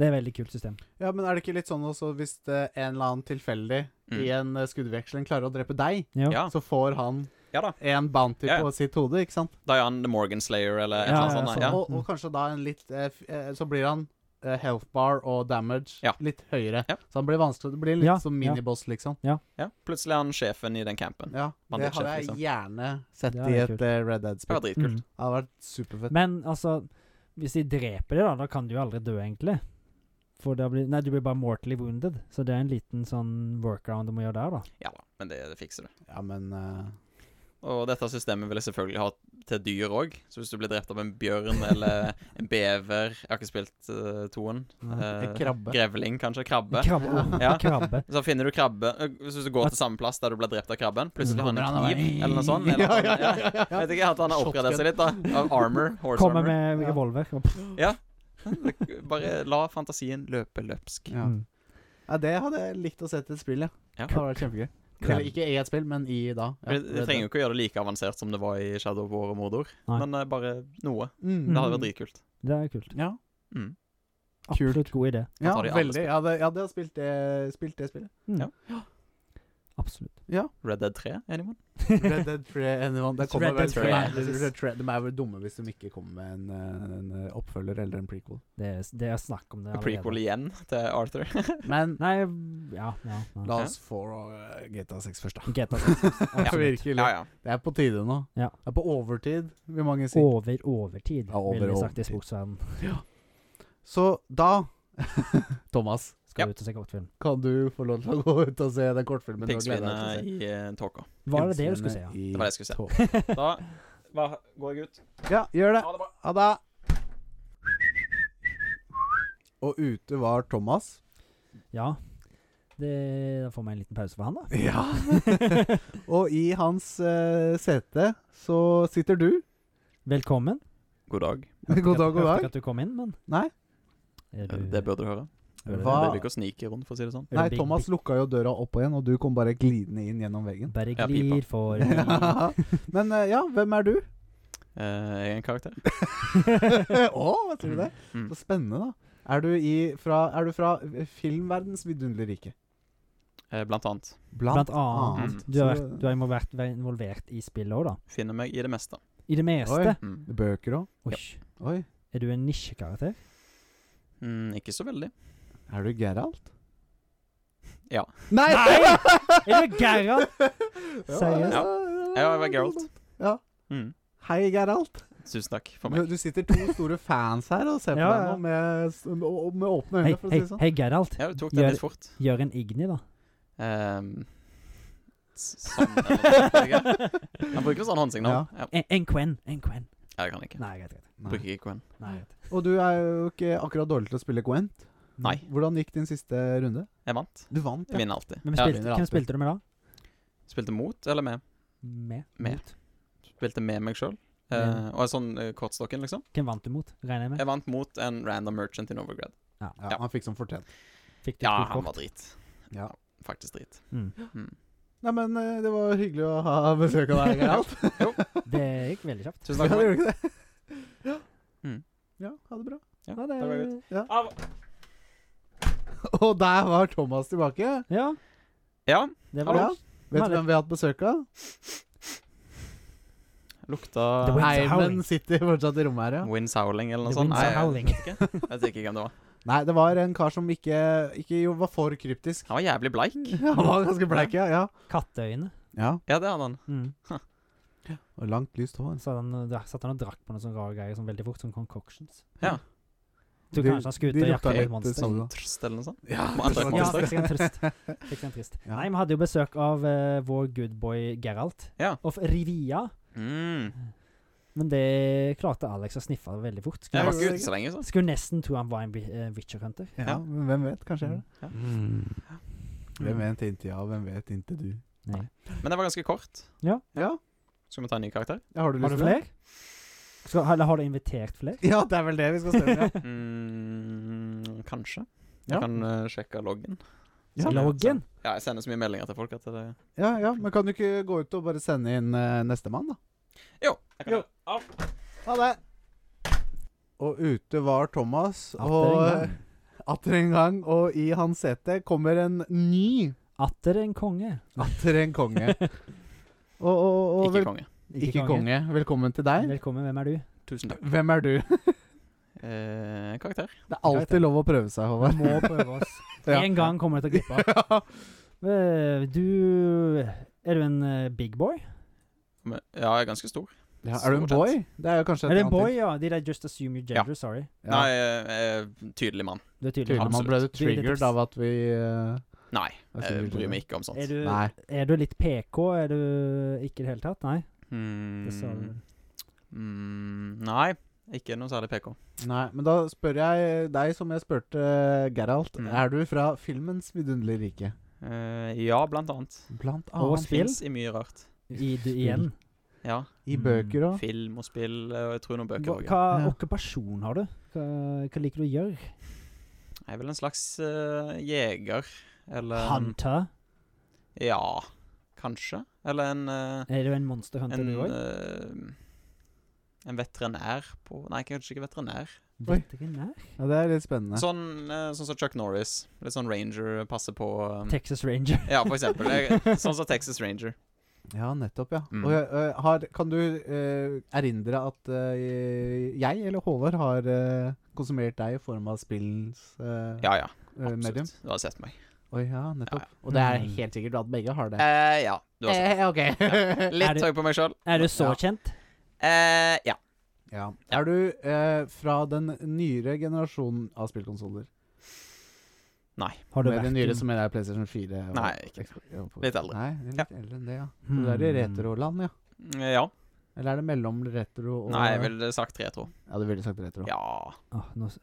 Det er et veldig kult system. Ja, men er det ikke litt sånn også hvis det en eller annen tilfeldig Mm. i en eh, skuddveksling klarer å drepe deg, Jo. Ja. så får han Ja da. en bounty Ja, ja. på sitt hode, ikke sant? Diane the Morgan Slayer eller et Ja, eller annet ja, sånt. sånn. Ja. Og, og kanskje da en litt eh, f- eh, Så blir han eh, health bar og damage Ja. litt høyere. Ja. Så han blir vanskelig. Det blir litt Ja, som ja. miniboss, liksom. Ja. Plutselig er han sjefen i den campen. Ja, det Banditsjef, hadde jeg liksom. gjerne sett Det i er et kult. eh, Red Det Dead-spill. var dritkult. Mm. Det hadde vært superfett. Men altså, hvis de dreper deg, da, da kan du jo aldri dø, egentlig. For da blir Nei, du blir bare mortally wounded. Så det er en liten sånn workaround du må gjøre der, da. Ja da, men det, det fikser du. Ja, men eh, Og dette systemet vil jeg selvfølgelig ha til dyr òg. Så hvis du blir drept av en bjørn (laughs) eller en bever Jeg har ikke spilt uh, toen. Nei. Eh, En krabbe. Grevling, kanskje. Krabbe. Krabbe. åh, (laughs) (laughs) Ja. krabbe. Så finner du krabbe eh, Hvis du går til samme plass der du ble drept av krabben, plutselig har han Kommer en og kniv bare- eller noe sånt. (laughs) Eller ja, at ja, han- ja, ja. ja, ja, Jeg vet ikke, at han har oppgradert seg litt, da. Av (laughs) armor. Horse Kommer (laughs) armor. med Ja. revolver. Bare la fantasien løpe løpsk. Ja. Mm. Ja, det hadde jeg likt å sett et spill, ja. Ja. Det hadde vært kjempegøy. Eller ikke i et spill, men i da. Ja, Vi vi trenger jo ikke å gjøre det like avansert som det var i Shadow of War og Mordor, Nei. men eh, bare noe. Mm. Det hadde vært dritkult. Det er kult. Ja, Mm. Kult. Absolutt god idé. ja tar de alle veldig. Jeg hadde, jeg hadde spilt, det, spilt det spillet. Mm. Ja. (gasps) Absolutt. Red Dead 3, anyone? Red Dead Tre Anyone. Det Red kommer vel Dead Tre. Tre. Red Dead Tre- De er vel dumme hvis de ikke kommer med en, eh, en eh, oppfølger eller en prequel. (laughs) Det er, det er snakk om det Prequel igjen til Arthur. Men Nei, ja, ja, ja. la oss få eh, GTA 6 først, da. (laughs) GTA 6. Ja, Absolutt. virkelig. Ja, (laughs) ja. Det er på tide nå. Ja. Det er på overtid, vil mange si. Over overtid, Ja, over ville vi sagt i overtid. sportsverdenen. Så da Thomas, Skal Ja. ut og se kortfilm. kan du få lov til å gå ut og se den kortfilmen du har gleda deg Piggsvinet til å se? i eh, tåka. Var det det du skulle si, ja? Pinnsvinet i Det var det jeg skulle si. tog. Da hva- går jeg ut. Ja, gjør det. Ha det bra. Ha det. Og ute var Thomas. (laughs) Ja. Det, da får vi en liten pause for han, da. Ja. og i hans eh, sete så sitter du. (laughs) Velkommen. God dag. God dag, god Hørte dag. ikke at du kom inn, men Nei. Er du- Eh, Det burde du høre. er du- Hva? Det liker å snike rundt, for å si det sånn. er du Nei, big- Thomas lukka jo døra opp igjen, og du kom bare glidende inn gjennom veggen. Bare Ja, glir pipa. (laughs) for Men eh, ja, hvem er du? (laughs) Eh, jeg er en karakter. Å, hva tror du det? Mm. Så spennende, da. Er du, i, fra, er du fra eh, filmverdens vidunderlige rike? Eh, blant annet. Blant annet. Du har, vært, Mm. Så- du har involvert, vært involvert i spillet òg, da. Finner meg i det meste. I det meste. Mm. Bøker òg? Oi. Oi. Er du en nisjekarakter? Mm, ikke så veldig. Er du Geralt? Ja. Nei! Nei! (laughs) Er du (laughs) Geralt? Seriøst? Ja. Ja, jeg var Geralt. Mm. Hei, Geralt. Tusen takk for Du, meg. du sitter to store fans her og ser på Ja, ja. deg nå med, s- med, å- med åpne Hei, øyne, for å si hei, det sånn. hei, Geralt. Ja, du tok Gjør- den litt fort. Gjør en Igni, da. Ehm, s- sånn eller noe, (laughs) jeg. Han bruker sånn håndsignal. Ja. En, en Quen. En Quen. Jeg kan ikke. Nei, greit, greit. Nei. Bruker ikke Gwen. Nei, greit. Og du er jo ikke akkurat dårlig til å spille Gwent. Nei. Hvordan gikk din siste runde? Jeg vant. Du vant, Jeg vinner alltid. Hvem, Ja, spilte, vinner hvem alltid. spilte du med da? spilte mot eller med? Med? Med. Mot? Spilte med meg sjøl. Med. og sånn eh, kortstokken, liksom. Hvem vant du mot? Regner jeg med? Jeg vant mot en random merchant i Novergrad. Ja, Ja. Han fikk som fortjent. Fikk du Ja, et han godt var kort? drit. Ja. Faktisk drit. Mm. Mm. Nei, men eh, det var hyggelig å ha besøk av deg, Geralt. Det gikk veldig kjapt. ja, Tusen det takk for meg. gjorde ikke det. Ja. Mm. ja, ha det bra. Ja, Ja, det var godt. Ja. Av. Og der var Thomas tilbake. ja, Ja, det var Ja. det. Vet Herlig. du hvem vi har hatt besøk av? lukta The Winds are howling. Eimen sitter fortsatt i rommet her, ja. Winds howling eller noe The sånt. winds are howling. jeg vet ikke. Jeg vet ikke hvem det var. Nei, det var en kar som ikke, ikke jo, var for kryptisk. Han var jævlig bleik. Han var ganske bleik, ja. Ja. Katteøyne. ja. Ja, det hadde han. Mm. Og langt, altså. lyst hår. Så han, der satt han og drakk på noen sånne rare greier sånn veldig fort, som concoctions. Ja. Du De- kanskje han skulle de ut og lukta jakte litt et monster? sånn, da. Trst eller noe sånt. Ja, (laughs) Man drakk Ja, monster. fikk seg en trist. Fikk seg en trist. Ja. Nei, vi hadde jo besøk av eh, vår goodboy Geralt Ja. of Rivia. Mm. Men det klarte Alex å sniffe veldig fort. Jeg Skulle, var ikke ute så lenge, så. skulle nesten tro han var en bi- eh, Witcher Hunter. (laughs) Ja, men hvem vet? Kanskje jeg er det. Mm. Ja. Mm. Hvem vet inntil ja, hvem vet inntil du. Nei. Men det var ganske kort. Ja, Skal vi ta en ny karakter? ja har du Har lyst du til det? liksom? flere? Skal, eller har du invitert flere? Ja, det er vel det vi skal stemme ja. Mm, kanskje. Ja. Jeg kan eh, sjekke loggen. Ja. Sender- Loggen? Ja, jeg sender så mye meldinger til folk at det ja, ja, men kan du ikke gå ut og bare sende inn uh, nestemann, da? Jo. Jeg kan Jo. Ha det! Og ute var Thomas, Atter en og eh, gang. atter en gang, og i hans sete kommer en ny Atter en konge. Atter en konge. Og, og, og Ikke vel, konge. ikke, konge. Velkommen til deg. Velkommen, hvem er du? Tusen takk. Hvem er du? Eh, karakter. Det er alltid lov å prøve seg, Vi Håvard. må prøve oss. (laughs) Ja. En gang kommer det til å glippe av. (laughs) Ja. (laughs) Eh, Du Er du en eh, big boy? Men- Ja, jeg er ganske stor. Ja, er du en Stort boy? Det er jo kanskje Er du en annet boy, ja? Did I just assume your Ja. gender? Sorry. Ja. Nei, eh, eh, tydelig mann. Du er tydelig. Tydelig, man ble Absolutt. triggered av at vi eh, Nei, er så jeg tydelig. bryr meg ikke om sånt. Er du, Nei. er du litt PK? Er du ikke i det hele tatt? Nei? Det sånn, sa du. Mm, mm, nei, ikke noe særlig PK. Nei, men da spør jeg deg som jeg spurte Geralt. Mm. Er du fra filmens vidunderlige rike? Eh, ja, blant annet. Blant Og annet spill? Fins i mye rart. I, du, igjen. Ja. i bøker og Film og spill, eh, og jeg tror noen (laughs) bøker Hva, òg. hva Ja. okkupasjon har du? Hva, hva liker du å gjøre? er vel en slags eh, jeger. Eller Hunter. Ja, kanskje. Eller en eh, Er du en monster hunter, en, du òg? eh, en veterinær på Nei, kanskje ikke veterinær. Oi. Veterinær? Ja, det er litt spennende. Sånn, eh, sånn som Chuck Norris. Litt sånn ranger passer på eh, Texas Ranger. (laughs) Ja, for eksempel. Jeg, sånn som Texas Ranger. Ja, nettopp, ja. Mm. Og, eh, har, kan du eh, erindre at eh, jeg eller Håvard har eh, konsumert deg i form av spillens eh, Ja, ja. eh, medium? Absolutt. Du har sett meg. Oi, ja, nettopp. Ja, Og det er Mm. helt sikkert at begge har det. Eh, ja, du har sett Eh, ok. Er Litt du- høy på meg sjøl. Er du så Ja. kjent? Eh, ja. ja. Er du eh, fra den nyere generasjonen av spillkonsoller? Har du Med den vært nyere i- så mener jeg PlayStation 4. og- Nei, ikke og- Litt eldre. Nei, det er litt eldre enn det, ja. Hmm. Så det er i retroland, ja. Eh, Ja. Eller er det mellom retro og Nei, jeg ville sagt retro. Ja, du ville sagt retro. Ja. Åh, nå s-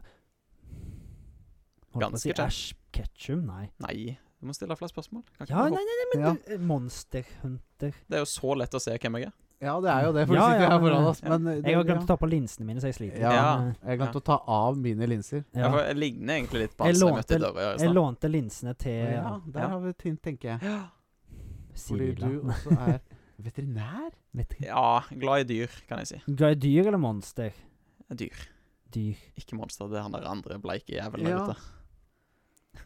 Holdt på å Ganske si kjent. Ash Ketchum, nei. Nei. Du må stille flere spørsmål. Kan ikke Ja, gå- nei, nei, nei, men Ja. du, eh, Monster Hunter. Det er jo så lett å se hvem jeg er. Ja, det er jo det, for Ja, du sitter ja, her men- foran oss. Men eh, det, Jeg har glemt å ja. ta på linsene mine, så jeg sliter. Ja. Men, eh, Jeg glemte å ta av mine linser. Ja. ja. for Jeg ligner egentlig litt på Jeg han som jeg møtte i lånte- døra. i Jeg stad. lånte linsene til eh, Ja, der Ja. har vi et hint, tenker jeg. Fordi Sila. du (laughs) også er veterinær. Vet ikke. Ja, glad i dyr, kan jeg si. Glad i dyr eller monster? Dyr. Dyr. Ikke monster, det er han der andre bleike jævelen Ja. der ute.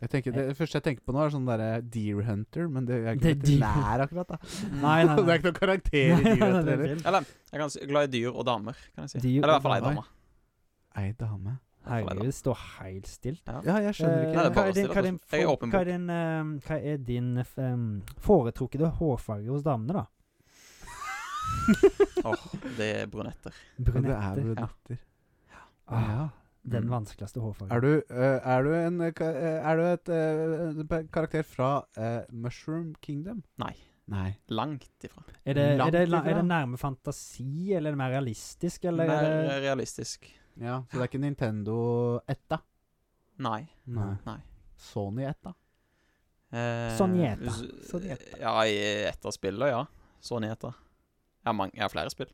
Jeg tenker, det første jeg tenker på nå, er sånn derre Deer Hunter, men det er ikke Det er deer. veterinær akkurat, da. Nei, nei, (laughs) Det er nei. ikke noen (laughs) karakter i Deer Hunter heller. Eller jeg kan si, glad i dyr og damer, kan jeg si. Dyr Eller i og hvert fall ei damer. dame. Ei dame. Herregud, det står helt stilt. Ja, jeg skjønner Eh, ikke. Nei, det er hva bare er din- stilt, hva er din altså. Jeg er for- åpen Hva er din, eh, hva er din eh, f- em, foretrukne hårfarge hos damene, da? (laughs) Åh, det er brunetter. Ja, det er Brunetter. brunetter. Ah, Ja. den Mm. vanskeligste hårfargen. Er du, eh, er du en eh, ka- eh, Er du et eh, pe- karakter fra eh, Mushroom Kingdom? Nei. Nei. Langt ifra. Er det, er, Langt det, la- ifra. er det nærme fantasi, eller er det mer realistisk, eller Mer er det realistisk. Ja, Så det er ikke Nintendo 1, da? Nei. Nei. Nei. Sony 1, da? Eh, Sonieta. z- Sonieta. Ja, i ett av spillene, ja. Sonieta. Jeg har, mange, jeg har flere spill.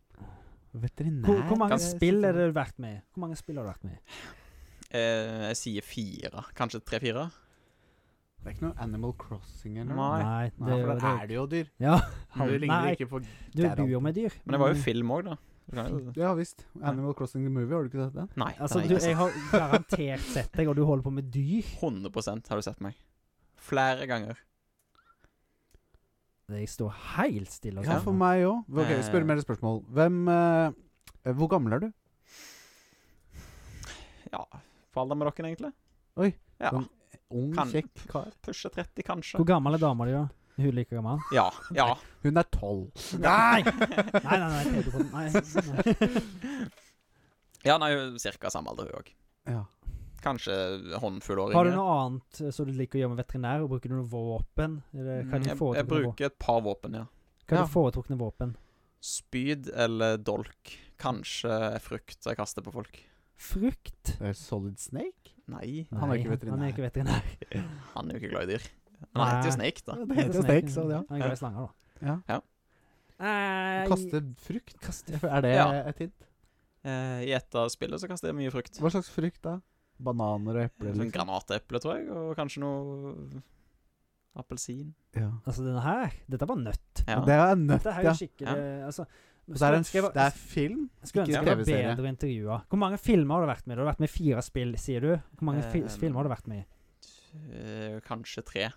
Veterinær hvor, hvor mange Eh, spill er det vært med? i? Hvor mange spill har du vært med? i? Eh, jeg sier fire. Kanskje tre-fire? Det er ikke noe Animal Crossing eller noe? Nei. Nei, det, Nei, for det, da er det jo (laughs) dyr. Ja. Du ligner Nei, ikke på du der bor jo oppe. med dyr. Men det var jo film òg, da. Du kan jo- Ja visst. Animal Crossing the Movie, har du ikke sett den? Nei. Altså, den du, har jeg jeg ikke har garantert sett deg, og du holder på med dyr. sett. 100 har du sett meg. Flere ganger. Jeg står helt stille. og Ja, sånn. for meg òg. Ok, spør mer spørsmål. Hvem eh, Hvor gammel er du? Ja. På alder med dere, egentlig. Oi, Ja. sånn- Ung, Kan- kjekk kar. Pushe 30, kanskje. Hvor gammel er dama di, da? Er Hun like gammel? Ja. Ja. Hun er tolv. Nei! Nei, nei, nei. jeg tenkte på den. nei, (laughs) nei. (laughs) ja, nei, cirka samme alder, hun òg. Ja. Kanskje håndfull år Har du noe annet eh, som du liker å gjøre med veterinær? Og bruker du noe våpen? Eller hva er Mm. Mm. Jeg, dine jeg foretrukne, vå- bruker et par våpen, ja. hva er ja. dine foretrukne våpen? Spyd eller dolk. Kanskje frukt jeg kaster på folk. Frukt? Eh, Solid Snake? Nei, Han er Nei, ikke Han veterinær. er ikke (laughs) veterinær. han er jo ikke glad i dyr. Men han heter Nei. jo Snake, da. Det heter Snake, så ja. Han er glad i slanger, da. ja. Eh, Kaste frukt? Er det Ja. et hint? Eh, I et av spillene så kaster jeg mye frukt. Hva slags frukt da? Bananer og epler? Sånn liksom? granateple, tror jeg, og kanskje noe appelsin. Ja. Altså, denne her Dette var nøtt. Ja. Det er nøtt, Dette her er ja. jo skikkelig altså, Og Det er, skulle en, ønske jeg f- var- det er film. Skulle Ikke ønske det var TV-serie. bedre intervjua. Hvor mange filmer har du vært med i? Du har vært med i fire spill, sier du. Hvor mange fi Eh, filmer har du vært med i? Eh, kanskje tre.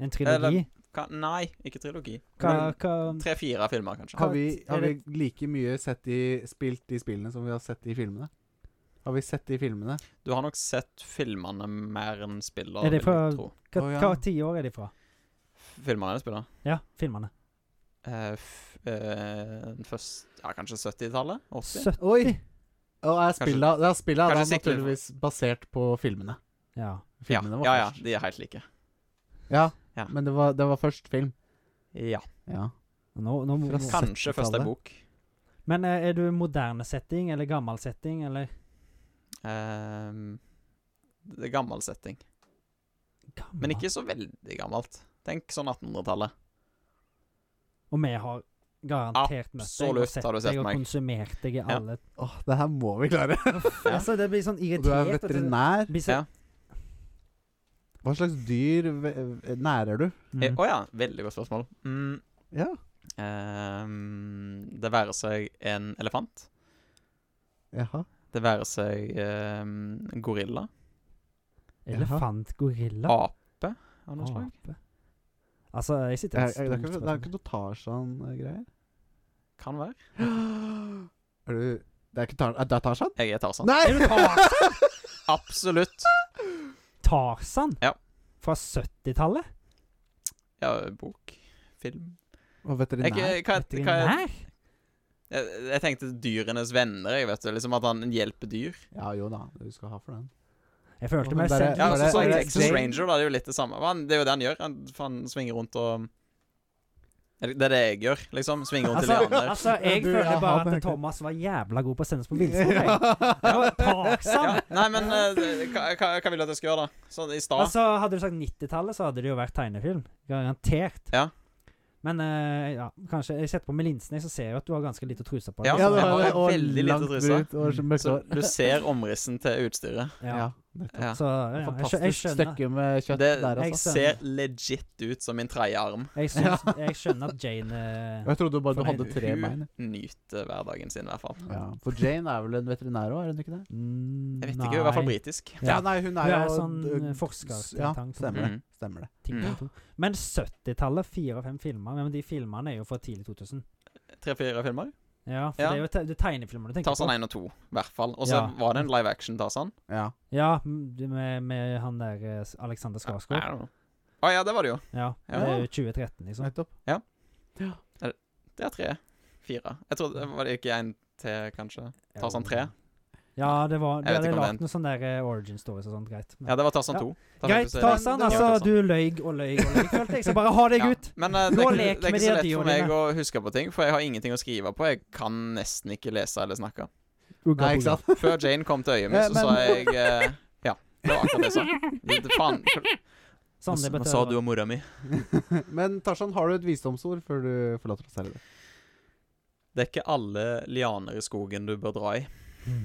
En trilogi? Ka nei, ikke trilogi. Hva, Men hva Tre-fire filmer, kanskje. Har vi, er har vi det- like mye sett de, spilt de spillene som vi har sett de filmene? Har vi sett de filmene? Du har nok sett filmene mer enn spiller, Er det vil jeg fra- tro. hva, Å, ja. hva tiår er de fra? Filmene eller spiller? Ja, filmene. Eh, f eh, først, ja, kanskje 70-tallet? 80? 70? Oi! Og er Kanskje- spilla, det er spilla da kanskje sikler- naturligvis basert på filmene. Ja. Ja, Filmene var ja, ja, først. de er helt like. Ja, Ja. men det var, det var først film. Ja. Ja. Nå, nå, må- Fra må- Kan- Kanskje først ei 70-tallet. bok. Men eh, er du moderne setting eller gammel setting, eller Ehm, det er gammel setting. gammel. Men ikke så veldig gammelt. Tenk sånn 1800-tallet. Og vi har garantert møtt deg og Absolutt sett har du sett deg og meg. konsumert deg i Ja. alle Åh, det her må vi klare. Altså, det blir sånn (laughs) Og du irritert. er vet veterinær. Det blir så, Ja. Hva slags dyr ve- eh, nærer du? Eh, Å Mm. ja, veldig godt spørsmål. Mm, Ja. ehm, det være seg en elefant, Jaha. det være seg ehm, en gorilla, Elefant, gorilla, ape av Ah. noe slag. ape Altså, jeg sitter Er, med er, det, er et ikke, stort det er spørsmål. ikke noe Tarzan-greier? Kan være. (gasps) Er du Det er ikke Tarzan? Er det Tarzan? Jeg er Tarzan. Nei! Er du (laughs) Tarzan? (laughs) Ah, Absolutt. Tarzan? Ja. Fra 70-tallet? Ja, bok, film Og jeg, veterinær? jeg- hva, hva, jeg, Veterinær? jeg tenkte Dyrenes venner, jeg vet du. Liksom at han hjelper dyr. Ja, jo da. Du skal ha for den. Jeg følte Og meg den der- selv Ja, Var altså, det- så var i det Texas Jane? Ranger da, det er jo litt det samme. Han, det er jo det han gjør. Han, han svinger rundt og Eller, Det er det jeg gjør, liksom. Svinger rundt Altså, til de andre. altså, jeg Du, føler ja, han bare er at ikke- Thomas var jævla god på å sende oss på (laughs) villspor. jeg. Det var Ja, Tarzan! nei, men eh, det- hva, hva, hva vil du at jeg skal gjøre, da? Sånn i stad? Altså, hadde du sagt 90-tallet, så hadde det jo vært tegnefilm. Garantert. Ja. Men eh, ja, kanskje Jeg setter på med linsene, så ser jeg jo at du har ganske lite truse på. Ja, deg, så- det var- og veldig lite langt trusa. brut og så mørkt så hår. du ser omrissen til utstyret. ja. altså, Ja. Ja. Så ja, jeg, skjø- jeg Fantastisk skjønner. stykke med kjøtt Det der, jeg altså. ser- ser legit ut som min tredje arm. Jeg, syns, jeg skjønner at Jane eh, Og Jeg trodde bare du Fornøyd. hadde tre bein. jeg. Hun nyter hverdagen sin, i hvert fall. Ja, For Jane er vel en veterinær òg, er hun ikke det? mm, Jeg vet ikke, hun er i hvert fall nei. britisk. Ja. nei, hun Hun er jo- sånn d- eh, forsker. Ja, tenk- stemmer det. Mm. Stemmer det. ting Mm. på to. Men 70-tallet, fire og fem filmer, men de filmene er jo fra tidlig 2000. Tre-fire filmer. Ja, for Ja. sånn det er jo te det er tegnefilmer du tenker Tarzan på. 1 og 2, i hvert fall. Og så Ja. var det en live action Tarzan. Ja. Ja, m- det med, med han der eh, s- Alexander I Skarsgård. don't know. Å ja, det var det jo. Ja, Ja. det er jo 2013, Sånn. liksom. Nettopp. Det er tre. Fire. Jeg trodde Var det ikke en til, kanskje? Tarzan 3? Ja, det var sånn De Jeg vet hadde ikke om lagt det noen sånne der eh, origin stories og sånt, greit. Men- Ja, det var Tarzan Ja. 2. Da fikk greit, se- Tarzan. Det var Altså, Tarzan. du løy og løy og løy, følte jeg. Så bare ha deg Ja. ut! Men Gå eh, det, er og ikke, lek det er med ikke så de lett for dyrene. meg å huske på ting, for jeg har ingenting å skrive på. Jeg kan nesten ikke lese eller snakke. Nei, ikke sant? Før Jane kom til øyet mitt, så Ja, sa jeg eh, Ja, det var akkurat det (laughs) jeg sa. Det- Faen. Sånn det Hva betyr- sa du om mora mi? Men Tarzan, har du et visdomsord før du forlater oss her i dag? Det er ikke alle lianer i skogen du bør dra i.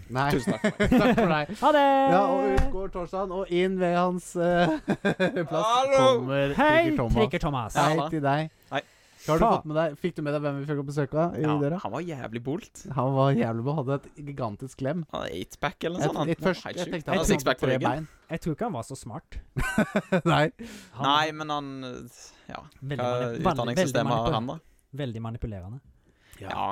Nei. Tusen (laughs) takk. takk for deg. Mm. Ha det! Ja, og ut går Tarzan, og inn ved hans eh, (laughs) plass Hallo! kommer Hei, Trigger Thomas. Trikker Thomas. Ja. Hei til deg. Hei. Har du Ta. fått med deg, fikk du med deg hvem vi fikk besøk av i Ja, døra? han var jævlig bolt. Han var jævlig på, hadde et gigantisk klem. Han hadde Eightpack eller Jeg, noe sånt. han. jeg, først, Helt jeg sjukt. tenkte han han hadde hadde sixpack på tre ryggen. bein. (laughs) Jeg tror ikke han var så smart. Nei. Han Nei, men han eh, Ja, Veldig, hva mani- veldig- veldig, utdanningssystemet har manipul- han, da? veldig manipulerende. Ja.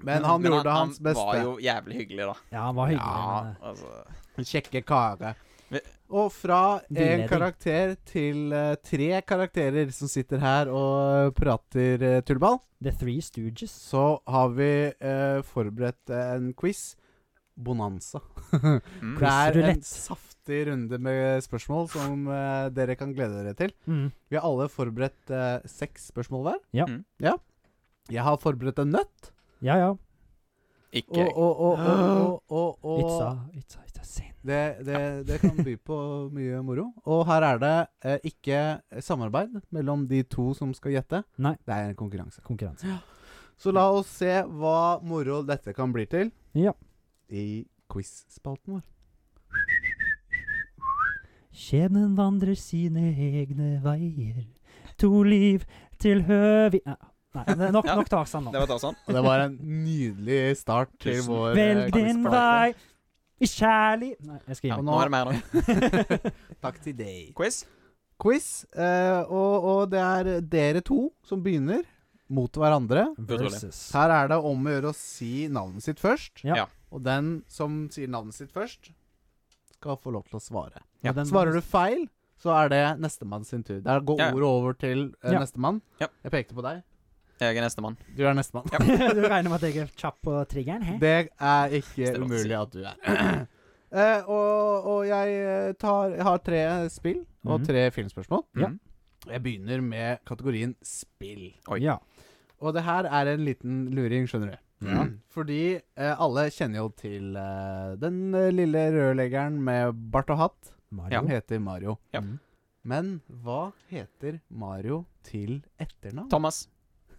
Men han gjorde han hans beste. var jo jævlig hyggelig, da. Ja, han var hyggelig. Ja. men, eh, Altså, Kjekke kare. Vi- Og fra en Veiledning. karakter til eh, tre karakterer som sitter her og prater eh, tullball, The Three Stooges. så har vi eh, forberedt en quiz. Bonanza. mm. Det er Quizrulett. en saftig runde med spørsmål som eh, dere kan glede dere til. Mm. Vi har alle forberedt eh, seks spørsmål hver. Ja. Mm. ja. Jeg har forberedt en nøtt. Ja, ja. Ikke Og, jeg. og, og, Ah! og, og, og, It's og a, it's a, it's a sin. Det, det, det kan by på mye moro. Og her er det eh, ikke samarbeid mellom de to som skal gjette. Nei. Det er en konkurranse. Konkurranse. Så la oss se hva moro dette kan bli til Ja. i quiz-spalten vår. Skjebnen vandrer sine egne veier. To liv til høvi... Nei, Nei, det er nok, Ja. nok Tarzan nå. Det var Tarzan. Og det var en nydelig start til Tusen. vår eh, Velg din quiz-spalte. vei i kjærlig... Nei, jeg Ja, skriver. nå er det mer nå. Takk til deg. Quiz. Quiz. Eh, og, og det er dere to som begynner mot hverandre. (laughs) Utrolig. Versus. Her er det om å gjøre å si navnet sitt først. Ja. Ja. Og den som sier navnet sitt først, skal få lov til å svare. Ja. Og den- Svarer du feil, så er det nestemann sin tur. Der går Ja, ja. ordet over til eh, Ja. nestemann. Ja. Jeg pekte på deg. Jeg er nestemann. Du er (laughs) nestemann. du regner med at jeg er kjapp på triggeren? Hæ? Det er ikke Stemmer. umulig at du er. (clears throat) Eh, og, og jeg eh, tar, jeg har tre spill og Mhm. tre filmspørsmål. Ja. Mm. Jeg begynner med kategorien spill. Oi. Ja. Og det her er en liten luring, skjønner du. Ja. Fordi eh, alle kjenner jo til eh, den eh, lille rørleggeren med bart og hatt. Mario. Han heter Mario. Ja. Mm. Men hva heter Mario til etternavn? Thomas.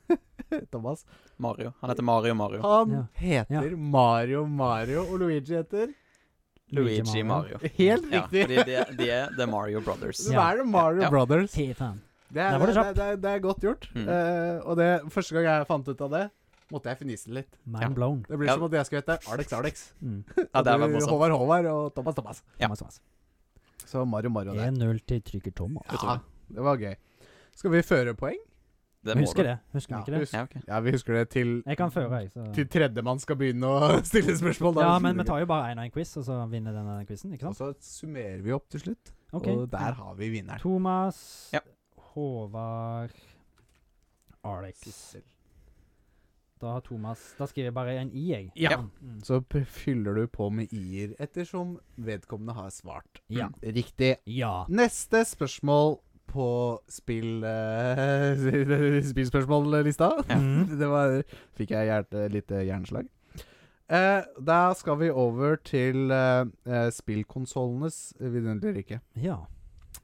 (laughs) Thomas. Mario. Han heter Mario Mario. Han Ja. heter Mario Mario, og Luigi heter Luigi Mario. Helt Ja, riktig. fordi de, er- de er The Mario Brothers. Så da er det Mario Ja. Brothers. Fy faen. Det er, Der var det det, kjapt. det, er, det er godt gjort. Mm. Eh, og det, første gang jeg fant ut av det, måtte jeg finise litt. Ja. Mind blown. Det blir Ja. som at jeg skal hete Alex Alex. Mm. Ja, Og det var du, morsomt. Håvard Håvard og Thomas Thomas. Ja. Thomas, Thomas. Så Mario Mario der. 1-0 til Trygger Thomas. Ja, det var gøy. Skal vi føre poeng? Det må Husker du. det. Husker vi Ja, ikke det? husk- Ja, ok. ja, vi husker det til, Jeg kan føre, jeg. Så. til tredjemann skal begynne å (laughs) stille spørsmål. da. Ja, men vi tar jo bare én og én quiz, og så vinner den og den quizen, ikke Og sant? så summerer vi opp til slutt, Ok. og der har vi vinneren. Thomas, Ja. Håvard, Alex. Da har Thomas Da skriver jeg bare en i, jeg. Ja. Mm. Så p- fyller du på med i-er ettersom vedkommende har svart Mm, Ja. riktig. Ja. Neste spørsmål på spill... eh, (laughs) spillspørsmål-lista. (laughs) Mm. Det var Fikk jeg hjerte, lite hjerneslag. Eh, da skal vi over til eh, eh, spillkonsollenes vidunderlige rike. ja.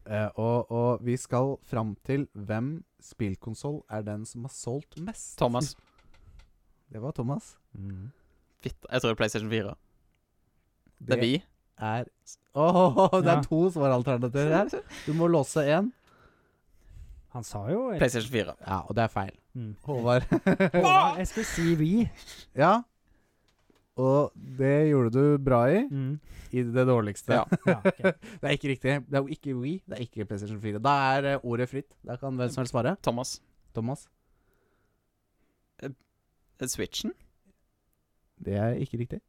Eh, og, og vi skal fram til hvem spillkonsoll er den som har solgt mest. Thomas. Det var Thomas. Mm. Fitt. Jeg tror det er PlayStation 4. Det er vi. er Åh, (laughs) det er Ja. to svaralternativer her. Du må låse én. Han sa jo et- PlayStation 4. Ja, og det er feil. mm. Håvard. (laughs) Håvard, jeg skulle si vi. ja. Og det gjorde du bra i. Mm. I det dårligste. (laughs) Ja. (laughs) Ja, ok. Det er ikke riktig. Det er jo ikke We, det er ikke PlayStation 4. Da er eh, ordet fritt. Da kan hvem som helst svare. Thomas. Thomas. Eh, Switchen? Det er ikke riktig.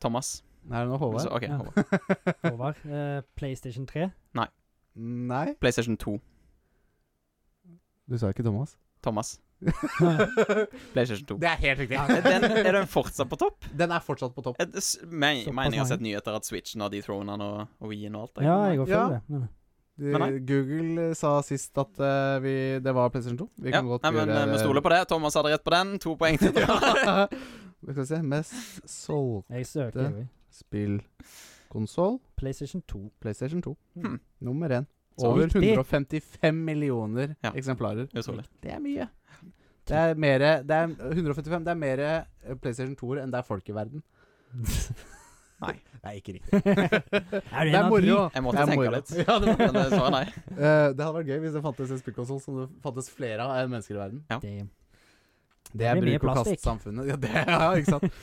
Thomas. Nei, det er nå Håvard. Så, ok, Ja. Håvard. Håvard. Eh, PlayStation 3. (laughs) Nei, PlayStation 2. du sa ikke Thomas. Thomas. (laughs) det PlayStation 2. er helt riktig. Er den, er den fortsatt på topp? (laughs) Den er fortsatt på topp. Er det s- Såpass me- Mener jeg har mange. sett nyheter at Switchen har dethroned den og, og Wien og alt. Ja, jeg går for Ja. det. Men, Du, Men nei. Google eh, sa sist at eh, vi, det var PlayStation 2. Vi Ja, kan godt nei, men eh, gjøre Vi stoler på det. Thomas hadde rett på den. To poeng til Thomas. (laughs) (laughs) Ja. Vi skal se. Mest solgt jeg søker Det- jo i spillkonsoll PlayStation (laughs) 2. PlayStation 2. Hmm. Nummer én. Så Over riktig. 155 millioner Ja. eksemplarer. Utrolig. Det er mye. Det er mere, det er 155 Det er mer PlayStation 2-er enn det er folk i verden. (laughs) Nei, det er (laughs) ikke riktig. Er du Det en er av de? moro. Jeg måtte Det er tenke moro. litt. Ja, det, Men eh, svaret er nei. Eh, det hadde vært gøy hvis det fantes en spillkonsoll som det fantes flere av enn mennesker i verden. Damn. Det er blir mye bruk og plastikk. kast-samfunnet. Ja, det (laughs) ja, ikke sant.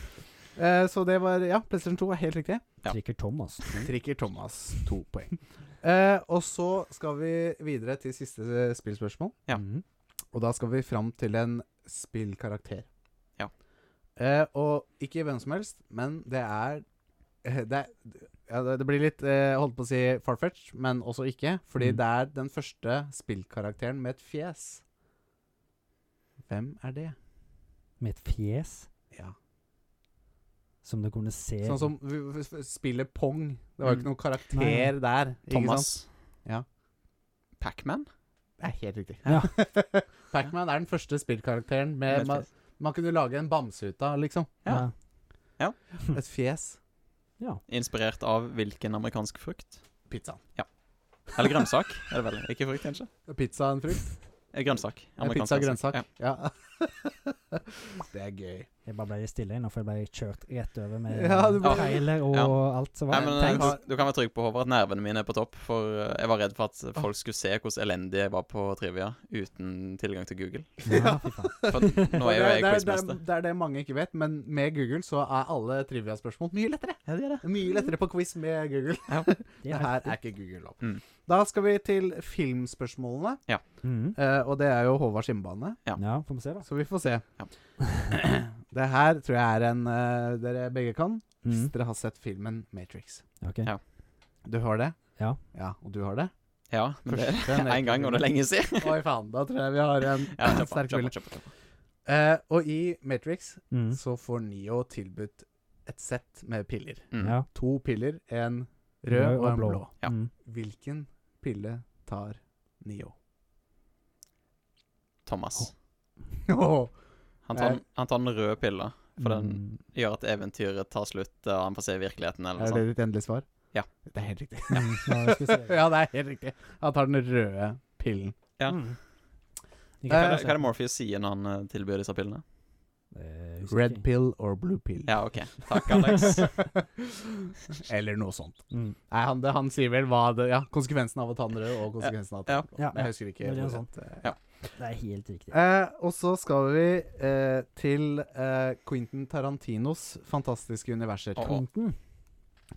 Eh, så det var Ja, PlayStation 2 er helt riktig. Ja. Drikker Thomas. Trikker Thomas to poeng. Eh, og så skal vi videre til siste eh, spillspørsmål. Ja. Mm. Og da skal vi fram til en spillkarakter. Ja. Eh, og ikke hvem som helst, men det er eh, Det, er, ja, det- det blir litt eh, holdt på å si farfetch, men også ikke. Fordi Mm. det er den første spillkarakteren med et fjes. Hvem er det? Med et fjes Ja. som du kunne se Sånn som v- v- f- spillet Pong. Det var jo Mm. ikke noen karakter Nei. der. Ikke Thomas. Sant? Ja. Pacman? Det er helt riktig. Ja. (laughs) Pacman er den første spillkarakteren Med med et man, man kunne lage en bamse ut av, liksom. Ja. Et fjes. Ja. Inspirert av hvilken amerikansk frukt? Pizzaen. Eller grønnsak, er det vel. Ikke frukt, kanskje. Pizza er en frukt. Eh, Grønnsak. Ja, pizza og grønnsak. Ja. Ja. (laughs) det er gøy. Jeg bare ble litt stille nå, for jeg ble kjørt rett over med Ja, du ble- trailer og alt som Nei, var. men eh, Tenk- du, du kan være trygg på Håvard at nervene mine er på topp. For eh, jeg var redd for at folk skulle se hvordan elendig jeg var på trivia uten tilgang til Google. Ja, fy faen. For nå er jo det, det, jeg det, quizmester. er, det er det mange ikke vet, men med Google så er alle trivia-spørsmål mye lettere. Ja, det er det. Mye lettere på quiz med Google. Det Det er her helt (laughs) er ikke Google opp. Mm. Da skal vi til filmspørsmålene, Mhm. eh, og det er jo Håvards hjemmebane. Ja. Ja, får vi se, da. Så vi får se. (clears throat) Det her tror jeg er en eh, dere begge kan, hvis Mhm. dere har sett filmen Matrix. Ok. Mm. Ja. Du har det? Ja. ja og du har det? Ja, men det Første (laughs) er én gang, og det er lenge siden. Oi faen, da tror jeg vi har en Ja, kjøp på, sterk kjøp på, melding. kjøp på, kjøp på. Eh, og i Matrix Mhm. så får Neo tilbudt et sett med piller. Mm. Ja. To piller, en rød og en blå. Ja. Mhm. Hvilken pille tar (laughs) Neo? Thomas. Åh, Han tar, Eh. han tar den røde pilla. For den Mm. gjør at eventyret tar slutt, og han får se virkeligheten. eller er noe sånt. det ditt endelige svar? Ja. Det er helt riktig. (laughs) Mm. Ja, jeg skulle se. ja, det er helt riktig. Han tar den røde pillen. Ja. Mm. altså. Hva Ikke er det, sant? hva er det Morpheus sier når han eh, tilbyr eh, disse pillene? Eh, husker Red ikke. pill or blue pill. Ja, OK. Takk, Alex. (laughs) Eller noe sånt. Mm. Nei, han, det, han sier vel hva det, ja, konsekvensen av å ta den røde og konsekvensen av å ta den blå. Ja. Jeg husker ikke. Det er hvor sånn. rett, eh, Det er helt riktig. Eh, og så skal vi eh, til eh, Quentin Tarantinos fantastiske universer. Åh. Clinton.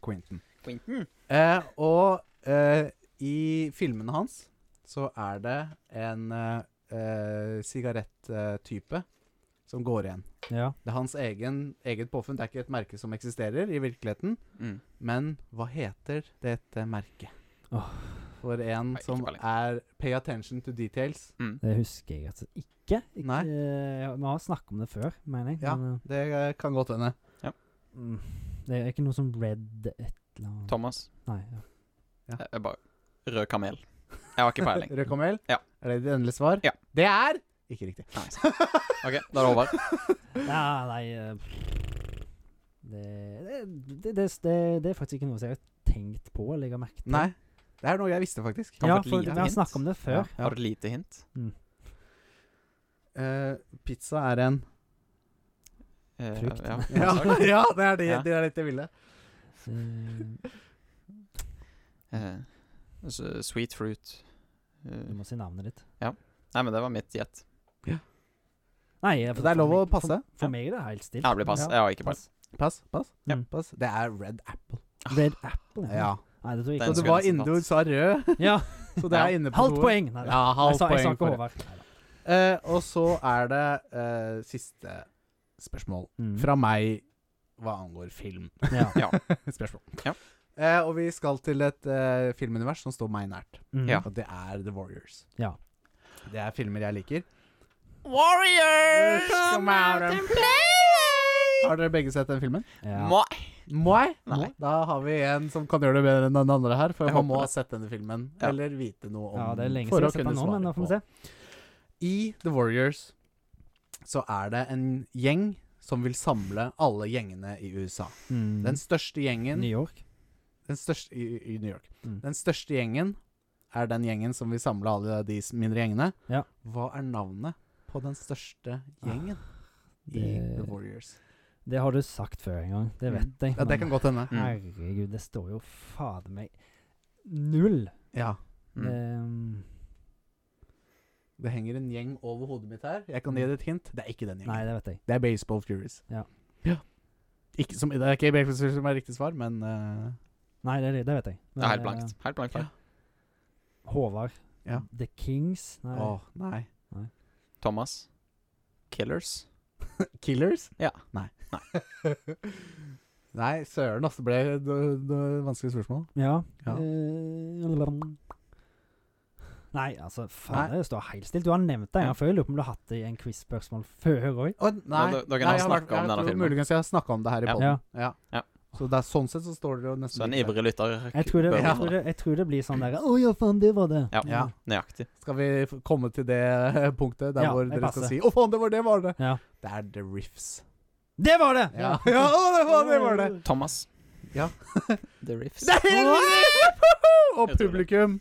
Quentin. Quentin. Eh, og eh, i filmene hans så er det en eh, sigarettype som går igjen. Ja. Det er hans egen, eget påfunn. Det er ikke et merke som eksisterer i virkeligheten. Mm. Men hva heter dette merket? Åh. For en Nei, ikke som peiling. er pay attention to details. mm. Det husker jeg altså ikke. ikke Nei. eh, vi har snakket om det før, mener jeg. Ja. Men, eh, Det eh, kan godt hende. mm, det er ikke noe som Red et eller annet Thomas. Nei. Ja. Jeg jeg bare Rød kamel. Jeg har ikke (laughs) peiling. Rød kamel? Ja. Er det ditt endelige svar? Ja. Det er ikke riktig. Nice. (laughs) OK, da er det over. ja, nei eh, det, det, det, det, det, det er faktisk ikke noe som jeg har tenkt på eller jeg har merket. til. Nei. Det er noe jeg visste, faktisk. Kan Ja, få et for lite vi har hint? snakket om det før. Ja. Har du et lite hint? Eh, pizza er en Eh, Frukt. Ja. Ja, ja det er det, Ja. det er dette jeg ville. Eh, Eh, s- sweet fruit. Eh, du må si navnet ditt. Nei, men det var mitt gjett. Nei, eh, Så det er lov å meg- passe. For, for meg er det helt stilt. Ja, det blir pass. Jeg har ikke peiling. pass. Pass, pass. Ja. pass. Det er red apple. Red Apple? Ja. Nei, det tror jeg Den Så ikke. du skulle var jeg nesten inne du sa rød, (laughs) Ja, så det Ja. er inne på halvt noe. poeng! Nei, Ja, jeg halvt sa, jeg sa poeng. ikke for det. Håvard. Nei, da. Eh, og så er det eh, siste spørsmål Mm. fra meg hva angår film. Ja. spørsmål. Ja. Eh, og vi skal til et eh, filmunivers som står meg nært. Mm. (laughs) Ja. Og det er The Warriors. Ja. Det er filmer jeg liker. Warriors! Come out and play! Har dere begge sett den filmen? Ja. Må Må jeg? Nei. Da har vi en som kan gjøre det bedre enn den andre her. For Jeg man må håper ha det. sett denne filmen, Ja. eller vite noe om ja, det er lenge for siden jeg å har sett den kunne nå, men da får vi se. svare på. I The Warriors så er det en gjeng som vil samle alle gjengene i USA. Mm. Den største gjengen New York. den største, i, I New York. Mm. Den største gjengen er den gjengen som vil samle alle de s- mindre gjengene. Ja. Hva er navnet på den største gjengen Ah, i det- The Warriors? Det har du sagt før en gang, det vet jeg. Ja, det men kan godt hende. Mm. Herregud, det står jo fader meg null. Ja. Mm. Ehm, Det henger en gjeng over hodet mitt her. Jeg kan gi deg et hint. Det er ikke den gjengen. nei, det vet jeg. Det er Baseball Furies. Ja. Ikke som, det er ikke Baseball Furies som er riktig svar, men eh, Nei, det, det vet jeg. Det er helt eh, blankt. Helt blankt feil. Håvard. Ja. The Kings. Nei. Å, nei. (laughs) Thomas. Killers. Killers? Ja. Nei. (laughs) nei, søren, altså. Det ble det- det vanskelig spørsmål. Ja. Ja. Eh, Nei, altså, faen, det står helt stilt. Du har nevnt det en gang før. Jeg lurer på om du har hatt det i en quiz-spørsmål før òg. Å, nei. da- da kan nei, han jeg snakke om jeg denne tror filmen. Muligens jeg har snakka om det her i Ja. podden. Ja. Ja. Så det er, sånn sett så står det jo nesten Så en likt der. ivrig lytter Jeg, tror det- bør jeg, tror vite det- jeg tror det blir sånn derre Å ja, faen, det var det. Ja. Ja. Nøyaktig. Skal vi f- komme til det eh, punktet der Ja, hvor jeg dere passer. skal si 'Å, faen, det var det', var det? Ja. Det er The Riffs. (laughs) Det var det! (laughs) Ja, (laughs) ja å, det var det, (laughs) var det. Thomas. Ja. (laughs) The Riffs. Det er helt riktig! Og Jeg tror det. publikum.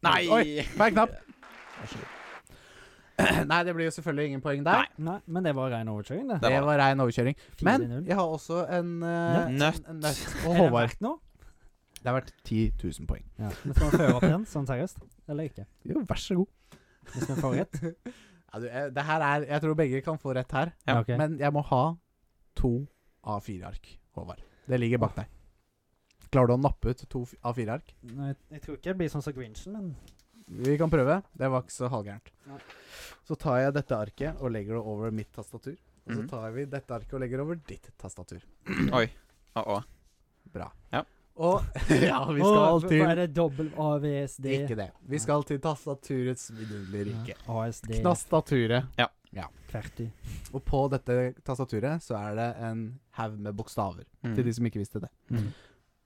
Nei! Oi. Hver knapp. (clears throat) Vær så god. Nei, det blir jo selvfølgelig ingen poeng der. Nei. Nei, men det var ren overkjøring, det. Det Det var- var rein overkjøring. Men 4-0. jeg har også en eh, Nøtt. en- en nøtt. (laughs) Og Er det Håvard. verdt noe? Det har vært 10 000 poeng. Ja. Vi skal føre opp igjen, sånn seriøst. Eller ikke. Jo, vær så (laughs) god. Hvis vi får rett. Ja, du, eh, det her er Jeg tror begge kan få rett her. Ja. ok. Men jeg må ha to A4-ark, Håvard. Det ligger bak deg. Klarer du å nappe ut to f- A4-ark? Nei, jeg, jeg tror ikke det blir sånn som Grinchen, men Vi kan prøve. Det var ikke så halvgærent. Nei. Så tar jeg dette arket og legger det over mitt tastatur. Og så Mhm. tar vi dette arket og legger det over ditt tastatur. Oi. Å, å. Bra. Ja. Og (laughs) ja, vi skal Åh, hva- hva Er til det dobbel AVSD? Ikke det. Vi skal til tastaturets vidunderlige Ja. rike. ASD Knastaturet. kverti. Og på dette tastaturet så er det en haug med bokstaver. Til de som ikke visste det. Mm.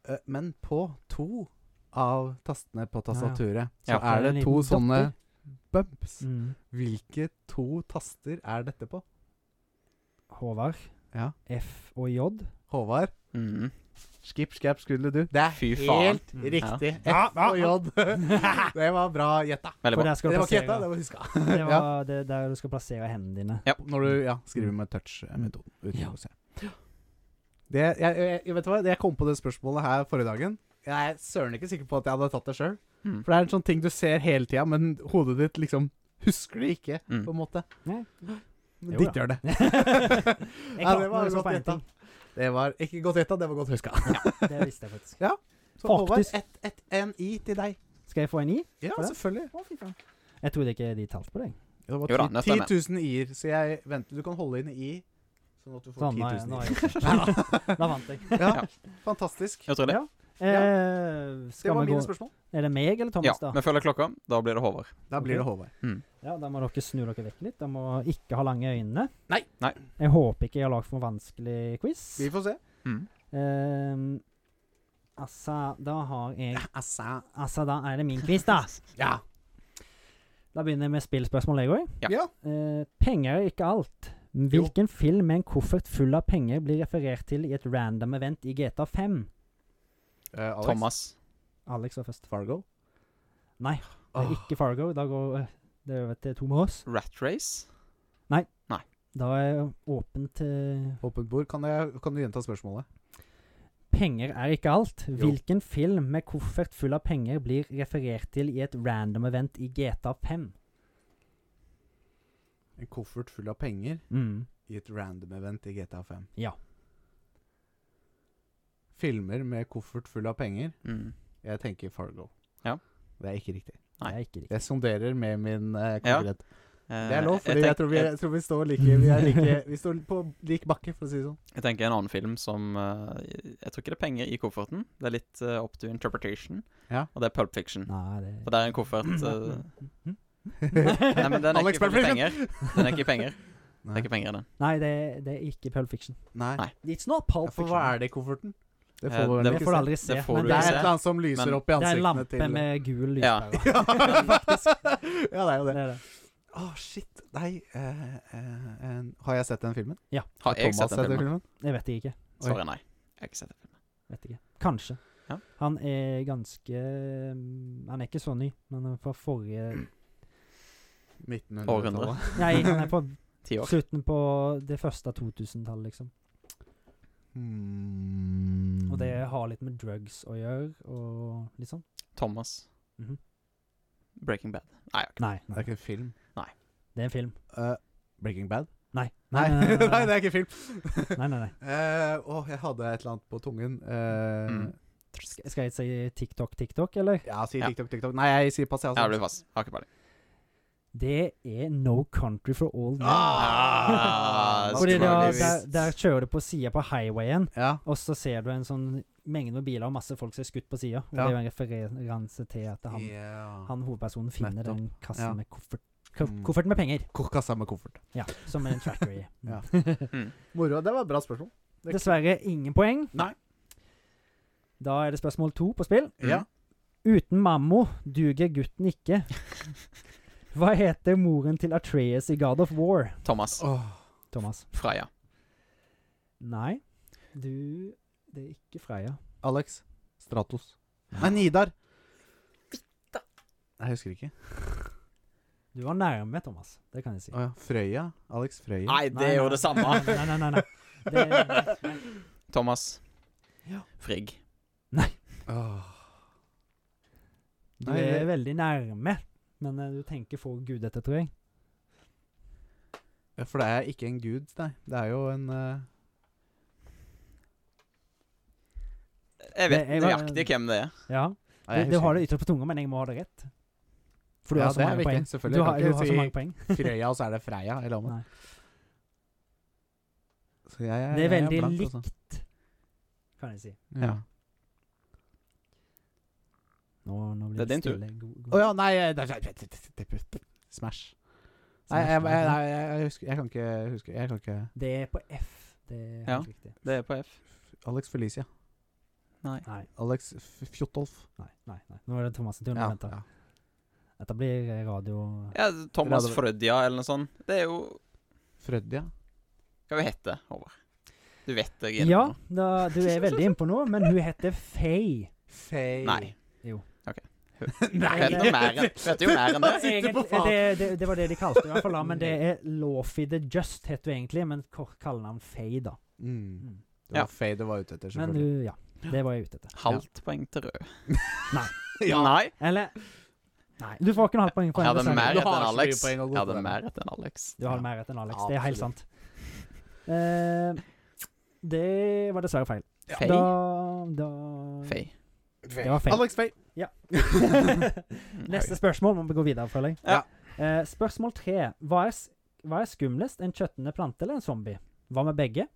Eh, Men på to av tastene på tastaturet så Ja. Er er det en det to liten sånne dotter? bumps. Mm. Hvilke to taster er dette på? Håvard. Ja. F og J. Håvard? Mm. Skip, skap, skudle du. Det er Fy faen. helt Mm, riktig. ja. F og (laughs) J. Det var bra gjetta. For Veldig der bra. Det skal du var ikke plassere, gjetta, det var huska. det ja. var det der du skal plassere hendene (laughs) dine. Når du ja, skriver med touch-metoden. uten å se. Det, jeg, jeg, jeg vet du hva, jeg kom på det spørsmålet her forrige dagen. Jeg er søren ikke sikker på at jeg hadde tatt det sjøl. Mm. For det er en sånn ting du ser hele tida, men hodet ditt liksom husker det ikke, Mm. på en måte. Nei. Men Jo ditt da. gjør det. (laughs) Jeg klarte det var meg også godt på en gjetta. ting. Det var ikke godt gjetta, det var godt (laughs) huska. Det visste jeg faktisk. Så Håvard, Faktisk. ett- ett- en i til deg. Skal jeg få en i? Ja, For det? selvfølgelig. Jeg trodde ikke de talte på deg. Det var Jo da, 10 det stemmer. 10 000 i-er, så jeg venter. Du kan holde inn i, sånn at du får Sånn, nå, 10 nå, 000 i. (laughs) nå, da vant jeg. Ja, fantastisk. Utrolig. Ja. Eh, Det skal var vi gå mine spørsmål. Er det meg eller Ja, Thomas, da? vi følger klokka. Da blir det Håvard. Da blir det Håvard. Ja, Da må dere snu dere vekk litt. Dere må ikke ha lange øyne. Nei. Nei. Jeg håper ikke jeg har lagd for vanskelig quiz. Vi får se. Mm. Ehm, altså, da har jeg (laughs) Assa. Altså, da er det min quiz, da. Ja. Da begynner jeg med spillspørsmål, jeg òg. Ja. Ja. Eh, penger er ikke alt. Hvilken film med en koffert full av penger blir referert til i et random event i GTA 5? Eh, Alex. Thomas. Alex var først. Fargo. Nei, det er Åh. ikke Fargo. Da går eh, det over til Thomas. Rat Race. Da er jeg åpen til Åpent bord. Kan, jeg, kan du gjenta spørsmålet? Penger er ikke alt. Jo. Hvilken film med koffert full av penger blir referert til i et random event i GTA 5? En koffert full av penger Mm. i et random event i GTA 5. Ja. Filmer med koffert full av penger. Mm. Jeg tenker Fargo. Ja. Det er ikke riktig. Det Nei. er ikke riktig. Jeg sonderer med min eh, Ja. konkurrent. Eh, Det er lov, fordi jeg, tenk- tror, vi, jeg, jeg tror vi står like Vi, er (laughs) like, vi står på lik bakke, for å si det sånn. jeg tenker en annen film som eh, Jeg tror ikke det er penger i kofferten. Det er litt eh, up to interpretation. Ja. Og det er Pulp Fiction. Nei, det For det er en koffert eh, (laughs) Nei, men den er Alex ikke full av Bergfrisen! penger. Den er ikke penger. Det Nei. er ikke penger, den. Nei, det, det er ikke Pulp Fiction. Nei. Nei. It's not Pulp For hva er det i kofferten? Det Eh, får vi det vel Det ikke får du se. aldri se. Det får men du Det er ikke se. et eller annet som lyser Men- opp det i er en ansiktene lampe til med gul Ja. lyspære. (laughs) (laughs) Ja, ja, det er jo Det det. er det. Å, shit. Nei eh, eh, en- Har jeg sett den filmen? Har jeg sett den filmen? Jeg vet ikke. Svaret er nei. Jeg har ikke sett den filmen. Vet ikke. Kanskje. Ja. Han er ganske mm, Han er ikke så ny, men han er fra forrige 1900-tallet. Nei, han er på Ti år. slutten på det første 2000-tallet, liksom. Mm. Og det har litt med drugs å gjøre, og litt sånn. Thomas. Mhm. Breaking Bad. Nei, jeg har ikke Nei, Det er ikke en film. det er en film. Eh, Breaking Bad? Nei. Nei, nei, (laughs) det er ikke en film. nei, nei, nei. Eh, Å, jeg hadde et eller annet på tungen. Eh, Mm. Sk- Skal jeg si TikTok, TikTok, eller? Ja, si Ja. TikTok, TikTok. Nei, jeg sier altså. pass, jeg Jeg blir fast. Har ikke peiling. Det er No Country for Old Men. Ah, Ah, Fordi da, naturligvis. der, der kjører du på sida på highwayen, Ja. og så ser du en sånn mengde med biler og masse folk som er skutt på sida. Og Ja. Det er jo en referanse til at han, Ja. han hovedpersonen finner Nettopp. den kassen Ja. med koffert, ko- Mm. koffert med penger. Ko- Kassa med koffert. Ja, som en tracker i. (laughs) Ja. Mm. Moro. Det var et bra spørsmål. Dessverre ingen poeng. Nei. Da er det spørsmål to på spill. Mm. Ja. Uten mammo duger gutten ikke. Hva heter moren til Atreas i God of War? Thomas. Thomas. Freya. Nei, du Det er ikke Freya. Alex. Stratos. Nei, Nidar. Jeg husker ikke. Du var nærme, Thomas. Det kan jeg si. Å ja. Frøya. Alex Frøya. Nei, det er jo det samme. (laughs) Nei, nei, nei. nei. (laughs) Det, Thomas. Ja. Frigg. Åh. du Nei, er det- veldig nærme, men eh, du tenker for gudete, tror jeg. Ja, For det er ikke en gud, nei. Det er jo en eh, Jeg vet Det er- nøyaktig hvem det er. Ja. nei, jeg Du, du husker har det ikke. ytterst på tunga, men jeg må ha det rett. For du Ja, har så det er mange viktig, poeng. selvfølgelig. Du Jeg har, kan du ikke har si- så mange poeng. Frøya, og så er det Freya i lammet. Nei. Så jeg, jeg, Det er jeg veldig blank, altså. likt, kan jeg si. Ja. Nå, nå blir Det er din tur. stille. God- Å ja, nei eh, det er- Smash. Nei, jeg, jeg, nei, jeg, jeg, husker, jeg kan ikke huske Jeg kan ikke Det er på F. Det er helt Ja. riktig. Det er på F. Alex Felicia. Nei. Nei, Alex F- Fjotolf. nei, nei. nei. Nå er det Thomas' tur. Ja, vent da. Dette blir eh, radio... Ja, Thomas Radioen. Frødja eller noe sånt. Det er jo Frødja. Hva hun heter Håvard. Du vet jeg er inne Ja, på noe. da, du er veldig innpå nå, men hun heter Faye. Faye. Nei. Jo. Ok. Nei. Vet noe mer enn- vet jo mer enn det. sitter på Egentlig, faen. det, det, det var det de kalte det, i hvert fall. da, Men det er Lawfy the Just, het hun egentlig. Men kort kaller han Faye, da. Mm. Mm. Det var Ja. Faye det var ute etter, Men hun- selvfølgelig. (laughs) ja. Det var jeg ute etter. Halvt poeng til rød. (laughs) Nei. Nei. Eller Nei, du får ikke noe halvt poeng for Jeg en hadde design. mer Du rett har enn så mye Alex. poeng å gå Jeg på hadde der. mer rett enn Alex. Du har Ja. mer rett enn Alex. Det er helt sant. Eh, det var dessverre feil. Fei. Da, da Fei. Det var feil. Alex Faye. Neste spørsmål må vi gå videre, føler jeg. Ja. Eh, spørsmål tre. Hva er, s- hva er skumlest, en kjøttende plante eller en zombie? Hva med begge?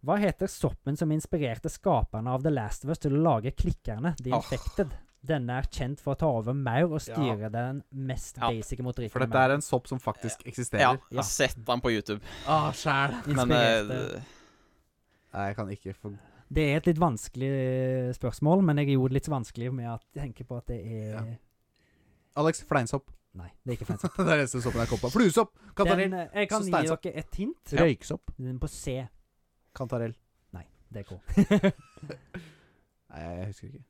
Hva heter soppen som inspirerte skaperne av The Last of Us til å lage klikkerne, The Åh. Infected? Denne er kjent for å ta over maur og styre Ja. den mest Ja. basic motorikken. For dette er en sopp som faktisk Ja, eksisterer. jeg har sett han på YouTube, Ah, sjæl. men Inspirerte- eh, Nei, jeg kan ikke få Det er et litt vanskelig eh, spørsmål, men jeg er jo litt vanskelig med at jeg tenker på at det er Ja. Alex, fleinsopp. Nei, det er (laughs) ikke feil. det er eneste soppen jeg kom på. Fluesopp! Den, Kantarell. eh, jeg kan Så gi steinsopp. dere et hint. Røyksopp. Den på C. Kantarell. Det er K. Nei, jeg husker ikke.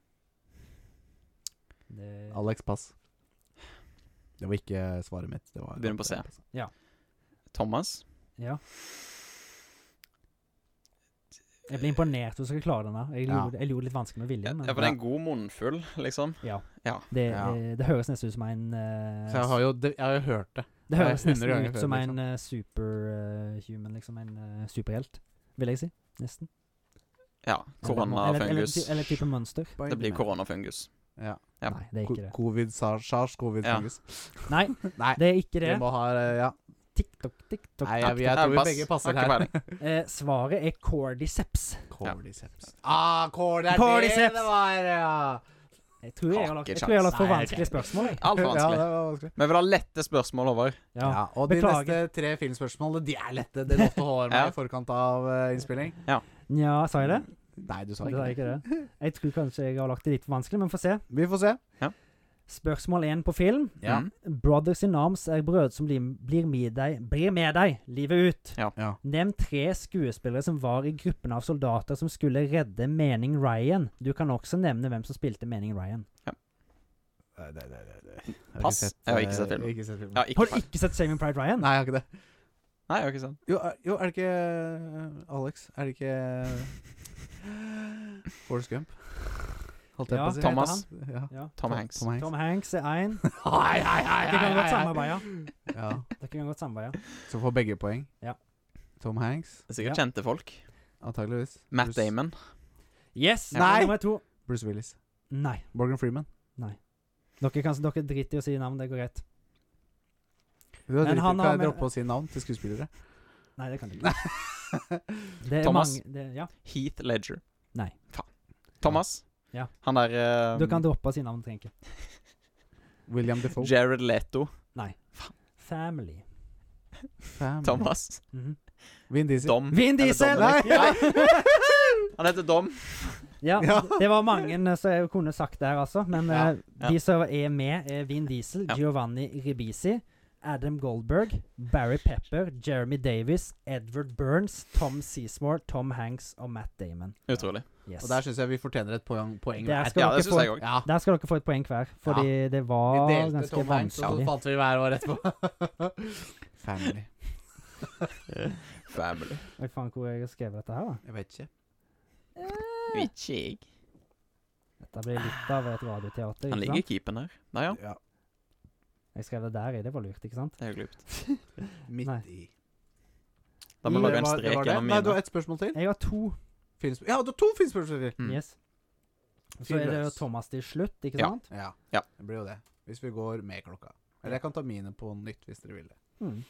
Det- Alex, pass. Det var ikke eh, svaret mitt. Det var altså. Begynner på C. Ja. Thomas Ja. Jeg blir imponert hvis dere klarer den. her. Jeg Ja. gjorde jeg gjorde det litt vanskelig med vilje. Ja, Men, for det er en god munnfull, liksom. ja. Ja. Det, Ja. eh, det høres nesten ut som en eh, Så jeg har jo, det, jeg har jo hørt det. Det jeg har høres 100 nesten ganger ut før, som liksom. en eh, superhuman, liksom. En eh, superhelt, vil jeg si. Nesten. Ja. Eller- eller- eller Koronafungus. ty- Eller type mønster. Det blir koronafungus. Ja. Ja. Nei, det er Ko- ikke det. Covid, sars, sars, covid, Ja. fungus. Nei, (laughs) Nei, det er ikke vi det. må ha eh, Ja. TikTok, Tiktok. Nei, jeg, jeg, Ja, tror vi pass. begge passer Har ikke her. (laughs) peiling. Eh, svaret er cordyceps. Cordyceps. Ah, cord, det er Cordyceps. det det var, ja. Jeg tror jeg har Har lagt, ikke jeg tror jeg har lagt for sjans. Nei, vanskelige spørsmål. jeg. Altfor Ja, vanskelig. det var vanskelig. Vi vil ha lette spørsmål, Håvard. Ja. Ja, og de Beklager. neste tre filmspørsmålene, de er lette. Det lovte (laughs) Håvard meg Ja. i forkant av eh, innspilling. Nja, sa jeg det? Nei, du sa Det ikke er det. ikke det. Jeg tror kanskje jeg har lagt det litt for vanskelig, men få se. Vi får se. Spørsmål én på film. Ja. Mm. Brothers in arms er brødre som blir, blir, med deg, blir med deg livet ut. Ja. Ja. Nevn tre skuespillere som var i gruppen av soldater som skulle redde Mening Ryan. Du kan også nevne hvem som spilte Mening Ryan. Nei, nei, nei, nei, nei. Pass. Jeg har ikke sett filmen. filmen. eh, Ikke sett filmen. Ja, ikke Har du feil. ikke sett Saving Pride Ryan? Nei, jeg har ikke det. Nei, jeg har ikke sant. Jo, er- jo, er det ikke eh, Alex? Er det (laughs) ikke Forrest Gump? Holdt jeg Ja, på å si. Thomas. Ja. Ja. Tom Hanks. Tom Hanks. Tom (laughs) Hanks er én. Hei, hei, hei, Dere kan hei, godt hei. samarbeide. Ja. Dere kan godt samarbeide. Så får begge poeng. Ja. Tom Hanks, Det er sikkert Ja. kjente folk. antageligvis. Matt Bruce, Damon. Yes! Nei. Nummer to. Bruce Willis. Nei. Morgan Freeman. Dere, kan, dere driter i å si navn, det går greit. Du har Men dritt, han kan har jeg med- droppe å si navn til skuespillere? Nei, det kan dere ikke. Det er Thomas. Mange, det, ja. Heath Ledger. Nei. Faen. Thomas. Ja. Han der eh, Du kan droppe å si navn, trenger ikke. William Defoe. Jared Leto. Family. Family. Thomas. Mhm. Vin Diesel. Dom. Vin Eller Diesel! Dominic. Ja. Han heter Dom. (laughs) Ja, Ja. det var mange eh, som jeg kunne sagt der, altså. Men Ja, eh, ja. de som er med, er Vin Diesel, Ja. Giovanni Ribisi, Adam Goldberg, Barry Pepper, Jeremy Davis, Edward Burns, Tom Seymour, Tom Hanks og Matt Damon. Utrolig. Yes. Og der syns jeg vi fortjener et poeng. poeng Der hver. skal Ja, dere det syns få- jeg òg. Ja. Der skal dere få et poeng hver, fordi det Vi var delte Ah, ganske Tom Hanks, og så vanskelig. fant vi hver vår (laughs) etterpå. Family. Family. Oi, faen, hvor har jeg skrevet dette her, da? Jeg vet ikke. Eh, Ikke jeg. Dette blir litt av et radioteater. Ah. Han Ikke ligger i sant? keepen der. Der, ja. Ja. Jeg skrev det der i, det var lurt, ikke sant? Det er jo glupt. Midt Nei. i. Da må Det vi lage en var- det strek var det. gjennom Nei, du har mine. ett spørsmål til. Jeg har to. Filmsp ja, du har to filmspørsmål til! Mm. Yes. Så er det jo Filmløs. Thomas til slutt, ikke Ja. sant? Ja. Ja. Det blir jo det. Hvis vi går med klokka. Eller jeg kan ta mine på nytt hvis dere vil det. Mm.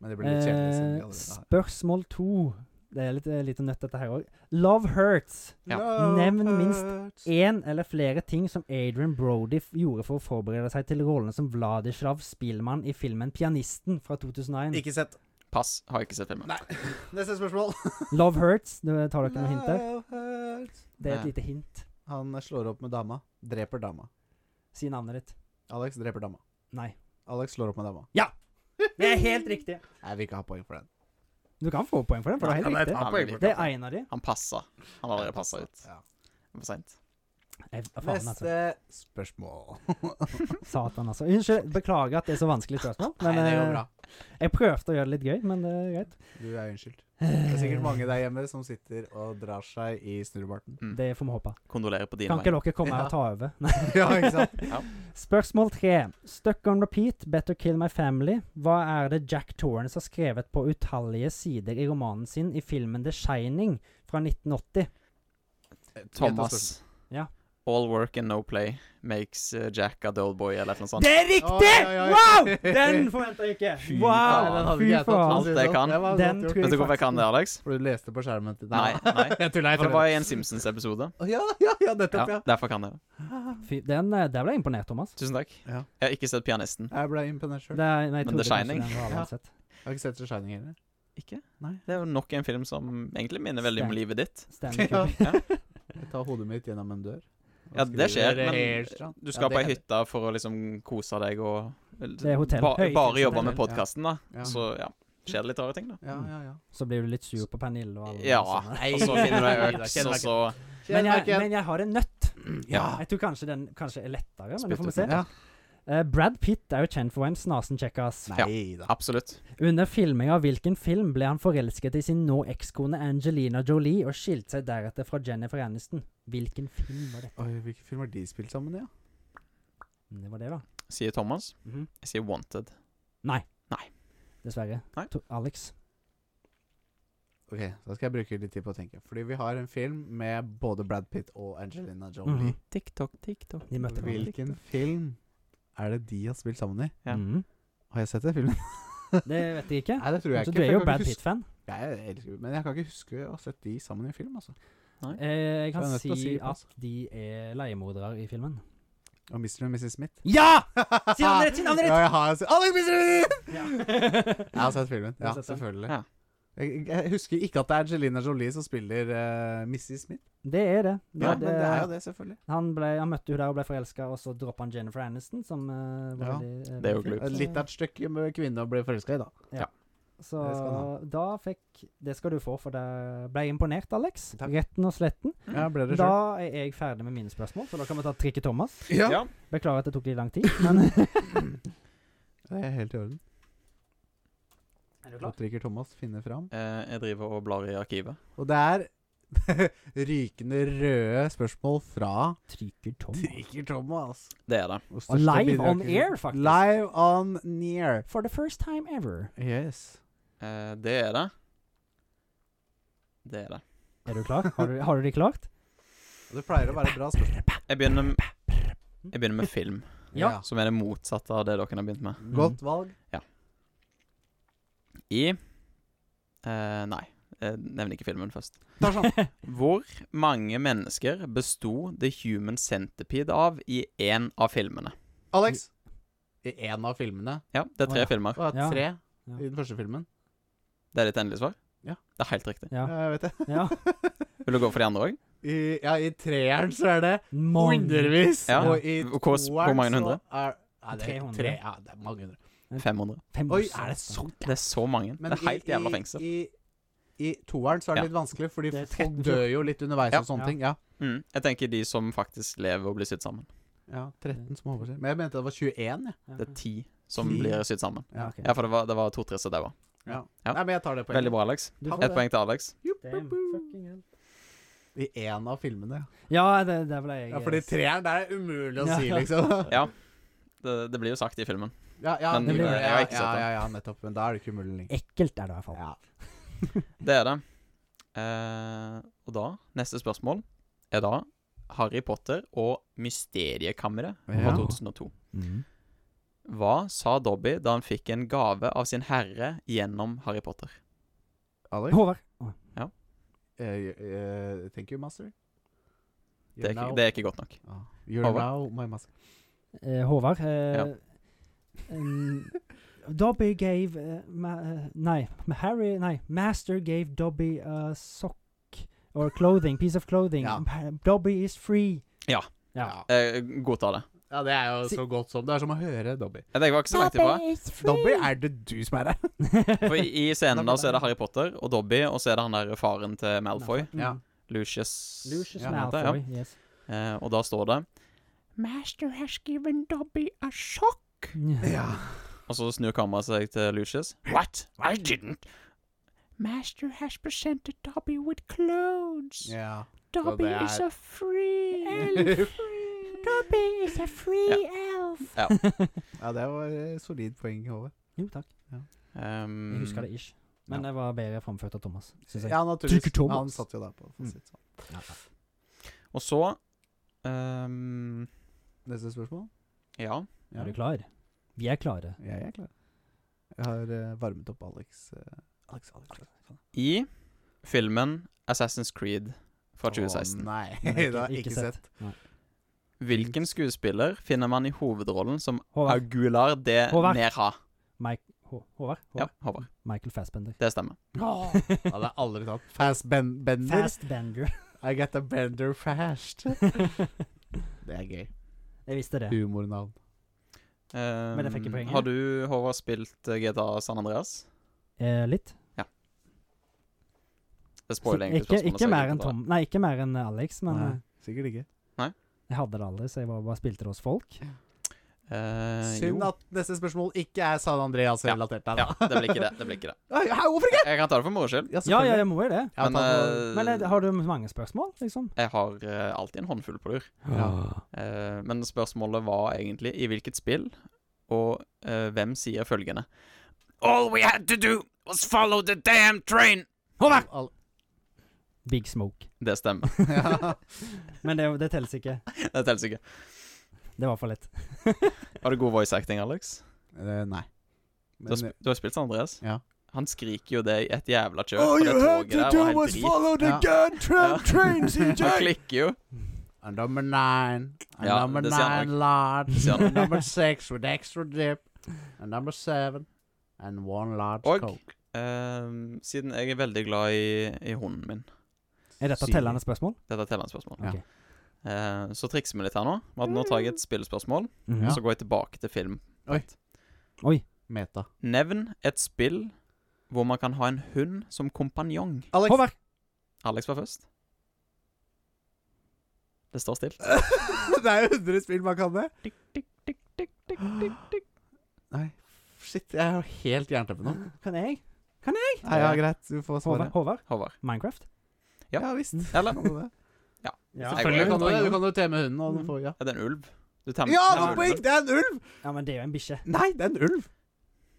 Men det blir litt kjedelig siden vi Eh, allerede har Spørsmål to. Det er litt, eh, litt nødt, dette her òg. Love hurts. Ja. Love Nevn minst hurts. Én eller flere ting som Adrian Brody f- gjorde for å forberede seg til rollene som Vladislav Spilmann i filmen 'Pianisten' fra 2001. Ikke sett. Pass. Har ikke sett filmen. Nei. (laughs) Neste spørsmål. Love hurts. Nå tar dere noen hint der. Love hurts. Det er et Nei. lite hint. Han slår opp med dama. Dreper dama. Si navnet ditt. Alex dreper dama. Nei. Alex slår opp med dama. Det er helt riktig. Jeg vil ikke ha poeng for den. Du kan få poeng for den, for det er Ja, helt men riktig. ta Han poeng vil for ikke. Det er en av de. Han passa. Han har allerede passa ut. Ja. For seint. Jeg, faen, altså. Neste (laughs) spørsmål. Satan, altså. Unnskyld, beklager at det er så vanskelig spørsmål. Men Nei, det går eh, bra. jeg prøvde å gjøre det litt gøy, men det er greit. Du er unnskyldt. Det er sikkert mange der hjemme som sitter og drar seg i (laughs) snurrebarten. Det får vi håpe. Mm. Kondolerer på dine Kan ikke vegne. dere komme her og ta over? Nei. ja, ikke sant? Spørsmål tre. Stuck on repeat, Better Kill My Family. Hva er det Jack Torrance har skrevet på utallige sider i romanen sin i filmen The Shining fra 1980? Thomas. Ja. All work and no play makes uh, Jack a dull boy, eller noe sånt. Det er riktig! Oi, oi, oi. Wow! Den forventa jeg (laughs) ikke. Fy faen. Wow! Nei, den hadde Fy ikke jeg tatt, for å faen. si det Alt jeg sånn. kan. Det var Den godt gjort. tror jeg Vet du hvorfor jeg kan det, Alex? For du leste på skjermen til Nei. nei. (laughs) jeg tuller, For det var i en Simpsons-episode. Ja, ja, ja, Ja, nettopp, ja. derfor kan jeg det. Fy, den, eh, der ble jeg imponert, Thomas. Tusen takk. Ja. Jeg har ikke sett Pianisten. Jeg ble imponert Det, sjøl. er- nei, jeg Men trodde The kanskje Shining. den var Ja. uansett. Jeg har ikke sett The Shining heller. Ikke? Nei. Det er jo nok en film som egentlig minner veldig om Sterk. livet ditt. Stanley (laughs) Ja. Kubrick. Jeg tar hodet mitt gjennom en dør. og Ja, skriver det skjer, men helt strand. Du skal Ja, på det ei hytte for å liksom kose deg og Det er hotell. Ba, Høyhus bare jobbe hotell. med podkasten, da. Ja. Så ja. Skjer det litt rare ting, da. Ja, ja, ja. Så blir du litt sur på Pernille og alle Ja. sånne. Nei. Og så finner (laughs) (laughs) du ei øks, Kjenner og meg så Men Kjenner meg jeg, igjen. men jeg har en nøtt. Ja. Jeg tror kanskje den kanskje er lettere, men det får vi se. Spytt ut. ja. Eh, Brad Pitt er jo kjent for å være en snasenkjekkas. Nei da. Absolutt. Under filminga av hvilken film ble han forelsket i sin nå ekskone Angelina Jolie og skilte seg deretter fra Jennifer Aniston? Hvilken film var dette? Oi, hvilken film har de spilt sammen, ja? Det var det, da. Sier Thomas. Mhm. Jeg sier Wanted. Dessverre. Nei. To Alex. Ok, Da skal jeg bruke litt tid på å tenke. Fordi vi har en film med både Brad Pitt og Angelina Jolie. Mhm. TikTok, TikTok. De møtte hverandre. Hvilken film er det de har spilt sammen i? Ja. Mhm. Har jeg sett den filmen? Det vet jeg ikke. (laughs) Nei, det tror jeg Så du ikke. Altså, for er jeg jo kan Brad ikke huske- Pitt-fan. Ja, Jeg elsker Men jeg kan ikke huske å ha sett de sammen i en film, altså. Eh, jeg Så kan jeg er nødt til å si si pass. at de er leiemordere i filmen. Og Mr. og Mrs. Smith. Ja! Ah! Si navnet ditt, si navnet ditt! Ja, jeg har sett Alex Mr. Smith! (laughs) (laughs) Jeg Ja. har sett filmen. har Ja, sett den? selvfølgelig. Ja. Jeg, jeg husker ikke at det er Angelina Jolie som spiller eh, Mrs. Smith. Det er det. det, Ja, er men det er jo det, selvfølgelig. Han, ble, han møtte hun der og ble forelska, og så droppa han Jennifer Aniston, som eh, var Ja. veldig eh, Det er jo flink. glupt. Eh, Litt av et stykke med kvinne å bli forelska i, da. Så Det skal han da fikk Det skal du få, for det ble jeg imponert, Alex. Takk. Retten og sletten. Mm. Ja, ble det sjøl. Da er jeg ferdig med mine spørsmål, så da kan vi ta trikket Thomas. Ja. Ja. Beklager at det tok litt lang tid, (laughs) men (clears throat) Det er helt i orden. Er du Nå trykker Thomas finner fram. Eh, jeg driver og blar i arkivet. Og det er (laughs) rykende røde spørsmål fra Trykker Thomas. Trykker Thomas. Det er det. Og Og største live on bidragsyter. air, faktisk. Live on near. For the first time ever. Yes. Eh, det er det. Det er det. Er du klar? Har du, har du de klart? Og det pleier å være bra spørsmål. Jeg begynner, m- jeg begynner med film, Ja. som er det motsatte av det dere har begynt med. (laughs) Godt valg. I eh, Nei, jeg nevner ikke filmen først. Mm. (laughs) Tarzan. Hvor mange mennesker besto The Human Centipede av i én av filmene? Alex. I én av filmene. Ja, det er Å, tre ja. filmer. Og Ja. tre Ja. i den første filmen. Det er ditt endelige svar? Ja. Det er helt riktig. (laughs) Ja. Jeg Eh, (laughs) vet det. ja. Vil du gå for de andre òg? I, ja, i treeren så er det Mange. hundrevis. Ja. Og i Hvor- hvor toeren mange så hundre? Er, nei, det er 300. tre. Ja, det er mange hundre. 500. Oi, er det så Det er så mange. Men det er helt i, jævla i- fengsel. I, i toeren så er det Ja. litt vanskelig, fordi Det er folk 13. dør jo litt underveis Ja. og sånne Ja. ting. Ja. Mm. Jeg tenker de som faktisk lever og blir sydd sammen. ja, 13 som overser. Men jeg mente det var 21, jeg. Det er ti som Ti? blir sydd sammen. Ja. Ok. Ja, for det var, det var to-tre som daua. Ja. Ja. Nei, men jeg tar det poenget. Veldig bra, Alex. Du får Ett det. poeng til Alex. Damn, fucking hell. I én av filmene. ja. Ja, det, det ble jeg Ja, fordi treeren der er umulig å Ja. si, liksom. (laughs) Ja. Det, det blir jo sagt i filmen. Ja, ja, Men eh, det blir- jeg har ja, ikke sett ja, den. ja, ja, nettopp. Men da er det ikke umulig lenger. Ekkelt er det i hvert fall. Ja. Det er det. Eh, og da, neste spørsmål er da Harry Potter og Mysteriekammeret fra Ja. 2002. Hva sa Dobby da han fikk en gave av sin herre gjennom Harry Potter? Alex? Håvard. Å, Eh, eh, thank you, master. Det er, You're ikke, now- det er ikke godt nok. Ah, You're Håvard? now my master. eh, Håvard. eh, Ja. em, Dobby gave eh, ma eh, Nei, Harry Nei, Master gave Dobby a sock or clothing, piece of clothing. Ja. Dobby is free. Ja. Jeg godtar Eh, det. Ja, det er jo Si- så godt som Det er som å høre Dobby. Jeg tenker var ikke så langt (laughs) ifra. Dobby, er det du som er her? For (laughs) i, i scenen da så er det Harry Potter og Dobby, og så er det han der faren til Malfoy. (laughs) Ja. Lucius. Mm. Lucius Ja, han heter, Malfoy. Yes. Eh, og da står det Master has given Dobby a shock. Og så snur kameraet seg til Lucius. What? I didn't. Master has presented Dobby with clothes. Ja. Dobby det is er- a (laughs) free elf. ja, Dobby is a free elf. det var eh, solid poeng, Håvard. (laughs) Jo, takk. Um, Jeg husker det ish. Men Ja. det var bedre framført av Thomas, syns jeg. Ja, naturligvis. Tykker Thomas. Han satt jo der på for å si det sånn. Ja, ja. Og så um, Neste spørsmål? Ja. Ja. Er du klar? Vi er (laughs) klare. Jeg er klar. Jeg har eh, varmet opp Alex. eh, Alex, Alex, Alex. I filmen Assassin's Creed fra 2016 Å, nei, Men (laughs) det har jeg ikke sett. Nei. Hvilken skuespiller finner man i hovedrollen som Håvard. Augular de Håvard. Nerha? Mike, Hå- Håvard? Ja, Håvard? Håvard. Michael (laughs) Fassbender. Det stemmer. Åh, det hadde jeg aldri tatt. Fast ben bender. Fastbender. I get a bender (laughs) fast. Det er gøy. jeg visste det. Humornavn. Um, jeg fikk ikke poenget. Har du, Håvard, spilt eh, GTA San Andreas? Eh, litt. Det Så (laughs) spoiler egentlig ikke, spørsmålet. så ikke jeg mer gidder enn ikke ta Tom det. Nei, ikke mer enn eh, Alex, men Nei, eh, sikkert ikke. jeg hadde det aldri, så jeg bare, bare spilte det hos folk. Eh, Synd jo. at neste spørsmål ikke er San Andreas-relatert. Ja, det blir ikke det. (laughs) det blir ikke det Hvorfor ikke? Jeg kan ta det for moro skyld. Ja, ja, jeg må jo det. Ja, Men, ta eh, Men eh, har du mange spørsmål, liksom? jeg har eh, alltid en håndfull på lur. Eh, men spørsmålet var egentlig i hvilket spill, og eh, hvem sier følgende All we had to do was follow the damn train! Håvard! Big Smoke. Det stemmer. (laughs) Ja. Men det, det telles ikke. Det teller ikke. Det var for lett. Var det god voice acting, Alex? Eh, Nei. Du har, sp du har spilt San Andreas? eh, Ja. Han skriker jo det i et jævla kjør. og det toget der var helt drit. the Ja. (laughs) Ja. train, Han klikker jo. I'm number eh, nine. I'm Ja, number det sier han nine (laughs) large. Det sier han I'm number six with extra dip. And number seven. And one large Og- coke. Ehm, siden jeg er veldig glad i, i hunden min Er dette Syv. tellende spørsmål? Dette er tellende spørsmål. Ja. Mm. Ok. Eh, så trikser vi litt her nå. Med at nå tar jeg et spillspørsmål, Mhm. Ja. og så går jeg tilbake til film. Oi. Meta. Nevn et spill hvor man kan ha en hund som kompanjong. Alex. Håvard! Alex var først. Det står stilt. (laughs) det er jo 100 spill man kan det. Nei, shit. Jeg er jo helt jerntøppe nå. Kan jeg? Nei, ja, greit. Du Håvard? får svaret. Håvard? Eh, Håvard. Minecraft? Ja. Ja visst. Eller Kan du det? Ja, Selvfølgelig jeg- kan du det. Du kan jo temme hunden. Og du får, ja. er det en ulv? Du temmer ja, temmer poeng! ulven. Det er en ulv! Ja, men det er jo en bikkje. Nei, det er en ulv.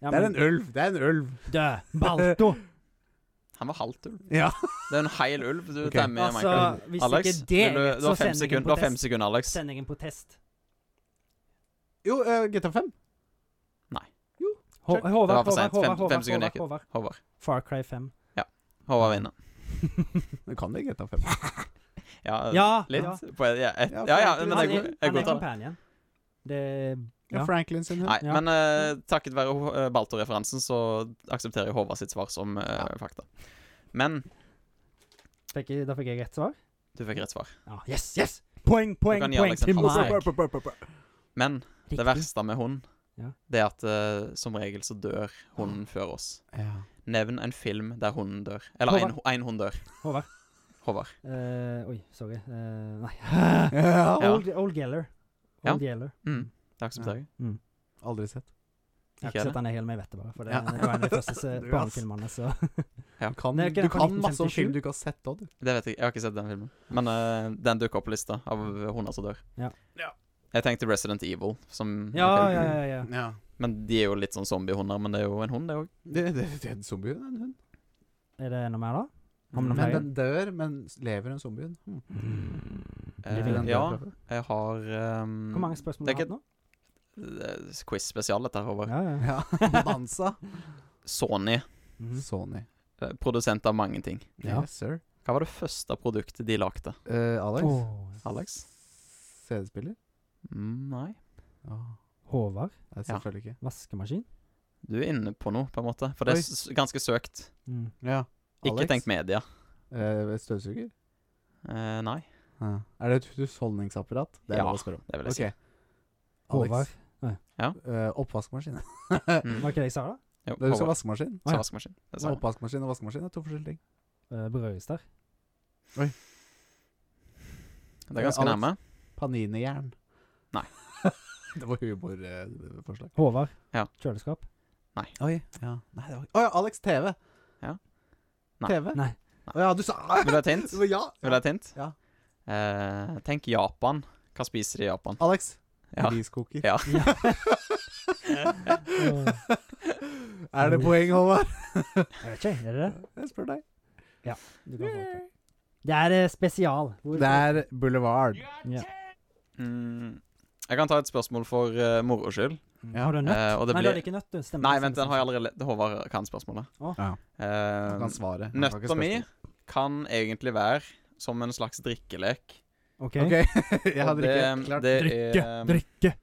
Ja, Det er men- en ulv. Det er en ulv. (laughs) Død! Balto! Han var halvt ulv. Ja. Det er en heil ulv du Ok. temmer i Altså, Minecraft. hvis Alex, ikke det, vil du, du har så fem sender jeg en sekunder, du har fem protest. sekunder, Alex. Sender jeg en protest. Jo, eh, GTA 5. Hå- Check. Håvard, Det var for Håvard, sent. Fem- Håvard, fem Håvard, sekunder Håvard, Håvard. Håvard. Far Cry 5. Håvard vinner. Du kan det i GTA 5. Ja, Ja! litt. ja. På, ja, et, Ja, ja, ja, for- men han jeg, er, jeg, jeg han er godtar det. companion. Det Ja, Ja. Franklin sin hund. Nei, Ja. men eh, takket være eh, Balto-referansen så aksepterer jeg Håvard sitt svar som eh, fakta. Men fikk jeg, Da fikk jeg rett svar. du fikk rett svar. Ja, yes, yes! Poeng, poeng, kan gi poeng Alex en til halv Mike. strek. Men det verste med hund, Ja. Ah. det er at eh, som regel så dør hunden før oss. Ja. Nevn en film der hunden dør. Eller en- en hund dør. Håvard. Håvard. Eh, oi, sorry. Eh, nei. Ja. (laughs) Ja. Old, old Geller. Old Geller. Mm, det aksepterer jeg. Aldri sett. Jeg har Ikke ikke det? sett den hele, men jeg vet det bare. For det, Ja. det var en av de første (laughs) se- Du, ass. barnefilmene, så Du kan, Det er ikke du den fra kan masse om 1957. film du ikke har sett òg, du. Det vet jeg. Jeg har ikke sett den filmen. Men eh, den dukker opp på lista av hunder som dør. Ja. Ja. Jeg tenkte Resident Evil, som Ja, ja, ja. ja. Ja. Men de er jo litt sånn zombiehunder, men det er jo en hund, det òg. Det, det, det er en zombie, det er en hund. Er det noe mer, da? Om Mm. Men noe Mm. mer? den dør, men s- lever en zombie. Hmm. Lever den dør, Eh, ja, jeg har ehm, Hvor mange spørsmål Det har er du hatt nå? eh, Quiz spesial, dette her, Håvard. Ja, ja. (laughs) Ja. Bonanza. Sony, Mhm. Sony. eh, produsent av mange ting. Ja. Yes, sir. Hva var det første produktet de lagde? Eh, Alex? Åh, Alex? CD-spiller? Mm, nei. Ja. Håvard. Nei, selvfølgelig ikke. Vaskemaskin. Du er inne på noe, på en måte. For det Oi. er s ganske søkt. Mm. Ja. Ikke tenk media. Eh, støvsuger? Eh, nei, Ja. Er det et husholdningsapparat? Det er Ja. lov å spørre om. det vil jeg Ok. Håvard. Alex. Nei. Ja. Eh, oppvaskmaskin. (laughs) Mm. Var ikke det jeg sa, da? Jo, Det er du sa Håvard vaskemaskin. sa ja. vaskemaskin. Det sa jeg. Oppvaskmaskin og vaskemaskin er to forskjellige ting. Eh, Brødrister. Det er Alex. ganske nærme. Paninijern. Nei. (laughs) det var humorforslag. Håvard. Ja. Kjøleskap. Oi. Ja. Nei, det var Å ja, Alex TV. Ja. Nei. TV? Nei. Å ja, du sa (laughs) Vil du ha et hint? Det var ja. Vil du ha et hint? Ja. Eh, tenk Japan. Hva spiser de i Japan? Alex. Ja. Riskoker. Ja. Åh, (laughs) er det poeng, Håvard? jeg vet ikke, er det det? Jeg spør deg. Du kan få det. Det er eh, spesial. Hvor- Det er Boulevard. ja. Mm. Jeg kan ta et spørsmål for uh, moro skyld. Ja. Mm. Har du en nøtt? Eh, og det Nei, du blir hadde ikke nøtt. du. Stemmer. Nei, vent, den har jeg allerede le- Håvard kan spørsmålet. Å. Ja. Eh, Han kan svare. Han kan ikke Nøtta mi spørre. kan egentlig være som en slags drikkelek. Ok. OK. (laughs) jeg Og hadde det, um, ikke klart det Drikke, er- eh, drikke.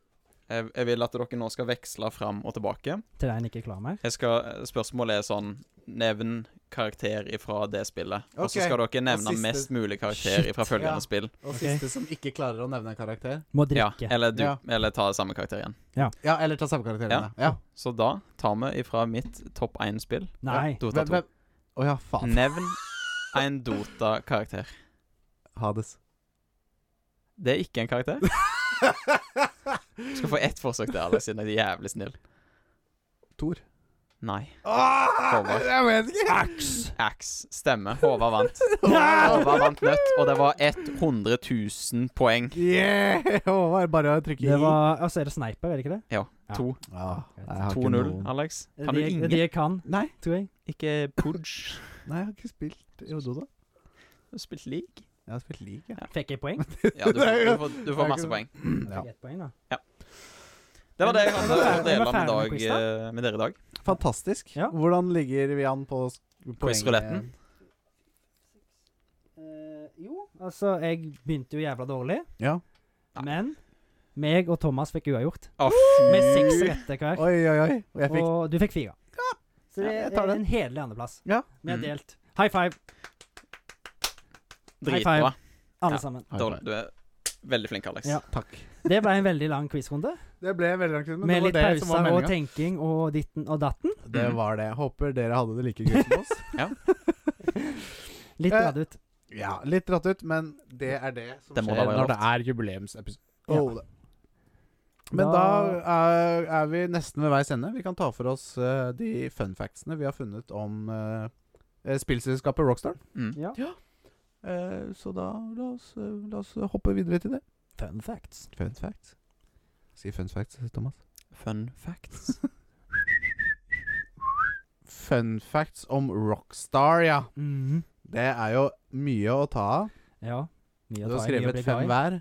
Jeg, jeg vil at dere nå skal veksle fram og tilbake. Til den ikke er klar mer. Jeg skal, eh, spørsmålet er sånn Nevn karakter ifra det spillet. Og så Ok, skal dere nevne siste- mest mulig karakter Shit. ifra følgende Ja. spill. Og Ok. siste som ikke klarer å nevne en karakter. Må Ja, drikke. eller, du, Ja. eller ta samme karakter igjen. Ja, eller ta samme karakter. Ja. Ja. ja. Så da tar vi ifra mitt topp én-spill Nei. Dota Hvem- 2. hvem- Å ja, faen. Nevn en Dota-karakter. Hades. Det er ikke en karakter. Du skal få ett forsøk der, Alex, siden jeg er jævlig snill. Thor. Nei. Ah, Håvard. jeg vet ikke. Axe. Stemme. (laughs) Håvard vant. Håvard vant nøtt, og det var 100 000 poeng. Yeah! Håvard, bare å trykke i. Det var Altså, er det sniper, er det ikke det? Ja. To. Ja, jeg har ikke 2-0, noen- Alex. Er det Kan du jeg- er ingen? Det jeg kan, Nei, tror jeg. Ikke Pudge. nei, jeg har ikke spilt i Ododa. Du har spilt league. Jeg har spilt League, jeg. Fikk jeg poeng? Ja, du, får- du, får, du får masse poeng. Ja. Fikk jeg ett poeng, da. Det var det jeg hadde å Er vi ferdig dele med, med dag, quiz, da? eh, med dere i dag. Fantastisk. Ja. Hvordan ligger vi an på s- Quiz-rouletten. Eh, jo, altså, jeg begynte jo jævla dårlig, Ja. Nei. men meg og Thomas fikk uavgjort. Å, fy. Med seks rette hver. Oi, oi, oi. Og jeg fikk Og du fikk fire. Så det Ja, jeg tar er den. en hederlig andreplass. Ja. Vi har Mm. delt. High five, Dritbra. alle Ja. sammen. (laughs) High Dårlig. five. Du er veldig flink, Alex. Ja. Takk. Det ble en veldig lang quizrunde. Det ble veldig langt, men Med det litt var det som var pauser og meninga. tenking og ditten og datten. Det var det. Håper dere hadde det like gøy som oss. Litt Eh, dratt ut. (laughs) Ja, litt dratt ut, men det er det som Det må da skjer være når lov. det er jubileumsepisode. Ja. Oh, det. Men da, er, er vi nesten ved veis ende. Vi kan ta for oss eh, de fun factsene vi har funnet om eh, eh, spillselskapet Rockstar. Mm. Ja. Eh, så da la oss, eh, la oss hoppe videre til det. Fun facts. Fun facts. Si fun facts, Thomas. Fun (laughs) facts. Fun facts om Rockstar, ja. Mhm. Det er jo mye å ta av. Ja. Mye å ta i, mye Du har å skrevet bli glad fem i. hver.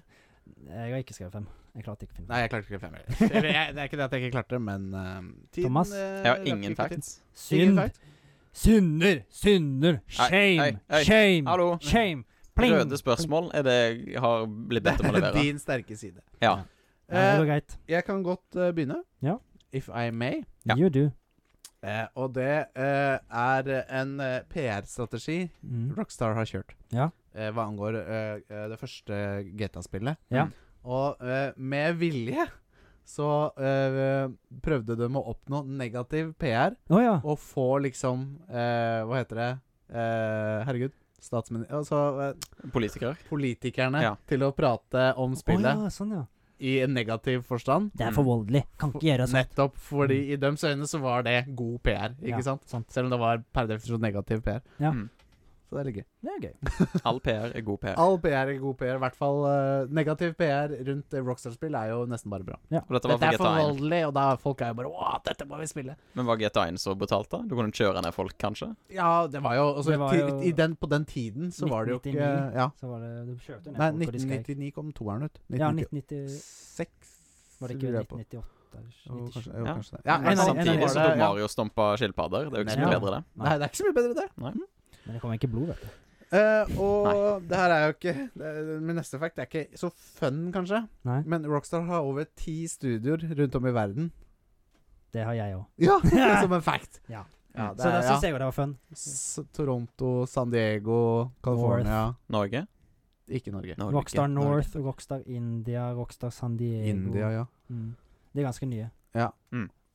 Jeg har ikke skrevet fem. Jeg klarte ikke å finne fem. Nei, jeg klarte ikke fem. heller. Eller, jeg, det er ikke det at jeg ikke klarte det, men eh, tiden, Thomas? eh, Jeg har rakk ingen ikke til. facts. Ingen Synd. fact. Synder, synder, Ei, shame, ei, ei. shame, Hallo. shame. Pling. Røde spørsmål er det jeg har blitt bedt om å Det er levere. din sterke side. Eh, Ja. Ja, Eh, det går greit. Jeg kan godt eh, begynne. Ja. If I may. Ja. You do. Eh, og det eh, er en eh, PR-strategi Mm. Rockstar har kjørt. Ja. Eh, hva angår eh, eh, det første GTA-spillet. Ja. Og eh, med vilje så eh, prøvde de å oppnå negativ PR Å ja. og få liksom eh, Hva heter det? Eh, herregud. Statsmin... Altså eh, Politiker. politikerne Ja. til å prate om Å ja, spillet Mm. sånn ja. i en negativ forstand. Det er for voldelig. Kan ikke gjøre sånn. Nettopp, fordi i deres øyne så var det god PR, ikke Ja, sånn. sant? Selv om det var per definisjon negativ PR. Ja. Mm. Så det er litt gøy. Det er gøy. (laughs) All PR er god PR. All PR er god PR, i hvert fall eh, negativ PR rundt eh, Rockstar-spill er jo nesten bare bra. Og dette var Dette er for for GTA1. voldelig, og da er folk er jo bare Åh, dette må vi spille! Men var GTA1 så brutalt, da? Du kunne kjøre ned folk, kanskje? Ja, det var jo, altså, Det var ti- jo- i den, På den tiden så var det jo ikke 1999. ja. Så var det Du kjørte jo ned Nei, folk, og de skrek. 1999 kom toeren ut. Ja, 1990 1996 Var det ikke lurer jeg på. 1998? Jo, kanskje, 97? jo, Ja. kanskje det. Men en av nei, de- nei, Samtidig var så det- tok ja. Mario og stompa skilpadder. Det er jo ikke så mye Nei. bedre, det. Nei, det er ikke så mye bedre, det. Men det kom ikke blod, vet du. Eh, og det her er jo ikke det, er- Min neste fact er ikke så fun, kanskje. Nei, Men Rockstar har over ti studioer rundt om i verden. det har jeg òg. Ja, (laughs) Som en fact! Ja. Ja, det Så da er, syns ja. jeg jo det var fun. S Toronto, San Diego, California Norge? Ikke Norge. Norge. Rockstar Norge. North, Rockstar India, Rockstar San Diego. India, ja. Mm. De er ganske nye.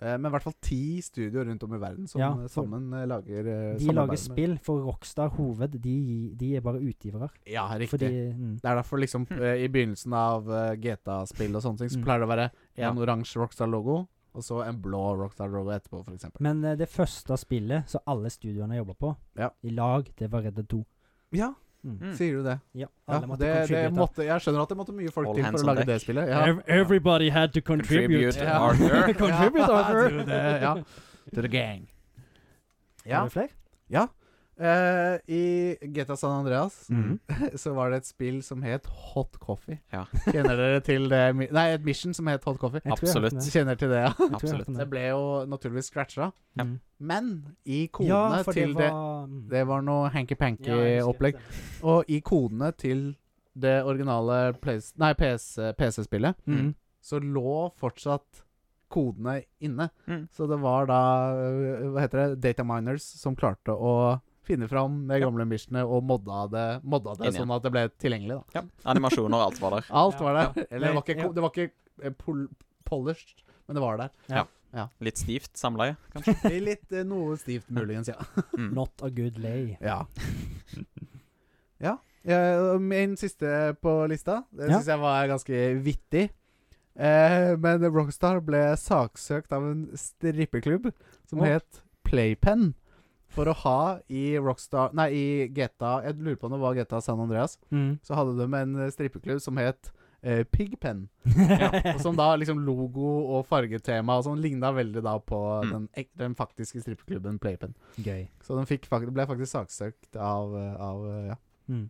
Eh, men i hvert fall ti studioer rundt om i verden som Ja, eh, for- sammen eh, lager eh, De samarbeider lager med- spill, for Rockstar Hoved de, gi- de er bare utgivere. Ja, riktig. Fordi mm. Det er derfor liksom Hmm. eh, i begynnelsen av eh, GTA-spill og sånne ting, så Mm. pleier det å være en Ja. oransje Rockstar-logo, og så en blå Rockstar-logo etterpå, for eksempel. Men eh, det første spillet som alle studioene jobba på Ja. i lag, det var Red Dead 2. Ja, Mm. Mm. sier du det? Ja, Hmm. Ja, alle måtte det, det contribute. måtte, jeg skjønner at det måtte mye folk All til hands for å on lage deck. det spillet. Ja. Ev- everybody had to contribute. Contribute, Ja. Arthur. Contribute, Arthur. Do det, ja. To the gang. Er Ja. det flere? Eh, I GTA San Andreas Mm. Mhm. (laughs) så var det et spill som het Hot Coffee. Ja. (laughs) Kjenner dere til det? mi- Nei, et mission som het Hot Coffee. (laughs) Jeg tror jeg hørte Absolutt. den. Du kjenner til det, ja? Jeg tror jeg hørte Absolutt. den. Det ble jo naturligvis scratcha. Ja. Mm. Men i kodene Ja, for det til det var mm. Det var noe Ja, jeg husker, hanky-panky-opplegg. stemmer. Og i kodene til det originale Plays- nei, PC PC-spillet Mm. så lå fortsatt kodene inne. Mm. Så det var da øh, Hva heter det? Data Miners som klarte å finne fram de gamle missionene og modda det, modda det Enig. sånn at det ble tilgjengelig. da Ja. Animasjoner og alt var der. Alt Ja. var der. Eller det var ikke, Ja. ko- det var ikke eh, pol polished, men det var der. Litt stivt samleie. Litt eh, noe stivt, muligens, ja. Mm. Not a good lay. Ja. (laughs) ja. eh, Min siste på lista. Det Ja. syns jeg var ganske vittig. Eh, men Rockstar ble saksøkt av en strippeklubb som Å. het Playpen. For å ha i Rockstar Nei, i GTA Jeg lurer på om det var GTA San Andreas. (laughs) Mm. Så hadde de en eh, strippeklubb som het eh, Pigpen. (laughs) Og som da liksom logo og fargetema og sånn ligna veldig da på Mm. den, ek- den faktiske strippeklubben Playpen. Gøy. Så den fikk, fak- ble faktisk saksøkt av, eh, av eh, ja. Mm.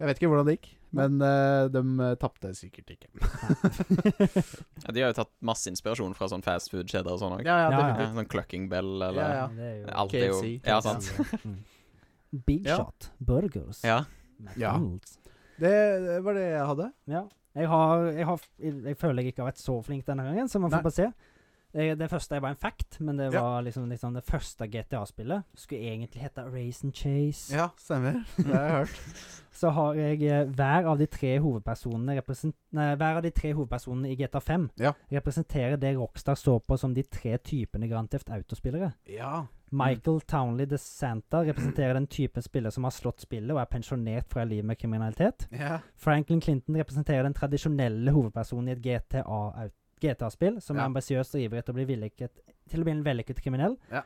Jeg vet ikke hvordan det gikk, men eh, de eh, tapte sikkert (laughs) ikke. Ja, de har jo tatt masse inspirasjon fra sånn fastfood-kjeder og sånn òg. Ja, ja, Ja, ja. definitivt. Sånn Clucking Bell eller Ja, ja. Det er jo Alt er jo KFC, Ja, KFC. sant. Mm. (laughs) Big Ja. Shot, Burgers, Ja. McDonald's. Det, det var det jeg hadde. Ja. Jeg, har, jeg, har, jeg føler jeg ikke har vært så flink denne gangen, så man Nei. får bare se. Det, det første var en fact, men det Ja. var liksom, liksom det første GTA-spillet. Skulle egentlig hete Race and Chase. Ja, stemmer. Det har jeg hørt. Så har jeg eh, hver av de tre hovedpersonene represent- Nei, hver av de tre hovedpersonene i GTA5 Ja. representerer det Rockstar så på som de tre typene Grand Theft Auto-spillere. Ja. Michael Townley DeSanta representerer den typen spiller som har slått spillet og er pensjonert fra livet med kriminalitet. ja. Franklin Clinton representerer den tradisjonelle hovedpersonen i et GTA-au- GTA-spill, som Ja. er ambisiøs og ivrig etter å bli vellykket, til å bli en vellykket kriminell. Ja.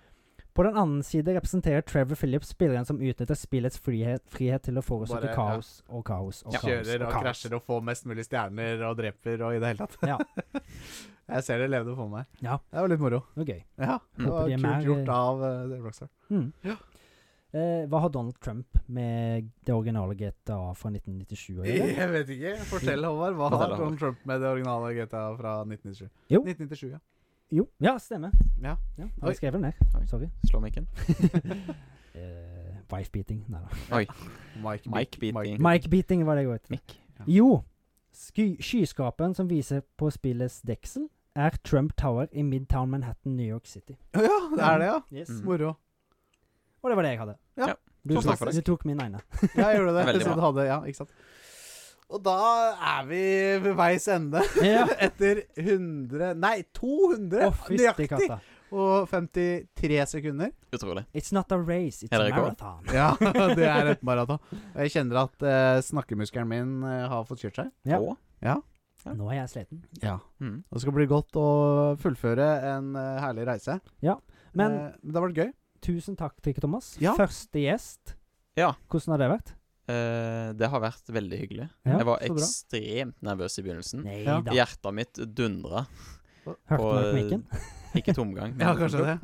På den annen side representerer Trevor Phillips spilleren som utnytter spillets frihet, frihet til å forårsake Bare, ja. kaos og kaos og kaos. Kjører og krasjer og får mest mulig stjerner og dreper og i det hele tatt. Ja. (laughs) jeg ser det levde for meg. Ja. Det var litt moro. Det var gøy. Ja, Mm. det var Håper de er kult mer- gjort av eh, Rockstar. Mm. Ja. Eh, hva har Donald Trump med det originale GTA fra 1997 å gjøre? (laughs) Jeg vet ikke. Fortell, Håvard. Hva har Fortell, Håvard. Donald Trump med det originale GTA fra 1997? Jo. 1997, ja. Jo, ja, stemmer. Ja. Ja, har Oi. jeg skrevet det Oi. ned? (laughs) Sorry. Slå mikken. Eh, Wife-beating. Nei (laughs) da. Mike, Mike Mike- beating. Mic-beating var det jeg var ute etter. Mikk. Jo, sky skyskaperen som viser på spillets deksel, er Trump Tower i Midtown Manhattan, New York City. Å Ja, det er det, ja. Yes. Mm. Moro. Og det var det jeg hadde. Ja. Ja. Du, Tusen takk tok, for du tok min (laughs) ene. Ja, jeg gjorde det. Veldig så bra. du hadde, ja, ikke sant? Og da er vi ved veis ende. Ja. Etter 100 Nei, 200! Å, fytti nøyaktig! katta. Og 53 sekunder. Utrolig. It's not a race, it's Er a det rekord? marathon. Ja, (laughs) det er et maraton. Og jeg kjenner at eh, snakkemuskelen min eh, har fått kjørt seg. Ja. Og Ja. Nå er jeg sliten. Ja. mm. Det skal bli godt å fullføre en eh, herlig reise. Men Eh, det har vært gøy. tusen takk til Thomas. Ja. Første gjest. Ja. Hvordan har det vært? Eh, det har vært veldig hyggelig. Ja, jeg så var bra. ekstremt nervøs i begynnelsen. Nei Mm. Ja. da. Hjertet mitt dundra. Hørte og- du mikken? Ikke (laughs) tomgang. men- Ja, kanskje det.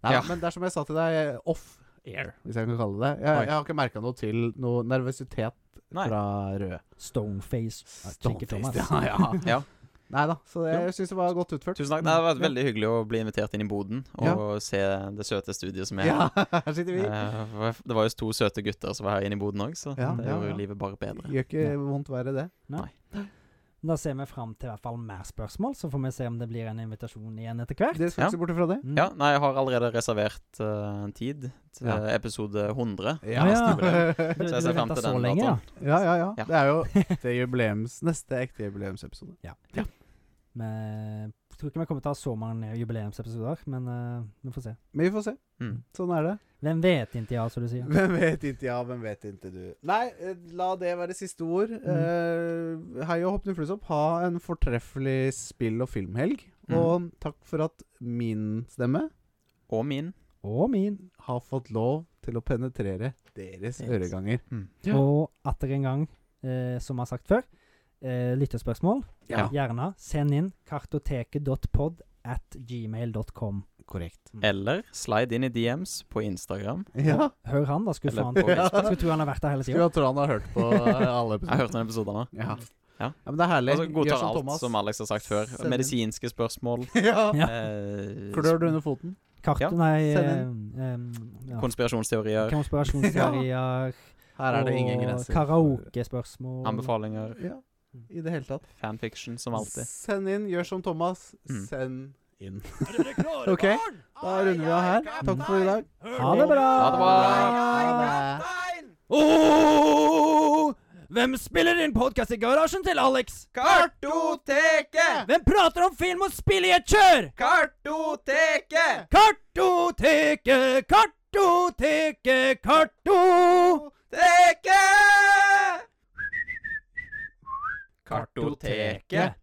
Nei, Ja. men det er som jeg sa til deg, eh, off air, hvis jeg kan kalle det det. Jeg, Oi. jeg har ikke merka noe til noe nervøsitet Nei. fra røde. Stoneface. Ja, Chicky Thomas. (laughs) ja, ja. Ja. Nei da, så det, jeg syns det var godt utført. Tusen takk. Det har vært veldig hyggelig å bli invitert inn i boden og Ja. se det søte studiet som er Ja, (laughs) her. her sitter vi. Eh, Det var jo to søte gutter som var her inne i boden òg, så Ja, det ja, gjorde ja. jo livet bare bedre. Gjør ikke Ja. vondt verre, det. Da ser vi fram til i hvert fall mer spørsmål, så får vi se om det blir en invitasjon igjen etter hvert. Det skal Ja. ikke se bort fra det. Mm. Ja, nei, jeg har allerede reservert eh, tid til Ja. episode 100. Ja. Ja, ja. Du, Så du jeg ser frem venter til så den lenge, ja. datoen. (laughs) ja, ja, Ja. Det er jo (laughs) ekte jubileums, neste ekte jubileumsepisode. Men jeg tror ikke vi kommer til å ha så mange jubileumsepisoder, men eh, vi får se. Men vi får se. Mm. Sånn er det. Hvem vet inntil ja, som du sier. Hvem vet ikke ja, hvem vet ikke du. Nei, eh, la det være siste ord. Eh, hei og hopp nu flues opp. Ha en fortreffelig spill- og filmhelg. Mm. Og takk for at min stemme Og min. Og min. har fått lov til å penetrere deres Yes. øreganger. Ja. Og atter en gang, eh, som jeg har sagt før, eh, lyttespørsmål. Ja. Gjerne send inn kartoteket.pod at gmail.com. Korrekt. Eller slide inn i DMs på Instagram. Ja. Hør han, da. Skulle Eller faen- på Facebook. skulle tro han har vært der hele tida. Skulle tro han har hørt på eh, alle Jeg har episoder. hørt noen episoder nå. Ja. Ja. men det er herlig. Altså, Gjør godtar som alt, Thomas. som Alex har sagt før. Send inn. Medisinske spørsmål. (laughs) ja. Ja. eh, Klør du under foten? Kart, Ja, nei send eh, eh, ja. Konspirasjonsteorier. Konspirasjonsteorier Her er det ingen og grenser. karaokespørsmål. Anbefalinger. Ja, i det hele tatt. Fanfiction, som alltid. Send inn. Gjør som Thomas. Mm. Send inn. OK, da runder vi av her. Takk for i dag. Ha det bra! Ha det bra! Åh, Oh, hvem spiller inn podkast i garasjen til Alex? Kartoteket! Hvem prater om film og spill i et kjør? Kartoteket! Kartoteket, kartoteket, karto... Teke! Kartoteket.